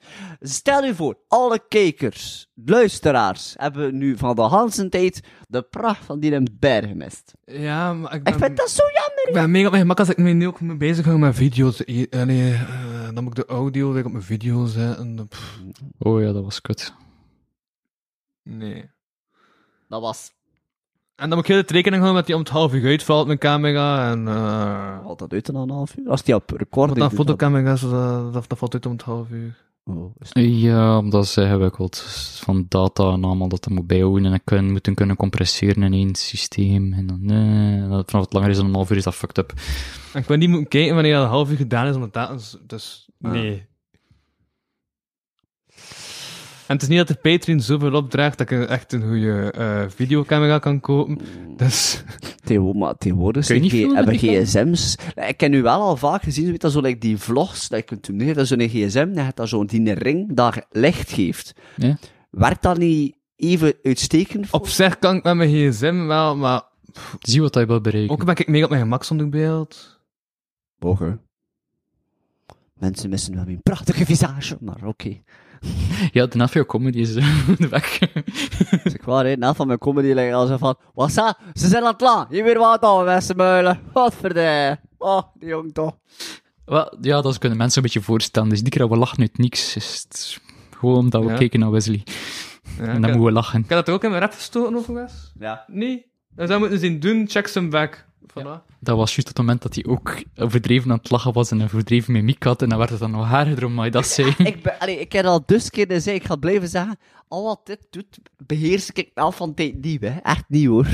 S3: Stel u voor, alle kijkers, luisteraars, hebben nu van de Hansen tijd de pracht van die in berg gemist.
S4: Ja, maar ik
S3: Ik
S4: ben,
S3: vind dat zo jammer.
S4: ik ben mega op mijn gemak als ik me nu ook mee bezig hou met video's. Eh, Allee, eh, dan moet ik de audio weer op mijn video zetten. Pff,
S5: Oh ja, dat was kut.
S4: nee.
S3: Dat was
S4: En dan moet ik heel de rekening houden met die om het half uur uitvalt, mijn camera. En, eh
S3: altijd uit na een half uur. Als die op
S4: want
S3: recording
S4: dan
S3: doet, dan-
S4: fotocamera's, dat, dat, dat valt uit om het half uur.
S3: Oh, is het-
S5: Ja, omdat ze gewikkeld is van data en allemaal dat dat moet bijhouden en kunnen, moeten kunnen compresseren in één systeem. En dan, nee, en dat, vanaf het langer is dan een half uur is dat fucked up.
S4: En ik weet niet moeten kijken wanneer dat een half uur gedaan is, omdat dat is... Dus,
S5: Ah.
S4: nee. En het is niet dat de Patreon zoveel opdraagt dat ik een- echt een goede eh, videocamera kan kopen. Dus...
S3: Tegenwo- maar tegenwoordig
S5: Kun
S3: zijn
S5: je niet
S3: die-
S5: filmen
S3: hebben
S5: met die
S3: gsm's. Ik heb nu wel al vaak gezien, weet dat zo like die vlogs, dat je kunt doen, nee, dat is zo'n gsm, dat je dat zo'n die ring daar licht geeft.
S5: Ja.
S3: Werkt dat niet even uitstekend voor?
S4: Op zich kan ik met mijn gsm wel, maar
S5: Zie wat hij wil bereiken.
S4: ook ben ik meer op mijn gemak zonder beeld.
S3: Mogen. Mensen missen wel een prachtige visage, maar oké.
S5: Ja, de Nafio Comedy is eh, de weg.
S3: Als ik waar, hè, na van mijn comedy lijkt al zo van, wassa, ze zijn aan het la, hier weer wat aan, Westenmuilen. Wat verdij. Oh, die jong toch.
S5: Wel, ja, dat kunnen mensen een beetje voorstellen. Dus die keer dat we lachen uit niks, is het gewoon omdat we
S4: Ja.
S5: kijken naar Wesley.
S4: Ja,
S5: en
S4: ik,
S5: dan
S4: had,
S5: moeten we lachen.
S4: ik had dat ook in mijn rap gestoten overigens.
S3: Ja.
S4: Nee. Dat zou je moeten zien doen, check some back. Voilà.
S5: Dat was juist het moment dat hij ook overdreven aan het lachen was en een verdreven mimiek had. En dan werd het dan nog harder om hij dat zei.
S3: ik, ben, allee, ik heb al dus keer gezegd, ik ga blijven zeggen, al wat dit doet, beheers ik wel van tijd nieuw, hè. Echt niet, hoor.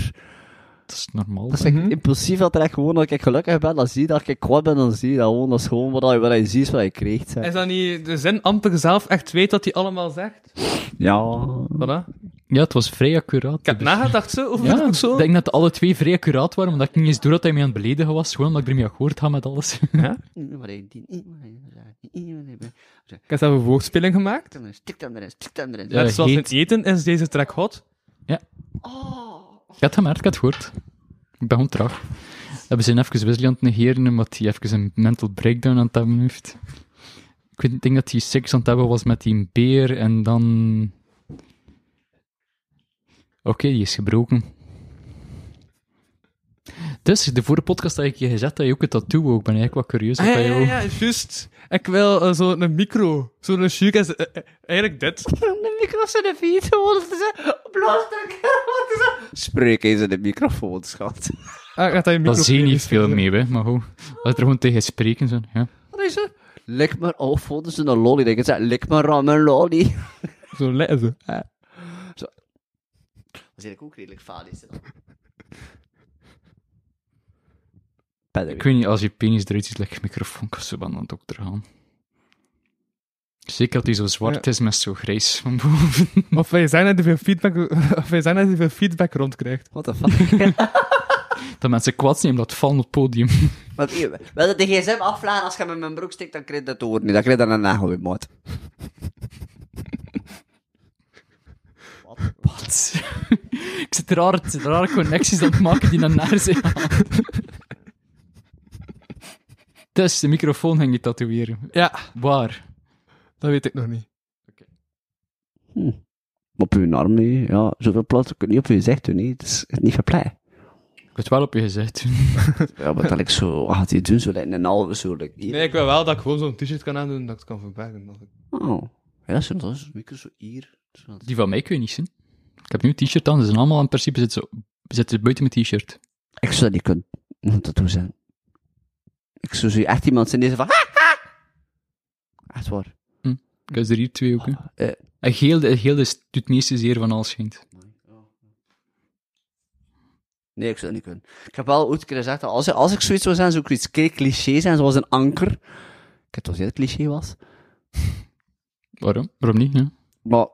S5: Dat is normaal.
S3: Dat is echt impulsief, dat er echt gewoon, dat ik gelukkig ben, dan zie je dat ik kwaad ben, dan zie je dat gewoon, dat is gewoon wat je, wat je ziet, is wat je krijgt, hè.
S4: Is dat niet de zin amper zelf echt weet wat hij allemaal zegt?
S3: Ja.
S4: Voilà.
S5: Ja, het was vrij accuraat. Dus-
S4: Ik heb nagedacht zo over
S5: Ja,
S4: nou, dat zo.
S5: ik denk dat alle twee vrij accuraat waren, omdat ik niet eens door dat hij mij aan het beledigen was. Gewoon omdat ik ermee akkoord ga met alles.
S3: Wat je die-
S4: Ik heb zelf een woordspeling gemaakt.
S3: Stik hem erin, stik hem erin.
S5: Ja,
S4: Net zoals
S5: heet.
S4: het eten is deze track hot.
S5: Ik had het gemerkt, ik had het gehoord. Ik ben gewoon traag. We zijn even Wesley aan het negeren, omdat hij even een mental breakdown aan het hebben heeft. Ik weet- ik denk dat hij seks aan het hebben was met die beer en dan... Oké, die is gebroken. Dus, de vorige podcast had ik je gezegd dat je ook een tattoo wou. Ik ben eigenlijk wel curieus.
S4: Ah,
S5: wat
S4: ja,
S5: dat je
S4: ja,
S5: wou.
S4: ja, juist. Ik wil eh, zo zo'n micro. Zo'n chic is eh, eh, eigenlijk dit.
S3: de microfoon in de microfoon, wat is dat? Blaas dat, wat is dat? Spreek eens in de microfoon, schat.
S4: Ah, ik had dat in
S5: Dat
S4: micro
S5: zie je niet veel mee, hè, maar hoe? Als er gewoon tegen spreken zijn, ja.
S3: Wat is dat? Lik maar, oh, vonden ze een lolly? Ik zei, lik maar aan mijn lolly.
S4: Zo letten ze.
S3: Dat is eigenlijk ook redelijk falisch.
S5: Ik weet niet, als je penis eruit ziet, lijkt je microfoon, kan ze wel aan het ook eraan. Zeker dat hij zo zwart is met zo grijs van boven.
S4: Of wij zijn dat je veel feedback, of wij zijn dat je veel feedback rondkrijgt.
S3: What the fuck?
S5: Dat mensen kwaad zijn omdat het vallen op het podium.
S3: Want hier, wil je de gsm aflaan als je met mijn broek steekt, dan krijg je dat te horen. niet. Dan krijg je dan een nagel weer, maat.
S5: Wat? ik zit raar, rare connecties aan het maken die dan naar zijn. dus, de microfoon ging je tatoeëren.
S4: Ja,
S5: Waar?
S4: dat weet ik nog niet.
S3: Op je arm, nee. Ja, zoveel plaats kun je niet op je gezicht doen, nee. Het is niet verpleit.
S5: Ik heb het wel op je gezegd toen.
S3: Ja, maar dat ik zo, wat gaat hij doen? Zo lijkt een halve, zo lijkt hier.
S4: Nee, ik wil wel dat ik gewoon zo'n t-shirt kan aandoen dat ik het kan verbergen. Of ik-
S3: Oh. Ja, zo, dat is een micro zo hier. Zo.
S5: Die van mij kun je niet zien. Ik heb nu een t-shirt aan, ze zijn allemaal in principe zitten, zo, zitten buiten mijn t-shirt.
S3: Ik zou dat niet kunnen moet dat doen zijn. Ik zou zo echt iemand zijn die zo van... "Ha, ha." Echt waar.
S5: Ik heb er hier twee ook. hè.
S3: Eh.
S5: En geel, de- geel is, doet het meeste zeer van alles, schijnt.
S3: Nee, ik zou dat niet kunnen. Ik heb wel ooit een keer gezegd, dat als, als ik zoiets zou zijn, zou ik iets kei cliché zijn, zoals een anker. Ik heb toch gezien dat het cliché was.
S5: Waarom? Waarom niet? Ja.
S3: Maar,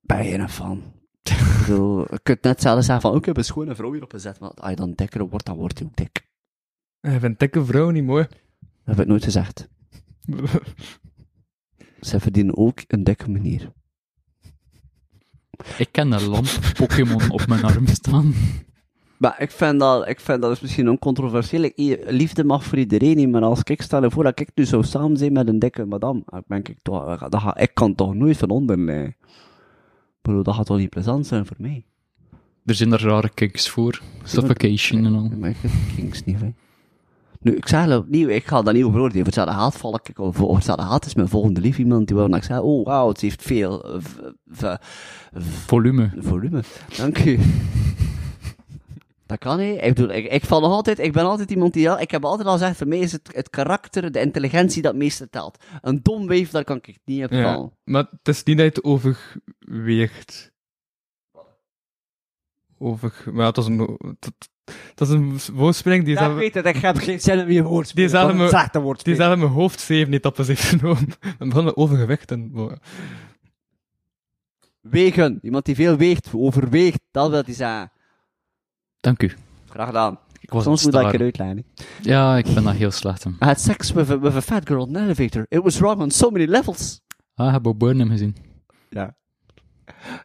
S3: ben je er van? ik bedoel, je kunt net zelf zeggen van, oh, ik heb een schone vrouw hierop gezet, maar als je dan dikker wordt, dan wordt je ook dik.
S4: Ik vind dikke vrouw niet mooi.
S3: Dat heb ik nooit gezegd. Ze verdienen ook een dikke manier.
S5: Ik ken een lamp Pokémon op mijn arm staan.
S3: Maar ik vind dat, ik vind dat is misschien oncontroversieel. Ik- i- Liefde mag voor iedereen niet, maar als ik stel je voor dat ik nu zou samen zijn met een dikke madame, dan denk ik toch, dat ga, ik kan toch nooit van onder nee. Bro, dat gaat toch niet plezant zijn voor mij?
S5: Er zijn er rare kicks voor. Suffocation en al.
S3: Maar ik heb de Kings niet, hè. Nu, ik zeg het opnieuw, ik ga dat niet over oordelen. Voor hetzelfde haat val ik, of voor hetzelfde haat is mijn volgende lief iemand die wel naar ik zei, oh wauw, het heeft veel eh, v- v-
S5: Volume.
S3: volume. Dank u. Dat kan niet. Ik, bedoel, ik, ik val nog altijd, ik ben altijd iemand die, ik heb altijd al gezegd, voor mij is het, het karakter, de intelligentie dat het meeste telt. Een dom weef, daar kan ik niet op vallen.
S5: Oh.
S4: Maar het is niet dat je het overweegt. Over... Maar dat is een... Dat, dat is een woordspeling die
S7: Ja, ik
S4: zelf...
S7: weet het, ik heb geen zin om je woord te spelen.
S4: Die zouden
S7: Dat is
S4: me-
S7: een slechte woord
S4: Die zelf in mijn hoofd zeven etappes heeft genomen. En begon met overgewicht en...
S3: Wegen. Iemand die veel weegt, overweegt, dat wil hij zeggen.
S5: Dank u.
S3: Graag gedaan.
S5: Ik was aan
S3: Soms
S5: het
S3: moet dat ik
S5: staren.
S3: eruit leiden.
S5: Ja, ik ben daar heel slecht in.
S3: I had sex with a, with a fat girl in an elevator. It was wrong on so many levels.
S5: Ah, heb Bob Burnham gezien.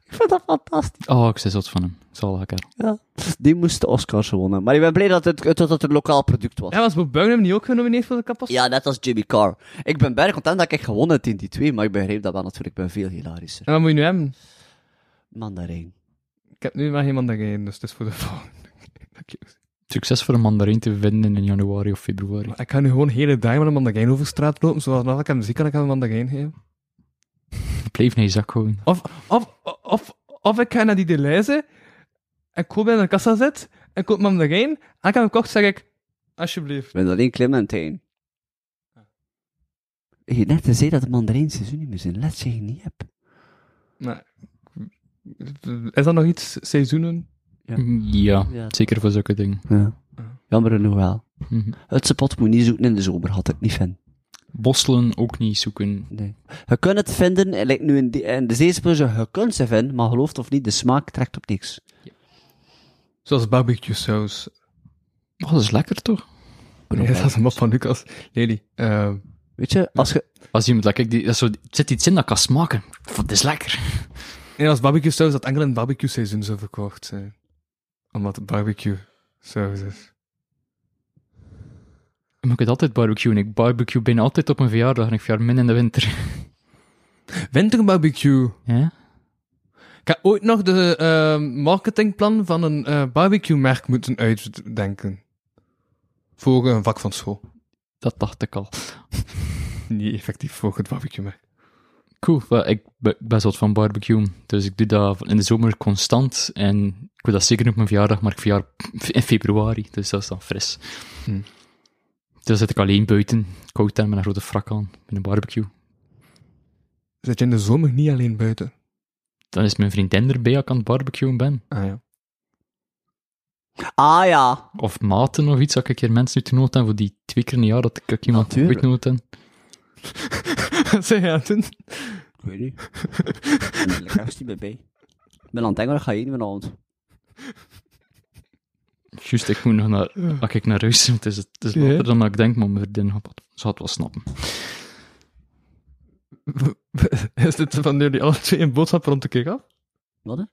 S3: Ik vind dat fantastisch.
S5: Oh, ik zei zot van hem. Zal ik er.
S3: Die moest de Oscars gewonnen. Maar ik ben blij dat het, dat het een lokaal product was.
S4: Ja, was Bob Burnham niet ook genomineerd voor de kapot?
S3: Ja, net als Jimmy Carr. Ik ben bijna content dat ik echt gewonnen heb in die twee, maar ik begrijp dat wel natuurlijk. Ik ben veel hilarischer.
S4: En wat moet je nu hebben?
S3: Mandarijn.
S4: Ik heb nu maar geen mandarijn, dus het is voor de volgende.
S5: Succes voor een mandarijn te vinden in januari of februari.
S4: Maar ik ga nu gewoon hele dagen met een mandarijn over straat lopen, zoals als ik hem zie, kan ik hem een mandarijn geven.
S5: Ik bleef naar je zak houden.
S4: Of, of, of, of ik ga naar die Deleuze, en ik koop bij de kassa zit, en ik koop me hem erin, en ik heb hem gekocht, zeg ik, alsjeblieft.
S3: Ik ben alleen Clementine. Je net te zei dat de mandarijn seizoen niet meer zijn. Let je niet hebt.
S4: Nou, is dat nog iets, seizoenen?
S5: Ja,
S3: Ja.
S5: zeker voor zulke dingen.
S3: Ja. Jammer genoeg wel.
S5: Mhm.
S3: Het sepot moet niet zoeken in de zomer, had het niet vinden.
S5: Bosselen ook niet zoeken.
S3: Nee. Je kunt het vinden, eh, like nu in, die, in de zeespullen, je kunt ze vinden, maar geloof het of niet, de smaak trekt op niks.
S4: Zoals barbecue saus.
S5: Oh, dat is lekker toch?
S4: Nee, dat is een mop van Lucas. Lely, eh,
S3: Weet je, als je...
S5: Als iemand, kijk, die, dat is zo, er zit iets in dat kan smaken. Pff, Dat is lekker.
S4: nee, als barbecue saus dat enkel in barbecue seizoen zou verkocht zijn. Omdat het barbecue saus is.
S5: Maar ik het altijd barbecuen. Ik barbecue bijna altijd op mijn verjaardag en ik verjaar min in de winter.
S4: Winterbarbecue.
S5: Ja?
S4: Ik heb ooit nog de eh, marketingplan van een eh barbecue-merk moeten uitdenken. Voor een vak van school.
S5: Dat dacht ik al.
S4: Niet effectief voor het barbecue-merk.
S5: Cool. Wel, ik ben best wat van barbecue. Dus ik doe dat in de zomer constant. En ik doe dat zeker op mijn verjaardag, maar ik verjaar in februari. Dus dat is dan fris.
S4: Hmm.
S5: Dan zit ik alleen buiten, koud en met een grote frak aan, met een barbecue.
S4: Zit je in de zomer niet alleen buiten?
S5: Dan is mijn vriendin erbij als ik aan het barbecuen ben.
S4: Ah ja.
S3: Ah ja,
S5: Of maten of iets, dat ik een keer mensen uitgenodigd heb voor die twee keer in een jaar dat ik ook iemand
S3: Natuurlijk.
S5: uitgenodigd heb.
S4: Wat zei je aan het doen?
S3: Ik weet niet. Ik ben er echt niet meer bij. Ik ben aan het denken, wat ga je doen vanavond?
S5: Juist, ik moet nog naar, als ik naar huis, het is, het is later
S4: Ja.
S5: dan dat ik denk, maar mijn vriendin had wat- ze had wel snappen.
S4: Is dit van jullie alle twee een boodschap rond de kick af?
S3: Wat? hè?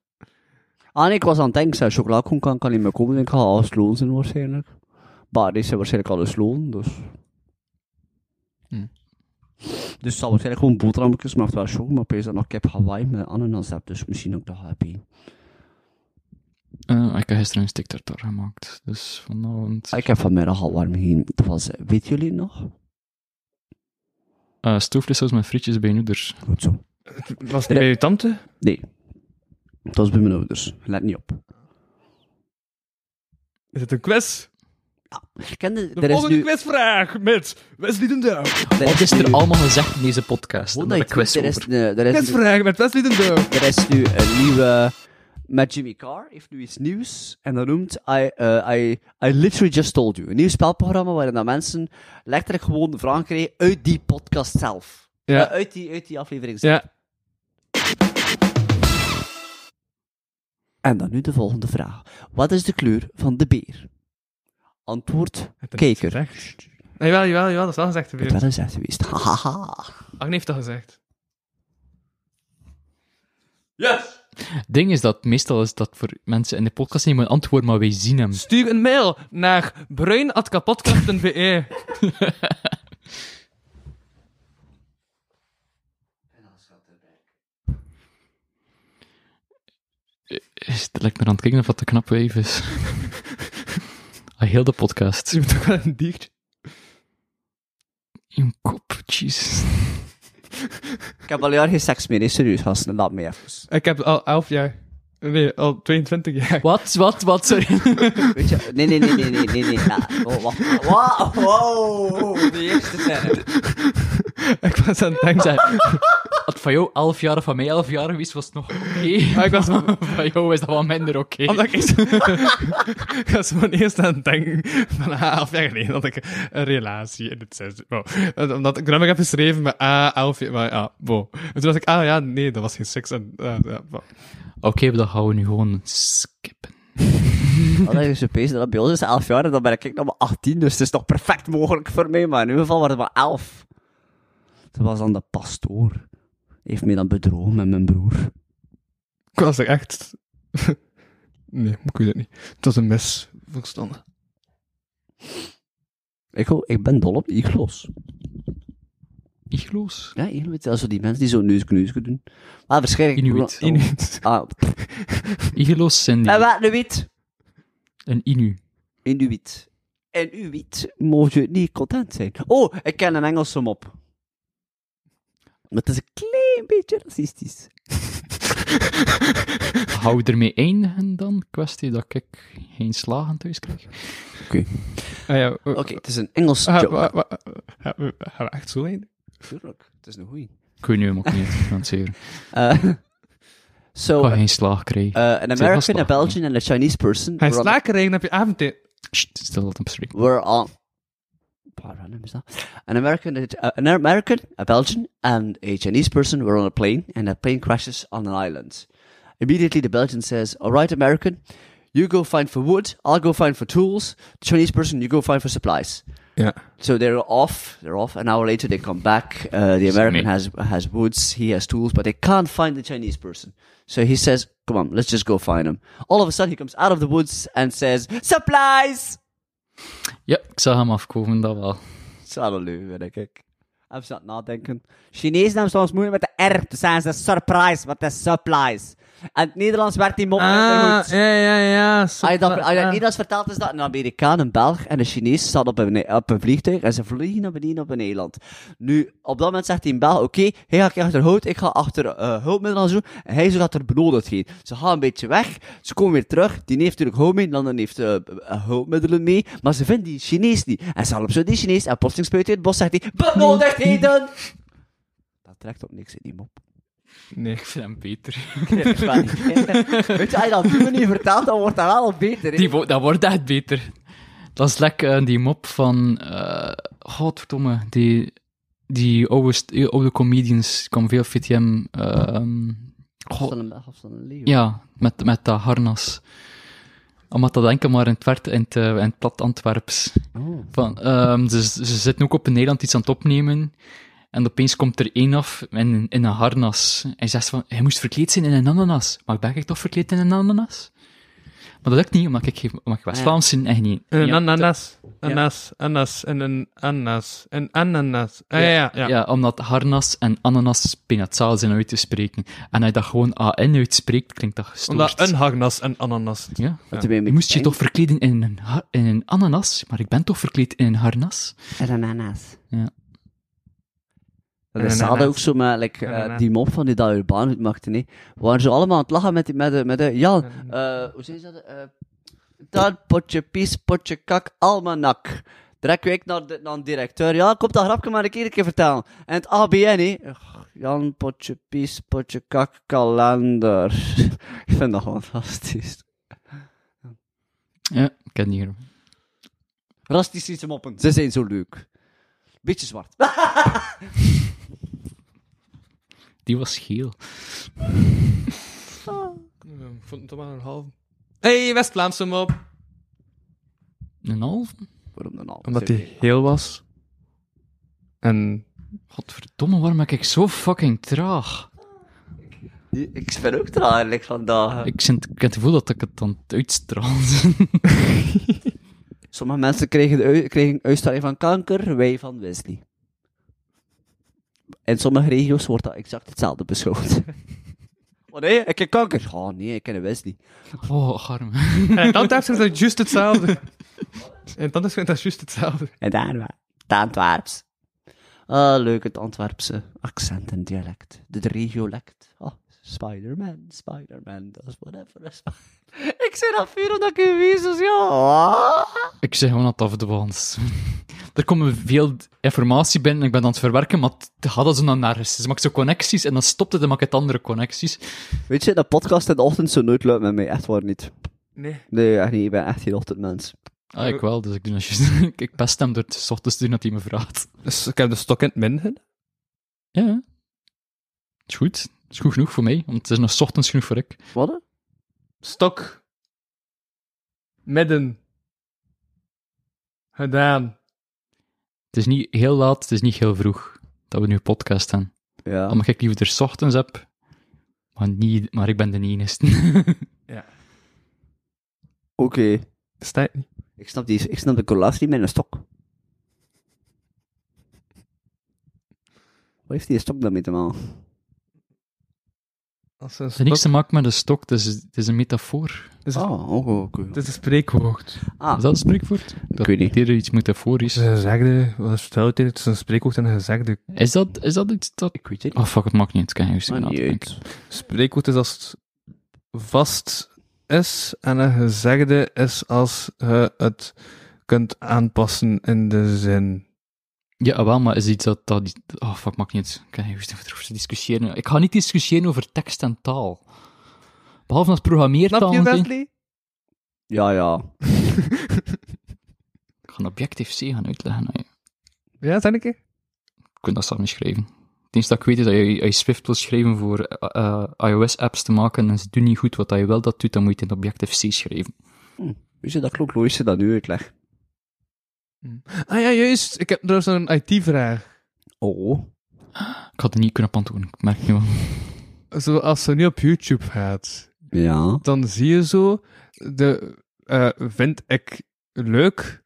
S3: Ah nee, ik was aan het denken, zei chocoladekoen kan, kan niet meer komen. Ik ga afsloon zijn waarschijnlijk. Maar die zijn waarschijnlijk al gesloten, dus...
S4: Hm.
S3: Dus het zal waarschijnlijk gewoon boterhammetjes, maar het wel chocolade. Maar opeens dat nog kip Hawaii met ananas heb, dus misschien ook dat happy.
S5: Eh, ik heb gisteren een stik tartar gemaakt, dus vanavond...
S3: Ah, Ik heb vanmiddag al warm heen. Dat was, eh, weet jullie nog?
S5: Eh stoofvleessaus met frietjes bij noeders.
S3: Goed zo.
S4: Was het bij je tante?
S3: Nee. Het was bij mijn ouders. Let niet op.
S4: Is het een quiz?
S3: Ik kende,
S4: De
S3: er is
S4: volgende
S3: nu...
S4: quizvraag met Wesley den Douw.
S3: er
S5: Wat is
S3: nu-
S5: er allemaal gezegd in deze podcast?
S3: Hoe
S5: Omdat
S3: dat je
S5: ik quiz
S3: het weet,
S5: over.
S3: Er is, nu- er is nu-
S4: Quizvraag met Wesley den Douw.
S3: Er is nu een nieuwe. Met Jimmy Carr heeft nu iets nieuws. En dat noemt I, eh, I, I Literally Just Told You. Een nieuw spelprogramma waarin dat mensen letterlijk gewoon vragen krijgen uit die podcast zelf.
S4: Ja.
S3: Eh, uit, die, uit die aflevering zelf.
S4: Ja.
S3: En dan nu de volgende vraag. Wat is de kleur van de beer? Antwoord, kijker.
S4: Nee, Ah, jawel, jawel, jawel, dat is wel gezegd.
S3: Ik
S4: geweest.
S3: ben eens echt geweest. Hahaha.
S4: Agne heeft dat gezegd.
S2: Yes!
S5: ding is dat meestal is dat voor mensen in de podcast niet meer antwoorden, maar wij zien hem.
S4: Stuur een mail naar bruin.kapotkast.be.
S5: Is het lijkt me aan het kijken of dat een knap wijf is. Ah, Heel de podcast.
S4: Je bent toch wel een dier?
S5: Je kop, jezus.
S3: Ik heb al jaren geen seks meer, nee, serieus, gasten, laat me even.
S4: Ik heb al 11 jaar. Nee, al 22 jaar.
S5: Wat, wat, wat, sorry.
S3: Weet je, nee, nee, nee, nee, nee, nee, nee, ja, oh, wacht, wow, wow, de eerste scène.
S4: Ik was aan het denken.
S5: Wat van jou elf jaar of van mij elf jaar geweest, was het nog oké.
S4: Ah, ik was
S5: van jou is dat wel minder oké.
S4: Omdat ik eerst... ik was gewoon eerst aan het denken van ah, elf jaar geleden had ik een relatie in het zesde. Wow. En Omdat ik grammig heb geschreven met ah, elf jaar, maar ah, wow. En toen dacht ik, ah ja, nee, dat was geen seks. En, ah, ja, wow.
S5: Oké, dan gaan we nu gewoon skippen.
S3: Wat is je pees, Oh, dat bij ons is 11 jaar en dan ben ik nog maar 18, dus het is nog perfect mogelijk voor mij, maar in ieder geval waren we maar 11. Dat was dan de pastoor. Heeft mij dan bedrogen met mijn broer.
S4: Ik was er echt... nee, ik weet het niet. Het was een mes, verstandig.
S3: Ik, ho- ik ben dol op iglo's.
S5: Igloos.
S3: Ja, Inuit, dat zo die mensen die zo'n neuskneusje doen. Maar waarschijnlijk...
S5: Inuit.
S4: Inuit.
S3: Ah, pff.
S5: Igloos zijn die.
S3: en wat, Inuit?
S5: Een inu.
S3: Inuit. Inuit mogen je niet content zijn. Oh, ik ken een Engelse mop. Maar het is een klein beetje racistisch.
S5: Hou ermee eindigen dan? Kwestie dat ik geen slagen thuis krijg.
S4: Ah ja,
S3: Oké, het is een Engels
S4: Ah,
S3: joke.
S4: wa- wa- Gaan we gaan we echt zo heen?
S3: Tuurlijk, het is een goeie.
S5: Ik weet nu hem ook niet financieren.
S3: Eh,
S5: Ik
S3: so,
S5: ga geen slaag krijgen.
S3: uh, an
S5: Zeg,
S3: American, a
S5: slaag.
S3: Belgian and a Chinese person
S4: Hij
S3: were on-
S4: slaken regen heb je avondeten.
S5: Sst, stil dat hem spreekt.
S3: were on... Bah, random is that? An American, uh, an American, a Belgian, and a Chinese person were on a plane, and a plane crashes on an island. Immediately, the Belgian says, "All right, American, you go find for wood. I'll go find for tools. Chinese person, you go find for supplies."
S4: Ja.
S3: So they're off. They're off. An hour later, they come back. Uh, the American has has woods. He has tools, but they can't find the Chinese person. So he says, "Come on, let's just go find him." All of a sudden, he comes out of the woods and says, "Supplies."
S5: Ja, ik zag hem afkomen, dat wel.
S3: Salaleu, weet ik. ik. Even zat nadenken. Chinees nam soms moeilijk met de R te zijn. Ze surprise, wat is supplies? En het Nederlands werd die mop minder
S4: Ah,
S3: goed.
S4: ja, ja, ja.
S3: Als je dat, als je dat
S4: Ah.
S3: Nederlands vertelt, is dat een Amerikaan, een Belg en een Chinees staat op een, op een vliegtuig en ze vliegen naar beneden op een eiland. Nu, op dat moment zegt die Belg, oké, hij gaat achter hout, ik ga achter eh, hulpmiddelen zoeken en hij gaat er benodigd heen. Ze gaan een beetje weg, ze komen weer terug, die heeft natuurlijk hout mee, dan heeft eh, b- eh, hulpmiddelen mee, maar ze vinden die Chinees niet. En ze helpen zo die Chinees en plotseling spuit hij het bos, zegt hij, benodigdheden! Dat trekt op niks in die mop.
S4: Nee.
S5: Ik vind hem beter.
S3: Weet je, als je dat op die manier vertelt, dan wordt dat wel al beter. hè.
S5: Die wo- dat wordt echt beter. Dat is lekker eh, die mop van... eh godverdomme, die, die oude, st- die oude comedians, ik kwam veel VTM... ehm
S3: Van
S5: god,
S3: een Belg of van een leeuw.
S5: ja, met, met dat harnas. Omdat dat denken maar in het, werd, in het, eh, in het plat Antwerps.
S4: Oh.
S5: Van, ehm, ze, ze zitten ook op een eiland iets aan het opnemen. En opeens komt er één af in, in een harnas. Hij zegt van, hij moest verkleed zijn in een ananas. Maar ben ik toch verkleed in een ananas? Maar dat lukt niet, omdat ik, geen-
S4: Ah,
S5: omdat ik West Vlaams ben en niet.
S4: Een
S5: ja,
S4: ananas. Anas, anas en een ananas. Een ananas. Ah, ja, ja, ja.
S5: ja, omdat harnas en ananas penatzaal zijn uit te spreken. En als je dat gewoon AN uitspreekt, klinkt dat gestoord.
S4: Omdat een harnas en ananas.
S5: Ja.
S3: Wat erbij met-
S5: Moest je toch verkleden in een, ha- in een ananas? Maar ik ben toch verkleed in een harnas?
S3: En ananas.
S5: Ja.
S3: Dat
S4: En
S3: is
S4: een
S3: hadden
S4: ananas.
S3: ook zo met like,
S4: En
S3: eh,
S4: ananas.
S3: die mop van die dat Urbaan goed maakte. Nee. We waren zo allemaal aan het lachen met die, met, de- met de, Jan, eh, hoe zei ze dat? eh dat potje pies, potje kak, almanak. Direct week naar de, naar de directeur. Ja, komt dat grapje maar een keer, een keer vertellen. En het ABN, hè. Ugh, Jan, potje pies, potje kak, kalender. Ik vind dat gewoon fantastisch.
S5: Ja, ik ken die hier.
S3: Rastische moppen. Ze zijn zo leuk. Beetje zwart.
S5: Die was geel.
S4: Ik vond het toch maar een halve. hey, West-Vlaamse mop.
S5: Een half?
S3: Waarom dan al?
S4: Omdat hij heel was. En...
S5: Godverdomme, waarom ben ik zo fucking traag?
S3: Ik ben ook traag vandaag.
S5: Ik, zin- ik heb het gevoel dat ik het dan uitstraal.
S3: Sommige mensen kregen, de ui- kregen uitstraling van kanker, wij van Wesley. In sommige regio's wordt dat exact hetzelfde beschouwd. Oh nee, ik heb kanker. Oh nee, ik ken Wesley.
S5: oh, arm.
S4: En dan is dat juist hetzelfde. En dan is dat juist hetzelfde.
S3: En daar wa- het Antwerps. Ah, leuk, het Antwerpse accent en dialect. De regiolect. Oh, Spider-Man, Spider-Man, dat is whatever. is- Ik zei dat vier omdat ik u wees, dus ja. Ah.
S5: Ik zeg gewoon dat het afdwaalt is. Er komen veel informatie binnen, ik ben aan het verwerken, maar het gaat als een narcis. Ze maakt zo connecties en dan stopt het en maakt het andere connecties.
S3: Weet je, dat podcast in de ochtend zo nooit lukt met mij, echt waar niet.
S4: Nee.
S3: Nee, echt niet, ik ben echt geen ochtendmens.
S5: Ah, ik wel, dus ik doe dat juist. Ik- Ik pest hem door het 's ochtends te doen dat hij me vraagt.
S4: Dus ik heb de stok in het midden.
S5: Ja, ja. Is goed. Is goed genoeg voor mij, want het is nog 's ochtends genoeg voor ik.
S3: Wat?
S4: Stok. Midden. Gedaan.
S5: Het is niet heel laat, het is niet heel vroeg dat we nu een podcast hebben.
S3: Ja.
S5: Dan mag ik liever er 's ochtends heb, maar, niet, maar ik ben de enigste.
S3: Oké.
S4: Sta je niet?
S3: Ik snap, die, ik snap de correlatie met een stok. Wat heeft die stok daarmee te maken?
S4: Als een
S5: Het heeft
S4: stok.
S5: niks te maken met een stok, het is, het is een metafoor.
S3: Ah, oké. oké.
S4: Het is een spreekwoord.
S3: Ah, Eh.
S5: Is dat een spreekwoord? Dat
S3: weet niet.
S5: er iets metaforisch.
S4: Het is een gezegde. Wat is verteld hier? Het is een spreekwoord en een gezegde.
S5: Is dat, is dat iets dat...
S3: ik weet het
S5: Oh fuck, het maakt niet uit. Kan je
S3: Maar
S5: even
S3: niet
S5: nadenken.
S3: uit.
S4: Spreekwoord is als het vast is en een gezegde is als je het kunt aanpassen in de zin.
S5: Ja, wel, maar is iets dat... dat die- oh fuck, maakt niet uit. Kan je even over te discussiëren. Ik ga niet discussiëren over tekst en taal. Behalve als programmeertaal. natuurlijk.
S3: Ja, ja.
S5: Ik ga een objectief C gaan uitleggen. Nou, ja.
S4: Ja, zeg een keer.
S5: Ik kan dat samen schrijven. Het enige dat ik weet is dat je, als je Swift wil schrijven voor eh, eh, iOS-apps te maken en ze doen niet goed wat je wel dat doet, dan moet je het in objectief C schrijven.
S3: Weet je, dat klopt logischer dan nu uitleg.
S4: Ah ja, juist. Ik heb trouwens nog een IT-vraag.
S3: Oh.
S5: Ik had er niet kunnen op antwoorden, ik merk nu wel.
S4: Zo, als ze nu op YouTube gaat,
S3: Ja.
S4: dan zie je zo de eh, vind ik leuk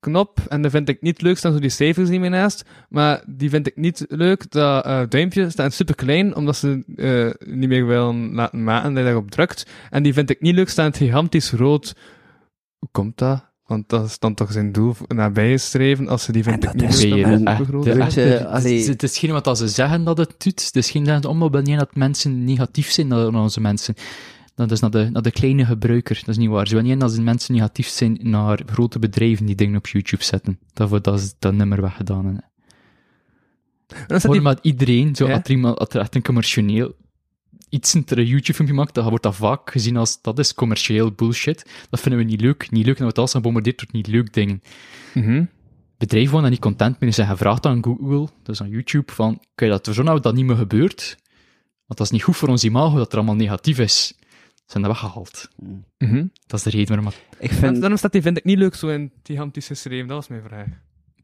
S4: knop en de vind ik niet leuk staan zo die cijfers niet meer naast. Maar die vind ik niet leuk, dat eh, duimpje staat super klein omdat ze eh, niet meer willen laten maken dat je daarop drukt. En die vind ik niet leuk staat gigantisch rood. Hoe komt dat? Want dat is dan toch zijn doel voor- nabij streven als ze die vind
S3: dat
S4: ik niet
S3: is
S4: leuk
S5: weer
S4: dan
S5: een
S4: ook
S5: echte-
S4: rood
S5: Eh, de
S4: drukt.
S3: Weet je,
S5: echte-
S3: allee-
S5: het is- Het is geen wat dat ze zeggen dat het doet. Het is geen dat het allemaal ben dat mensen negatief zijn naar naar onze mensen. Dat is naar de, naar de kleine gebruiker. Dat is niet waar. Ze willen niet dat ze mensen negatief zijn naar grote bedrijven die dingen op YouTube zetten. Daarvoor dat is dat nummer weggedaan. hè.
S4: En dan staat
S5: Gewoon
S4: die-
S5: omdat iedereen, zo,
S4: Ja.
S5: als er iemand als er echt een commercieel iets in een YouTube-filmpje maakt, dan wordt dat vaak gezien als dat is commercieel bullshit. Dat vinden we niet leuk. Niet leuk, en dan wordt alles gebombardeerd door niet leuk dingen
S4: Mhm.
S5: bedrijven waren daar niet content mee. Ze hebben gevraagd aan Google, dus aan YouTube, van, kun je dat ervoor zorgen dat dat niet meer gebeurt? Want dat is niet goed voor ons imago, dat er allemaal negatief is. Ze zijn dat weggehaald.
S4: Mhm.
S5: Dat is de reden waarom dat...
S3: Ik
S4: En
S3: vind...
S4: daarom staat die vind ik niet leuk zo in het gigantische stream. Dat was mijn vraag.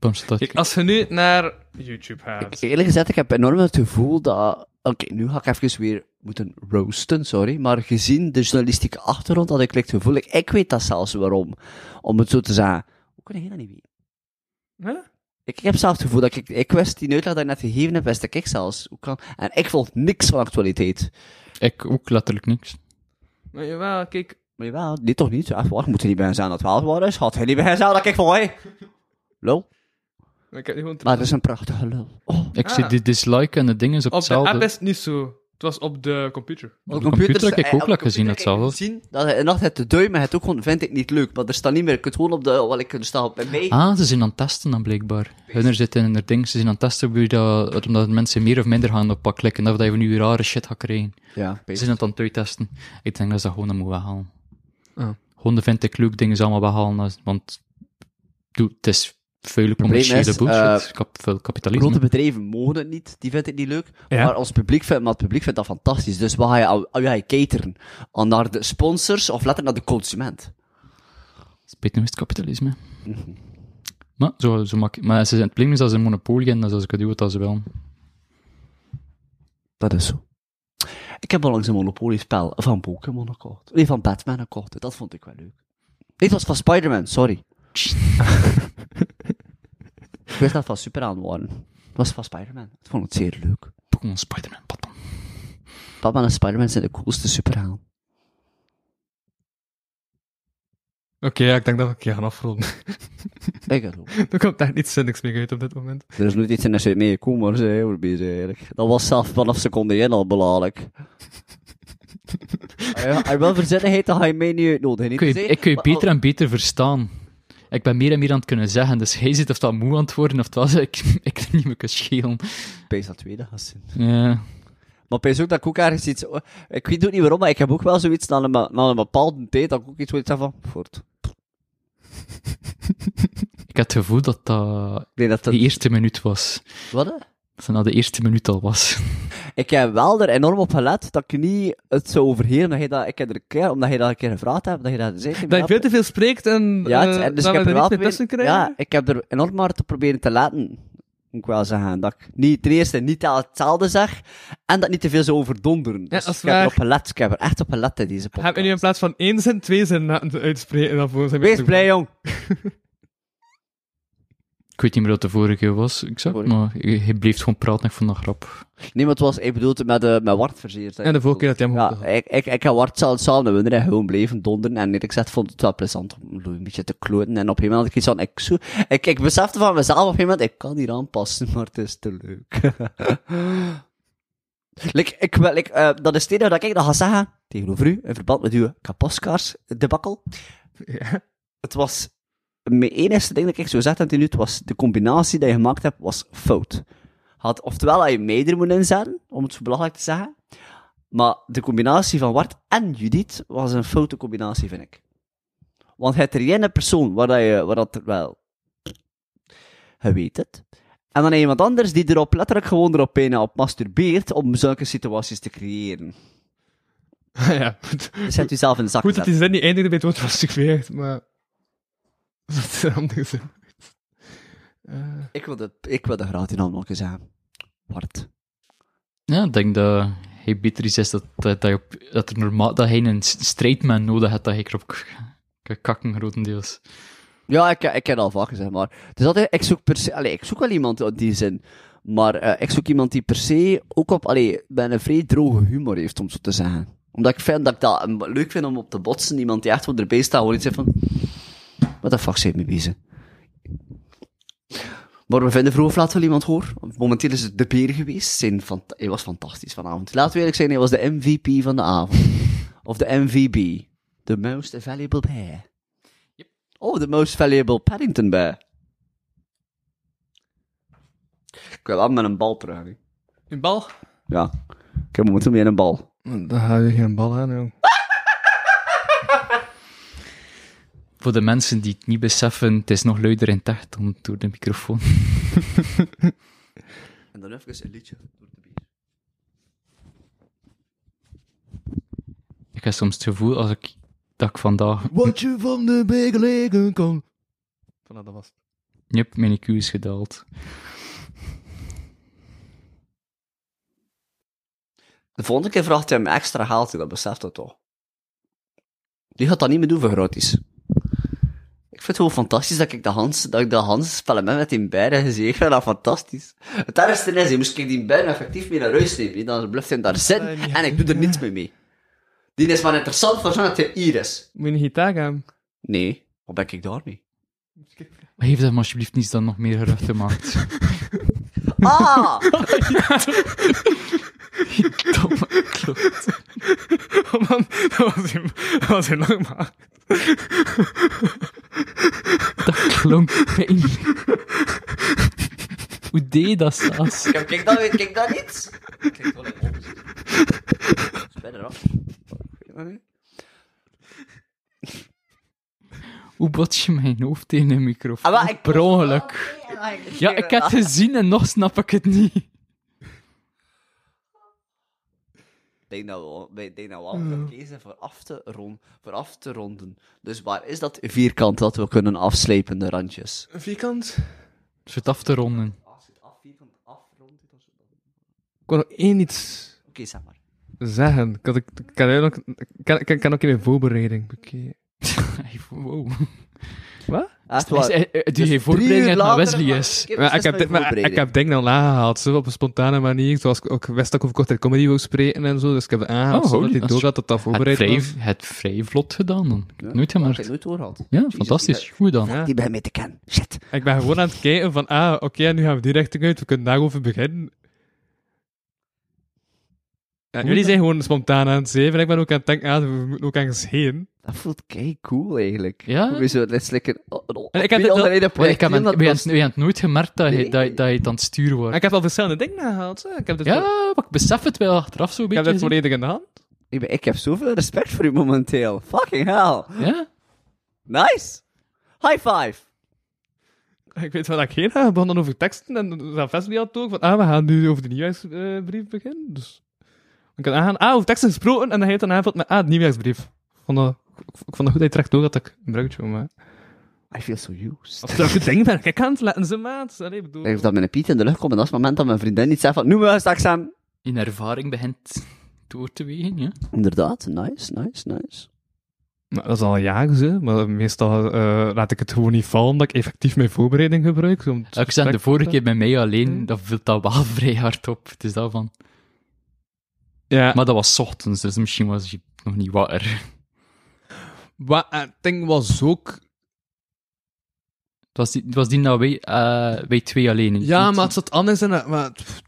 S5: waarom ze dat-
S4: Kijk, als je nu naar YouTube gaat.
S3: Eerlijk gezegd, ik heb enorm het gevoel dat... Oké, nu ga ik even weer moeten roasten, sorry. Maar gezien de journalistieke achtergrond had ik het gevoel... Ik, ik weet dat zelfs waarom. Om het zo te zeggen. Hoe kun je dat niet weten?
S4: Huh?
S3: Ik, ik heb zelf het gevoel dat ik, ik wist die uitleg dat ik net gegeven heb, wist ik, ik zelfs. Hoe kan, en ik vond niks van actualiteit.
S5: Ik ook letterlijk niks.
S4: Maar jawel, kijk.
S3: Maar jawel, dit toch niet? Echt waar, moet er niet bij zijn dat het wel waar is? Had hij niet bij zijn dat ik van, hé? Lul.
S4: Ik heb nu gewoon
S3: Maar het is een prachtige lul. Oh,
S5: Ik
S4: Ah.
S5: zie de dislike en de dingen op
S4: op de app
S5: hetzelfde.
S4: is het niet zo. Het was op de computer.
S5: Op de computer heb ik
S3: eh, op
S5: ook
S3: de
S5: lekker gezien
S3: computer kan je
S5: hetzelfde.
S3: zien dat hij nog het duimen, het ook gewoon vind ik niet leuk. Maar er staat niet meer, ik het gewoon op de, wat ik er sta op bij mij.
S5: Ah, ze zijn aan het testen dan blijkbaar. Hunner zitten in hun ding, ze zijn aan het testen hoe dat, omdat mensen meer of minder gaan op pak klikken. Of dat je nu rare shit gaat krijgen.
S3: Ja,
S5: Ze zijn het aan het uittesten. Ik denk dat ze dat gewoon moeten weghalen.
S4: Ah.
S5: Gewoon de vind ik leuk dingen allemaal weghalen, als- want doe, het is vuile commerciële
S3: is,
S5: bullshit.
S3: eh,
S5: Kap, veel kapitalisme.
S3: Grote bedrijven mogen het niet, die vindt het niet leuk.
S4: Ja.
S3: Maar ons publiek vindt, maar het publiek vindt dat fantastisch. Dus wat ga je, aan- hoe ga je cateren? Aan naar de sponsors of letter naar de consument?
S5: Spijt me, is het kapitalisme.
S3: Mhm.
S5: Maar, zo, zo mak maar ze zijn, het probleem is dus dat ze een monopolie hebben, dat ze kunnen doen wat ze willen.
S3: Dat is zo. Ik heb onlangs een Monopoly-spel van Pokémon gekocht. Nee, van Batman gekocht. Dat vond ik wel leuk. Dit was van Spider-Man, sorry. ik wist dat van super aan waren. Het was van Spider-Man. Ik vond het zeer leuk.
S5: Pokémon, Spider-Man, Batman.
S3: Batman en Spider-Man zijn de coolste superhelden.
S4: ja, ik denk dat we een keer gaan afronden.
S3: Ik het ook.
S4: er komt daar niet zinnigs meer uit op dit moment.
S3: Er is nooit iets in de site meegekomen, maar ze zijn heel bezig eigenlijk. Dat was zelf vanaf seconde 1 al belangrijk. Ah ja, en wel verzinnigheid, dat ga je mij niet uitnodigen.
S5: Ik
S3: niet
S5: kun
S3: te
S5: je,
S3: zeggen,
S5: ik kun je
S3: maar al-
S5: beter en beter verstaan. Ik ben meer en meer aan het kunnen zeggen, dus hij zit of dat moe aan het worden, of dat ik, ik er niet meer kan schelen.
S3: Pees dat tweede gaat zien.
S5: Ja.
S3: Maar pees ook dat ik ook ergens iets... Ik weet ook niet waarom, maar ik heb ook wel zoiets na een, be- na een bepaalde tijd dat ik ook iets zoiets heb van... Voort.
S5: Ik had het gevoel dat dat
S3: Nee, dat, dat,
S5: de eerste minuut was.
S3: Wat? hè?
S5: Dat het na de eerste minuut al was.
S3: Ik heb wel er enorm op gelet dat ik niet het zou overheren. Dat je dat, ik heb er een keer, omdat je dat een keer gevraagd hebt, dat je dat zei. tegen
S4: Dat
S3: mij had.
S4: je veel te veel spreekt en
S3: Ja, het-
S4: eh,
S3: en dus
S4: dat
S3: ik heb
S4: we er
S3: er wel
S4: niet meer tussen
S3: proberen-
S4: krijgen.
S3: Ja, ik heb er enorm maar te proberen te laten, moet ik wel zeggen. Dat ik niet, ten eerste niet al hetzelfde zeg, en dat niet te veel zou overdonderen. Dus
S4: dat is
S3: ik heb
S4: waar.
S3: erop gelet, ik heb er echt op gelet in deze podcast.
S4: Heb je nu in plaats van één zin twee zinnen laten uitspreken? Dan voor zijn
S3: Wees blij, jong.
S5: Ik weet niet meer wat de vorige was, exact,
S3: Vorige.
S5: maar hij hij bleef gewoon praten, ik vond dat grap.
S3: Nee, maar het was, ik bedoelde met, eh met Wart verzeerd. hè.
S4: En de vorige keer dat jij hem
S3: Ja,
S4: ook had.
S3: ik, ik, ik heb Wart zelf samen met en gewoon bleven donderen. En ik zat vond het wel plezant om een beetje te kloten. En op een gegeven moment had ik iets van, ik, zo, ik, ik besefte van mezelf op een gegeven moment, ik kan hier aanpassen, maar het is te leuk. like, ik, wil- like, eh, dat is het enige dat ik dat ga zeggen, tegenover u, in verband met uw kapaskaars debakkel. Het was, mijn enige ding dat ik zo zette tot nu toe, was de combinatie die je gemaakt hebt, was fout. Had, oftewel had je mij er moeten inzetten, om het zo belangrijk te zeggen. Maar de combinatie van Wart en Judith was een foute combinatie, vind ik. Want het er ene persoon waar, dat je, waar dat er wel... Je weet het. En dan iemand anders die erop letterlijk gewoon erop bijna op masturbeert om zulke situaties te creëren.
S4: ja.
S3: Dus zet u zelf in de zak.
S4: Goed dat
S3: gezet.
S4: die zin niet eindigde bij het woord prostitueerd, maar... Dat is een andere zin. Eh,
S3: Ik wil de, ik wil de graad in nog eens aan. Wart.
S5: Ja, ik denk dat hij beter iets is dat, dat, dat, je op- dat, er normaal, dat hij een s- straight man nodig had, dat hij erop k- kan kakken, grotendeels.
S3: Ja, ik, ik heb het al vaak gezegd, maar... Dus dat, ik zoek per se... Allee, ik zoek wel iemand in die zin. Maar eh, ik zoek iemand die per se ook op... Allee, met een vrij droge humor heeft, om zo te zeggen. Omdat ik, vind, dat ik dat eh, leuk vind om op te botsen. Iemand die echt voor erbij staat, gewoon iets zegt van... Wat de fuck zijn we mee bezig? Maar we vinden vroeg of laat wel iemand hoor. Want Momenteel is het de beer geweest. Zijn fant- hij was fantastisch vanavond. Laten we eerlijk zijn, hij was de MVP van de avond. of de MVB. The most valuable bear. Oh, the most valuable Paddington bear. Ik wil wel met een bal terug. hè.
S4: Een bal?
S3: Ja. Ik heb momenteel meer een bal.
S4: Dan hou je geen bal aan, jong.
S5: Voor de mensen die het niet beseffen, het is nog luider in tech dan door de microfoon.
S3: En dan even een liedje.
S5: Ik heb soms het gevoel als ik, dat ik vandaag
S4: Wat je van de begelegen kan. Voilà, dat was het.
S5: Yep, mijn IQ is gedaald.
S3: De volgende keer vraagt hij hem extra haalt hij, dat beseft dat toch. Die gaat dat niet meer doen voor gratis. Ik vind het gewoon fantastisch dat ik de Hans, dat ik de Hans spelen met met die beiden gezien. Ik vind dat fantastisch. Het ergste is, je moest ik die beiden effectief mee naar huis nemen. hè. Dan blijft hij daar zitten en ik doe er niets mee mee. Die is maar interessant voor zo'n dat hij hier is.
S4: Moet je een gitaar gaan?
S3: Nee, wat ben ik daarmee?
S5: Maar heeft dat maar alsjeblieft niet dan nog meer gerucht gemaakt.
S3: Ah!
S5: Domme kloot.
S4: Oh man, dat was heel, dat was heel lang, maar...
S5: Klonk pijnlijk. Hoe deed je dat, Saas?
S3: Kijk, kijk dat, kijk dat niet. Kijk wel in onderzoek. Spijt eraf.
S5: Hoe bot je mijn hoofd in de microfoon?
S3: Ah, maar ik- Ah,
S5: Per ongeluk. Ja, ik heb het gezien en nog snap ik het niet.
S3: Ik denk dat we, wij- ik denk dat we al kunnen kiezen voor af, te rond, voor af te ronden. Dus waar is dat vierkant dat we kunnen afslepen, de randjes?
S4: Een vierkant?
S5: Zit af te ronden.
S3: Als het af vierkant afrondt, dan
S4: Ik wou nog één iets...
S3: Oké, zeg maar.
S4: zeggen? Ik had, ik, ik kan, ook, ik kan, ik kan ook in mijn voorbereiding bekijken.
S5: Wow.
S3: Echt
S5: Is,
S3: waar.
S5: eh, eh,
S4: dus
S5: die geen voorbereiding uit naar Wesley is.
S3: Ik heb,
S4: Maar ik, heb, maar ik heb dingen al aangehaald, zo, op een spontane manier. Zoals ik ook wist dat ik over korte comedy wou spreken en zo. Dus ik heb het aangehaald,
S5: Oh, holy,
S4: zodat hij
S5: dat is-
S4: door had dat dat
S5: Het
S4: voorbereid
S5: vrij,
S4: was.
S5: het vrij vlot gedaan dan. Ik heb het nooit
S3: Ik heb
S5: gemerkt.
S3: nooit door gehad.
S5: Ja,
S3: Jezus,
S5: fantastisch. Goed dan.
S4: Ja.
S3: Die ben mee te kennen. Shit.
S4: Ik ben gewoon aan het kijken van, ah, oké, nu gaan we die richting uit. We kunnen daarover beginnen. Ja, jullie zijn gewoon spontaan aan het zeven. Ik ben ook aan het denken, ah, we moeten ook ergens heen.
S3: Dat voelt kei cool eigenlijk.
S5: Ja?
S3: Hoe is het net lekker. Oh, oh,
S4: En ik heb
S3: veel
S4: het-
S3: onderin een
S5: Maar ik
S3: project
S5: heb
S3: doen,
S5: het,
S3: dat-
S5: we hebben we hebben het nooit gemerkt dat je,
S3: Nee.
S5: dat, dat je het aan het sturen
S4: En
S5: wordt.
S4: ik heb al verschillende dingen aangehaald. zo. Ik heb dit,
S5: Ja,
S4: voor-
S5: maar ik besef het wel achteraf zo'n
S4: dus ik heb
S5: beetje.
S4: dit volledig in de hand.
S3: Ik ben- Ik heb zoveel respect voor u momenteel. Fucking hell.
S5: Ja?
S3: Nice. High five.
S4: Ik weet wel dat ik heen ga. We begonnen over teksten en dat vast niet had ook. Van, ah, we gaan nu over de nieuwjaarsbrief beginnen. Dus ik kan aangaan, ah, over teksten gesproken. En dan heet dan aanvult met, ah, de nieuwjaarsbrief. Ik vond dat, ik, ik vond dat goed dat je terecht door had dat ik een bruggetje wou maken.
S3: I feel so used.
S4: Als dat goed ding ben, ik aan het letten, ze maat. Allee, bedoel...
S3: Ik denk dat mijn piet in de lucht komt en dat is het moment dat mijn vriendin iets zegt van noem me straks aan.
S5: In ervaring begint door te wegen, ja.
S3: Inderdaad, nice, nice, nice.
S4: Nou, dat is al jaren, hè. Maar meestal eh, laat ik het gewoon niet vallen dat ik effectief mijn voorbereiding gebruik. zo om het
S5: Ik zei de
S4: gesprek-
S5: vorige keer bij mij alleen,
S4: Ja.
S5: dat viel dat wel vrij hard op. Het is daarvan.
S4: Ja.
S5: Maar dat was 's ochtends, dus misschien was je nog niet wakker.
S4: Wat het ding was ook...
S5: Het was die, het was die dat wij, eh, wij twee alleen. niet-
S4: Ja,
S5: niet-
S4: maar het zat anders in... het- Maar, pff,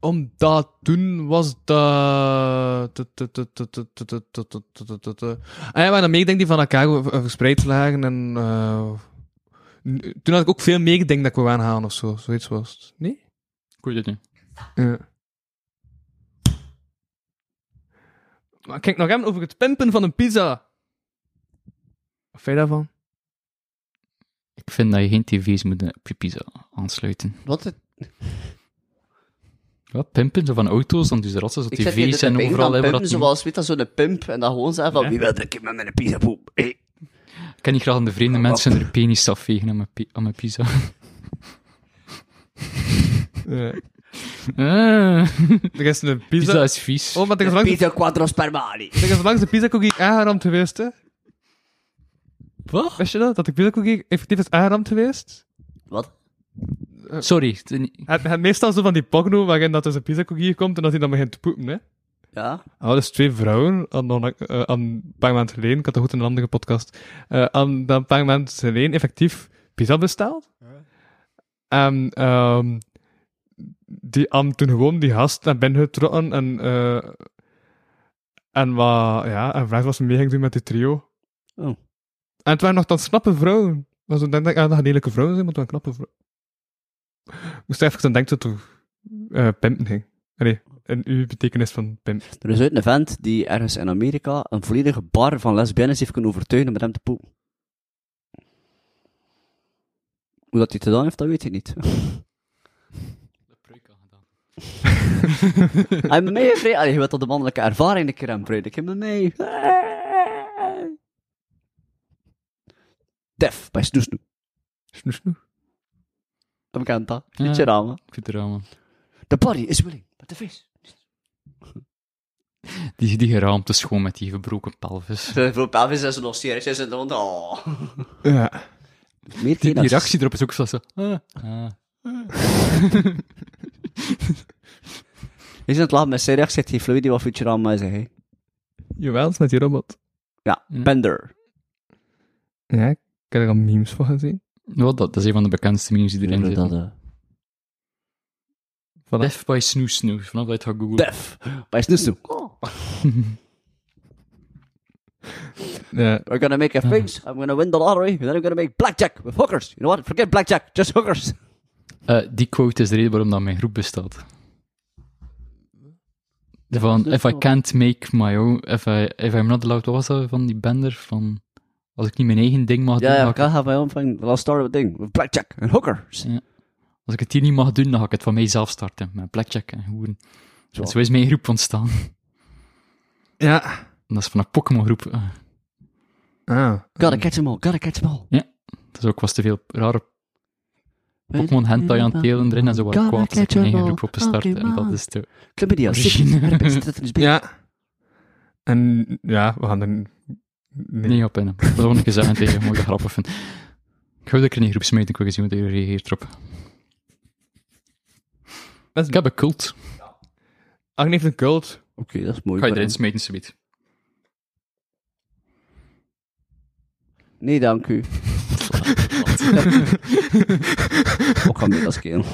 S4: omdat toen was dat... tu- tu- tu- tu- tu- tu- tu- tu- tu- tu- tu- tu- tu. Ah ja, maar dan meegeding die van elkaar ver- ver- verspreid lagen en... eh, n- Toen had ik ook veel meegeding dat ik wou aanhalen of zo. Zoiets was het. Nee?
S5: Ik weet het niet.
S4: Ja. Maar kijk nog even over het pimpen van een pizza. Wat vind je daarvan?
S5: Ik vind dat je geen tv's moet op je pizza aansluiten.
S3: Wat het?
S5: Wat? Pimpen zo van auto's, dan doen ze rotsen op
S3: Ik zet hier
S5: tv's
S3: de
S5: en
S3: ping
S5: overal.
S3: van
S5: hè, waar dat
S3: pimp,
S5: niet-
S3: zoals weet dat zo'n pimp en dat gewoon zeggen van wie wil er een keer met mijn pizza poep? Hey.
S5: Ik ken niet graag aan de
S3: Ah,
S5: vreemde mensen hun penis afvegen aan mijn, pi- aan mijn pizza. Ah,
S4: Er is een pizza...
S5: pizza is vies.
S4: Oh, maar er is langs,
S3: Pizza quattro spermali.
S4: er is langs de pizza cookie aangeramd geweest, hè?
S5: Wat?
S4: Wist je dat? Dat de pizza cookie effectief is aangeramd geweest?
S3: Wat?
S5: Sorry. het is niet-
S4: Het, het meestal zo van die porno waarin dat dus een pizza cookie komt en dat hij dan begint te poepen, hè?
S3: Ja?
S4: Oh, dus twee vrouwen, aan, aan, eh, aan een paar maanden geleden, ik had dat goed in een andere podcast, eh, aan dan een paar maanden geleden effectief pizza besteld. En ehm, die aan toen gewoon die gast naar binnen getrokken en, eh, en wat, ja, en vraag was ze mee ging doen met die trio.
S3: Oh.
S4: En het waren nog dan knappe vrouwen. Maar zo denk ik, ah, dat gaan lelijke vrouwen zijn, maar het waren knappe vrouwen. Ik moest even aan denken dat het toch eh, pimpen ging. Nee, in uw betekenis van pimp.
S3: Er is uit een vent die ergens in Amerika een volledige bar van lesbiennes heeft kunnen overtuigen om met hem te poepen. Hoe dat hij het gedaan heeft, dat weet ik niet. Hij heeft mij gevraagd, allee, je weet dat de mannelijke ervaring een keer aanbreiden. Ik heb met mij... Def, bij Snoesnoe.
S4: Snoe, snoe.
S3: Dat bekend dat.
S5: Ja.
S3: Liedje ramen.
S5: Ah, Ik vind het raam, man.
S3: The body is willing, but the face.
S5: Die, die geraamte is gewoon met die gebroken pelvis.
S3: Voor pelvis is nog serieus in de hond. Oh.
S4: Ja.
S3: Meer
S5: Die,
S3: keer
S5: die
S3: dat-
S5: reactie erop is ook zo. zo, ah, ah.
S3: Is in het laat met zijn reactie, zegt die Floyd die wat Futurama zegt. hè.
S4: Jawel, het is met die robot.
S3: Ja,
S5: Hm.
S3: Bender.
S4: Ja, ik heb er al memes van gezien.
S5: Nou, dat, dat is een van de bekendste memes die erin
S3: Dat,
S5: zit.
S3: eh,
S5: Def by Snoo Snoo, vanaf dat je het gaat googlen.
S3: Def, bij Snoesnoe.
S4: Ja.
S3: We're gonna make a fix, I'm gonna win the lottery, and then I'm gonna make blackjack with hookers. You know what, forget blackjack, just hookers.
S5: Eh, die quote is de reden waarom dat mijn groep bestaat. De Van, if I can't make my own, if, I, if I'm not allowed, wat was dat van die bender? Van, als ik niet mijn eigen ding mag
S3: Ja,
S5: doen,
S3: ja,
S5: ga
S3: ik
S5: ik-
S3: ga mijn omvang, last start with ding, with blackjack and hookers.
S5: als ik het hier niet mag doen, dan ga ik het van mijzelf starten, met blackjack en hoeren. En zo is mijn groep ontstaan.
S4: Ja.
S5: En dat is van een Pokémon-groep. eh.
S4: Ah.
S3: Gotta catch 'em all, gotta catch 'em all.
S5: dat is ook was te veel rare Pokémon hentai aan het telen erin en ze waren
S3: Gotta
S5: kwaad. Ze hebben
S3: catch a
S5: een eigen
S3: ball,
S5: groep opgestart en dat
S3: Pokémon.
S5: is de
S3: Chlamydia,
S5: Origine.
S3: syphilis, herpes, tetanus B.
S4: Ja. En ja, we gaan er... Nee.
S5: Nee, op in. Dat wil ik je zeggen tegen je, moet ik dat grappig vinden. Ik ga er in die groep smijten, ik wil eens zien hoe je reageert erop.
S4: Dat is-
S5: Ik heb een cult.
S4: Agne heeft een cult.
S3: Oké, dat is mooi.
S5: Ga je
S3: maar-
S5: erin smijten, subiet.
S3: Nee, dank u. Ook aan mij als kerel.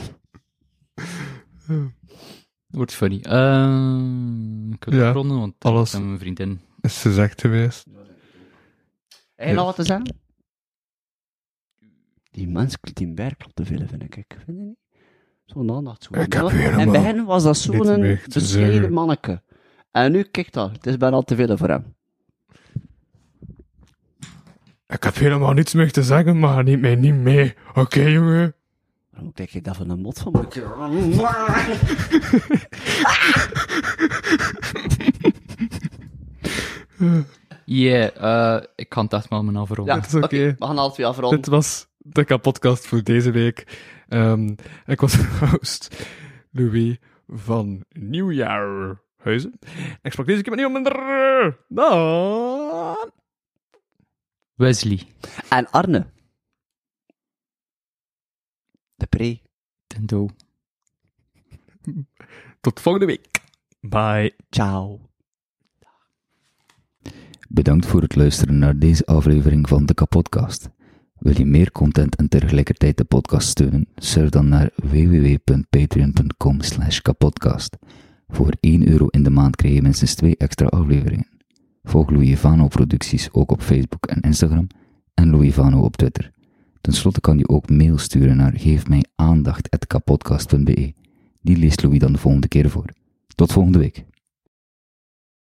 S5: Dat wordt funny. Ehm ik wil
S4: Ja,
S5: ja, ronden, want ik
S4: alles.
S5: heb mijn vriendin.
S4: Is ze zegt geweest.
S3: Heb je nog wat te zeggen? Die mens, die berg klopt te veel, vind ik. Ik vind het niet. Zo'n aandacht. Zo.
S4: Ik heb
S3: Ja,
S4: helemaal
S3: In het begin was dat
S4: niks meer
S3: zo'n
S4: te
S3: bescheiden
S4: zeggen.
S3: manneke. En nu, kijk dat, het is bijna al te veel voor hem.
S4: Ik heb helemaal niets meer te zeggen, maar neem mij niet mee. Oké, jongen.
S3: Waarom kijk je daar van een mot van maken?
S5: Yeah, eh, ik kan het echt wel mijn afronden.
S3: Ja.
S4: Het is oké.
S3: Oké, We gaan alle twee afronden.
S4: Dit was de kapotcast voor deze week. Ehm, ik was de host Louis van Nieuwjaarhuizen. Ik sprak deze keer met niemand minder dan...
S5: Wesley.
S3: En Arne. De pre.
S5: Tendo.
S4: Tot volgende week. Bye.
S3: Ciao.
S8: Bedankt voor het luisteren naar deze aflevering van de Kapodcast. Wil je meer content en tegelijkertijd de podcast steunen? Surf dan naar www.patreon.com slash kapodcast. Voor 1 euro in de maand krijg je minstens 2 extra afleveringen. Volg Louis Vano producties ook op Facebook en Instagram en Louis Vano op Twitter. Ten slotte kan je ook mail sturen naar geefmijaandacht.kapodcast.be. Die leest Louis dan de volgende keer voor. Tot volgende week.